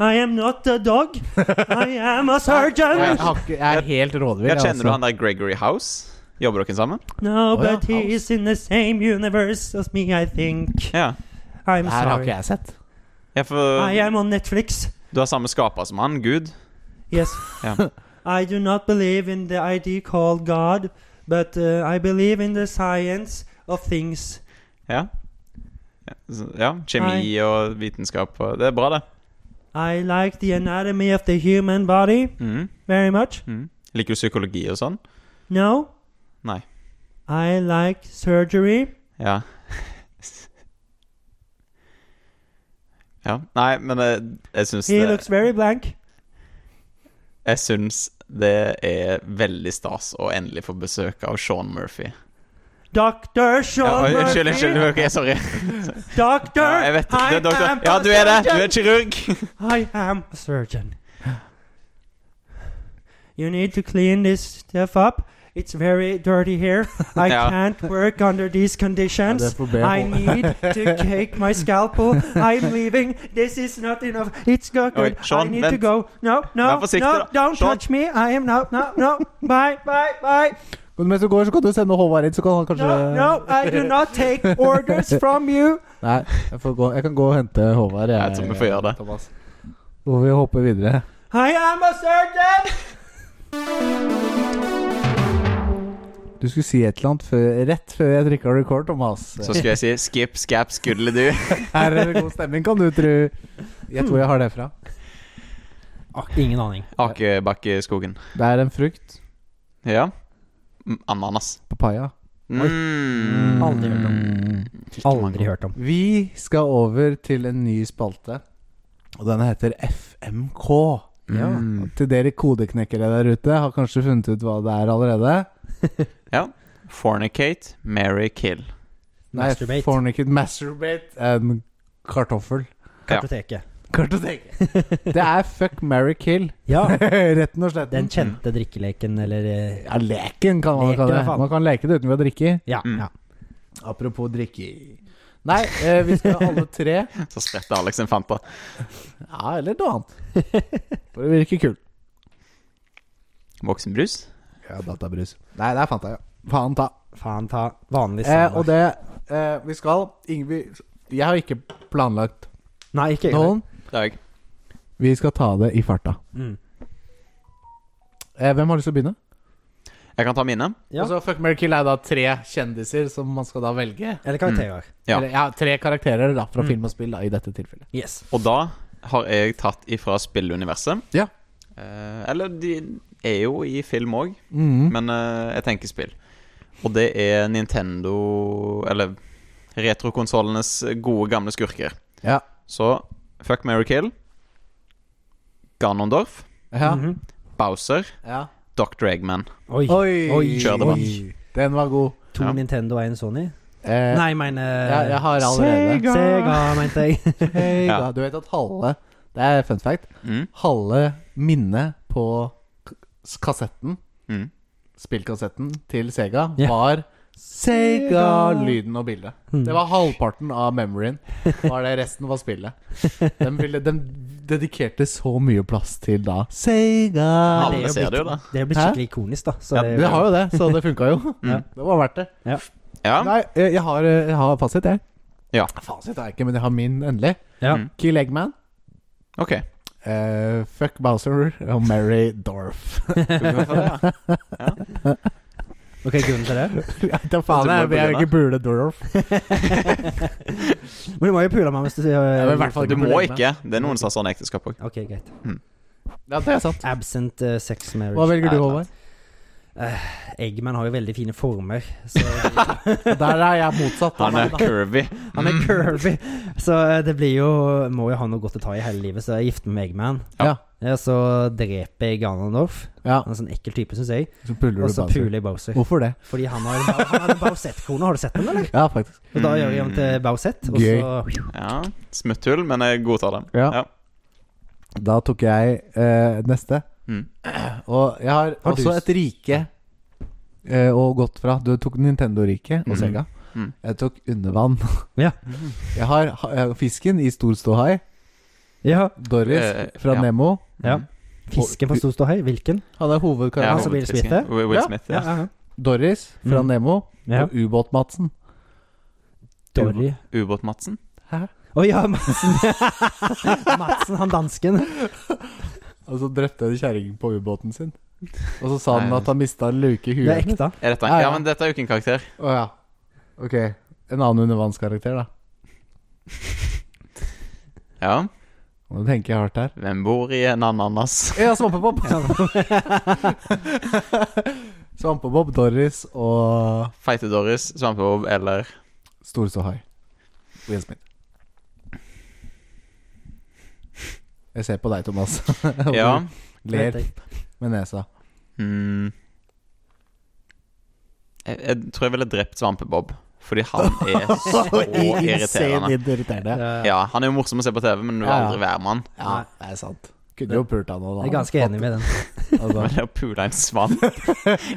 [SPEAKER 2] I am not a dog. I am a surgeon.
[SPEAKER 1] Jeg, har ikke, jeg er altså- helt rådvill.
[SPEAKER 3] Ja, kjenner du han der Gregory House? Jobber dere sammen?
[SPEAKER 2] No,
[SPEAKER 1] Oh, yeah.
[SPEAKER 2] but he is in the same universe as me, I think.
[SPEAKER 3] Ja.
[SPEAKER 2] I'm
[SPEAKER 1] Her har
[SPEAKER 2] sorry.
[SPEAKER 1] ikke jeg sett.
[SPEAKER 3] ja for
[SPEAKER 2] I am on Netflix.
[SPEAKER 3] du har samme skaper som han, Gud.
[SPEAKER 2] Yes.
[SPEAKER 3] Yeah.
[SPEAKER 2] I do not believe in the idea called God, but uh, I believe in the science of things.
[SPEAKER 3] Ja. Ja, så- ja kjemi og vitenskap og Det er bra, det.
[SPEAKER 2] I like the anatomy of the human body
[SPEAKER 3] Mhm,
[SPEAKER 2] very much.
[SPEAKER 3] mhm. Liker du psykologi og sånn?
[SPEAKER 2] No.
[SPEAKER 3] Nei.
[SPEAKER 2] I like surgery.
[SPEAKER 3] Ja. Ja. Nei, men jeg, jeg syns
[SPEAKER 2] He
[SPEAKER 3] det
[SPEAKER 2] looks very blank.
[SPEAKER 3] Jeg syns det er veldig stas å endelig få besøk av Sean Murphy.
[SPEAKER 2] Dr. Sean
[SPEAKER 3] Ja, oi, unnskyld,
[SPEAKER 2] Murphy.
[SPEAKER 3] unnskyld. ok, sorry.
[SPEAKER 2] Doctor,
[SPEAKER 3] Ja, jeg vet ikke.
[SPEAKER 2] I
[SPEAKER 3] Det er doktor.
[SPEAKER 2] am
[SPEAKER 3] Ja,
[SPEAKER 2] a
[SPEAKER 3] du er det. Du er
[SPEAKER 2] surgeon.
[SPEAKER 3] kirurg.
[SPEAKER 2] I am a surgeon. You need to clean this stuff up. It's very dirty here. I
[SPEAKER 3] Ja.
[SPEAKER 2] can't work under these conditions.
[SPEAKER 1] Ja, det får be
[SPEAKER 2] I
[SPEAKER 1] om.
[SPEAKER 2] need to take my scalpel. I'm leaving. This is not enough. It's not
[SPEAKER 3] Oi,
[SPEAKER 2] good.
[SPEAKER 3] Sean,
[SPEAKER 2] I need to
[SPEAKER 3] vent.
[SPEAKER 2] go. No,
[SPEAKER 3] Vær
[SPEAKER 2] no,
[SPEAKER 3] forsiktig
[SPEAKER 2] no.
[SPEAKER 3] da.
[SPEAKER 2] Don't
[SPEAKER 3] Sean.
[SPEAKER 2] touch me. I am no, no, no. Bye, bye, bye.
[SPEAKER 1] Men mens du går, så kan du sende Håvard inn, så kan han kanskje
[SPEAKER 2] No, no. I do not take orders from you.
[SPEAKER 1] Nei, jeg, får gå, jeg kan gå og hente Håvard.
[SPEAKER 3] Jeg tror vi får gjøre det.
[SPEAKER 1] Thomas. Må vi hoppe videre?
[SPEAKER 2] I am a surgeon.
[SPEAKER 1] Du skulle si et eller annet før, rett før jeg trykka record, Thomas.
[SPEAKER 3] Så skulle jeg si skip, skap, skudle du.
[SPEAKER 1] Her er det god stemning, kan du tro. Jeg tror jeg har det fra.
[SPEAKER 7] Ah, ingen aning.
[SPEAKER 3] Akebakkeskogen.
[SPEAKER 1] Det er en frukt.
[SPEAKER 3] Ja. Mm, Ananas.
[SPEAKER 1] Papaya.
[SPEAKER 3] Mm.
[SPEAKER 7] Aldri hørt om.
[SPEAKER 3] Ikke
[SPEAKER 7] Aldri
[SPEAKER 3] mango.
[SPEAKER 7] hørt om.
[SPEAKER 1] Vi skal over til en ny spalte, og den heter FMK.
[SPEAKER 3] Ja.
[SPEAKER 1] Og Mm. Til dere kodeknekkere der ute har kanskje funnet ut hva det er allerede.
[SPEAKER 3] Fornicate, marry, kill.
[SPEAKER 1] Nei,
[SPEAKER 7] Masturbate.
[SPEAKER 1] Fornicate, masturbate and kartoffel.
[SPEAKER 7] Kartoteket.
[SPEAKER 1] Kartoteket. Det er fuck, marry, kill.
[SPEAKER 7] Ja.
[SPEAKER 1] Rett og slett.
[SPEAKER 7] Den kjente drikkeleken, eller eh,
[SPEAKER 1] Ja, leken kan man
[SPEAKER 7] Leken, i
[SPEAKER 1] kalle det.
[SPEAKER 7] hvert fall.
[SPEAKER 1] Man kan leke det uten ved å drikke.
[SPEAKER 7] Ja.
[SPEAKER 3] Mm.
[SPEAKER 7] ja.
[SPEAKER 1] Apropos drikke Nei, eh, vi skal alle tre
[SPEAKER 3] Så spretter Alex en Fanta.
[SPEAKER 1] Ja, eller noe annet. For å virke kul.
[SPEAKER 3] Voksenbrus.
[SPEAKER 1] Ja, databrus. Nei, det er Fanta, ja. Fanta.
[SPEAKER 7] Faen ta vanlig
[SPEAKER 1] Eh, og
[SPEAKER 7] standard.
[SPEAKER 1] det eh, Vi skal Ingvi Jeg har ikke planlagt
[SPEAKER 5] Nei, ikke jeg.
[SPEAKER 1] Nolan,
[SPEAKER 3] Det er jeg.
[SPEAKER 1] vi skal ta det i farta.
[SPEAKER 5] Mm.
[SPEAKER 1] Eh, hvem har lyst til å begynne?
[SPEAKER 3] Jeg kan ta mine.
[SPEAKER 5] Ja.
[SPEAKER 1] Og så Fuck Mary Kill er da tre kjendiser som man skal da velge.
[SPEAKER 5] Eller karakterer.
[SPEAKER 3] Ja.
[SPEAKER 1] Eller, ja, tre karakterer da
[SPEAKER 5] Mm.
[SPEAKER 1] fra film og spill da, i dette tilfellet.
[SPEAKER 5] Yes.
[SPEAKER 3] Og da har jeg tatt ifra spilluniverset.
[SPEAKER 1] Ja.
[SPEAKER 3] Eh, eller de er jo i film òg, men eh, jeg tenker spill. Og det er Nintendo Eller retrokonsollenes gode, gamle skurker.
[SPEAKER 1] Ja.
[SPEAKER 3] Så Fuck Mary Kill, Ganondorf,
[SPEAKER 1] ja.
[SPEAKER 5] Mhm.
[SPEAKER 3] Bowser,
[SPEAKER 1] ja.
[SPEAKER 3] Dr. Eggman.
[SPEAKER 5] Oi.
[SPEAKER 1] Oi!
[SPEAKER 5] Oi.
[SPEAKER 3] Kjør det, mann.
[SPEAKER 1] Oi. Den var god.
[SPEAKER 2] To
[SPEAKER 3] Ja.
[SPEAKER 2] Nintendo og én Sony?
[SPEAKER 1] Eh,
[SPEAKER 5] Nei, jeg mener
[SPEAKER 1] Ja, jeg har allerede.
[SPEAKER 5] Sega, Sega mente jeg.
[SPEAKER 1] Hei,
[SPEAKER 3] Ja.
[SPEAKER 1] da. Du vet at halve Det er fun fact.
[SPEAKER 3] Mm,
[SPEAKER 1] Halve minnet på k- kassetten,
[SPEAKER 3] mm.
[SPEAKER 1] spillkassetten til Sega,
[SPEAKER 5] Ja.
[SPEAKER 1] var Sega-lyden og bildet. Det var halvparten av memoryen. Var det Resten var spillet. De, ville, de dedikerte så mye plass til da Sega.
[SPEAKER 2] Men
[SPEAKER 3] Alle
[SPEAKER 2] er jo
[SPEAKER 3] ser det jo,
[SPEAKER 2] blitt-
[SPEAKER 3] da.
[SPEAKER 2] Det er jo blitt
[SPEAKER 1] Hæ?
[SPEAKER 2] skikkelig ikonisk, da. Så
[SPEAKER 3] Ja,
[SPEAKER 2] det, er
[SPEAKER 1] Det
[SPEAKER 2] jo-
[SPEAKER 1] har jo det, så det funka jo.
[SPEAKER 3] Mm.
[SPEAKER 1] Det var verdt det.
[SPEAKER 3] Ja.
[SPEAKER 1] Nei, eh, jeg jeg har, jeg har fasit, jeg.
[SPEAKER 3] Ja.
[SPEAKER 1] Fasit har jeg ikke, men jeg har min endelig.
[SPEAKER 5] Ja.
[SPEAKER 3] Mm.
[SPEAKER 1] Kill Eggman.
[SPEAKER 3] OK.
[SPEAKER 1] Eh, fuck Bowser og Mary Dorf.
[SPEAKER 2] Ok, grunnen til det?
[SPEAKER 1] ja, da faen,
[SPEAKER 3] Du må
[SPEAKER 1] jeg, jeg vil
[SPEAKER 3] begynne.
[SPEAKER 1] ikke pule Dorf.
[SPEAKER 2] Men du må jo pule meg hvis du
[SPEAKER 1] Jeg vil i
[SPEAKER 2] sier eh,
[SPEAKER 1] hvert fall
[SPEAKER 3] Du
[SPEAKER 1] ikke
[SPEAKER 3] må
[SPEAKER 1] pule Eggman.
[SPEAKER 3] ikke. Det er noen som har sånn ekteskap òg.
[SPEAKER 2] Ok, greit.
[SPEAKER 1] Ja, det er sant.
[SPEAKER 2] Absent eh, sex marriage.
[SPEAKER 1] Hva velger du,
[SPEAKER 3] Nei,
[SPEAKER 1] Håvard?
[SPEAKER 2] Eggman har jo veldig fine former. Så
[SPEAKER 1] Der er jeg motsatt.
[SPEAKER 3] Han er curvy.
[SPEAKER 2] han er curvy. Så eh, det blir jo Må jo ha noe godt å ta i hele livet, så jeg gifter meg med Eggman.
[SPEAKER 1] Ja.
[SPEAKER 2] Ja, så dreper jeg Ganondorf.
[SPEAKER 1] Ja,
[SPEAKER 2] Han er en sånn ekkel type, syns jeg.
[SPEAKER 1] så puler
[SPEAKER 2] Og
[SPEAKER 1] du
[SPEAKER 2] så
[SPEAKER 1] Bowser.
[SPEAKER 2] puler jeg Bowser.
[SPEAKER 1] Hvorfor det?
[SPEAKER 2] Fordi han har, han har en Bowsett-krone. Har du sett den, eller?
[SPEAKER 1] Ja, faktisk.
[SPEAKER 2] Og da gjør jeg ham til Bowsett. Og
[SPEAKER 1] Mm. Gøy.
[SPEAKER 2] så
[SPEAKER 3] Ja, Smutthull, men jeg godtar den.
[SPEAKER 1] Ja. Da tok jeg eh, neste.
[SPEAKER 3] Mm.
[SPEAKER 1] Og jeg har
[SPEAKER 2] Har du
[SPEAKER 1] også
[SPEAKER 2] s-
[SPEAKER 1] et rike eh, å gått fra. Du tok Nintendo-riket og
[SPEAKER 3] Mm.
[SPEAKER 1] Sega.
[SPEAKER 3] Mm.
[SPEAKER 1] Jeg tok undervann.
[SPEAKER 2] Ja.
[SPEAKER 1] Jeg har ha- jeg har fisken i stor ståhai.
[SPEAKER 2] Ja.
[SPEAKER 1] Doris
[SPEAKER 3] Eh,
[SPEAKER 1] fra
[SPEAKER 3] ja.
[SPEAKER 1] Nemo.
[SPEAKER 2] ja. Fisken fra Storståhei. Hvilken?
[SPEAKER 1] Han er hovedkarakteren.
[SPEAKER 2] han som Will Smith er?
[SPEAKER 3] Will
[SPEAKER 1] Ja.
[SPEAKER 3] Smith, ja.
[SPEAKER 1] Doris fra
[SPEAKER 2] Mm.
[SPEAKER 1] Nemo
[SPEAKER 2] Ja.
[SPEAKER 1] og Ubåt-Madsen.
[SPEAKER 2] Dory.
[SPEAKER 3] Ubåt-Madsen?
[SPEAKER 2] Å ja, Madsen. Madsen, han dansken.
[SPEAKER 1] Og så drepte jeg kjerringen på ubåten sin. Og så sa han
[SPEAKER 3] Nei.
[SPEAKER 1] at han mista en luke i
[SPEAKER 2] Det er
[SPEAKER 1] huet.
[SPEAKER 2] ekte.
[SPEAKER 3] Er dette
[SPEAKER 1] Ja,
[SPEAKER 3] en?
[SPEAKER 1] ja.
[SPEAKER 3] Ja, men dette er jo ikke en karakter.
[SPEAKER 1] Å ja. Ok. En annen undervannskarakter, da.
[SPEAKER 3] Ja.
[SPEAKER 1] Nå tenker jeg hardt her.
[SPEAKER 3] Hvem bor i en ananas?
[SPEAKER 1] Ja, Svampebob! Svampebob, Doris og
[SPEAKER 3] Feite Doris, Svampebob eller
[SPEAKER 1] Store Sohai. Will Smith. Jeg ser på deg, Thomas. Og
[SPEAKER 3] Ja.
[SPEAKER 1] du Ler med nesa.
[SPEAKER 3] Mm. Jeg, jeg tror jeg ville drept Svampebob, fordi han er så irriterende.
[SPEAKER 1] irriterende.
[SPEAKER 2] Ja.
[SPEAKER 3] Ja, Han er jo morsom å se på TV, men du vil
[SPEAKER 1] Ja, ja.
[SPEAKER 3] aldri være med han.
[SPEAKER 1] Ja, det er sant. Kunne jo pult han nå, da.
[SPEAKER 2] Jeg er ganske enig med den.
[SPEAKER 1] Altså,
[SPEAKER 3] Men det å pule en svamp,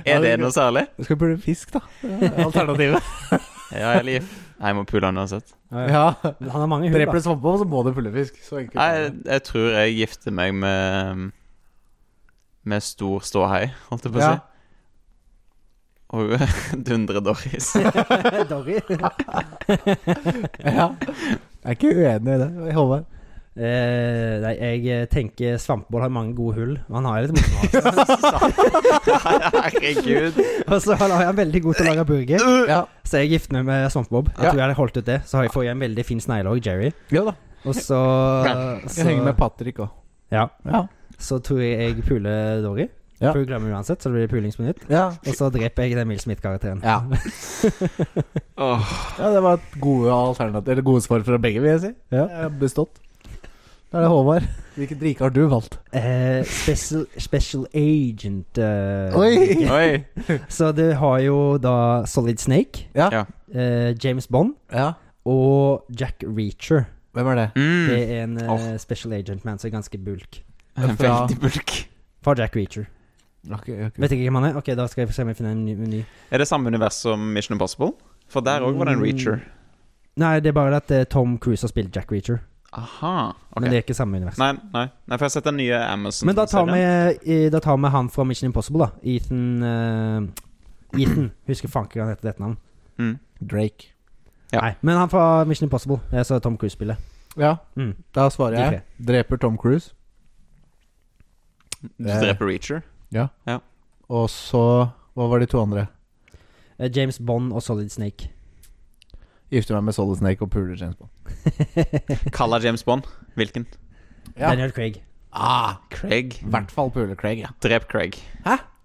[SPEAKER 3] er det noe særlig?
[SPEAKER 1] du skal pule fisk, da. Alternativet.
[SPEAKER 3] Ja, jeg, liv. Nei, jeg må pule han uansett.
[SPEAKER 1] ja.
[SPEAKER 2] Men Han har mange hull,
[SPEAKER 1] Dreper
[SPEAKER 2] da.
[SPEAKER 1] du svampebob, så må du pule fisk. Så enkelt.
[SPEAKER 3] Nei,
[SPEAKER 1] er
[SPEAKER 3] jeg,
[SPEAKER 1] det.
[SPEAKER 3] jeg tror jeg gifter meg med Med stor ståhei, holdt jeg på å
[SPEAKER 1] Ja.
[SPEAKER 3] si. Og dundre Doris.
[SPEAKER 2] Dory.
[SPEAKER 1] Ja. Jeg er ikke uenig i det. Håvard.
[SPEAKER 2] Eh, nei, jeg eh, tenker Svampebob har mange gode hull. og Han har litt morsomt. altså.
[SPEAKER 3] Herregud.
[SPEAKER 2] Og så har han veldig god til å lage burger,
[SPEAKER 1] Ja.
[SPEAKER 2] så jeg gifter meg med Svampebob. Jeg
[SPEAKER 1] Ja.
[SPEAKER 2] tror jeg hadde holdt ut det. Så har jeg fått en veldig fin snegle òg, Jerry.
[SPEAKER 1] Jo da.
[SPEAKER 2] Og så,
[SPEAKER 1] Jeg
[SPEAKER 2] så
[SPEAKER 1] henger med Patrick òg.
[SPEAKER 2] Ja.
[SPEAKER 1] Ja.
[SPEAKER 2] Så tror jeg jeg puler Dory.
[SPEAKER 1] Ja.
[SPEAKER 2] For hun glemmer uansett, så det blir pulings på nytt.
[SPEAKER 1] Ja.
[SPEAKER 2] Og så dreper jeg den Will Smith-karakteren.
[SPEAKER 1] Ja.
[SPEAKER 3] Åh,
[SPEAKER 1] ja, det var et gode alternativ Eller gode svar fra begge, vil jeg si. Ja. Jeg har bestått. Da er det Håvard. Hvilket rike har du valgt?
[SPEAKER 2] Eh, special, special agent eh,
[SPEAKER 1] Oi!
[SPEAKER 3] Oi.
[SPEAKER 2] Så du har jo da Solid Snake,
[SPEAKER 1] Ja.
[SPEAKER 3] Ja.
[SPEAKER 2] eh, James Bond
[SPEAKER 1] ja.
[SPEAKER 2] og Jack Reacher.
[SPEAKER 1] Hvem er det?
[SPEAKER 2] Det
[SPEAKER 3] Mm.
[SPEAKER 2] er en eh,
[SPEAKER 3] Åh.
[SPEAKER 2] special agent-man som er ganske bulk.
[SPEAKER 1] Fra-
[SPEAKER 3] Veldig bulk.
[SPEAKER 2] Fra Jack Reacher.
[SPEAKER 1] Ok, ok.
[SPEAKER 2] Vet ikke hvem han er? Ok, da skal jeg se om jeg finner en ny meny.
[SPEAKER 3] Er det samme univers som Mission Impossible? For der òg
[SPEAKER 2] Mm.
[SPEAKER 3] var det en reacher.
[SPEAKER 2] Nei, det er bare det at eh, Tom Cruise har spilt Jack Reacher.
[SPEAKER 3] Aha.
[SPEAKER 2] Men
[SPEAKER 3] ok
[SPEAKER 2] det er ikke samme univers.
[SPEAKER 3] Nei, nei. nei, for jeg har sett den nye Amazon.
[SPEAKER 2] Men da tar, vi,
[SPEAKER 3] serien.
[SPEAKER 2] eh, da tar vi han fra Mission Impossible, da. Ethan eh, Ethan. Husker faen ikke hva han heter dette navnet.
[SPEAKER 3] mm.
[SPEAKER 1] Drake.
[SPEAKER 3] Ja.
[SPEAKER 2] Nei, men han fra Mission Impossible. Jeg så eh, Tom Cruise-spillet.
[SPEAKER 1] Ja,
[SPEAKER 2] Mm.
[SPEAKER 1] da svarer
[SPEAKER 2] De
[SPEAKER 1] jeg. Dreper Tom Cruise.
[SPEAKER 3] Du dreper Reacher.
[SPEAKER 1] Eh, Og så Hva var de to andre?
[SPEAKER 2] Eh, James Bond og Solid Snake.
[SPEAKER 1] Gifter meg med Solid Snake og puler James Bond.
[SPEAKER 3] Kaller James Bond. Hvilken?
[SPEAKER 1] Ja.
[SPEAKER 2] Daniel Craig.
[SPEAKER 1] Ah,
[SPEAKER 3] Craig.
[SPEAKER 1] I hvert fall puler Craig, ja.
[SPEAKER 3] Drep Craig.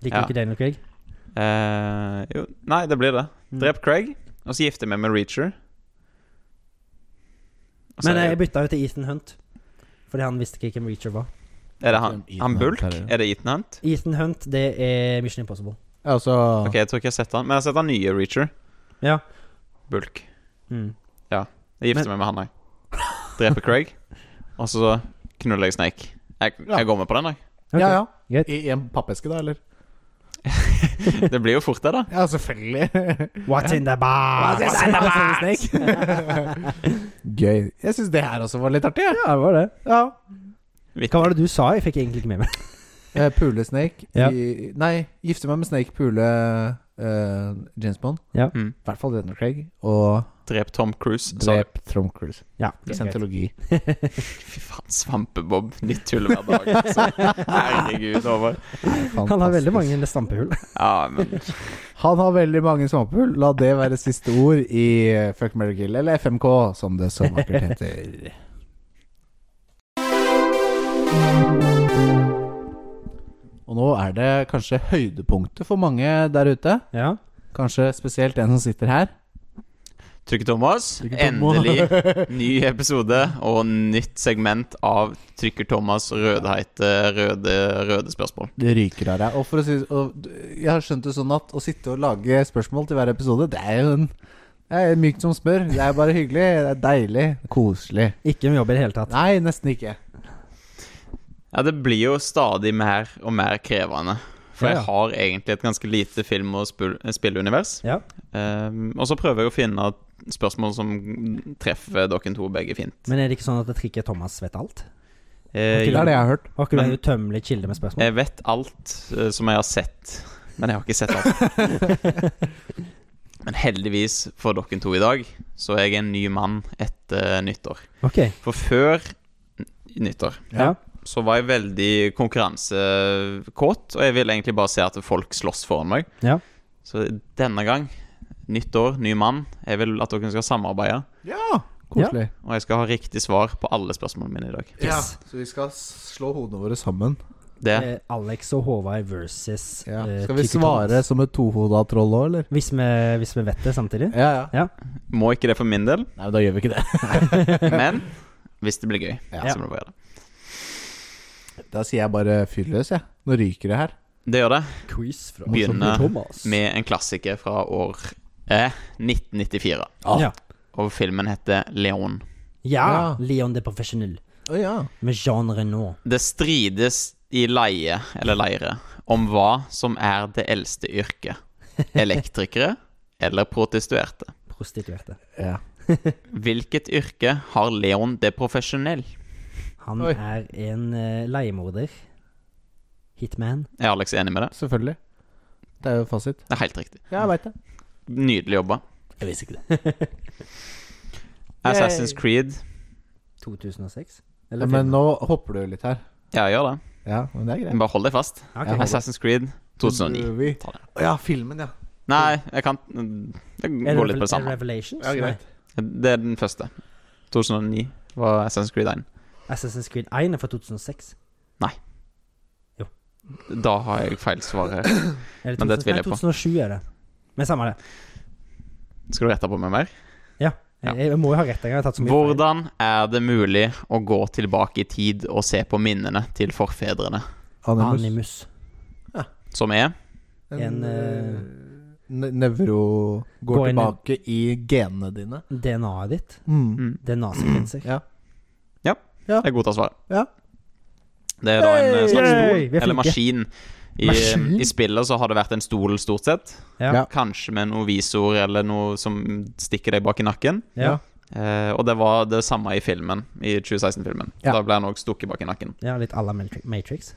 [SPEAKER 2] Liker
[SPEAKER 3] Ja.
[SPEAKER 2] du ikke Daniel Craig?
[SPEAKER 3] Eh, jo, nei, det blir det.
[SPEAKER 2] Mm.
[SPEAKER 3] Drep Craig, og så gifter jeg meg med Reacher. Og så
[SPEAKER 2] Men eh,
[SPEAKER 3] er,
[SPEAKER 2] jeg bytta jo til Ethan Hunt. Fordi han visste ikke hvem Reacher var.
[SPEAKER 3] er det han,
[SPEAKER 1] Ethan
[SPEAKER 3] han
[SPEAKER 1] Hunt
[SPEAKER 3] Bulk?
[SPEAKER 1] er det.
[SPEAKER 3] Er det Ethan Hunt?
[SPEAKER 2] Ethan Hunt, det er Mission Impossible.
[SPEAKER 1] Ja, så
[SPEAKER 3] Ok, jeg tror ikke jeg har sett han Men jeg har sett han nye Reacher.
[SPEAKER 2] Ja.
[SPEAKER 3] Bulk.
[SPEAKER 2] Mm.
[SPEAKER 3] Jeg gifter meg med han, jeg. Dreper Craig, og så knuller jeg Snake. Jeg, jeg går med på den, jeg.
[SPEAKER 2] Ok.
[SPEAKER 1] Ja, ja.
[SPEAKER 2] Greit.
[SPEAKER 1] I, I en pappeske, da, eller?
[SPEAKER 3] Det blir jo fort, det, da.
[SPEAKER 1] Ja, selvfølgelig.
[SPEAKER 2] What's in the bar?
[SPEAKER 1] Gøy. Jeg syns det her også var litt artig. jeg.
[SPEAKER 2] Ja, det var det.
[SPEAKER 1] Ja.
[SPEAKER 3] Vittig.
[SPEAKER 2] Hva var det du sa? Jeg fikk egentlig ikke med meg.
[SPEAKER 1] Eh, pule Snake
[SPEAKER 2] Ja.
[SPEAKER 1] i, Nei, gifte meg med Snake, pule eh, James Bond.
[SPEAKER 2] Ja.
[SPEAKER 3] Mm.
[SPEAKER 1] I hvert fall Daniel Craig. Og
[SPEAKER 3] Drep Tom Cruise. sa du.
[SPEAKER 1] drep Tom Cruise.
[SPEAKER 2] Ja,
[SPEAKER 1] Scientologi.
[SPEAKER 3] Fy faen, Svampebob. Nytt tull hver dag. Altså. Herregud, Håvard.
[SPEAKER 2] Han har veldig
[SPEAKER 1] Fantastisk.
[SPEAKER 2] mange stampehull.
[SPEAKER 3] Ja, men
[SPEAKER 1] Han har veldig mange svampehull. La det være siste ord i eh, Fuck Mary Kill, eller FMK, som det så vakkert heter. Og nå er det kanskje høydepunktet for mange der ute.
[SPEAKER 2] Ja.
[SPEAKER 1] Kanskje spesielt en som sitter her.
[SPEAKER 3] Trykke Thomas. Endelig ny episode og nytt segment av Trykker Thomas rødheite røde, røde spørsmål.
[SPEAKER 1] Det ryker av deg. Og, for å si, og jeg har skjønt det sånn at å sitte og lage spørsmål til hver episode, det er jo en det er mykt som spør. Det er bare hyggelig. Det er deilig. Koselig.
[SPEAKER 2] Ikke noe jobb i det hele tatt.
[SPEAKER 1] Nei, nesten ikke.
[SPEAKER 3] Ja, det blir jo stadig mer og mer krevende. For
[SPEAKER 1] Ja, ja.
[SPEAKER 3] jeg har egentlig et ganske lite film- og spul- spillunivers.
[SPEAKER 2] Ja.
[SPEAKER 3] Ehm, og så prøver jeg å finne spørsmål som treffer dere to begge fint.
[SPEAKER 2] Men er det ikke sånn at det trikket Thomas vet alt?
[SPEAKER 3] Eh,
[SPEAKER 1] Det er det jeg har hørt.
[SPEAKER 2] Har ikke du
[SPEAKER 3] Men-
[SPEAKER 2] en utømmelig kilde med spørsmål?
[SPEAKER 3] Jeg vet alt eh, som jeg har sett, men jeg har ikke sett alt. men heldigvis for dere to i dag, så er jeg en ny mann etter nyttår.
[SPEAKER 1] Eh,
[SPEAKER 2] Ok.
[SPEAKER 3] For før n- nyttår
[SPEAKER 2] Ja.
[SPEAKER 3] så var jeg veldig konkurransekåt, og jeg ville egentlig bare se at folk slåss foran meg.
[SPEAKER 2] Ja.
[SPEAKER 3] Så denne gang, nytt år, ny mann, jeg vil at dere skal samarbeide.
[SPEAKER 1] Ja, koselig.
[SPEAKER 3] Og jeg skal ha riktig svar på alle spørsmålene mine i dag.
[SPEAKER 2] Ja. Yes.
[SPEAKER 1] Så vi skal slå hodene våre sammen.
[SPEAKER 3] Det
[SPEAKER 2] Eh, Alex og Håvard versus eh,
[SPEAKER 1] Skal vi
[SPEAKER 2] Tykke
[SPEAKER 1] svare
[SPEAKER 2] Thomas.
[SPEAKER 1] som et tohoda troll òg, eller?
[SPEAKER 2] Hvis vi, hvis vi vet det samtidig?
[SPEAKER 1] Ja, ja.
[SPEAKER 3] må ikke det for min del,
[SPEAKER 1] Nei, men da gjør vi ikke det.
[SPEAKER 3] men hvis det blir gøy,
[SPEAKER 1] Ja.
[SPEAKER 3] så må du bare gjøre det.
[SPEAKER 1] Da sier jeg bare fyr løs, jeg. Nå ryker det her.
[SPEAKER 3] Det gjør det.
[SPEAKER 1] Eh,
[SPEAKER 2] Quiz fra
[SPEAKER 3] Begynne
[SPEAKER 2] Thomas.
[SPEAKER 3] Med en klassiker fra år eh, 1994.
[SPEAKER 1] Ah.
[SPEAKER 2] Ja.
[SPEAKER 3] Og filmen heter Leon.
[SPEAKER 2] Ja.
[SPEAKER 1] Ja.
[SPEAKER 2] Leon the Professional
[SPEAKER 1] Å ja.
[SPEAKER 2] med Jean Renault.
[SPEAKER 3] Det strides i leie, eller leire, om hva som er det eldste yrket. Elektrikere eller protestuerte.
[SPEAKER 2] Prostituerte.
[SPEAKER 1] ja.
[SPEAKER 3] Hvilket yrke har Leon det profesjonell?
[SPEAKER 2] Han
[SPEAKER 1] Oi.
[SPEAKER 2] er en eh, leiemorder. Hitman.
[SPEAKER 3] Er Alex enig med det?
[SPEAKER 1] Selvfølgelig. Det er jo fasit.
[SPEAKER 3] Det er helt riktig.
[SPEAKER 1] Ja, jeg veit det.
[SPEAKER 3] Nydelig jobba.
[SPEAKER 2] Jeg visste ikke det.
[SPEAKER 3] Assassin's Creed.
[SPEAKER 2] 2006?
[SPEAKER 1] Ja, men nå hopper du litt her.
[SPEAKER 3] Ja, gjør det.
[SPEAKER 1] Ja, men det er greit.
[SPEAKER 3] Bare hold deg fast.
[SPEAKER 2] Ok.
[SPEAKER 1] Ja,
[SPEAKER 3] Assassin's Creed 2009.
[SPEAKER 1] Vi-
[SPEAKER 3] Ta det.
[SPEAKER 1] Å Ja, filmen, ja.
[SPEAKER 3] Nei, jeg kan Jeg
[SPEAKER 2] Er
[SPEAKER 3] går litt på det samme.
[SPEAKER 2] Revelations?
[SPEAKER 1] Ja, greit.
[SPEAKER 2] Nei.
[SPEAKER 3] Det er den første. 2009 var Assassin's Creed 1.
[SPEAKER 2] Assassin's Creed 1 er fra 2006.
[SPEAKER 3] Da har jeg feil svar her.
[SPEAKER 2] Er
[SPEAKER 3] Men det tviler jeg på.
[SPEAKER 2] Nei, 2007 er det. Men samme det.
[SPEAKER 3] Skal du rette på meg mer? Ja.
[SPEAKER 2] Jeg, jeg må jo ha rett. Jeg har tatt så mye feil.
[SPEAKER 3] Hvordan er det mulig å gå tilbake i tid og se på minnene til forfedrene?
[SPEAKER 1] Animus.
[SPEAKER 2] Animus.
[SPEAKER 3] Som er
[SPEAKER 2] En, eh,
[SPEAKER 1] ne Nevro går,
[SPEAKER 2] går inn i-
[SPEAKER 1] tilbake i genene dine.
[SPEAKER 2] DNA-et ditt.
[SPEAKER 1] Mm.
[SPEAKER 2] Det er nasekvenser.
[SPEAKER 1] Ja.
[SPEAKER 3] Jeg godtar svaret.
[SPEAKER 1] Ja.
[SPEAKER 3] Det er da en eh, slags
[SPEAKER 2] Yay!
[SPEAKER 3] stol,
[SPEAKER 2] Vi er flinke.
[SPEAKER 3] eller maskin. I, eh,
[SPEAKER 1] Maskin?
[SPEAKER 3] I spillet så har det vært en stol, stort sett.
[SPEAKER 2] Ja.
[SPEAKER 1] Ja.
[SPEAKER 3] Kanskje med noe visor eller noe som stikker deg bak i nakken.
[SPEAKER 2] Ja.
[SPEAKER 3] Eh, og det var det samme i filmen, i 2016-filmen.
[SPEAKER 1] Ja.
[SPEAKER 3] Da ble han òg stukket bak i nakken.
[SPEAKER 2] ja, litt à la Matri- Matrix.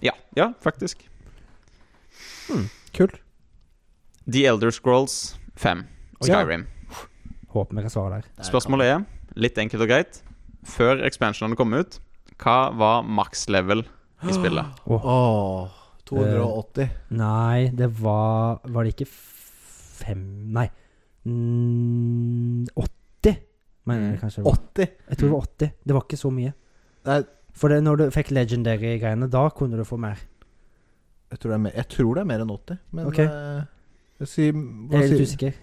[SPEAKER 3] Ja, ja, faktisk.
[SPEAKER 1] Hmm, Kult.
[SPEAKER 3] The Elder Scrolls 5.
[SPEAKER 2] Ja.
[SPEAKER 3] Skyrim.
[SPEAKER 2] Håper vi kan svare der.
[SPEAKER 3] Spørsmålet er, litt enkelt og greit før expansionene kom ut, hva var maks level i spillet?
[SPEAKER 1] Åh, 280.
[SPEAKER 2] Nei, det var Var det ikke f- fem Nei. Mm, 80, mener
[SPEAKER 3] Mm.
[SPEAKER 2] jeg kanskje. det var.
[SPEAKER 1] 80?
[SPEAKER 2] Jeg tror det var 80. Det var ikke så mye.
[SPEAKER 1] Nei,
[SPEAKER 2] For det, når du fikk legendary-greiene, da kunne du få mer.
[SPEAKER 1] jeg tror det er mer, jeg tror det er mer enn 80, men
[SPEAKER 2] Ok.
[SPEAKER 1] eh, jeg sier- hva
[SPEAKER 2] Jeg er litt
[SPEAKER 1] sier-
[SPEAKER 2] usikker.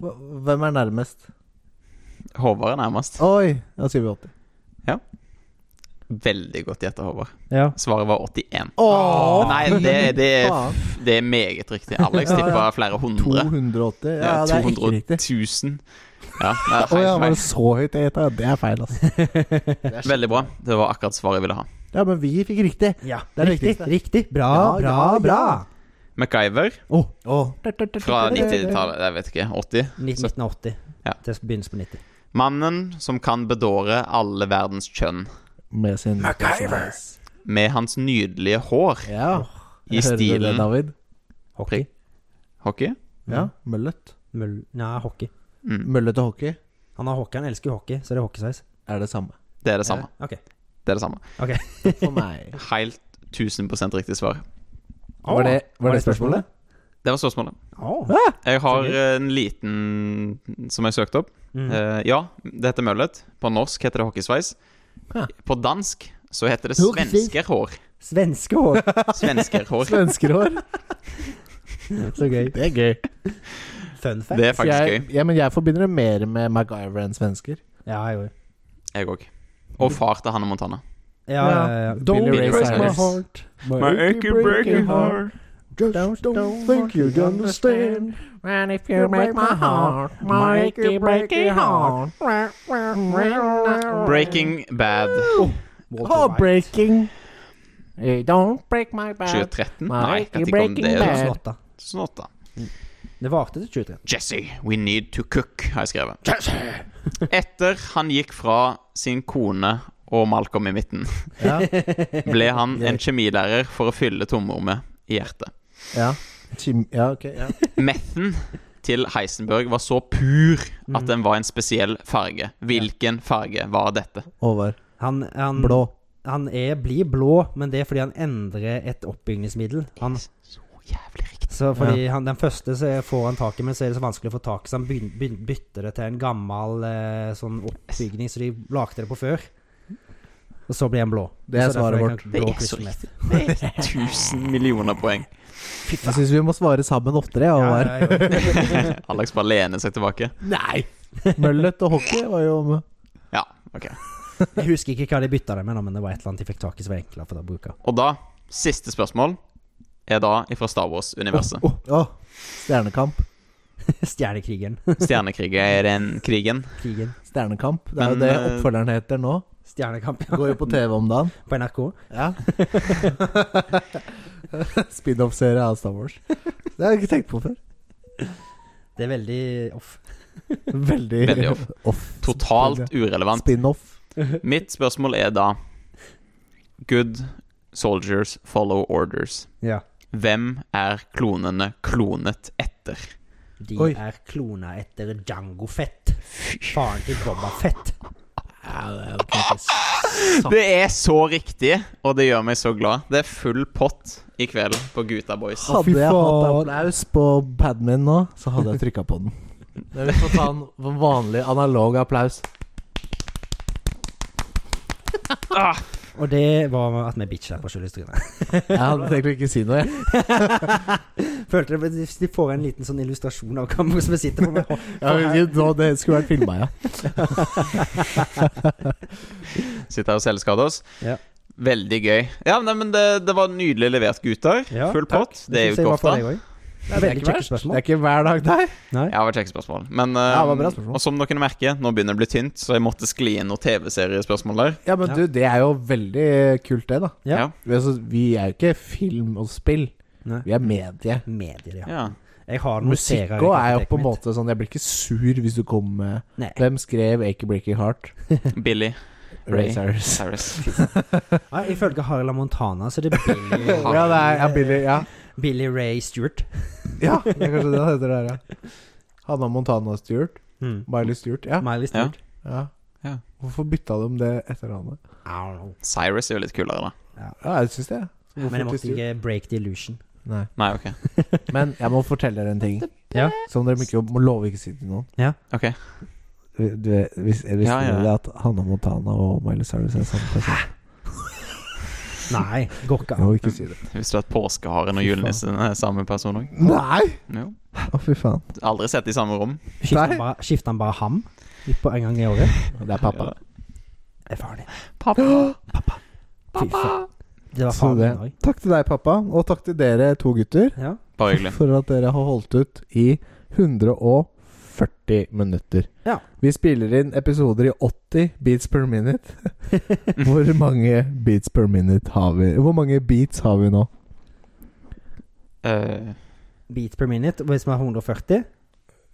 [SPEAKER 1] hva- Hvem er nærmest?
[SPEAKER 3] Håvard er nærmest.
[SPEAKER 1] Oi! Da sier vi 80.
[SPEAKER 3] Veldig godt gjetta, Håvard.
[SPEAKER 2] Ja.
[SPEAKER 3] Svaret var 81.
[SPEAKER 1] Åh,
[SPEAKER 3] Ah, Nei, det, det, er,
[SPEAKER 1] faen.
[SPEAKER 3] det er meget riktig. Alex
[SPEAKER 1] Ja, ja.
[SPEAKER 3] tippa flere hundre.
[SPEAKER 1] 280? Ja,
[SPEAKER 3] Ja,
[SPEAKER 1] det er ikke riktig.
[SPEAKER 3] 000. Ja, det er
[SPEAKER 1] Å ja,
[SPEAKER 3] feil,
[SPEAKER 1] var det
[SPEAKER 3] feil.
[SPEAKER 1] så høyt jeg gjetta? Det er feil, altså.
[SPEAKER 3] Veldig bra. Det var akkurat svaret jeg ville ha.
[SPEAKER 1] Ja, men vi fikk riktig.
[SPEAKER 2] ja.
[SPEAKER 1] Det er det
[SPEAKER 2] riktig.
[SPEAKER 1] viktigste.
[SPEAKER 2] Riktig. Bra,
[SPEAKER 1] Ja,
[SPEAKER 2] bra,
[SPEAKER 1] ja,
[SPEAKER 2] bra.
[SPEAKER 1] ja.
[SPEAKER 3] MacGyver
[SPEAKER 1] Oh.
[SPEAKER 3] fra 90-tallet. Jeg vet ikke. 80.
[SPEAKER 2] Ni- 1980.
[SPEAKER 3] Ja.
[SPEAKER 2] Til begynnelsen på 90.
[SPEAKER 3] Mannen som kan bedåre alle verdens kjønn
[SPEAKER 1] Med sin
[SPEAKER 2] MacGyver.
[SPEAKER 3] med hans nydelige hår.
[SPEAKER 1] Ja. Jeg
[SPEAKER 3] I
[SPEAKER 1] hører du Det,
[SPEAKER 3] stilen.
[SPEAKER 1] David.
[SPEAKER 2] Hockey.
[SPEAKER 3] Hockey?
[SPEAKER 2] Mm.
[SPEAKER 1] Ja, Møllet.
[SPEAKER 2] Møll... Nei, hockey.
[SPEAKER 3] Mm.
[SPEAKER 1] Møllet og hockey
[SPEAKER 2] Han har hockey, han elsker jo hockey, så det er hockeysveis.
[SPEAKER 1] er det samme.
[SPEAKER 3] Det er det samme.
[SPEAKER 2] Ok.
[SPEAKER 3] Det er det samme.
[SPEAKER 2] Ok.
[SPEAKER 1] For meg.
[SPEAKER 3] Helt 1000 riktig svar.
[SPEAKER 1] Var det, var det spørsmålet?
[SPEAKER 3] Det var spørsmålet.
[SPEAKER 2] Åh.
[SPEAKER 3] Jeg har
[SPEAKER 2] Så
[SPEAKER 3] eh, en liten som jeg søkte opp.
[SPEAKER 2] Mm.
[SPEAKER 3] Eh, ja, det heter møllet. På norsk heter det hockeysveis.
[SPEAKER 1] Ja.
[SPEAKER 3] På dansk så heter det
[SPEAKER 1] Hockeysveis.
[SPEAKER 3] svenskerhår.
[SPEAKER 2] Svenske hår.
[SPEAKER 3] Svenskerhår.
[SPEAKER 1] Svenskerhår.
[SPEAKER 2] Så gøy.
[SPEAKER 1] Det er gøy.
[SPEAKER 2] Fun fact.
[SPEAKER 3] Det er faktisk
[SPEAKER 1] jeg,
[SPEAKER 3] gøy.
[SPEAKER 1] ja, men jeg forbinder det mer med MacGyver enn svensker.
[SPEAKER 2] Ja, jeg òg.
[SPEAKER 3] Jeg òg. Og far til Hanne Montana.
[SPEAKER 2] Ja, ja, ja, ja.
[SPEAKER 1] Don't
[SPEAKER 3] Billy Ray
[SPEAKER 1] break my
[SPEAKER 3] Cyrus.
[SPEAKER 1] heart. achy-breaky Just don't, think you understand. And if you break my heart, my achy-breaky heart.
[SPEAKER 3] Breaking Bad
[SPEAKER 1] Oh, Heartbreaking. Eh, Don't break my back.
[SPEAKER 3] 2013?
[SPEAKER 1] Nei,
[SPEAKER 3] Nei,
[SPEAKER 1] ikke
[SPEAKER 3] når kom
[SPEAKER 1] Breaking
[SPEAKER 3] det?
[SPEAKER 1] Bad.
[SPEAKER 2] 2008.
[SPEAKER 3] 2008.
[SPEAKER 2] Det varte til 2013.
[SPEAKER 3] Jesse, we need to cook, har jeg skrevet. Etter han gikk fra sin kone og Malcolm i midten,
[SPEAKER 1] Ja.
[SPEAKER 3] ble han en kjemilærer for å fylle tomrommet i hjertet.
[SPEAKER 1] Ja. Tim, ja, ok. Ja.
[SPEAKER 3] Methen til Heisenberg var så pur at den var en spesiell farge. Hvilken farge var dette?
[SPEAKER 1] Håvard.
[SPEAKER 2] Han, han,
[SPEAKER 1] Blå.
[SPEAKER 2] han er, blir blå, men det er fordi han endrer et oppbygningsmiddel. Han,
[SPEAKER 3] Så jævlig riktig.
[SPEAKER 2] så fordi han, Den første så er- får han tak i, men så er det så vanskelig å få tak i, så han begyn, begyn, bytter det til en gammel eh, sånn oppbygning som så de lagde det på før. Og så blir han blå.
[SPEAKER 1] Det er
[SPEAKER 2] Så derfor
[SPEAKER 1] svaret
[SPEAKER 2] kan
[SPEAKER 1] vårt.
[SPEAKER 2] blå
[SPEAKER 3] Det er så
[SPEAKER 2] krysse med.
[SPEAKER 3] riktig. Det er 1000 millioner poeng.
[SPEAKER 1] Jeg syns vi må svare sammen oftere, ja,
[SPEAKER 2] Ja,
[SPEAKER 1] Håvard.
[SPEAKER 2] ja, ja.
[SPEAKER 3] Alex bare lener seg tilbake.
[SPEAKER 1] Nei! Møllet og hockey var jo
[SPEAKER 3] Ja, ok.
[SPEAKER 2] Jeg husker ikke hva de bytta det med, nå, men det var et eller annet de fikk tak i som var enklere for å bruke.
[SPEAKER 3] Og da, siste spørsmål, er da ifra Star Wars-universet.
[SPEAKER 1] Åh, åh. Stjernekamp.
[SPEAKER 2] Stjernekrigeren.
[SPEAKER 3] Stjernekrigen-krigen.
[SPEAKER 2] Krigen.
[SPEAKER 1] Stjernekamp. Det er jo
[SPEAKER 3] Men,
[SPEAKER 1] det
[SPEAKER 3] eh,
[SPEAKER 1] oppfølgeren heter nå.
[SPEAKER 2] Stjernekamp ja.
[SPEAKER 1] Går jo på TV om dagen.
[SPEAKER 2] på NRK.
[SPEAKER 1] Ja. Spin-off-serie av Star Wars. Det har jeg ikke tenkt på før.
[SPEAKER 2] Det er veldig off.
[SPEAKER 1] Veldig,
[SPEAKER 3] Veldig off. Totalt urelevant.
[SPEAKER 1] Spin-off.
[SPEAKER 3] Mitt spørsmål er da Good soldiers follow orders.
[SPEAKER 2] Ja.
[SPEAKER 3] Hvem er klonene klonet etter?
[SPEAKER 2] De
[SPEAKER 1] Oi.
[SPEAKER 2] er klona etter Django Fett. Faren til Boba Fett.
[SPEAKER 3] Det er så riktig, og det gjør meg så glad. Det er full pott i kveld på Gutta Boys.
[SPEAKER 1] Hadde
[SPEAKER 2] fy
[SPEAKER 1] jeg hatt
[SPEAKER 2] faen.
[SPEAKER 1] applaus på paden min nå, så hadde jeg trykka på den. Men vi får ta en vanlig analog applaus.
[SPEAKER 2] Og det var at vi bitcha på sjølhistorien.
[SPEAKER 1] Jeg hadde tenkt å ikke si noe, jeg.
[SPEAKER 2] Følte det, hvis de får en liten sånn illustrasjon av hva som vi sitter på med.
[SPEAKER 1] Ja, men nå, det skulle vært filma, ja.
[SPEAKER 3] Sitter her og selvskader oss.
[SPEAKER 2] Ja.
[SPEAKER 3] Veldig gøy. Ja, nei, men det, det var nydelig levert, gutter.
[SPEAKER 2] Ja,
[SPEAKER 3] full
[SPEAKER 2] takk.
[SPEAKER 3] pott. Det er
[SPEAKER 2] synes jeg
[SPEAKER 3] jo
[SPEAKER 2] var
[SPEAKER 3] godt,
[SPEAKER 2] for
[SPEAKER 3] da.
[SPEAKER 2] deg også. Det
[SPEAKER 1] Det
[SPEAKER 2] er
[SPEAKER 1] er
[SPEAKER 2] veldig
[SPEAKER 1] ikke
[SPEAKER 2] kjekke
[SPEAKER 1] verst. Det
[SPEAKER 2] spørsmål.
[SPEAKER 1] er ikke hver dag, nei.
[SPEAKER 3] Ja, det var kjekkespørsmål. Men eh,
[SPEAKER 1] Ja, det var bra spørsmål.
[SPEAKER 3] Og som dere merker, nå begynner det å bli tynt, så jeg måtte skli inn noen TV-seriespørsmål der.
[SPEAKER 1] Ja, men
[SPEAKER 2] Ja.
[SPEAKER 1] du, det er jo veldig kult, det, da.
[SPEAKER 2] Ja.
[SPEAKER 3] Ja.
[SPEAKER 1] Vi, altså, vi er jo ikke film og spill.
[SPEAKER 2] Nei.
[SPEAKER 1] Vi er medie.
[SPEAKER 2] Medier, ja.
[SPEAKER 3] Ja.
[SPEAKER 2] Jeg har noen
[SPEAKER 1] Musikk
[SPEAKER 2] serier i
[SPEAKER 1] òg er jo på en
[SPEAKER 2] kartoteket mitt.
[SPEAKER 1] måte sånn Jeg blir ikke sur hvis du kommer med
[SPEAKER 2] Nei.
[SPEAKER 1] Hvem skrev Achy Breaky Heart?
[SPEAKER 3] Billy
[SPEAKER 1] Ray
[SPEAKER 3] Ray.
[SPEAKER 1] Cyrus.
[SPEAKER 3] Cyrus.
[SPEAKER 2] Nei, Ifølge Harila Montana så er det Billy,
[SPEAKER 1] Ja, det er ja, Billy Ja,
[SPEAKER 2] Billy Ray Stewart.
[SPEAKER 1] ja det er kanskje det det heter der, ja. Hanna Montana Stewart.
[SPEAKER 2] Mm.
[SPEAKER 1] Miley Stewart. Ja.
[SPEAKER 2] Miley Stewart.
[SPEAKER 1] ja.
[SPEAKER 3] Ja.
[SPEAKER 1] Hvorfor bytta de det etternavnet?
[SPEAKER 3] Cyrus er jo litt kulere, da.
[SPEAKER 1] Ja, jeg syns det.
[SPEAKER 2] Men jeg måtte
[SPEAKER 1] Hvorfor
[SPEAKER 2] ikke break the illusion.
[SPEAKER 1] Nei.
[SPEAKER 3] Nei, OK.
[SPEAKER 1] Men jeg må fortelle dere en ting
[SPEAKER 2] Ja.
[SPEAKER 1] som dere ikke må love ikke si til noen.
[SPEAKER 3] ok
[SPEAKER 1] Du, vet- hvis, visste
[SPEAKER 3] Ja, ja.
[SPEAKER 1] dere at Hanna Montana og Miley Cyrus er samme person?
[SPEAKER 2] Nei, går ikke
[SPEAKER 1] Jeg
[SPEAKER 2] an.
[SPEAKER 1] må ikke si det.
[SPEAKER 3] Visste du at påskeharen og
[SPEAKER 1] Fy faen.
[SPEAKER 3] julenissen er eh, samme person òg?
[SPEAKER 1] Nei!
[SPEAKER 3] Jo.
[SPEAKER 1] Å, fy faen.
[SPEAKER 3] Aldri sett i samme rom.
[SPEAKER 2] Skifter
[SPEAKER 1] Nei.
[SPEAKER 2] han bare, skifter han bare ham litt på en gang i året?
[SPEAKER 1] Det er pappa.
[SPEAKER 2] Det er faren din.
[SPEAKER 3] Pappa.
[SPEAKER 2] Fy faen. Det var
[SPEAKER 1] Så
[SPEAKER 2] faren
[SPEAKER 1] det.
[SPEAKER 2] min òg.
[SPEAKER 1] Takk til deg, pappa, og takk til dere to gutter
[SPEAKER 2] Ja.
[SPEAKER 3] Bare hyggelig.
[SPEAKER 1] for at dere har holdt ut i 140 minutter.
[SPEAKER 2] Ja.
[SPEAKER 1] Vi spiller inn episoder i 80 beats per minute. Hvor mange beats per minute har vi? Hvor mange beats har vi nå?
[SPEAKER 3] Eh,
[SPEAKER 2] Beat per minute. Hvis vi har 140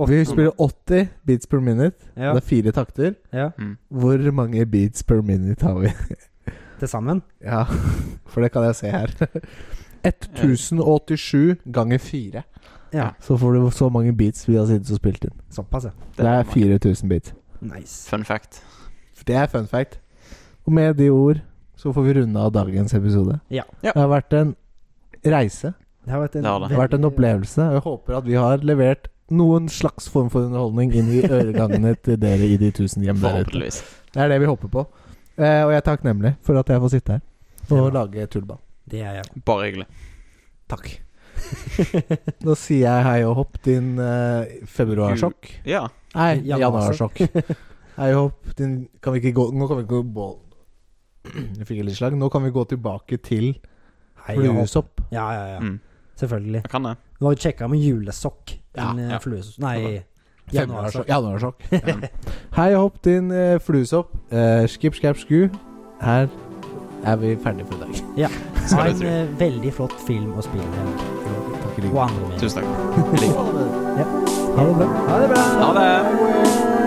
[SPEAKER 1] Vi spiller 80 beats per minute.
[SPEAKER 2] ja,
[SPEAKER 1] Det er fire takter.
[SPEAKER 2] ja,
[SPEAKER 3] mm.
[SPEAKER 1] Hvor mange beats per minute har vi?
[SPEAKER 2] til sammen.
[SPEAKER 1] Ja, for det kan jeg se her. 1087 ganger 4.
[SPEAKER 2] Ja.
[SPEAKER 1] Så får du så mange beats vi har sittet og spilt inn.
[SPEAKER 2] Såpass, ja.
[SPEAKER 1] Det er 4000 beats.
[SPEAKER 2] Nice.
[SPEAKER 3] Fun fact.
[SPEAKER 1] Det er fun fact. Og med de ord så får vi runde av dagens episode.
[SPEAKER 2] Ja.
[SPEAKER 3] Ja.
[SPEAKER 1] Det har vært en reise.
[SPEAKER 2] Det har vært en,
[SPEAKER 3] Det har det.
[SPEAKER 1] Det har vært en opplevelse. Og jeg håper at vi har levert noen slags form for underholdning inn i øregangene til dere i de tusen hjem der ute.
[SPEAKER 3] Forhåpentligvis.
[SPEAKER 1] Det er det vi håper på. Eh, og jeg er takknemlig for at jeg får sitte her og
[SPEAKER 2] Ja.
[SPEAKER 1] lage tullball.
[SPEAKER 2] Det er jeg.
[SPEAKER 3] Bare hyggelig.
[SPEAKER 1] Takk. Nå sier jeg hei og hopp, din eh, februarsjokk.
[SPEAKER 3] Ja.
[SPEAKER 1] Nei,
[SPEAKER 2] Januarsjokk.
[SPEAKER 1] januarsjokk. Hei og hopp, din Kan vi ikke gå Nå kan vi ikke gå Jeg fikk litt slag. Nå kan vi gå tilbake til
[SPEAKER 2] Hei, og hopp.
[SPEAKER 1] fluesopp.
[SPEAKER 2] Ja, ja, ja.
[SPEAKER 3] Mm.
[SPEAKER 2] Selvfølgelig.
[SPEAKER 3] Jeg kan det.
[SPEAKER 2] Det var jo kjekkere med julesokk
[SPEAKER 1] Ja,
[SPEAKER 2] enn ja,
[SPEAKER 3] ja.
[SPEAKER 2] fluesokk Nei,
[SPEAKER 1] Februarsjokk.
[SPEAKER 2] januarsokk.
[SPEAKER 1] Januarsjokk.
[SPEAKER 3] Mm.
[SPEAKER 1] Hei og hopp, din eh, fluesopp. Eh, skip, skap, sku. Her er vi ferdige for i dag.
[SPEAKER 2] Ha
[SPEAKER 3] Skal
[SPEAKER 2] en
[SPEAKER 3] du tro.
[SPEAKER 2] eh, veldig flott film eh, å spille.
[SPEAKER 1] Takk
[SPEAKER 2] Og andre med.
[SPEAKER 3] Tusen takk.
[SPEAKER 1] Ha det bra.
[SPEAKER 2] Ha det bra!
[SPEAKER 3] Ha det.